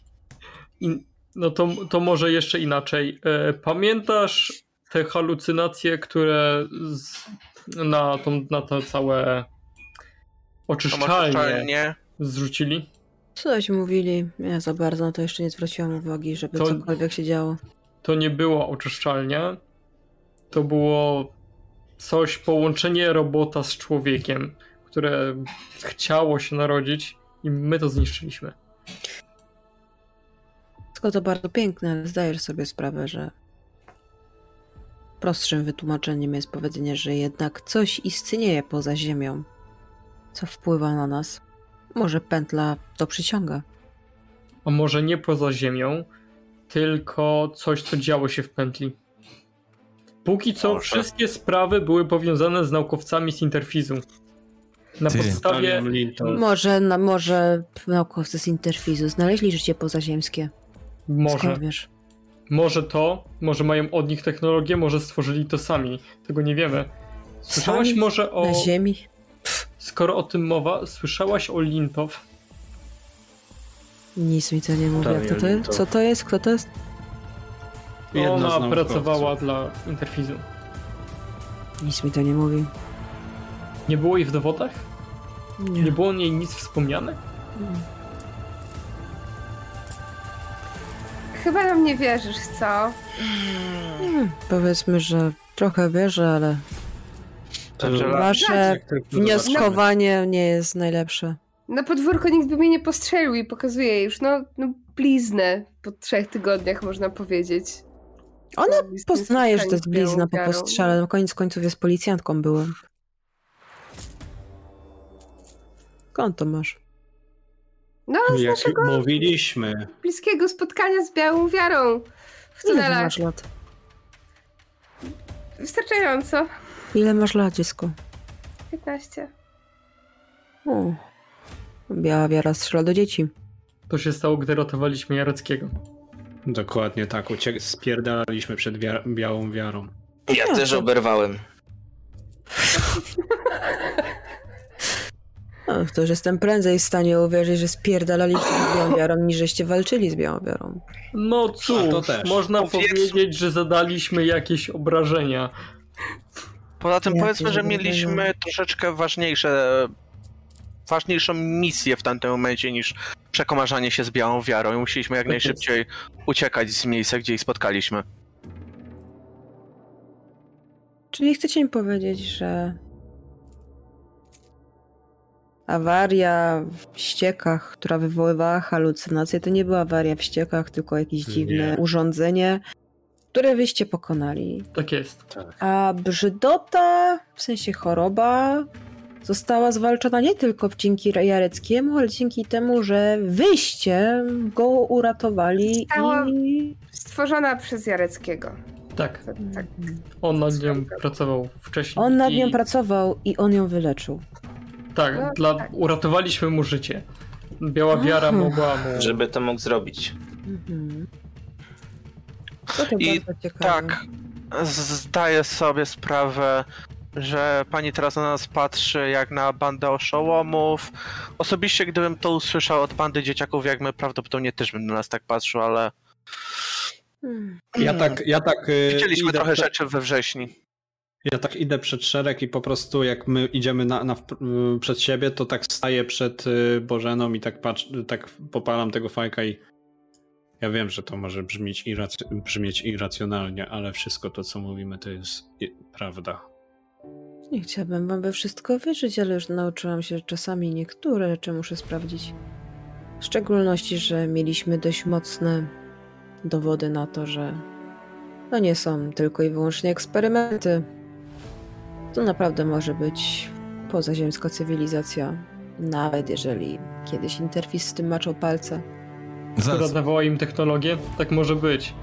G: in- no to, to może jeszcze inaczej. E, Pamiętasz te halucynacje, które z, na, tą, na to całe oczyszczalnie
C: Oczyszczalnie.
G: zrzucili?
B: Coś mówili, ja za bardzo na to jeszcze nie zwróciłam uwagi, żeby
G: To-
B: cokolwiek się działo.
G: To nie było oczyszczalnia. To było coś, połączenie robota z człowiekiem, które chciało się narodzić i my to zniszczyliśmy.
B: Wszystko to bardzo piękne, ale zdajesz sobie sprawę, że prostszym wytłumaczeniem jest powiedzenie, że jednak coś istnieje poza Ziemią, co wpływa na nas. Może pętla to przyciąga.
G: A może nie poza ziemią, tylko coś, co działo się w pętli. Póki co wszystkie sprawy były powiązane z naukowcami z Interfizu. Na
A: Ty.
G: podstawie...
D: Talion Linton.
B: Może, na, może naukowcy z Interfizu znaleźli życie pozaziemskie.
G: Może.
B: Skąd wiesz?
G: Może to, może mają od nich technologię, może stworzyli to sami. Tego nie wiemy. Słyszałaś
B: Sami?
G: może o...
B: Na Ziemi?
G: Skoro o tym mowa, słyszałaś o Lintow?
B: Nic mi to nie mówi.
D: Talion
B: Kto to jest?
D: Linton.
B: Co to jest? Kto to jest?
D: Jedna z
G: Ona
D: naukowców.
G: pracowała dla Interfizu.
B: Nic mi to nie mówi.
G: Nie było jej w dowodach? Nie było o niej nic wspomniane?
E: Chyba nam nie wierzysz, co?
B: Hmm, Powiedzmy, że trochę wierzę, ale
D: Angela,
B: wasze
D: No, jak tylko
G: znaczy-
D: zobaczymy.
B: wnioskowanie nie jest najlepsze.
E: Na podwórko nikt by mnie nie postrzelił i pokazuje już, no, no bliznę po trzech tygodniach, można powiedzieć.
B: Ona
E: Bliznę
B: Poznaje, że to jest
E: spotkaniu z białą
B: blizna po
E: wiarą.
B: postrzale. No koniec końców jest policjantką byłem. Skąd to masz?
E: No, z
D: Jak
E: naszego
D: mówiliśmy,
E: bliskiego spotkania z białą wiarą w
B: Ile
E: tunelach.
B: masz lat?
E: Wystarczająco.
B: Ile masz lat, dziecko?
E: 15.
B: U. Biała wiara strzela do dzieci.
G: To się stało, gdy ratowaliśmy Jareckiego.
D: dokładnie tak, uciek- spierdalaliśmy przed wia- białą wiarą.
O: Ja też oberwałem.
B: Ach, to już jestem prędzej w stanie uwierzyć, że spierdalaliście z białą wiarą, niż żeście walczyli z białą wiarą.
G: No cóż,
D: A to też.
G: można
C: Powiedz-
G: powiedzieć, że zadaliśmy jakieś obrażenia.
C: Poza tym
B: Jakie
C: powiedzmy, że
B: zadowolenie.
C: mieliśmy troszeczkę ważniejsze, ważniejszą misję w tamtym momencie niż przekomarzanie się z białą wiarą i musieliśmy jak
G: Tak jest.
C: najszybciej uciekać z miejsca, gdzie ich spotkaliśmy.
B: Czyli chcecie mi powiedzieć, że awaria w ściekach, która wywoływała halucynacje, to nie była awaria w ściekach, tylko jakieś dziwne
D: Nie.
B: urządzenie, które wyście pokonali.
G: Tak jest.
B: A brzydota, w sensie choroba, została zwalczona nie tylko dzięki Jareckiemu, ale dzięki temu, że wyście go uratowali
E: Została
B: i
E: stworzona przez Jareckiego.
G: Tak,
E: Tak,
B: Hmm.
E: tak.
G: on nad nią pracował wcześniej.
B: on nad
G: i-
B: nią pracował i on ją wyleczył.
G: Tak,
E: No,
G: dla...
E: tak.
G: uratowaliśmy mu życie. Biała wiara
B: Mhm.
G: mogła mu...
F: żeby to mógł zrobić.
B: Mhm. To to
C: I
B: bardzo ciekawe.
C: tak, zdaję sobie sprawę, że pani teraz na nas patrzy jak na bandę oszołomów. Osobiście gdybym to usłyszał od bandy dzieciaków, jak my prawdopodobnie też bym na nas tak patrzył, ale
B: Hmm.
D: Ja tak, ja tak. y,
C: widzieliśmy
D: idę
C: trochę
D: prze-
C: rzeczy we wrześni.
D: Ja tak idę przed szereg i po prostu jak my idziemy na, na, wpr- y, przed siebie, to tak staję przed y, Bożeną i tak patrz, tak popalam tego fajka i ja wiem, że to może brzmieć, irrac- brzmieć irracjonalnie, ale wszystko to, co mówimy, to jest i- prawda.
B: Nie chciałabym wam we wszystko wierzyć, ale już nauczyłam się że czasami niektóre rzeczy muszę sprawdzić. W szczególności, że mieliśmy dość mocne dowody na to, że to nie są tylko i wyłącznie eksperymenty. To naprawdę może być pozaziemska cywilizacja, nawet jeżeli kiedyś interfis z tym maczał palce.
G: która
A: Zaraz,
G: dawała im technologię? Tak może być.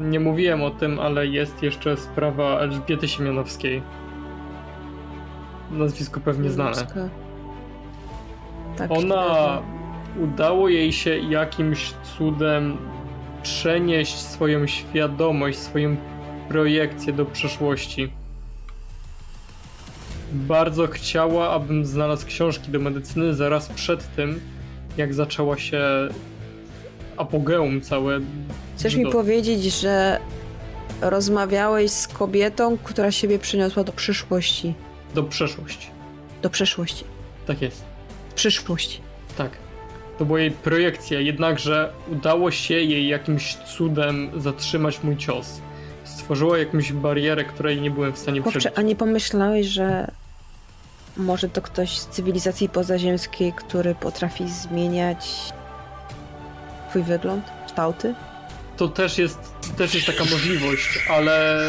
G: Nie mówiłem o tym, ale jest jeszcze sprawa Elżbiety Siemianowskiej. Nazwisko pewnie znane.
B: Ludzka. Tak,
G: Ona
B: tak.
G: udało jej się jakimś cudem przenieść swoją świadomość, swoją projekcję do przeszłości. Bardzo chciała, abym znalazł książki do medycyny zaraz przed tym, jak zaczęła się apogeum całe.
B: Chcesz mi
G: Do-
B: powiedzieć, że rozmawiałeś z kobietą, która siebie przyniosła do przyszłości.
G: Do przeszłości.
B: Do przeszłości.
G: Tak jest.
B: Przyszłość.
G: Tak. To była jej projekcja, jednakże udało się jej jakimś cudem zatrzymać mój cios. Stworzyła jakąś barierę, której nie byłem w stanie
B: Kurczę,
G: przebić.
B: a nie pomyślałeś, że może to ktoś z cywilizacji pozaziemskiej, który potrafi zmieniać twój wygląd, kształty?
G: To też jest, też jest taka możliwość, ale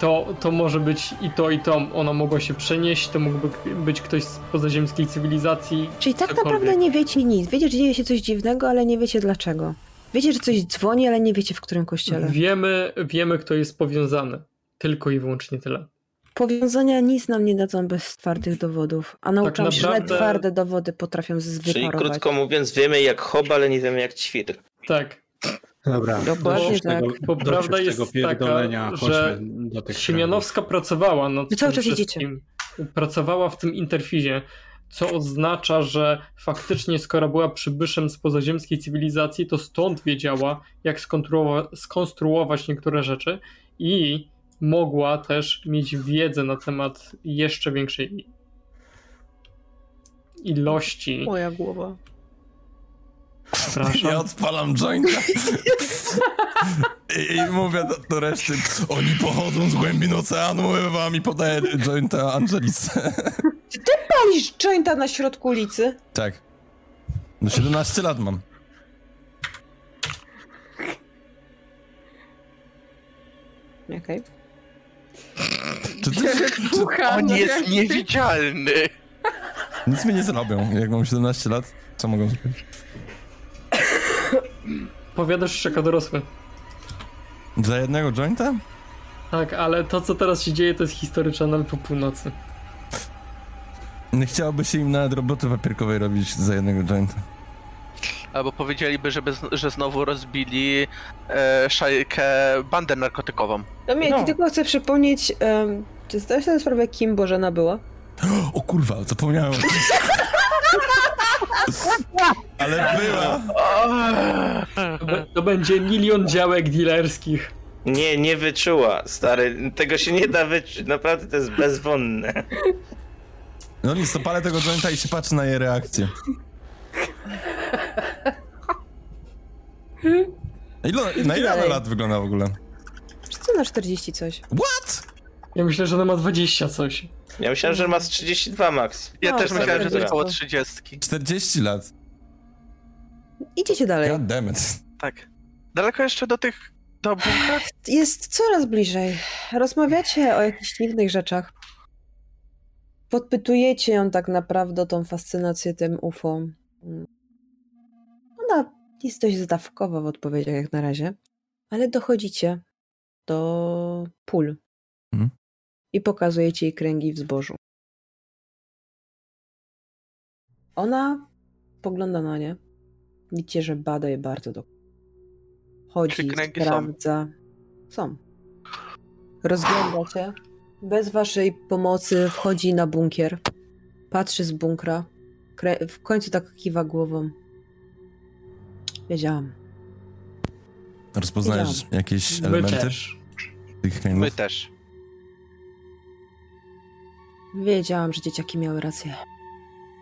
G: to, to może być i to, i to. Ona mogła się przenieść, to mógłby k- być ktoś z pozaziemskiej cywilizacji.
B: Czyli tak
G: Cokolwiek.
B: naprawdę nie wiecie nic. Wiecie, że dzieje się coś dziwnego, ale nie wiecie dlaczego. Wiecie, że coś dzwoni, ale nie wiecie w którym kościele.
G: Mhm. Wiemy, wiemy, kto jest powiązany. Tylko i wyłącznie tyle.
B: Powiązania nic nam nie dadzą bez twardych dowodów, a nauczyłam się, że
G: naprawdę-
B: twarde dowody potrafią z-
F: Czyli
B: wyparować.
F: krótko mówiąc, wiemy jak hob, ale nie wiemy jak ćwir.
G: Tak.
D: Dobra,
B: Dokładnie
D: dosyć
B: tak.
D: tego-
G: Bo
D: dosyć
G: prawda jest
D: tego pierdolenia,
G: taka,
D: chodźmy
G: że
D: do tych
G: Tak Siemianowska pracowała nad
B: Wy cały
G: tym
B: czas jedziecie.
G: wszystkim. Pracowała w tym interfizie, co oznacza, że faktycznie skoro była przybyszem z pozaziemskiej cywilizacji, to stąd wiedziała, jak skonstruowa- skonstruować niektóre rzeczy i mogła też mieć wiedzę na temat jeszcze większej ilości.
P: Moja głowa.
G: Przepraszam.
A: ja odpalam jointa. I, I mówię do, do reszty, oni pochodzą z głębin oceanu, mówię wam i podaję jointa Angelice.
P: Palisz jointa na środku ulicy?
A: Tak. No 17 lat mam.
B: Okej.
A: Czy ty, czy,
C: On
E: no
C: jest niewidzialny.
A: nic mi nie zrobią, jak mam 17 lat, co mogą zrobić?
G: Powiadasz jeszcze jako dorosły.
A: Za jednego jointa?
G: Tak, ale to co teraz się dzieje to jest history channel po północy.
A: Nie chciałoby się im nawet roboty papierkowej robić za jednego jointa.
C: Albo powiedzieliby, żeby, z- że znowu rozbili e, szajkę, bandę narkotykową.
B: No mnie, tylko chcę przypomnieć, em, czy zdałeś sobie sprawę, kim Bożena była?
A: O kurwa, zapomniałem. Ale była.
G: To, be- to będzie milion działek dealerskich.
F: Nie, nie wyczuła, stary. Tego się nie da wyczuć. Naprawdę to jest bezwonne.
A: No nic, to palę tego jointa i się patrzę na jej reakcję. Ile, na ile ona
B: Dalej.
A: lat wygląda w ogóle?
B: Wszyscy na 40 coś.
A: What?
G: Ja myślę, że ona ma 20 coś.
F: Ja myślałem, że ma z 32 max.
C: Ja
B: No,
C: też
F: to
C: myślałem, że to
F: dobra.
C: jest koło 30.
A: 40 lat.
B: Idziecie dalej.
A: God damn it.
C: Tak. Daleko jeszcze do tych To bułka?
B: Jest coraz bliżej. Rozmawiacie o jakichś dziwnych rzeczach. Podpytujecie ją tak naprawdę o tą fascynację tym UFO. Ona jest dość zdawkowa w odpowiedziach jak na razie, ale dochodzicie do pól
A: Mhm.
B: i pokazujecie jej kręgi w zbożu. Ona pogląda na nie. Widzicie, że bada je bardzo dokładnie. Chodzi,
C: Czy kręgi są?
B: sprawdza. Są. Rozgląda się. Bez waszej pomocy wchodzi na bunkier. Patrzy z bunkra. Krę- w końcu tak kiwa głową. Wiedziałam.
A: Rozpoznajesz
B: Wiedziałam.
A: jakieś
B: My
A: elementy
B: też.
A: tych kręgów?
C: My też.
B: Wiedziałam, że dzieciaki miały rację.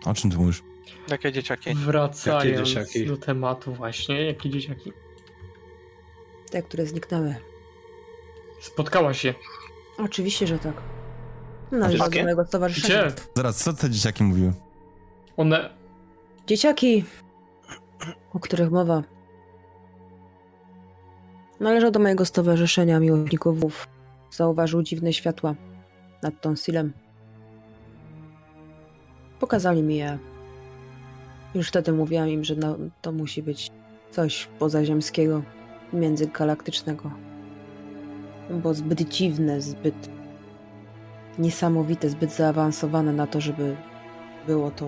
A: O czym ty mówisz?
C: Jakie dzieciaki?
G: Wracając
D: dzieciaki?
G: do tematu właśnie, jakie dzieciaki.
B: Te, które zniknęły.
G: Spotkała się.
B: Oczywiście, że tak.
G: Wszystkie?
B: Należą do mojego stowarzyszenia.
G: Gdzie?
A: Zaraz, co te dzieciaki mówiły?
G: One...
B: Dzieciaki, o których mowa, należą do mojego stowarzyszenia miłośników WUF. Zauważył dziwne światła nad tonsilem. Pokazali mi je. Już wtedy mówiłam im, że no, to musi być coś pozaziemskiego, międzygalaktycznego. Bo zbyt dziwne, zbyt niesamowite, zbyt zaawansowane na to, żeby było to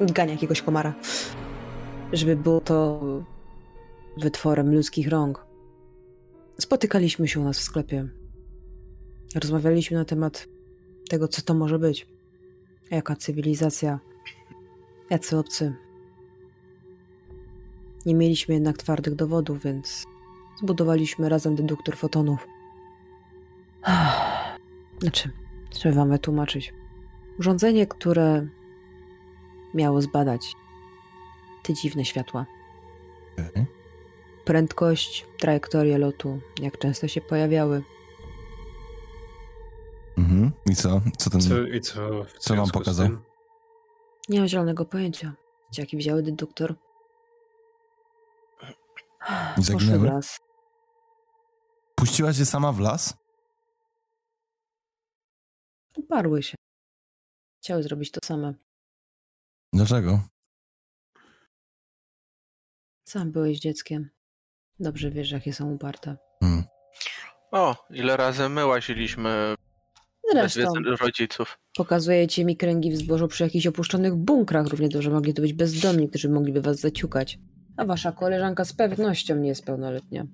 B: gania jakiegoś komara. Żeby było to wytworem ludzkich rąk. Spotykaliśmy się u nas w sklepie. Rozmawialiśmy na temat tego, co to może być. Jaka cywilizacja, jacy obcy. Nie mieliśmy jednak twardych dowodów, więc zbudowaliśmy razem deduktor fotonów. Znaczy, trzeba wam wytłumaczyć. Urządzenie, które miało zbadać te dziwne światła. Prędkość, trajektoria lotu, jak często się pojawiały.
A: Mhm. I co? Co ten...
D: Co, I co? w
A: Co wam
D: związku z
A: pokazał?
D: tym?
B: Nie mam zielonego pojęcia. Dzieciaki wzięły deduktor.
A: I
B: Poszły w
A: zaginęły?
B: las.
A: Puściłaś je sama w las?
B: Uparły się. Chciały zrobić to same.
A: Dlaczego?
B: Sam byłeś dzieckiem. Dobrze wiesz, jakie są uparte.
A: Hmm.
C: O, ile razy my łaziliśmy bez
B: Zresztą
C: wiedzy rodziców.
B: pokazujecie mi kręgi w zbożu przy jakichś opuszczonych bunkrach. Równie dobrze mogli to być bezdomni, którzy mogliby was zaciukać. A wasza koleżanka z pewnością nie jest pełnoletnia.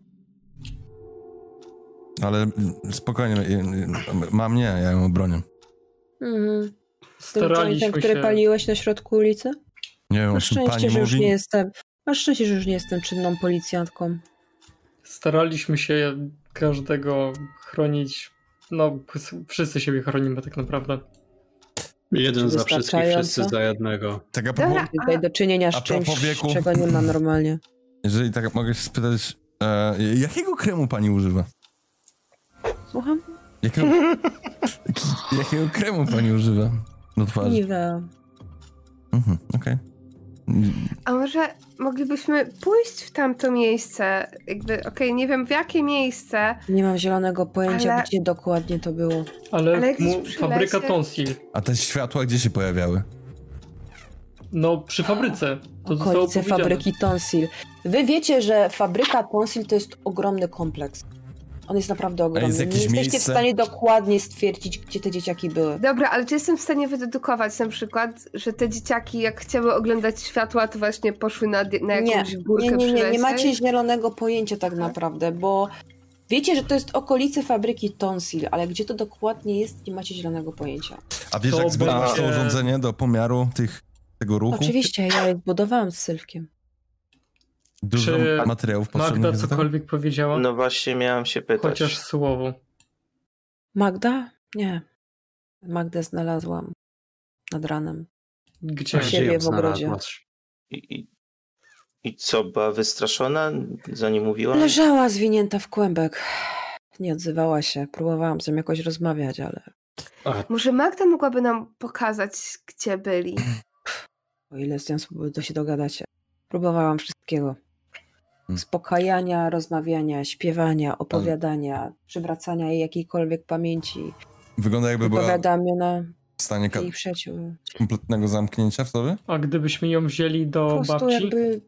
A: Ale mm, spokojnie, y, y, ma mnie, ja ją obronię.
B: Mhm. Z tym
G: Staraliśmy
B: jointem, który
G: się.
B: paliłeś na środku ulicy?
A: Nie wiem, o
B: Masz
A: czym
B: szczęście,
A: No, pani
B: że już
A: mówi.
B: nie jestem. Masz szczęście, że już nie jestem czynną policjantką.
G: Staraliśmy się każdego chronić. No, wszyscy siebie chronimy tak naprawdę.
D: Jeden za
B: Wystarczająco?
D: wszystkich, wszyscy za jednego.
A: Tak a propos,
E: Dobra,
B: Tutaj do czynienia
A: a
B: z
A: propos
B: czymś,
A: wieku.
B: czego nie ma normalnie.
A: jeżeli tak mogę się spytać, e, jakiego kremu pani używa?
B: Słucham?
A: Jakiego, jakiego kremu pani używa do twarzy?
B: Niwe.
A: Mhm, okej. Mm,
E: A może moglibyśmy pójść w tamto miejsce? Jakby, okej, nie wiem w jakie miejsce.
B: Nie mam zielonego pojęcia,
E: Ale-
B: gdzie dokładnie to było.
G: Ale,
E: Ale jakieś
G: mu,
E: przy
G: fabryka
E: lesie?
G: Tonsil.
A: A te światła gdzie się pojawiały?
G: No, przy fabryce. To zostało
B: Okolice
G: powiedziane.
B: fabryki Tonsil. Wy wiecie, że fabryka Tonsil to jest ogromny kompleks. On jest naprawdę ogromny.
A: jest
B: nie
A: jakieś
B: jesteście w
A: miejsce?
B: stanie dokładnie stwierdzić, gdzie te dzieciaki były.
E: Dobra, ale czy jestem w stanie wydedukować na przykład, że te dzieciaki jak chciały oglądać światła, to właśnie poszły na, di- na
B: Nie,
E: jakąś górkę
B: nie, nie, nie, nie
E: przyleśnej?
B: macie zielonego pojęcia tak naprawdę, bo wiecie, że to jest okolice fabryki Tonsil, ale gdzie to dokładnie jest, nie macie zielonego pojęcia.
A: A wiesz,
G: To
A: jak zbudowałaś to
G: będzie-
A: urządzenie do pomiaru tych, tego ruchu?
B: Oczywiście, ja je zbudowałam z Sylwkiem.
A: Dużo
G: Czy
A: materiałów potrzebnych
G: Magda
A: jest do tego?
G: cokolwiek powiedziała,
F: No właśnie miałem się pytać.
G: chociaż słowo.
B: Magda? Nie. Magdę znalazłam nad ranem.
G: Gdzie?
B: Gdzie? siebie w ogrodzie.
D: znalazłaś?
F: I, i, I co, była wystraszona, zanim mówiła?
B: Leżała zwinięta w kłębek. Nie odzywała się. Próbowałam z nią jakoś rozmawiać, ale
D: A,
E: Może Magda mogłaby nam pokazać, gdzie byli?
B: o ile z nią spróbuję, to się dogadacie. Próbowałam wszystkiego. uspokajania, rozmawiania, śpiewania, opowiadania, przywracania jej jakiejkolwiek pamięci,
A: Wygląda jakby była
B: wypowiadania
A: w stanie ka-
B: jej przyjaciół.
A: kompletnego zamknięcia w sobie?
G: A gdybyśmy ją wzięli
B: Po
G: do
B: prostu
G: babci?
B: jakby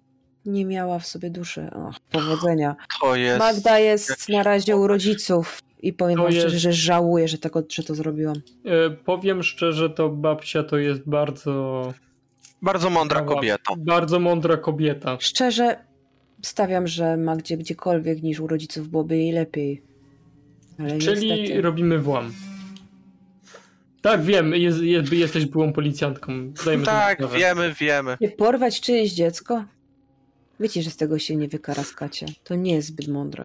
B: nie miała w sobie duszy. Och, powodzenia.
C: To jest...
B: Magda jest na razie u rodziców i powiem
G: To
B: wam
G: jest-
B: szczerze, że żałuję, że, tego, że to zrobiłam.
G: E, powiem szczerze, to babcia to jest bardzo...
C: Bardzo mądra kobieta.
G: Bardzo mądra kobieta.
B: Szczerze stawiam, że Magdzie gdziekolwiek niż u rodziców byłoby jej lepiej. Ale
G: Czyli
B: niestety...
G: robimy włam. Tak, wiem, jest, jest, jesteś byłą policjantką. Zdajemy sobie
C: Tak,
G: sprawę.
C: wiemy, wiemy.
B: Nie porwać czyjeś dziecko? Wiecie, że z tego się nie wykaraskacie. To nie jest zbyt mądre.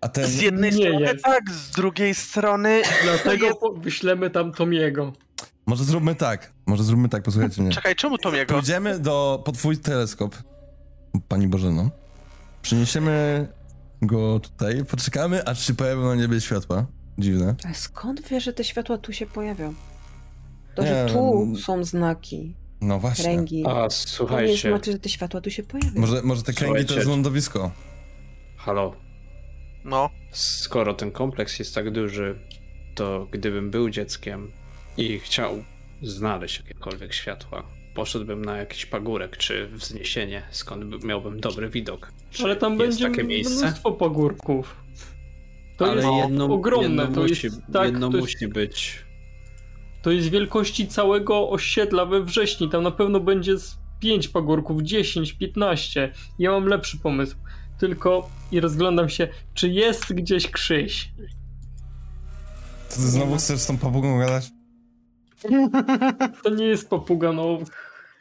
A: A ten...
C: Z jednej
G: Nie
C: strony
G: jest.
C: tak, z drugiej strony...
G: Dlatego po- wyślemy tam Tomiego.
A: Może zróbmy tak, może zróbmy tak, posłuchajcie mnie.
C: Czekaj, czemu to jego?
A: Pójdziemy do, po twój teleskop, pani Bożeno. Przyniesiemy go tutaj, poczekamy, aż się pojawią na niebie światła. Dziwne.
B: A skąd wiesz, że te światła tu się pojawią? To,
A: Nie,
B: że tu
A: no-
B: są znaki,
A: No właśnie.
B: kręgi.
D: A,
B: To nie
D: słuchajcie.
B: znaczy, że te światła tu się pojawią.
A: Może, może te kręgi to jest
D: Słuchajcie.
A: lądowisko.
D: Halo,
C: No,
D: skoro ten kompleks jest tak duży, to gdybym był dzieckiem i chciał znaleźć jakiekolwiek światła, poszedłbym na jakiś pagórek czy wzniesienie, skąd by- miałbym dobry widok. Czy
G: Ale tam
D: jest
G: będzie
D: takie miejsce?
G: mnóstwo pagórków. To
D: Ale
G: jest no,
D: jedno,
G: ogromne.
D: jedno
G: to,
D: musi,
G: jest, tak,
D: jedno
G: to, jest,
D: musi być.
G: to jest wielkości całego osiedla we wrześni. Tam na pewno będzie z 5 pagórków, 10, 15. Ja mam lepszy pomysł. Tylko i rozglądam się, czy jest gdzieś Krzyś.
A: To ty znowu chcesz z tą papugą gadać?
G: To nie jest papuga, no.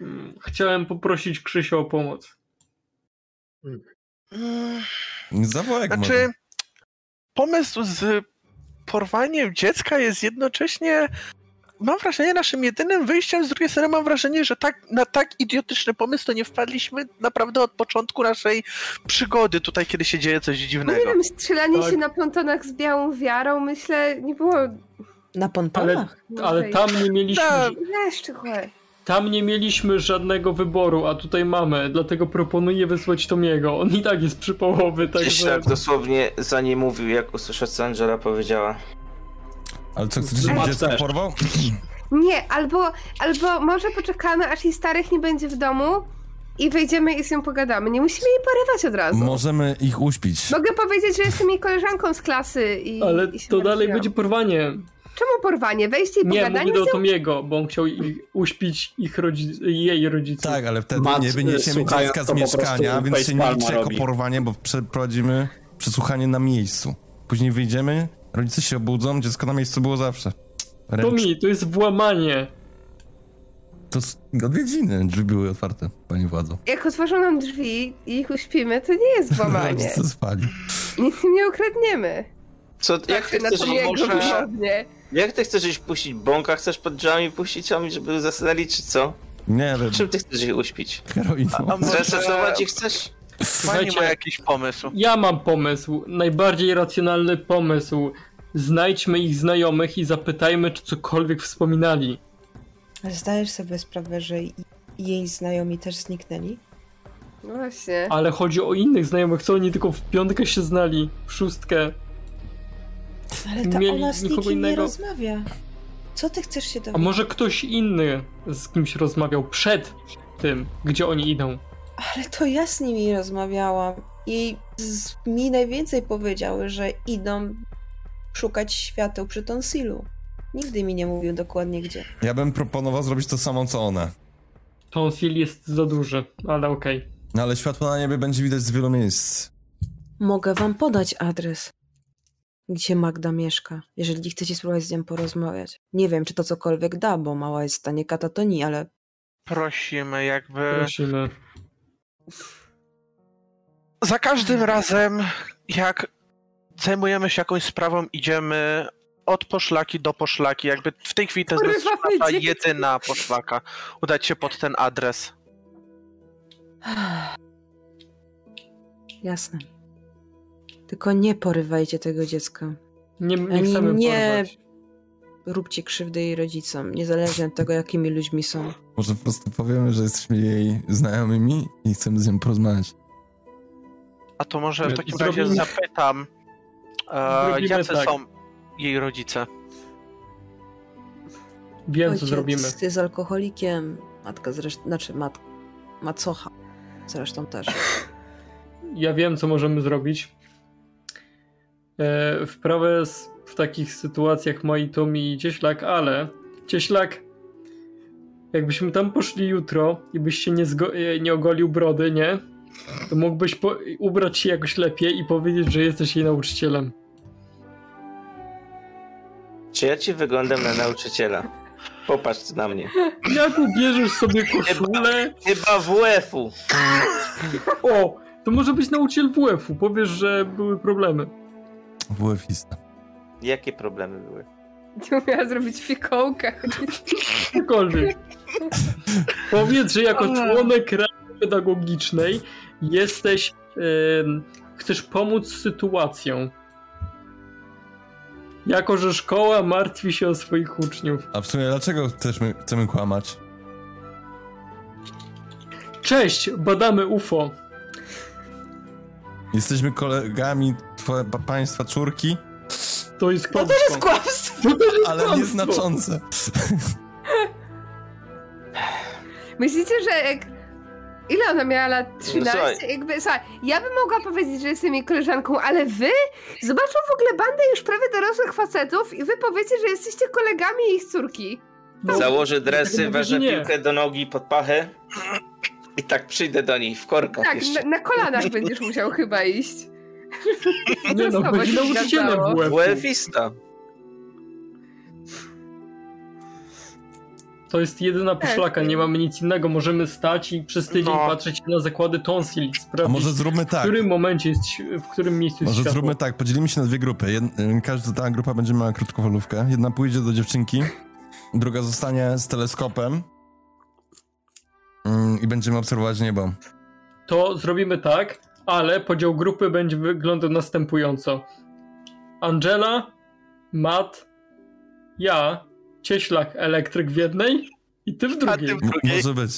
G: Mm, Chciałem poprosić Krzysia o pomoc.
A: Nie zawołaj jak
C: znaczy...
A: Tak może.
C: Pomysł z porwaniem dziecka jest jednocześnie... Mam wrażenie, naszym jedynym wyjściem z drugiej strony mam wrażenie, że tak, na tak idiotyczny pomysł to nie wpadliśmy naprawdę od początku naszej przygody tutaj, kiedy się dzieje coś
E: No nie
C: dziwnego.
E: wiem, strzelanie
G: Tak.
E: się na pontonach z białą wiarą, myślę, nie było
B: Na
G: Ale,
B: pontonach?
G: ale tam nie mieliśmy.
C: Tak.
E: jeszcze chłe.
G: Tam nie mieliśmy żadnego wyboru, a tutaj mamy, dlatego proponuję wysłać Tomiego. On i tak jest przypołowy,
F: Gdzieś
G: także.
F: tak dosłownie za nie mówił, jak usłyszał, co Angela powiedziała.
A: Ale co, chcesz, żeby
D: Zobacz
A: dziecko
D: też.
A: porwał?
E: Nie, albo, albo może poczekamy, aż jej starych nie będzie w domu i wyjdziemy i z nią pogadamy. Nie musimy jej porywać od razu.
A: Możemy ich uśpić.
E: Mogę powiedzieć, że jestem jej koleżanką z klasy i.
G: Ale
E: i się
G: to dalej
E: martwiłam.
G: będzie porwanie.
E: Czemu porwanie? Wejście i
G: Nie,
E: pogadanie
G: mówię
E: z nią?
G: do Tomiego, bo on chciał ich uśpić ich rodzi- jej rodziców.
A: Tak, ale wtedy
D: Mat,
A: nie wyniesiemy
D: słuchając
A: dziecka z
D: to po prostu
A: mieszkania, więc się nie
D: facepalma
A: liczy jako
D: robi.
A: porwanie, bo przeprowadzimy przesłuchanie na miejscu. Później wyjdziemy, rodzice się obudzą, dziecko na miejscu było zawsze. Ręcz.
G: Tomi, to jest włamanie.
A: To s- odwiedziny, drzwi były otwarte, pani władzo.
E: Jak otworzą nam drzwi i ich uśpimy, to nie jest włamanie.
A: Rodzice spali.
E: Nic im nie ukradniemy.
F: Co, jak, ty
E: Tak, na
F: chcesz,
E: jego
F: może,
E: podobnie.
F: jak ty chcesz ich puścić? Bąka chcesz pod drzwiami puścić, a mi żeby zasnęli, czy co?
A: Nie wiem,
F: Czym ty chcesz ich uśpić?
A: heroiną.
C: może-
F: Zresetować ich chcesz?
C: Pani ma
G: Słuchajcie,
C: jakiś pomysł.
G: ja mam pomysł, najbardziej racjonalny pomysł. Znajdźmy ich znajomych i zapytajmy, czy cokolwiek wspominali.
B: Zdajesz sobie sprawę, że i- jej znajomi też zniknęli?
E: No Właśnie.
G: Ale chodzi o innych znajomych, co oni tylko w piątkę się znali, w szóstkę.
B: Ale
G: Nie
B: ta
G: mieli
B: ona z
G: nikogo
B: nikim nie
G: innego.
B: rozmawia. Co ty chcesz się
G: A
B: dowiedzieć?
G: może ktoś inny z kimś rozmawiał przed tym, gdzie oni idą?
B: Ale to ja z nimi rozmawiałam i z, mi najwięcej powiedziały, że idą szukać świateł przy Tonsilu. Nigdy mi nie mówił dokładnie gdzie.
A: Ja bym proponował zrobić to samo, co one.
G: Tonsil jest za duży, ale okej.
A: No ale światło na niebie będzie widać z wielu miejsc.
B: Mogę wam podać adres, gdzie Magda mieszka, jeżeli chcecie spróbować z nią porozmawiać. Nie wiem, czy to cokolwiek da, bo mała jest w stanie katatonii, ale
C: Prosimy jakby...
G: Prosimy.
C: Za każdym razem, jak zajmujemy się jakąś sprawą, idziemy od poszlaki do poszlaki. Jakby w tej chwili to jest
E: Kurwa,
C: nasza
E: będzie.
C: jedyna poszlaka. Udać się pod ten adres.
B: jasne. Tylko nie porywajcie tego dziecka.
G: Nie, nie
B: Ani
G: chcemy
B: nie-
G: porwać.
B: Róbcie krzywdy jej rodzicom, niezależnie od tego, jakimi ludźmi są.
A: Może po prostu powiemy, że jesteśmy jej znajomymi i chcemy z nią porozmawiać.
C: A to może w takim
G: Zrobimy-
C: razie zapytam, e,
G: Zrobimy
C: jacy
G: tak.
C: są jej rodzice.
G: Wiem, co
H: Ojciec
G: zrobimy.
H: jest alkoholikiem, matka zresztą, znaczy mat, macocha zresztą też.
G: Ja wiem, co możemy zrobić. E, wprawę s- w takich sytuacjach moi Tomi i Cieślak, ale Cieślak, jakbyśmy tam poszli jutro i byś się nie, zgo- e, nie ogolił brody, nie? To mógłbyś po- ubrać się jakoś lepiej i powiedzieć, że jesteś jej nauczycielem.
F: Czy ja ci wyglądam na nauczyciela? Popatrz na mnie.
G: Jak ubierzesz sobie koszulę?
F: Chyba WF-u.
G: O, to może być nauczyciel WF-u. Powiesz, że były problemy.
A: WF-ista.
F: Jakie problemy były?
E: Nie umiała zrobić fikołka.
G: Cokolwiek. Powiedz, że jako członek Rady Pedagogicznej jesteś. em, chcesz pomóc z sytuacją. Jako, że szkoła martwi się o swoich uczniów.
A: A w sumie dlaczego chcemy, chcemy kłamać?
G: Cześć, badamy UFO.
A: Jesteśmy kolegami twoje, pa- państwa czwórki,
G: To jest kłamstwo. To jest
E: kłamstwo.
G: To też jest
A: ale
G: kłamstwo.
A: nieznaczące.
E: Myślicie, że jak... Ile ona miała lat?
F: No Słuchaj.
E: 13? Jakby, słuchaj, ja bym mogła powiedzieć, że jestem jej koleżanką, ale wy zobaczą w ogóle bandę już prawie dorosłych facetów i wy powiecie, że jesteście kolegami ich córki.
F: Założę dresy,
G: Mówię,
F: weżę
G: że nie.
F: piłkę do nogi pod pachę i tak przyjdę do niej w korkach
E: Tak,
F: jeszcze.
E: na, na kolanach będziesz musiał chyba iść.
G: Nie no,
E: Znowu
G: będzie
E: się
G: nauczycielem
E: zgadzało.
G: WF.
F: WF-ista.
G: To jest jedyna poszlaka, nie mamy nic innego. Możemy stać i przez tydzień
C: No.
G: patrzeć na zakłady tonsil i
A: A
G: sprawdzić,
A: może zróbmy
G: w
A: tak.
G: którym momencie jest, świ- w którym miejscu jest
A: Może
G: światło.
A: zróbmy tak, podzielimy się na dwie grupy. Jed, y, każda ta grupa będzie miała krótkofalówkę. Jedna pójdzie do dziewczynki, druga zostanie z teleskopem mm, i będziemy obserwować niebo.
G: to zrobimy tak, ale podział grupy będzie wyglądał następująco. Angela, Matt, ja, Cieślak, elektryk w jednej i ty w drugiej.
C: ty w-
A: M-
C: Drugiej.
A: może być.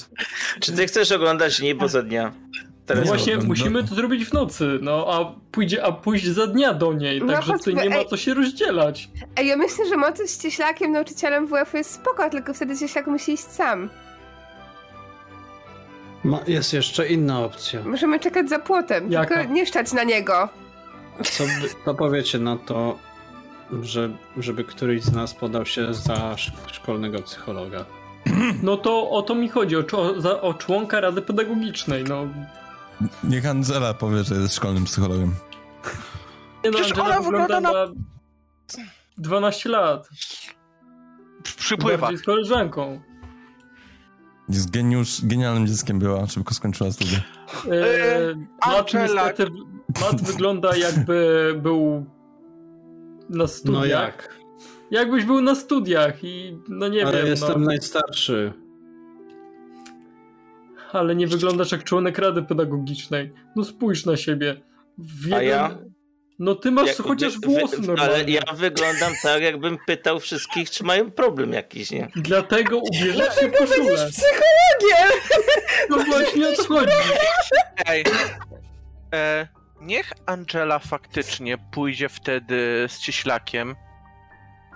F: Czy ty chcesz oglądać niebo za dnia?
G: No
F: Teraz
G: właśnie
A: no, no.
G: musimy to zrobić w nocy, no a, pójdzie, a pójść za dnia do niej,
E: No
G: także tutaj
E: chodźmy,
G: nie ma
E: ej.
G: co się rozdzielać.
E: Ej, ja myślę, że motyw z cieślakiem nauczycielem WF-u jest spoko, tylko wtedy cieślak musi iść sam.
D: Ma, jest jeszcze inna opcja.
E: Możemy czekać za płotem,
G: Jaka?
E: tylko nie szczać na niego.
D: Co, by, co powiecie na to, że, żeby któryś z nas podał się za sz- szkolnego psychologa?
G: No to o to mi chodzi, o, czo- za- o członka Rady Pedagogicznej, no.
A: Niech Angela powie, że jest szkolnym psychologiem.
G: Nie no,
C: Przecież
G: Angela
C: ona
G: wygląda
C: wygląda
G: na 12 lat,
C: Przypływa.
G: bardziej z koleżanką.
A: Jest geniusz, genialnym dzieckiem była, szybko skończyła studia.
G: Eee, Matt
C: Angela-
G: niestety Matt wygląda jakby był na studiach.
D: No jak?
G: Jakbyś był na studiach i no nie
D: Ale
G: wiem,
D: jestem
G: no,
D: najstarszy.
G: ale nie wyglądasz jak członek rady pedagogicznej. No spójrz na siebie. W
F: A ja?
G: No ty masz
F: Jak-
G: chociaż
F: wy- wy-
G: włosy
F: Ale
G: normalnie.
F: ja wyglądam tak, jakbym pytał wszystkich, czy mają problem jakiś, nie?
G: Dlatego ubierzesz się w koszulę.
E: Ogier!
G: No właśnie o to chodzi.
C: Ej. E, niech Angela faktycznie pójdzie wtedy z cieślakiem.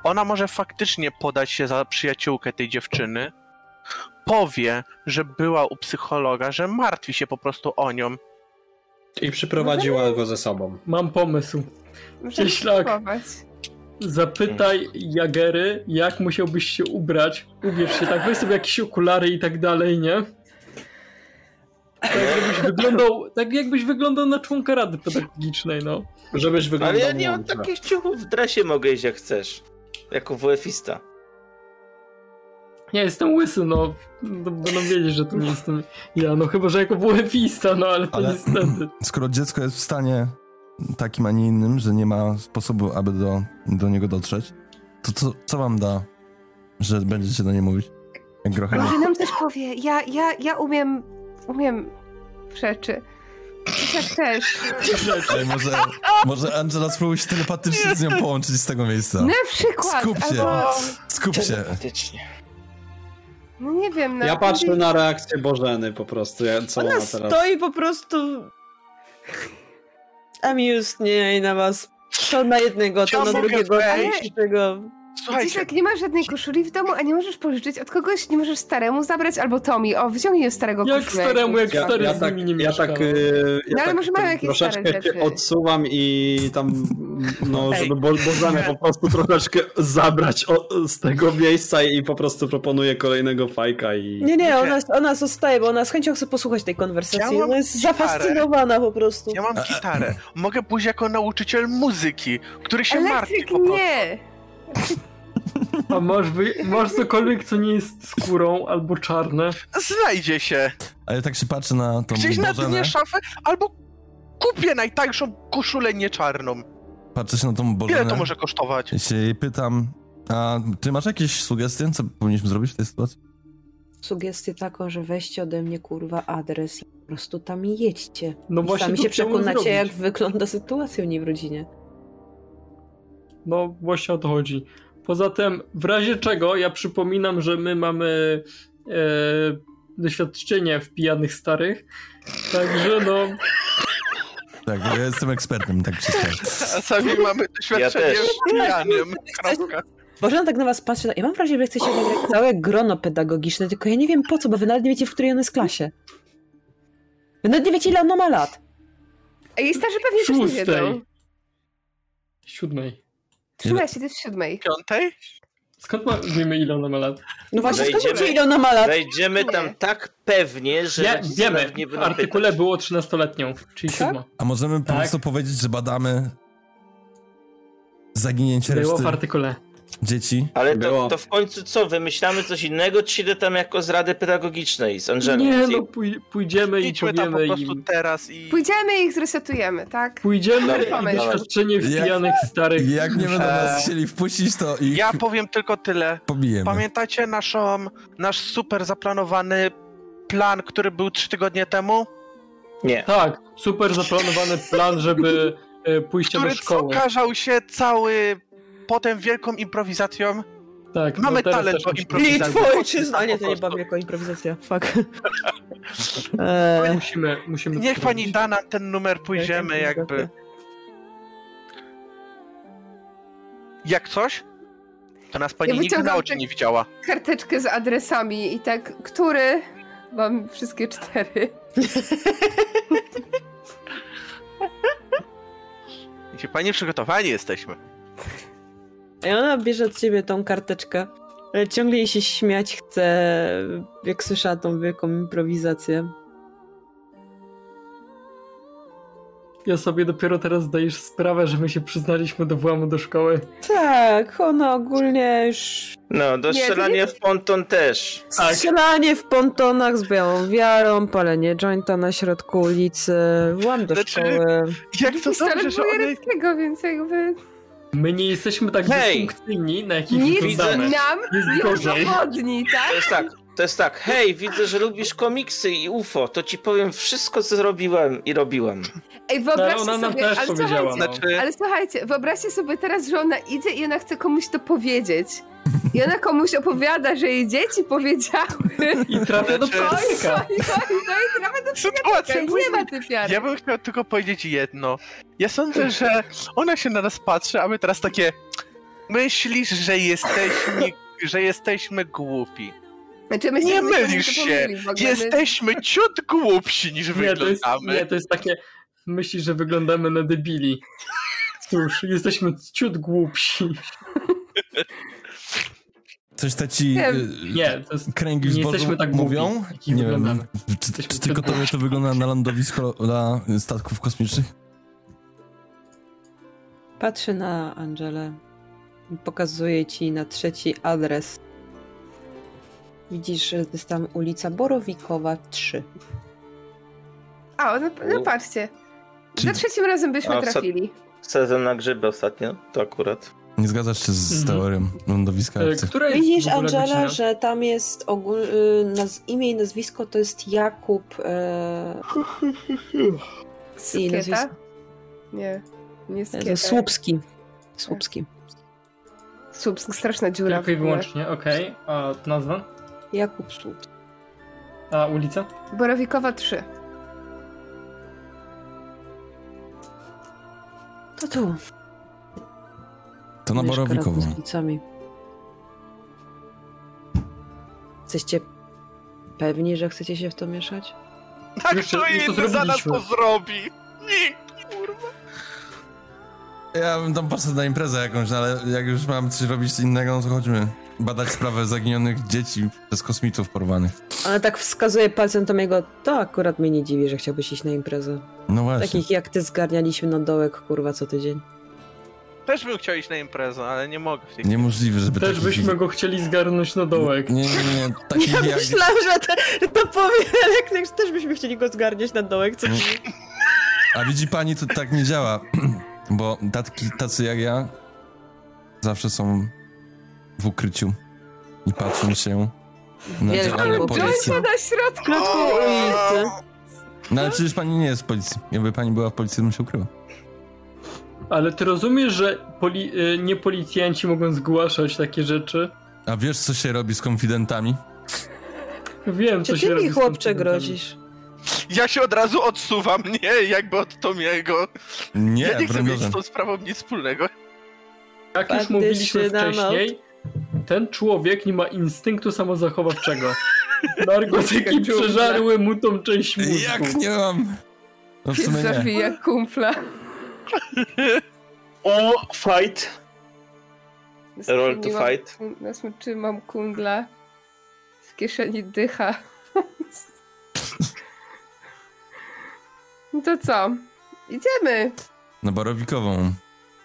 C: Ona może faktycznie podać się za przyjaciółkę tej dziewczyny. Powie, że była u psychologa, że martwi się po prostu o nią.
D: I
E: No
D: przyprowadziła go ze sobą.
G: Mam pomysł.
E: Możemy
G: Cieślak.
E: spróbować.
G: Zapytaj Jagery, jak musiałbyś się ubrać. Ubierz się tak, weź sobie jakieś okulary i tak dalej, nie? Tak jakbyś wyglądał, tak jakbyś wyglądał na członka rady pedagogicznej, no.
D: Żebyś
F: Ale
D: wyglądał
F: ja nie mam
D: mądrze.
F: takich ciuchów w dresie, mogę iść jak chcesz. Jako WF-ista.
G: Ja jestem łysy, no. no będą wiedzieć, że to nie jestem ja, no chyba, że jako WF-ista, no ale to
A: Ale-
G: niestety.
A: Skoro dziecko jest w stanie takim, a nie innym, że nie ma sposobu, aby do, do niego dotrzeć, to co, co wam da, że będziecie do niej mówić? Jak grochem.
E: Może nam coś powie. Ja, ja, ja umiem, umiem w rzeczy. Cieślak też.
A: Ej, może, może Angela spróbuj się telepatycznie z nią połączyć z tego miejsca.
E: Na przykład.
A: Tak. Skup się.
E: Albo,
A: Skup się.
F: Faktycznie.
E: no nie wiem. No,
D: Ja patrzę na reakcję Bożeny po prostu, ja- co ona
B: Ona
D: teraz...
B: stoi po prostu Amuse nie na was. To na jednego, to
E: Ja
B: na
E: mogę
B: drugiego, to na
E: wejść?
B: trzeciego.
E: Widzisz, jak nie masz żadnej koszuli w domu, a nie możesz pożyczyć od kogoś, nie możesz staremu zabrać, albo Tomi, o, wziął starego
G: Jak
E: koszulę.
G: staremu, jak
E: jakąś.
G: stary
D: ja
G: z
D: tak,
G: nimi nie
D: ja
G: mieszkał.
D: tak, yy, ja
E: No ale
D: tak
E: może mają jakieś stare
D: troszeczkę się
E: rzeczy.
D: odsuwam i tam, no, żeby bo, Bożanę po prostu troszeczkę zabrać o, z tego miejsca i po prostu proponuję kolejnego fajka i...
B: Nie, nie, ona, ona zostaje, bo ona z chęcią chce posłuchać tej konwersacji.
C: Ja mam
B: ona jest
C: gitarę.
B: zafascynowana po prostu.
C: Ja mam gitarę. Mogę pójść jako nauczyciel muzyki, który się martwi.
E: Elektryk nie!
G: A masz, wy... masz cokolwiek, co nie jest skórą albo czarne?
C: Znajdzie się.
A: A ja tak się patrzę na tą
C: Gdzieś na
A: Bożenę,
C: dnie szafy, albo kupię najtańszą koszulę nieczarną.
A: patrzę się na tą Bożenę.
C: Ile to może kosztować?
A: I się jej pytam, a ty masz jakieś sugestie, co powinniśmy zrobić w tej sytuacji?
B: Sugestię taką, że weźcie ode mnie kurwa adres i po prostu tam jedźcie.
G: No
B: I
G: właśnie
B: sami
G: to
B: się
G: chciałem
B: przekonacie,
G: zrobić.
B: jak wygląda sytuacja u niej w rodzinie.
G: No właśnie o to chodzi. Poza tym, w razie czego ja przypominam, że my mamy e, doświadczenie w pijanych starych. Także no.
A: Tak, bo ja jestem ekspertem, tak się stało.
C: A sami mamy doświadczenie
A: też.
C: w pijanym. Kropka.
B: Bożena tak na was patrzy, tak, ja mam wrażenie, że wy chcecie mieć całe grono pedagogiczne, tylko ja nie wiem po co, bo wy nawet nie wiecie, w której on jest klasie. Wy nawet nie wiecie, ile ona ma lat.
E: A jej starzy pewnie też nie wiedzą.
G: Szóstej. Siódmej.
E: Trzymaj się, ty w siódmej.
C: Piątej?
G: Skąd ma, wiemy ile ona ma lat?
B: No
F: właśnie, skąd Wejdziemy- wiecie, ile
B: ona ma lat?
F: Wejdziemy tam tak pewnie, że
G: Ja,
F: rodzice
G: wiemy,
F: nawet nie
G: w
F: będą pytać.
G: artykule było 13-letnią, czyli siódma.
A: A możemy
G: Tak.
A: po prostu powiedzieć, że badamy zaginięcie
G: Było
A: reszty
G: w artykule.
A: dzieci?
F: Ale to, to w końcu co, wymyślamy coś innego, czy idę tam jako z Rady Pedagogicznej z Angelą?
G: Nie,
F: Z jej-
G: no pój- pójdziemy i
C: Idźmy tam po
G: powiemy
C: prostu
G: im.
C: teraz i...
E: Pójdziemy i ich zresetujemy, tak?
G: Pójdziemy
E: Dobra,
G: i
E: dawaj.
G: doświadczenie w
A: Jak-
G: pijanych starych.
A: Jak nie będą nas chcieli wpuścić, to ich
C: Ja powiem tylko tyle.
A: pobijemy.
C: Pamiętacie naszą, nasz super zaplanowany plan, który był trzy tygodnie temu?
F: Nie.
G: Tak, super zaplanowany plan, żeby e, pójście do
C: Który
G: szkoły.
C: okażał się cały potem wielką improwizacją.
G: Tak, no
C: Mamy
G: teraz
C: talent
G: też tak,
C: do
G: oczywiście.
C: improwizacji.
B: A nie, to nie bawi jako improwizacja. Fuck.
G: Musimy, musimy
C: Niech pani da nam ten numer, pójdziemy jakby. Jak coś? To nas pani
E: Ja
C: nigdy na
E: wyciągam
C: oczy
E: tak-
C: nie widziała.
E: Karteczkę z adresami i tak, który? Mam wszystkie cztery.
C: Wiecie, Panie przygotowani jesteśmy.
B: I ona bierze od ciebie tą karteczkę. Ale ciągle jej się śmiać chce, jak słyszała tą wielką improwizację.
G: Ja sobie dopiero teraz zdajesz sprawę, że my się przyznaliśmy do włamu do szkoły.
B: Tak, ona ogólnie już
F: No, do
B: Nie, to
F: strzelania
B: nie-
F: w ponton też.
B: strzelanie w pontonach z białą wiarą, palenie jointa na środku ulicy, włam do szkoły.
C: Jak to
E: Pistolet
C: dobrze, że
E: był
C: one...
E: Jareckiego, więc jakby
G: My nie jesteśmy tak
F: Hej!
G: dysfunkcyjni, na jakich
E: nic
G: wyglądamy.
E: nam
G: Jest
E: nie
G: gorzej.
E: udowodni, tak?
F: To jest tak, to jest tak. Hej, widzę, że lubisz komiksy i UFO, to ci powiem wszystko, co zrobiłem i robiłam.
E: Ej, wyobraźcie
G: ona nam
E: sobie,
G: No, też
E: ale
G: powiedziała,
E: słuchajcie,
G: no.
C: Znaczy-
E: ale słuchajcie, wyobraźcie sobie teraz, że ona idzie i ona chce komuś to powiedzieć. I ona komuś opowiada, że jej dzieci powiedziały.
G: I trafia do
C: Znaczy-
G: pojka.
E: No i, no i nawet do
C: Sytuacja
E: psychiatryka. Nie ma typiary.
C: Ja bym chciał tylko powiedzieć jedno. Ja sądzę, że ona się na nas patrzy, a my teraz takie... Myślisz, że jesteśmy, że jesteśmy głupi.
E: Znaczy, my
C: Nie
E: my
C: mylisz
E: to
C: się.
E: pomylili w ogóle, my-
C: Jesteśmy ciut głupsi niż
G: Nie, to jest, nie,
C: wyglądamy.
G: to jest takie... Myślisz, że wyglądamy na debili. Cóż, jesteśmy ciut głupsi.
A: Coś te ci
E: Nie.
A: y,
G: Nie, to jest... e,
A: kręgi w
G: nie
A: zbożu
G: jesteśmy tak
A: mówią?
G: głupi, jakich
A: Nie wiem,
G: wyglądamy.
A: czy, czy,
G: Jesteśmy
A: czy tylko
G: tylko-
A: tobie to wygląda na lądowisko dla statków kosmicznych?
B: Patrzy na Angelę i pokazuje ci na trzeci adres. Widzisz, że to jest tam ulica Borowikowa 3.
E: A, no, no patrzcie. Za
A: Czyli-
E: trzecim razem byśmy
F: A, co-
E: trafili.
F: Sezon na grzyby ostatnio, to akurat.
A: Nie zgadzasz się z
G: Mhm.
A: teorią lądowiska?
G: E,
A: obcych?
G: Która jest
B: Widzisz,
G: w ogóle
B: Angela,
G: godzina?
B: że tam jest ogól, y, naz, imię i nazwisko to jest Jakub. E, i
E: Skieta?
B: nazwisko.
E: Nie, nie
B: Jezu,
E: skieta.
B: Słupski. Słupski.
E: Słupsk, straszna dziura.
G: Tylko i
E: w ogóle.
G: wyłącznie, okej. A nazwa?
B: Jakub Słupski.
G: A ulica?
E: Borowikowa 3.
H: To tu.
A: To na
H: Mieszka
A: Borowikową.
H: razem z rodzicami. Jesteście pewni, że chcecie się w to mieszać?
C: Tak
G: Już-
C: to
G: już to
C: inny za nas
G: zrobiliśmy.
C: to zrobi. Nikt, kurwa.
A: Ja bym tam poszedł na imprezę jakąś, no ale jak już mam coś robić innego, no to chodźmy badać sprawę zaginionych dzieci przez kosmitów porwanych.
H: Ale tak wskazuje palcem Tomiego, to akurat mnie nie dziwi, że chciałbyś iść na imprezę.
A: No właśnie.
H: Takich jak ty zgarnialiśmy na dołek, kurwa, co tydzień.
C: Też bym chciał iść na imprezę, ale nie mogę w tej
A: Niemożliwe, żeby
G: Też
A: takich-
G: byśmy go chcieli zgarnąć na dołek.
A: Nie, nie, nie, takich
H: Ja
A: jak...
H: myślałam, że to, że to powie Elektrycz, też byśmy chcieli go zgarniać na dołek, co tydzień.
A: A widzi pani, to tak nie działa, bo tatki tacy jak ja zawsze są w ukryciu i patrzą się na
H: Wielka
A: działania
H: głupota.
C: no
A: policji.
E: na środku!
H: Krótką ulicę.
A: No ale przecież pani nie jest w policji. Jakby pani była w policji, to bym się ukryła.
G: Ale ty rozumiesz, że poli- y, nie policjanci mogą zgłaszać takie rzeczy?
A: A wiesz, co się robi z konfidentami?
G: Wiem,
H: Czy
G: co się
H: ty mi
G: robi z
H: chłopcze
G: konfidentami.
H: grozisz?
C: Ja się od razu odsuwam, nie, jakby od Tomiego.
A: Nie,
C: ja nie chcę
A: broń
C: mieć
A: Boże.
C: z tą sprawą nic wspólnego.
G: Jak już
H: Faktycznie
G: mówiliśmy
H: na
G: wcześniej, ten człowiek nie ma instynktu samozachowawczego. Narkotyki
E: Jak dżungla.
G: przeżarły mu tą część mózgu.
A: Jak nie mam? No w
E: Pies
A: sumie nie.
E: zabija kumpla.
F: O, fight. Roll to
E: Mam-
F: fight.
E: Na smyczy mam kundla. W kieszeni dycha. No to co? Idziemy.
A: Na Borowikową.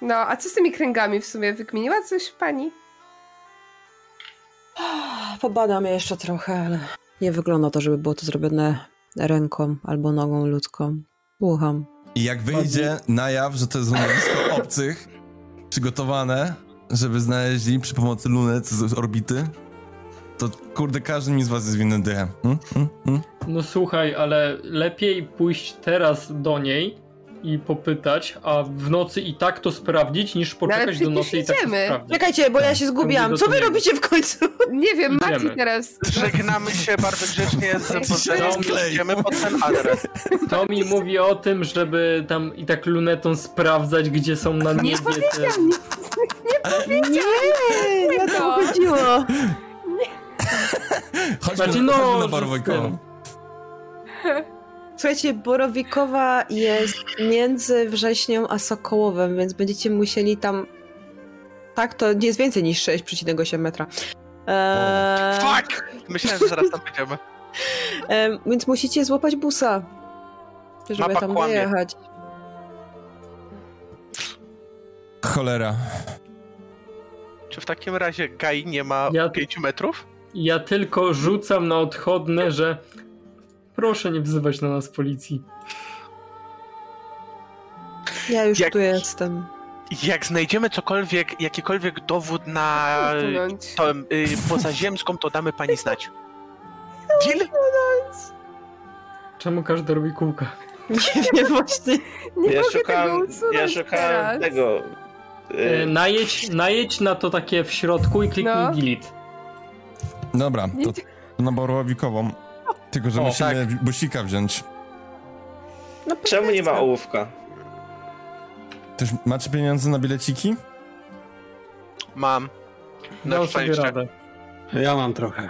E: No, a co z tymi kręgami w sumie? Wykminiła coś pani?
H: Pobadam je jeszcze trochę, ale nie wygląda to, żeby było to zrobione ręką albo nogą ludzką. Słucham.
A: I jak wyjdzie na jaw, że to jest złomowisko obcych, przygotowane, żeby znaleźli przy pomocy lunet z z orbity, to kurde, każdy mi z was jest winny dychę. Hmm? Hmm? Hmm?
G: No słuchaj, ale lepiej pójść teraz do niej i popytać, a w nocy i tak to sprawdzić, niż poczekać do
E: przecież
G: nocy i tak to
E: idziemy.
G: sprawdzić.
H: Czekajcie, bo ja się
G: zgubiłam.
H: zgubiłam. Co
G: Co wy
H: wy
G: Idziemy.
H: robicie w końcu?
E: Nie wiem,
G: Idziemy.
E: Maciej teraz.
C: Żegnamy się bardzo grzecznie z
A: Przecież
C: pozdrowieniem.
A: klej.
C: Idziemy pod ten adres.
G: To mi mówi o tym, żeby tam i tak lunetą sprawdzać, gdzie są na niebie te...
H: Nie, nie o to
E: No.
H: chodziło.
A: Chodźmy,
G: Znaczy,
A: na
G: no,
A: chodźmy na
G: że z
A: Borowikową.
G: tym.
H: Słuchajcie, Borowikowa jest między wrześnią a Sokołowem, więc będziecie musieli tam... Tak, to nie jest więcej niż 6,8 metra. Eee,
C: Fuck! Myślałem, że zaraz tam będziemy.
H: em, więc musicie złapać busa, żeby
C: Mapa
H: tam
C: kłamie.
H: dojechać.
A: Cholera.
C: Czy w takim razie Gai nie ma
G: Ja-
C: 5 metrów?
G: Ja tylko rzucam na odchodne, że proszę nie wzywać na nas policji.
H: Ja już
C: Jak-
H: tu jestem.
C: Jak znajdziemy cokolwiek, jakikolwiek dowód na
E: Usunąć.
C: to, y, pozaziemską, to damy pani znać. Deal?
G: Czemu każdy robi kółka?
H: Nie wiem właśnie.
E: Nie
F: ja
E: mogę tego
F: szukałem,
E: usunąć
F: ja szukałem
E: teraz.
F: tego.
G: E,
F: y,
G: Najedź, najedź na to takie w środku i kliknij
E: No.
G: delete.
A: Dobra, to na Borowikową. Tylko, że
C: O,
A: musimy busika wziąć.
F: Czemu nie ma ołówka?
A: Też macie pieniądze na bileciki?
C: Mam. Na
G: Dał sobie
C: szczęście.
G: radę.
D: Ja mam trochę.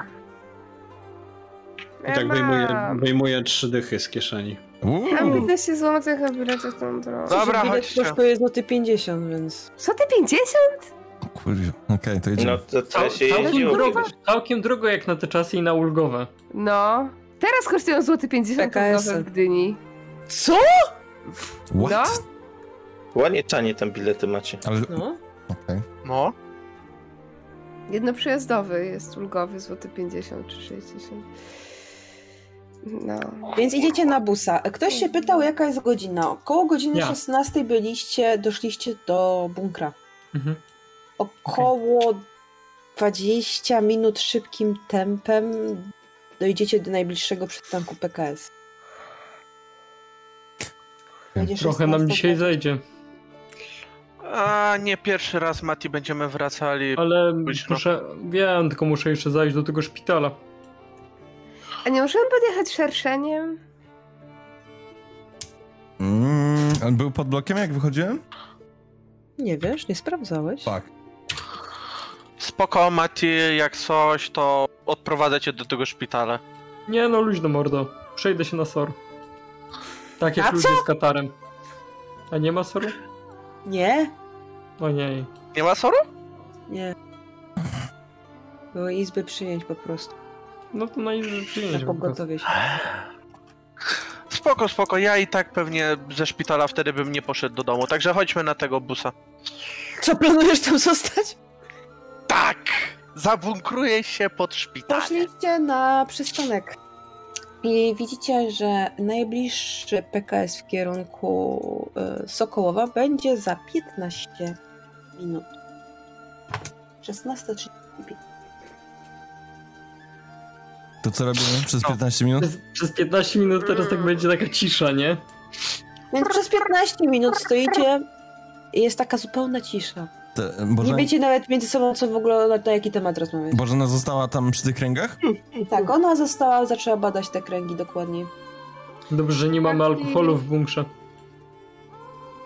D: I
E: Ja
D: tak wyjmuję,
E: mam.
D: wyjmuję trzy dychy z kieszeni.
A: Uuu.
E: A mi da się złamać na bilecie w tą drogę.
C: Dobra,
H: Bilet
C: chodźcie.
H: kosztuje złoty 50, więc...
E: Co ty 50?
A: Kurwa, okej, to idziemy.
F: No to, to
G: Cał,
F: się
G: całkiem,
F: jeździło.
G: drogo, całkiem drogo jak na te czasy i na ulgowe.
E: No. Teraz kosztują złoty 50
H: PKS-y.
E: groszy w Gdyni.
H: Co?
A: What?
G: No.
F: Ładnie tanie tam bilety macie.
A: Ale...
H: No.
A: Okej.
C: No.
E: Jednoprzyjazdowy jest ulgowy, złoty 50 czy 60. No.
H: Więc idziecie na busa. Ktoś się pytał, jaka jest godzina. Około godziny
G: Ja.
H: 16 byliście, doszliście do bunkra.
G: Mhm.
H: Około 20 minut szybkim tempem dojdziecie do najbliższego przystanku PKS. Będzie
G: Trochę nam
H: 16.
G: dzisiaj zejdzie,
C: A nie pierwszy raz, Mati, będziemy wracali.
G: ale
C: Być no.
G: proszę, wiem, tylko muszę jeszcze zajść do tego szpitala.
E: A nie możemy podjechać szerszeniem?
A: Mm, on był pod blokiem, jak wychodziłem?
B: Nie wiesz, nie sprawdzałeś.
A: Tak.
C: Spoko, Mati, jak coś, to odprowadzę cię do tego szpitala.
G: Nie no, luźno mordo. Przejdę się na SOR. Tak jak
B: Na
G: ludzie
B: co?
G: z Katarem. A nie ma SORu?
B: Nie?
G: O nie.
C: Nie ma SORu?
B: Nie. Były izby przyjęć po prostu.
G: No to na izby przyjęć.
B: Na pogotowie się.
C: Spoko, spoko, ja i tak pewnie ze szpitala wtedy bym nie poszedł do domu, także chodźmy na tego busa.
B: Co, planujesz tam zostać?
C: Tak! Zabunkruję się pod szpital.
B: Poszliście na przystanek. I widzicie, że najbliższy PKS w kierunku e, Sokołowa będzie za 15 minut. 16.35.
A: To co robimy przez 15 minut?
G: Przez 15 minut teraz tak będzie taka cisza, nie?
B: Więc przez 15 minut stoicie i jest taka zupełna cisza.
A: Te,
B: Nie
A: Bożena,
B: wiecie nawet między sobą, co w ogóle, na, na jaki temat rozmawiać.
A: Bożena została tam przy tych kręgach?
B: Tak, ona została, zaczęła badać te kręgi dokładniej.
G: Dobrze, że nie mamy alkoholu w bunkrze.
E: A w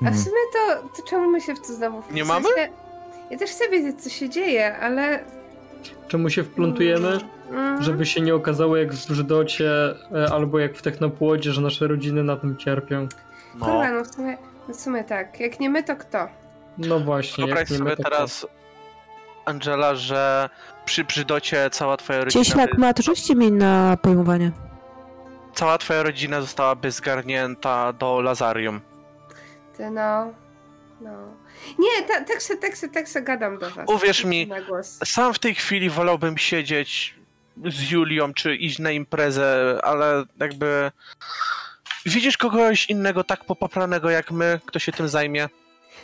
A: Mhm. Hmm.
E: sumie to, to czemu my się w to znowu
G: Nie
E: w sensie-
G: mamy?
E: Ja też chcę wiedzieć, co się dzieje, ale
G: Czemu się wplątujemy?
E: Mm.
G: Żeby się nie okazało jak w Żdocie e, albo jak w Technopłodzie, że nasze rodziny na tym cierpią.
E: kurwa, no w sumie, no w sumie tak. Jak nie my, to kto?
G: No właśnie,
C: Wyobraź
G: jak nie
C: sobie
G: my, to
C: teraz, Angela, że przy przydocie cała twoja rodzina...
H: Cieślak ma, to rzućcie mi na pojmowanie.
C: Cała twoja rodzina zostałaby zgarnięta do Lazarium.
E: Ty no. No. Nie, ta, tak se, tak se, tak se gadam do was.
C: Uwierz mi,
E: Na głos.
C: sam w tej chwili wolałbym siedzieć z Julią, czy iść na imprezę, ale jakby... Widzisz kogoś innego tak popapranego jak my, kto się tym zajmie?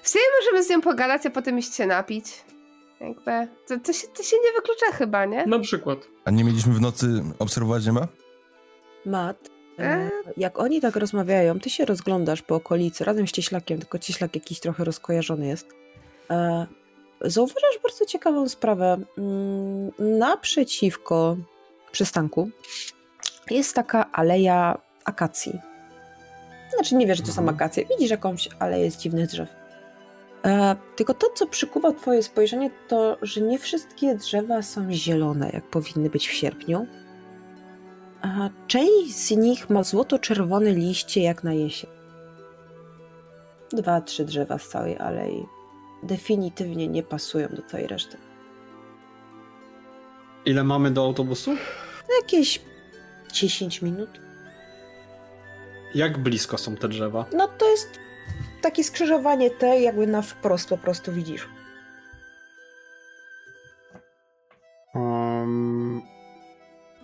E: W sumie możemy z nią pogadać, a potem iść się napić. Jakby. To, to, się, to się nie wyklucza chyba, nie?
G: Na przykład.
A: A nie mieliśmy w nocy obserwować nieba?
H: Mat, e, jak oni tak rozmawiają, ty się rozglądasz po okolicy razem z cieślakiem, tylko cieślak jakiś trochę rozkojarzony jest. E, zauważasz bardzo ciekawą sprawę. Mm, Naprzeciwko przystanku jest taka aleja akacji. Znaczy, nie wiesz, że to są akacje. Widzisz jakąś aleję z dziwnych drzew. E, tylko to, co przykuwa Twoje spojrzenie, to, że nie wszystkie drzewa są zielone, jak powinny być w sierpniu. A część z nich ma złoto-czerwone liście jak na jesień. Dwa, trzy drzewa z całej alei definitywnie nie pasują do tej reszty.
D: Ile mamy do autobusu?
H: Jakieś 10 minut.
D: Jak blisko są te drzewa?
H: No to jest takie skrzyżowanie te, jakby na wprost po prostu widzisz.
D: Um,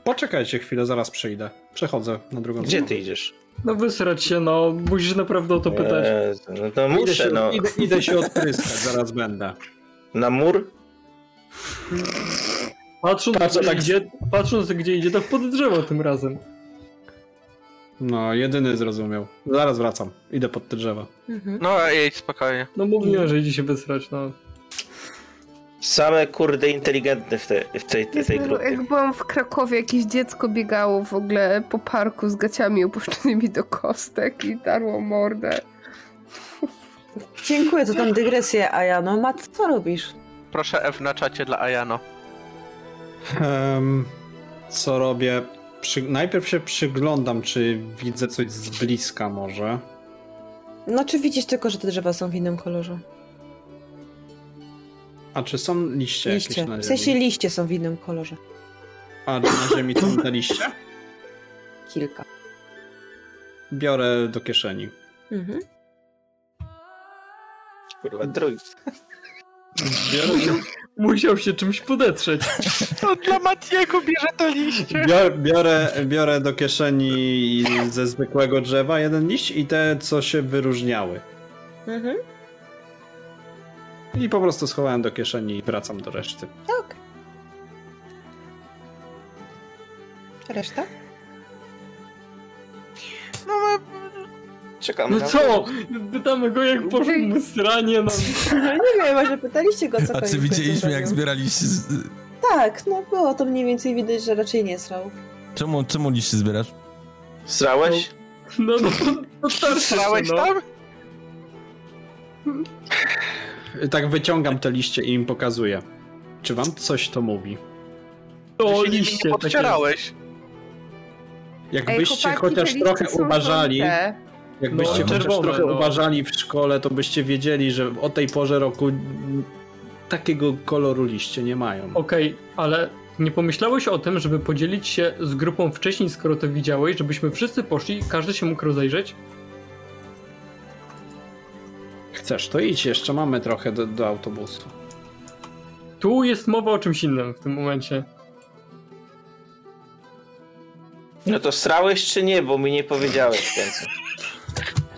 D: poczekajcie chwilę, zaraz przyjdę. Przechodzę na drugą
F: Gdzie ty idziesz?
G: No wysrać się, no. Musisz naprawdę o to pytać.
F: Jezu, no
D: Idę
F: to muszę,
D: się,
F: no.
D: idę, idę się odpryskać, zaraz będę.
F: Na mur?
G: Patrząc,
D: Patrzę
G: gdzie,
D: tak-
G: idzie, patrząc gdzie idzie, to pod drzewo tym razem.
D: No, jedyny zrozumiał. Zaraz wracam. Idę pod te drzewa.
H: Mhm.
C: No jedź spokojnie.
G: No mówiłem, że idzie się wysrać, no.
F: Same kurde inteligentne w, te, No, w tej, tej, tej
E: Jezu,
F: grupie.
E: Jak byłam w Krakowie, jakieś dziecko biegało w ogóle po parku z gaciami opuszczonymi do kostek i darło mordę.
B: Dziękuję, to tam dygresję, a ja no Mat, co robisz?
C: Proszę F na czacie dla Ayano.
D: Em, co robię? Przy, najpierw się przyglądam, czy widzę coś z bliska może.
H: No czy widzisz tylko, że te drzewa są w innym kolorze?
D: A czy są liście,
H: Liście.
D: jakieś na
H: W
D: ziemi?
H: sensie liście są w innym kolorze.
D: A czy na ziemi są te liście?
H: Kilka.
D: Biorę do kieszeni.
H: Mhm.
F: Kurwa, drugi.
G: Musiał, musiał się czymś podetrzeć.
C: To No dla Matiego bierze to liście.
D: Biorę, biorę, biorę do kieszeni ze zwykłego drzewa jeden liść i te, co się wyróżniały.
H: Mhm.
D: I po prostu schowałem do kieszeni i wracam do reszty.
H: Tak. Reszta?
C: No, no,
F: Czekam
G: No
F: na
G: co? Pytamy go jak poszło mu sranie, no.
H: Nie wiem, może pytaliście go, co
A: A czy
H: końcu
A: widzieliśmy, jak
H: zrobił.
A: zbieraliście... z-
H: Tak, no było to mniej więcej widać, że raczej nie srał.
A: Czemu, czemu liście zbierasz?
F: Srałeś?
G: No, no, no, no starczy się,
C: Srałeś
G: no.
C: tam?
D: tak wyciągam te liście i im pokazuję. Czy wam coś to mówi?
C: O,
D: liście,
C: liście, nie
D: takie-
C: podcierałeś.
D: Jakbyście
E: chłopaki,
D: chociaż
E: te
D: trochę
E: listy są
D: uważali,
E: żółte.
D: jakbyście
G: No,
D: chociaż
G: czerwone,
D: trochę
G: no.
D: uważali w szkole, to byście wiedzieli, że o tej porze roku mm, takiego koloru liście nie mają.
G: Okej, ale nie pomyślałeś o tym, żeby podzielić się z grupą wcześniej, skoro to widziałeś, żebyśmy wszyscy poszli, każdy się mógł rozejrzeć?
D: Chcesz, to idź, jeszcze mamy trochę do, do autobusu.
G: Tu jest mowa o czymś innym w tym momencie.
F: No to srałeś czy nie, bo mi nie powiedziałeś więcej.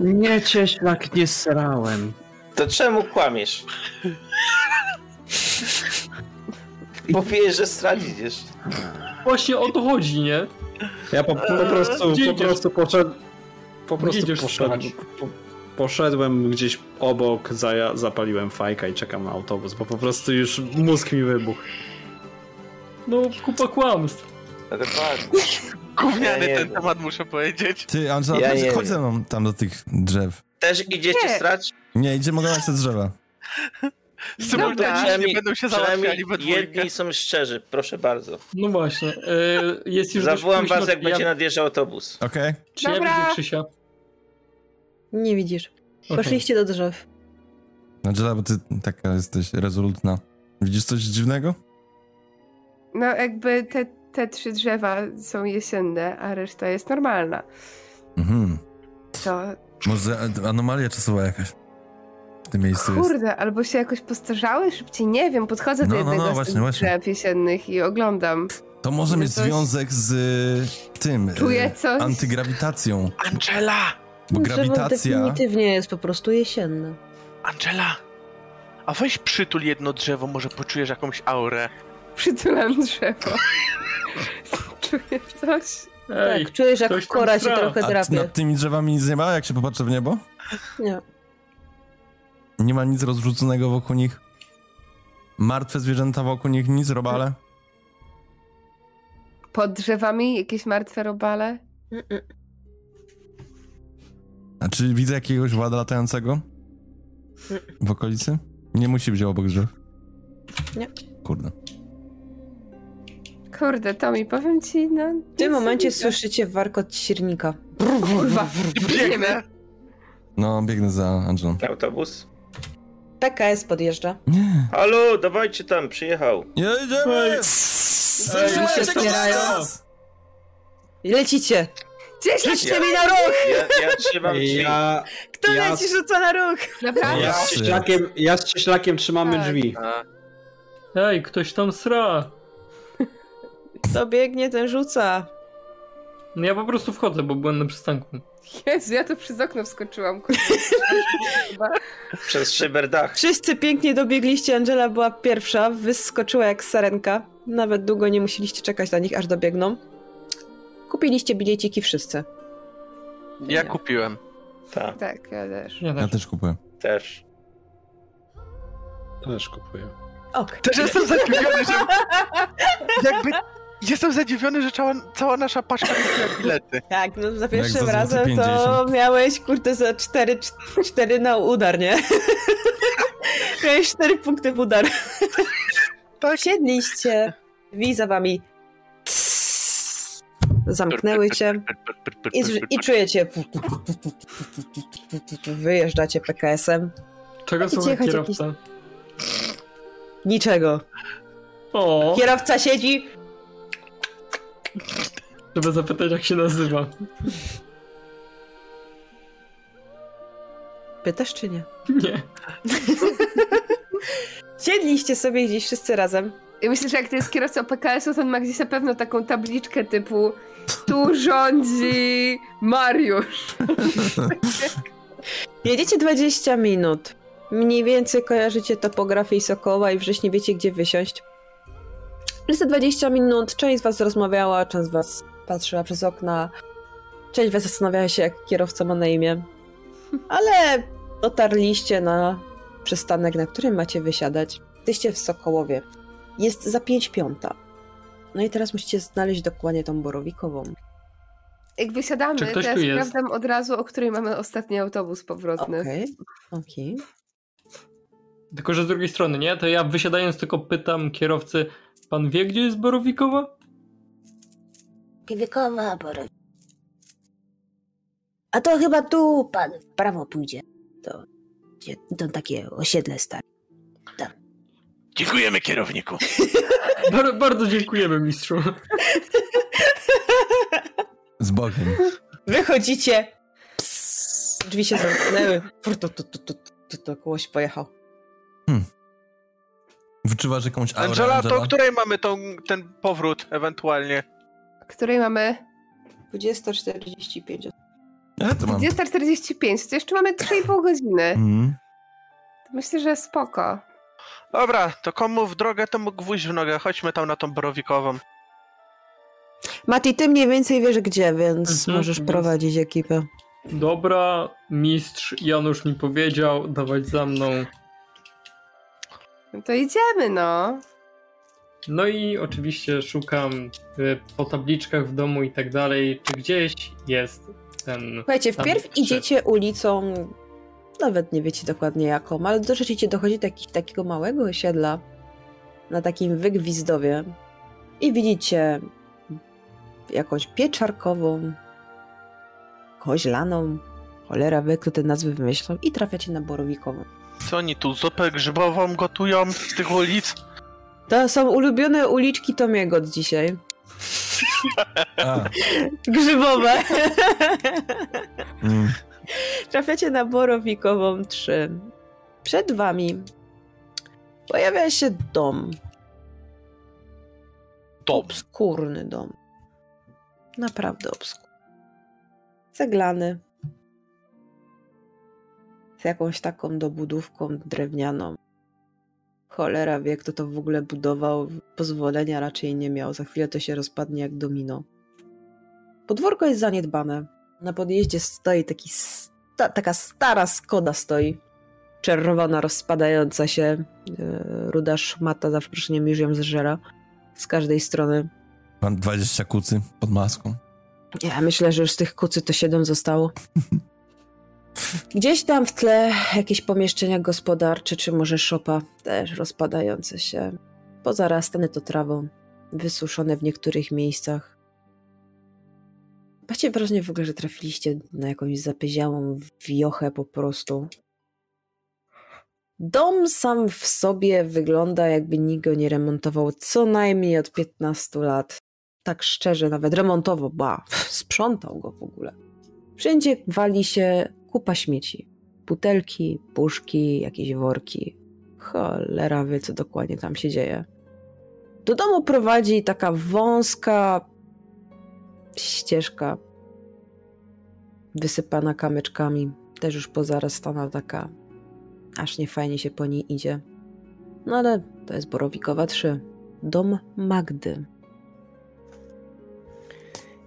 D: Nie cieślak, nie srałem.
F: To czemu kłamiesz? Bo wiesz, że stracić idziesz.
G: Właśnie o to chodzi, nie?
D: Ja po, po prostu,
G: Gdzie
D: po
G: idziesz?
D: prostu poszedłem. Po prostu
G: idziesz
D: poszedłem,
G: spać?
D: po, poszedłem gdzieś obok, za, zapaliłem fajka i czekam na autobus, bo po prostu już mózg mi wybuchł.
G: No, kupa kłamstw.
F: Dokładnie.
C: Gówniany
F: Ja nie
C: ten
F: wiem.
C: temat, muszę powiedzieć.
A: Ty, Angela,
F: Ja
A: chodź-
F: nie
A: chodź
F: wiem.
A: ze mną tam do tych drzew.
F: Też idziecie
E: Nie.
F: srać?
A: Nie, idziemy gadać te drzewa.
D: No tak.
C: No
F: No
C: Symultanicznie będą się załatwiali we dwójkę.
F: jedni są szczerzy, proszę bardzo.
G: No właśnie, e, jest już dość
F: Zawołam
G: późno,
F: was, jak
G: ja,
F: będzie nadjeżdżał autobus.
A: Okej?
G: Czy ja
E: Dobra.
G: widzę Krzysia?
H: Nie widzisz.
G: Okej.
H: Poszliście do drzew.
A: Angela, bo ty taka jesteś rezolutna. Widzisz coś dziwnego?
E: No jakby te, te trzy drzewa są jesienne, a reszta jest normalna.
A: Mhm.
E: To
A: Może a- anomalia czasowa jakaś w tym miejscu jest.
E: kurde, albo się jakoś postarzały szybciej, nie wiem, podchodzę
A: No,
E: do
A: no,
E: jednego
A: no,
E: z
A: właśnie,
E: tych
A: właśnie.
E: drzew jesiennych i oglądam.
A: To może
E: Że
A: mieć
E: coś-
A: związek z y, tym. y,
E: Czuję coś.
A: Antygrawitacją.
C: Angela!
A: Bo
H: Drzewo
A: grawitacja.
H: definitywnie jest po prostu jesienne.
C: Angela! A weź przytul jedno drzewo, może poczujesz jakąś aurę.
E: Przytulam drzewo. Czuję coś.
G: Ej,
H: tak, czujesz jak
G: ktoś tam
H: kora się
G: sra.
H: trochę
A: A
H: drapie.
A: nad tymi drzewami nic nie ma, jak się popatrzy w niebo?
H: Nie.
A: Nie ma nic rozrzuconego wokół nich. Martwe zwierzęta wokół nich, nic, robale.
E: Pod drzewami jakieś martwe robale.
H: Mm-mm.
A: A czy widzę jakiegoś wada latającego? W okolicy? Nie musi być obok drzew.
H: Nie.
A: Kurde.
E: Kurde, Tomi, powiem ci, no...
H: W tym momencie słyszycie warkot siernika.
E: Kurwa,
C: Biegnę!
A: No, biegnę za Angelą.
F: Autobus?
H: PKS podjeżdża.
A: Nie.
F: Halo, dawajcie tam, przyjechał.
A: Nie idziemy!
H: Ej, się wspierają. I lecicie! Rzućcie mi na ruch!
F: Ja, ja trzymam drzwi.
D: Ja,
H: Kto
D: Ja-
H: leci rzuca na ruch?
E: Naprawdę?
D: ja, z, cieślakiem, ja z cieślakiem trzymamy
E: Tak.
D: drzwi.
G: Ej, ktoś tam sra.
H: Kto biegnie, ten rzuca.
G: No ja po prostu wchodzę, bo byłem na przystanku.
E: Jezu, ja tu przez okno wskoczyłam. Kurde.
F: Przez szyberdach.
H: Wszyscy pięknie dobiegliście, Angela była pierwsza, wyskoczyła jak sarenka. Nawet długo nie musieliście czekać na nich, aż dobiegną. Kupiliście bileciki wszyscy.
C: Ja kupiłem.
F: Tak,
E: Tak, ja też.
G: Ja
A: Ja
G: też.
A: też kupuję.
F: też.
D: Też kupuję.
H: Ok.
C: Też jestem zadziwiony, że... Jakby... Jestem zadziwiony, że cała, cała nasza paczka kupiła bilety.
H: Tak, no za
A: za
H: pierwszym
A: złoty
H: razem to
A: 50.
H: miałeś kurde za 4, 4 na udar, nie? miałeś 4 punkty w udar. Siedliście, wi za wami. Zamknęłyście i, z- i czujecie. Wyjeżdżacie PKS-em.
G: Czego
H: Taki
G: słucha
H: cicho,
G: kierowca?
H: Niczego.
G: O,
H: Kierowca siedzi.
G: trzeba zapytać jak się nazywa.
H: Pytasz czy nie?
G: Nie.
H: Siedliście sobie gdzieś wszyscy razem.
E: I myślę, że jak to jest kierowca PKS-u, to on ma gdzieś na pewno taką tabliczkę typu tu rządzi Mariusz.
H: Jedziecie 20 minut. Mniej więcej kojarzycie topografię i Sokoła i wrześni wiecie, gdzie wysiąść. Przez te 20 minut część z was rozmawiała, część z was patrzyła przez okna, część z was zastanawiała się, jak kierowca ma na imię. Ale dotarliście na przystanek, na którym macie wysiadać. Jesteście w Sokołowie. Jest za 5 piąta. No i teraz musicie znaleźć dokładnie tą borowikową.
E: Jak
G: Czy
E: wysiadamy, to
G: ktoś
E: ja
G: tu jest?
E: sprawdzam No. od razu, o której mamy ostatni autobus powrotny.
H: Okej, okej.
G: Tylko, że z drugiej strony, nie? To ja wysiadając tylko pytam kierowcy, pan wie, gdzie jest Borowikowa?
Q: Kiewikowa, bo... A to chyba tu pan w prawo pójdzie. To, gdzie- to takie osiedle stare.
C: Dziękujemy, kierowniku.
G: Bar- bardzo dziękujemy, mistrzu.
A: Z Bogiem.
H: Wychodzicie. Psst, drzwi się zamknęły. Fur, Tu, tu, tu, tu, tu, tu, kołoś pojechał.
A: Wyczuwasz jakąś aurę,
C: Angela, to
A: Angela?
C: o której mamy tą, ten powrót ewentualnie?
E: Której mamy
H: 20.45.
A: Ja to mam.
E: 20.45, to jeszcze mamy 3,5 godziny.
A: Mhm.
E: Myślę, że spoko.
C: Dobra, to komu w drogę, temu gwóźdź w nogę. Chodźmy tam na tą borowikową.
B: Mati, ty mniej więcej wiesz gdzie, więc
G: Mhm,
B: możesz
G: więc-
B: prowadzić ekipę.
G: Dobra, mistrz Janusz mi powiedział, dawać za mną.
E: No to idziemy, no.
G: No i oczywiście szukam y, po tabliczkach w domu i tak dalej, czy gdzieś jest ten...
B: Słuchajcie,
G: tam
B: wpierw
G: krzyk.
B: idziecie ulicą, nawet nie wiecie dokładnie jaką, ale dotrzecie, dochodzi do jakiegoś takiego małego osiedla na takim wygwizdowie i widzicie jakąś pieczarkową, koźlaną, cholera wie, kto te nazwy wymyślał i trafiacie na borowikową.
C: Co oni tu zupę grzybową gotują z tych ulic?
B: To są ulubione uliczki Tomiego od dzisiaj.
A: A,
B: Grzybowe.
A: mm.
B: Trafiacie na Borowikową 3. Przed wami pojawia się dom.
C: Dom.
B: Obskurny dom. Naprawdę obskurny. Ceglany. Z jakąś taką dobudówką drewnianą. Cholera wie, kto to w ogóle budował. Pozwolenia raczej nie miał. Za chwilę to się rozpadnie jak domino. Podwórko jest zaniedbane. Na podjeździe stoi taki sta- taka stara Skoda stoi. Czerwona, rozpadająca się. Yy, ruda szmata, za przeproszeniem, już ją zżera. Z każdej strony.
A: Mam 20 kucy pod maską.
B: Ja myślę, że już z tych kucy to siedem zostało. Gdzieś tam w tle jakieś pomieszczenia gospodarcze, czy może szopa, też rozpadające się. Pozarastane to trawą, wysuszone w niektórych miejscach. Macie wrażenie w ogóle, że trafiliście na jakąś zapyziałą wiochę po prostu. Dom sam w sobie wygląda, jakby nikt go nie remontował co najmniej od 15 lat tak szczerze, nawet remontowo, ba, sprzątał go w ogóle. Wszędzie wali się kupa śmieci. Butelki, puszki, jakieś worki. Cholera wie, co dokładnie tam się dzieje. Do domu prowadzi taka wąska ścieżka wysypana kamyczkami, też już pozarastana taka. Aż nie fajnie się po niej idzie. No ale to jest Borowikowa 3. Dom Magdy.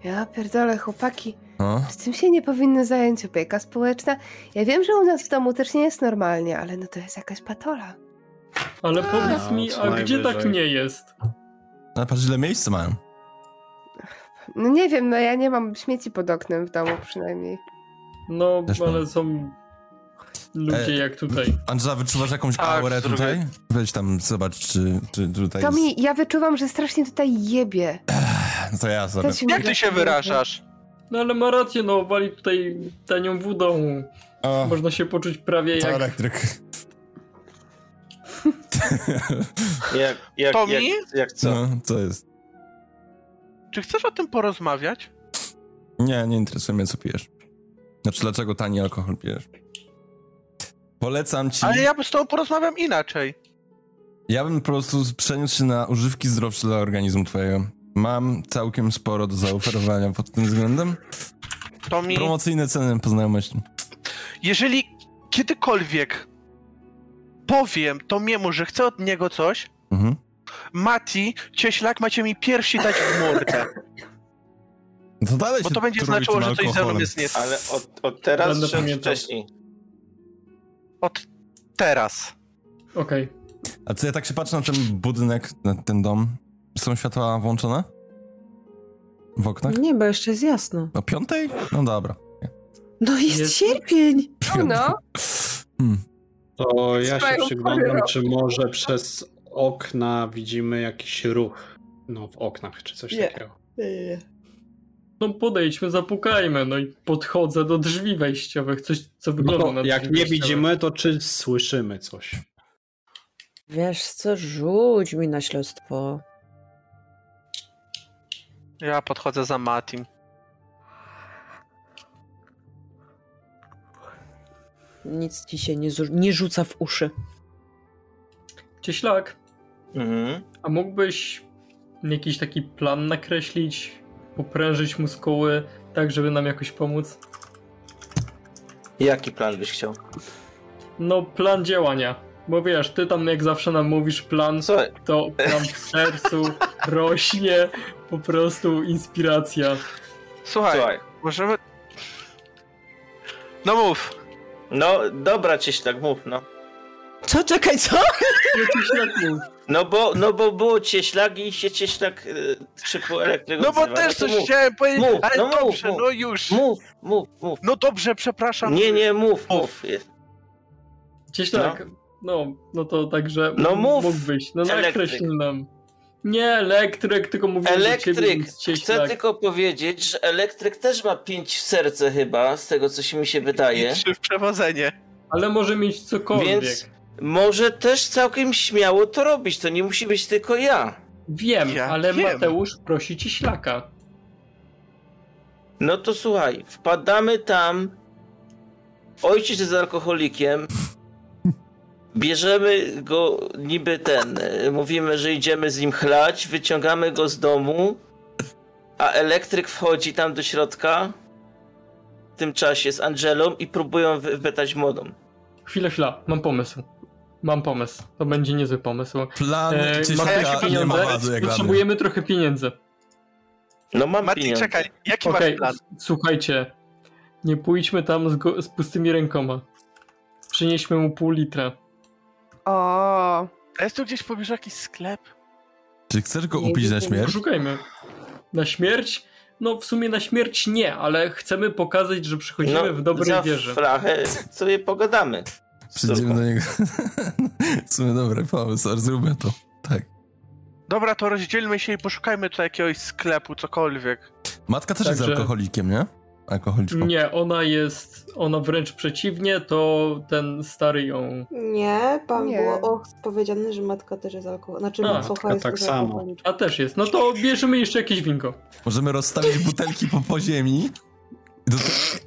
E: Ja pierdolę, chłopaki.
A: No.
E: Czy tym się nie powinno zająć opieka społeczna? Ja wiem, że u nas w domu też nie jest normalnie, ale no to jest jakaś patola.
G: Ale powiedz
D: A,
G: mi,
D: co
G: a gdzie tak
D: najwyżej.
G: nie jest?
A: no Ale patrz, ile miejsca mają.
E: No nie wiem, no ja nie mam śmieci pod oknem w domu przynajmniej.
G: No,
A: Też mam.
G: ale są ludzie
A: E,
G: jak tutaj.
A: Angela, wyczuwasz jakąś
C: Tak,
A: aurę
C: z drugiej-
A: tutaj? Wejdź tam, zobacz, czy, czy tutaj
E: To
A: jest...
E: mi, ja wyczuwam, że strasznie tutaj jebie.
A: No to ja sobie.
E: To ci
C: Jak
E: mówię.
C: ty się wyrażasz?
G: No ale ma rację, no wali tutaj tanią wódą.
A: O,
G: Można się poczuć prawie
A: to
G: jak...
A: elektryk.
F: Jak, jak,
C: To
F: jak,
C: mi?
F: jak co?
G: No.
A: Co? No, Co jest?
C: Czy chcesz o tym porozmawiać?
A: Nie, nie interesuje mnie, co pijesz. Znaczy, dlaczego tani alkohol pijesz? Polecam ci.
C: Ale
A: ja...
C: ja z tobą porozmawiam inaczej.
A: bym po prostu przeniósł się na używki zdrowsze dla organizmu twojego. Mam całkiem sporo do zaoferowania pod tym względem.
C: To mi...
A: Promocyjne ceny po znajomości.
C: Jeżeli kiedykolwiek powiem Tomiemu, że chcę od niego coś,
A: Mhm.
C: Mati, cieślak, macie mi piersi dać w mordę.
A: No to dalej
C: Bo
A: się
C: to będzie
A: truj
C: znaczyło,
A: tym
C: że coś ze mną
A: alkoholem.
C: jest nie tak.
F: Ale od, od teraz
G: Będę
F: czy od
G: pamiętał.
F: wcześniej?
C: Od teraz.
G: Okej.
A: A co, ja tak się patrzę na ten budynek, na ten dom. Są światła włączone? W oknach?
F: Tak?
B: Nie, bo jeszcze jest jasno.
A: O piątej? No dobra.
B: No jest,
G: Jest-
B: sierpień!
E: No,
A: Hmm.
D: To ja się
R: Swoją
D: przyglądam,
R: porywą.
D: czy może przez okna widzimy jakiś ruch. No, w oknach czy coś
G: Nie.
D: takiego.
G: No podejdźmy, zapukajmy, no i podchodzę do drzwi wejściowych, coś co
D: No
G: wygląda
D: to,
G: na
D: jak
G: drzwi
D: nie
G: wejściowe.
D: widzimy, to czy słyszymy coś?
B: Wiesz co, rzuć mi na śledztwo.
C: Ja podchodzę za Matim.
B: Nic ci się nie, zu- nie rzuca w uszy.
G: Cieślak,
F: Mhm.
G: a mógłbyś jakiś taki plan nakreślić, poprężyć muskuły, tak żeby nam jakoś pomóc?
F: Jaki plan byś chciał?
G: No plan działania, bo wiesz, ty tam jak zawsze nam mówisz
C: No,
G: plan, to nam w sercu rośnie po prostu inspiracja.
C: Słuchaj, możemy... No mów.
F: No, dobra, cieślak, mów, no.
B: Co? Czekaj, co?
F: No bo, no bo było cieślak i się cieślak y, szybko elektryk
C: No bo
F: odzywa.
C: też
F: to
C: coś
F: mów.
C: chciałem powiedzieć,
F: Mów,
C: ale
F: no
C: dobrze,
F: mów,
C: no już.
F: Mów, mów, mów.
C: No dobrze, przepraszam.
F: Nie, nie, mów, mów.
G: Cieślak, no. no, to także
F: No mów,
G: mógłbyś, no
F: elektryk.
G: nakreśl nam. Nie elektryk, tylko mówię do ciebie,
F: Elektryk!
G: więc cieślak.
F: Chcę tylko powiedzieć, że elektryk też ma pięć w serce chyba, z tego co się mi się wydaje.
C: I trzy w przewodzenie.
G: Ale może mieć cokolwiek.
F: Więc może też całkiem śmiało to robić, to nie musi być tylko ja.
G: Wiem, ale Mateusz prosi cieślaka.
F: No to słuchaj, wpadamy tam. Ojciec jest alkoholikiem. Bierzemy go niby ten. y, Mówimy, że idziemy z nim chlać, wyciągamy go z domu, a elektryk wchodzi tam do środka. W tym czasie z Angelą i próbują wypytać młodą.
G: Chwilę, chwila, mam pomysł. Mam pomysł. To będzie niezły pomysł.
A: Plan cieślaka
G: mam jakieś
A: nie ma wady,
G: pieniądze.
A: jak dla mnie.
G: Potrzebujemy trochę pieniędzy.
F: No mam
C: Mati, pieniądze. czekaj, jaki
G: Okej,
C: masz plan?
G: s- Słuchajcie, nie pójdźmy tam z, go, z pustymi rękoma. Przynieśmy mu pół litra.
R: O.
C: A jest tu gdzieś w pobliżu jakiś sklep?
A: Czy chcesz go upić na śmierć?
G: Poszukajmy. Na śmierć? No w sumie na śmierć nie, ale chcemy pokazać, że przychodzimy
F: No,
G: w dobrej
F: za
G: wierze.
F: Flachę sobie pogadamy.
A: Przyjdziemy do niego. w sumie dobry pomysł, ale zróbmy to. Tak.
C: Dobra, to rozdzielmy się i poszukajmy tutaj jakiegoś sklepu, cokolwiek.
A: Matka też
G: Także-
A: jest alkoholikiem, nie? Alkoholiczką.
G: Nie, ona jest, ona wręcz przeciwnie, to ten stary ją...
H: Nie, tam
G: Nie.
H: było och, powiedziane, że matka też jest alkoholikiem. Znaczy,
G: A,
H: macocha jest też alkoholikiem.
G: A też jest, no to bierzemy jeszcze jakieś winko.
A: Możemy rozstawić butelki po, po ziemi i do,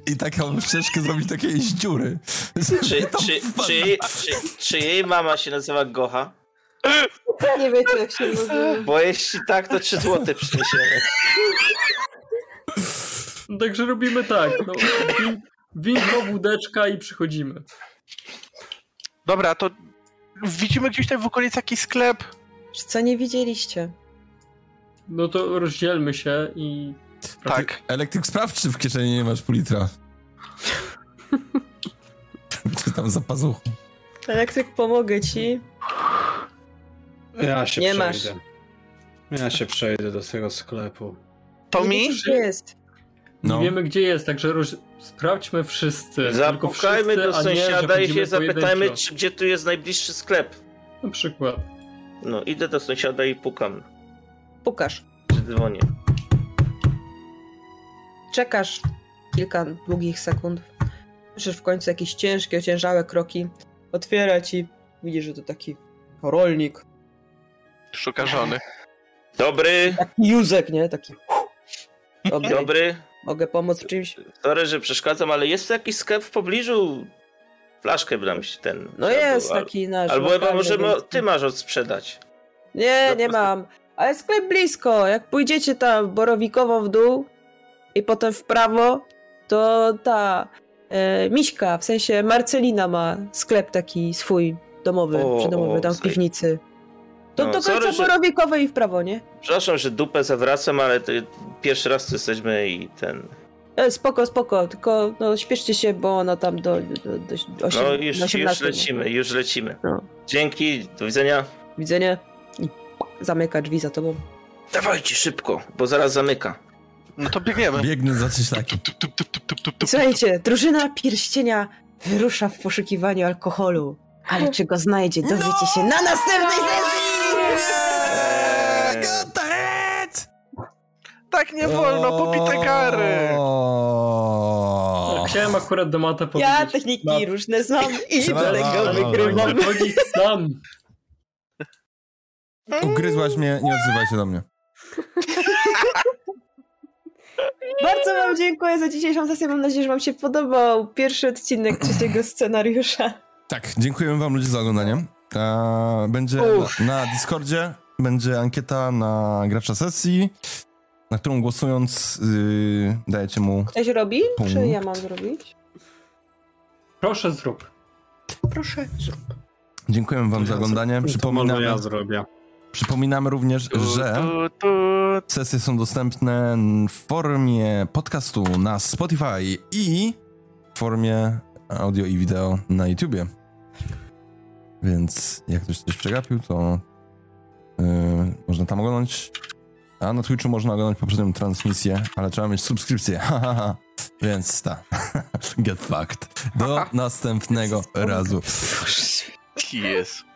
A: i taką ścieżkę zrobić do jakiejś dziury.
F: Czy, czy, czy, jej- czy, czy jej mama się nazywa Gocha?
H: Nie wiecie, jak się mówi.
F: Bo jeśli tak, to 3 złote przyniesiemy.
G: Także robimy tak, no, win, winko, wódeczka i przychodzimy.
C: Dobra, to widzimy gdzieś tam w okolicy jakiś sklep.
B: Co nie widzieliście?
G: No to rozdzielmy się i...
C: Tak.
A: Elektryk sprawdź, czy w kieszeni nie masz pół litra. czy tam za pazuchą.
B: Elektryk, Tak pomogę ci.
D: Ja się
B: Nie masz.
D: przejdę. Ja się przejdę do tego sklepu.
C: To
B: mi? jest.
A: No.
G: Nie wiemy gdzie jest, także roz... sprawdźmy wszyscy. tylko
F: Zapukajmy
G: wszyscy,
F: do
G: a nie, że
F: sąsiada i
G: będziemy
F: się zapytajmy,
G: pojedynczo.
F: czy, gdzie tu jest najbliższy sklep.
G: Na przykład.
F: No, idę do sąsiada i pukam.
B: Pukasz.
F: Czy dzwonię.
B: Czekasz kilka długich sekund. Słyszysz w końcu jakieś ciężkie, ociężałe kroki. Otwiera ci. Widzisz, że to taki rolnik.
C: Szuka żony.
F: Dobry.
B: Józek, nie? Taki. Dobry.
F: Dobry.
B: Mogę pomóc w czymś?
F: Sorry, że przeszkadzam, ale jest tu jakiś sklep w pobliżu. Flaszkę bram się ten.
B: No
F: trzeba
B: jest
F: było, al-
B: taki nasz
F: Albo chyba
B: lokalny,
F: może
B: więc-
F: mo- ty masz odsprzedać.
B: Nie, nie mam. Ale sklep blisko. Jak pójdziecie tam borowikowo w dół i potem w prawo, to ta e, Miśka, w sensie Marcelina ma sklep taki swój domowy,
F: O,
B: przydomowy, tam w
F: sej.
B: piwnicy. To
F: No,
B: do
F: sorry,
B: końca
F: że-
B: borowikowej i w prawo, nie?
F: Przepraszam, że dupę zawracam, ale to pierwszy raz tu jesteśmy i ten.
B: E, spoko, spoko, tylko no, śpieszcie się, bo ona tam do, do, do, osiem-
F: No
B: do
F: już, już
B: 18.
F: lecimy, już lecimy. Dzięki, do widzenia.
B: Widzenie. I zamyka drzwi za tobą.
F: Dawajcie szybko, bo zaraz zamyka.
C: No to biegniemy.
A: Biegnę za cieślakiem.
B: Słuchajcie, drużyna pierścienia wyrusza w poszukiwaniu alkoholu.
S: Ale czy go znajdzie, dowiecie się na następnej sesji!
C: Tak nie wolno, popite kary!
G: Chciałem akurat do Mata powiedzieć.
S: Ja techniki różne znam i
A: Trzeba-
S: dalej go wygrywam.
G: Chodzić sam.
A: Ugryzłaś mnie, nie odzywaj się do mnie.
B: Bardzo wam dziękuję za dzisiejszą sesję. Mam nadzieję, że wam się podobał pierwszy odcinek trzeciego scenariusza.
A: Tak, dziękujemy wam ludzie za oglądanie. Eee, Będzie na, na Discordzie, będzie ankieta na gracza sesji, na którą głosując yy, dajecie mu...
B: Ktoś robi?
A: Punkt.
B: Czy ja mam zrobić?
G: Proszę zrób.
B: Proszę zrób.
A: Dziękujemy wam za oglądanie. Przypominamy,
D: ja zrobię.
A: przypominamy również, że sesje są dostępne w formie podcastu na Spotify i w formie audio i wideo na YouTubie. Więc jak ktoś coś przegapił, to yy, można tam oglądać. A na Twitchu można oglądać poprzednią transmisję, ale trzeba mieć subskrypcję. Ha, ha, ha. Więc ta. Get fucked. Do następnego razu.
C: Jest.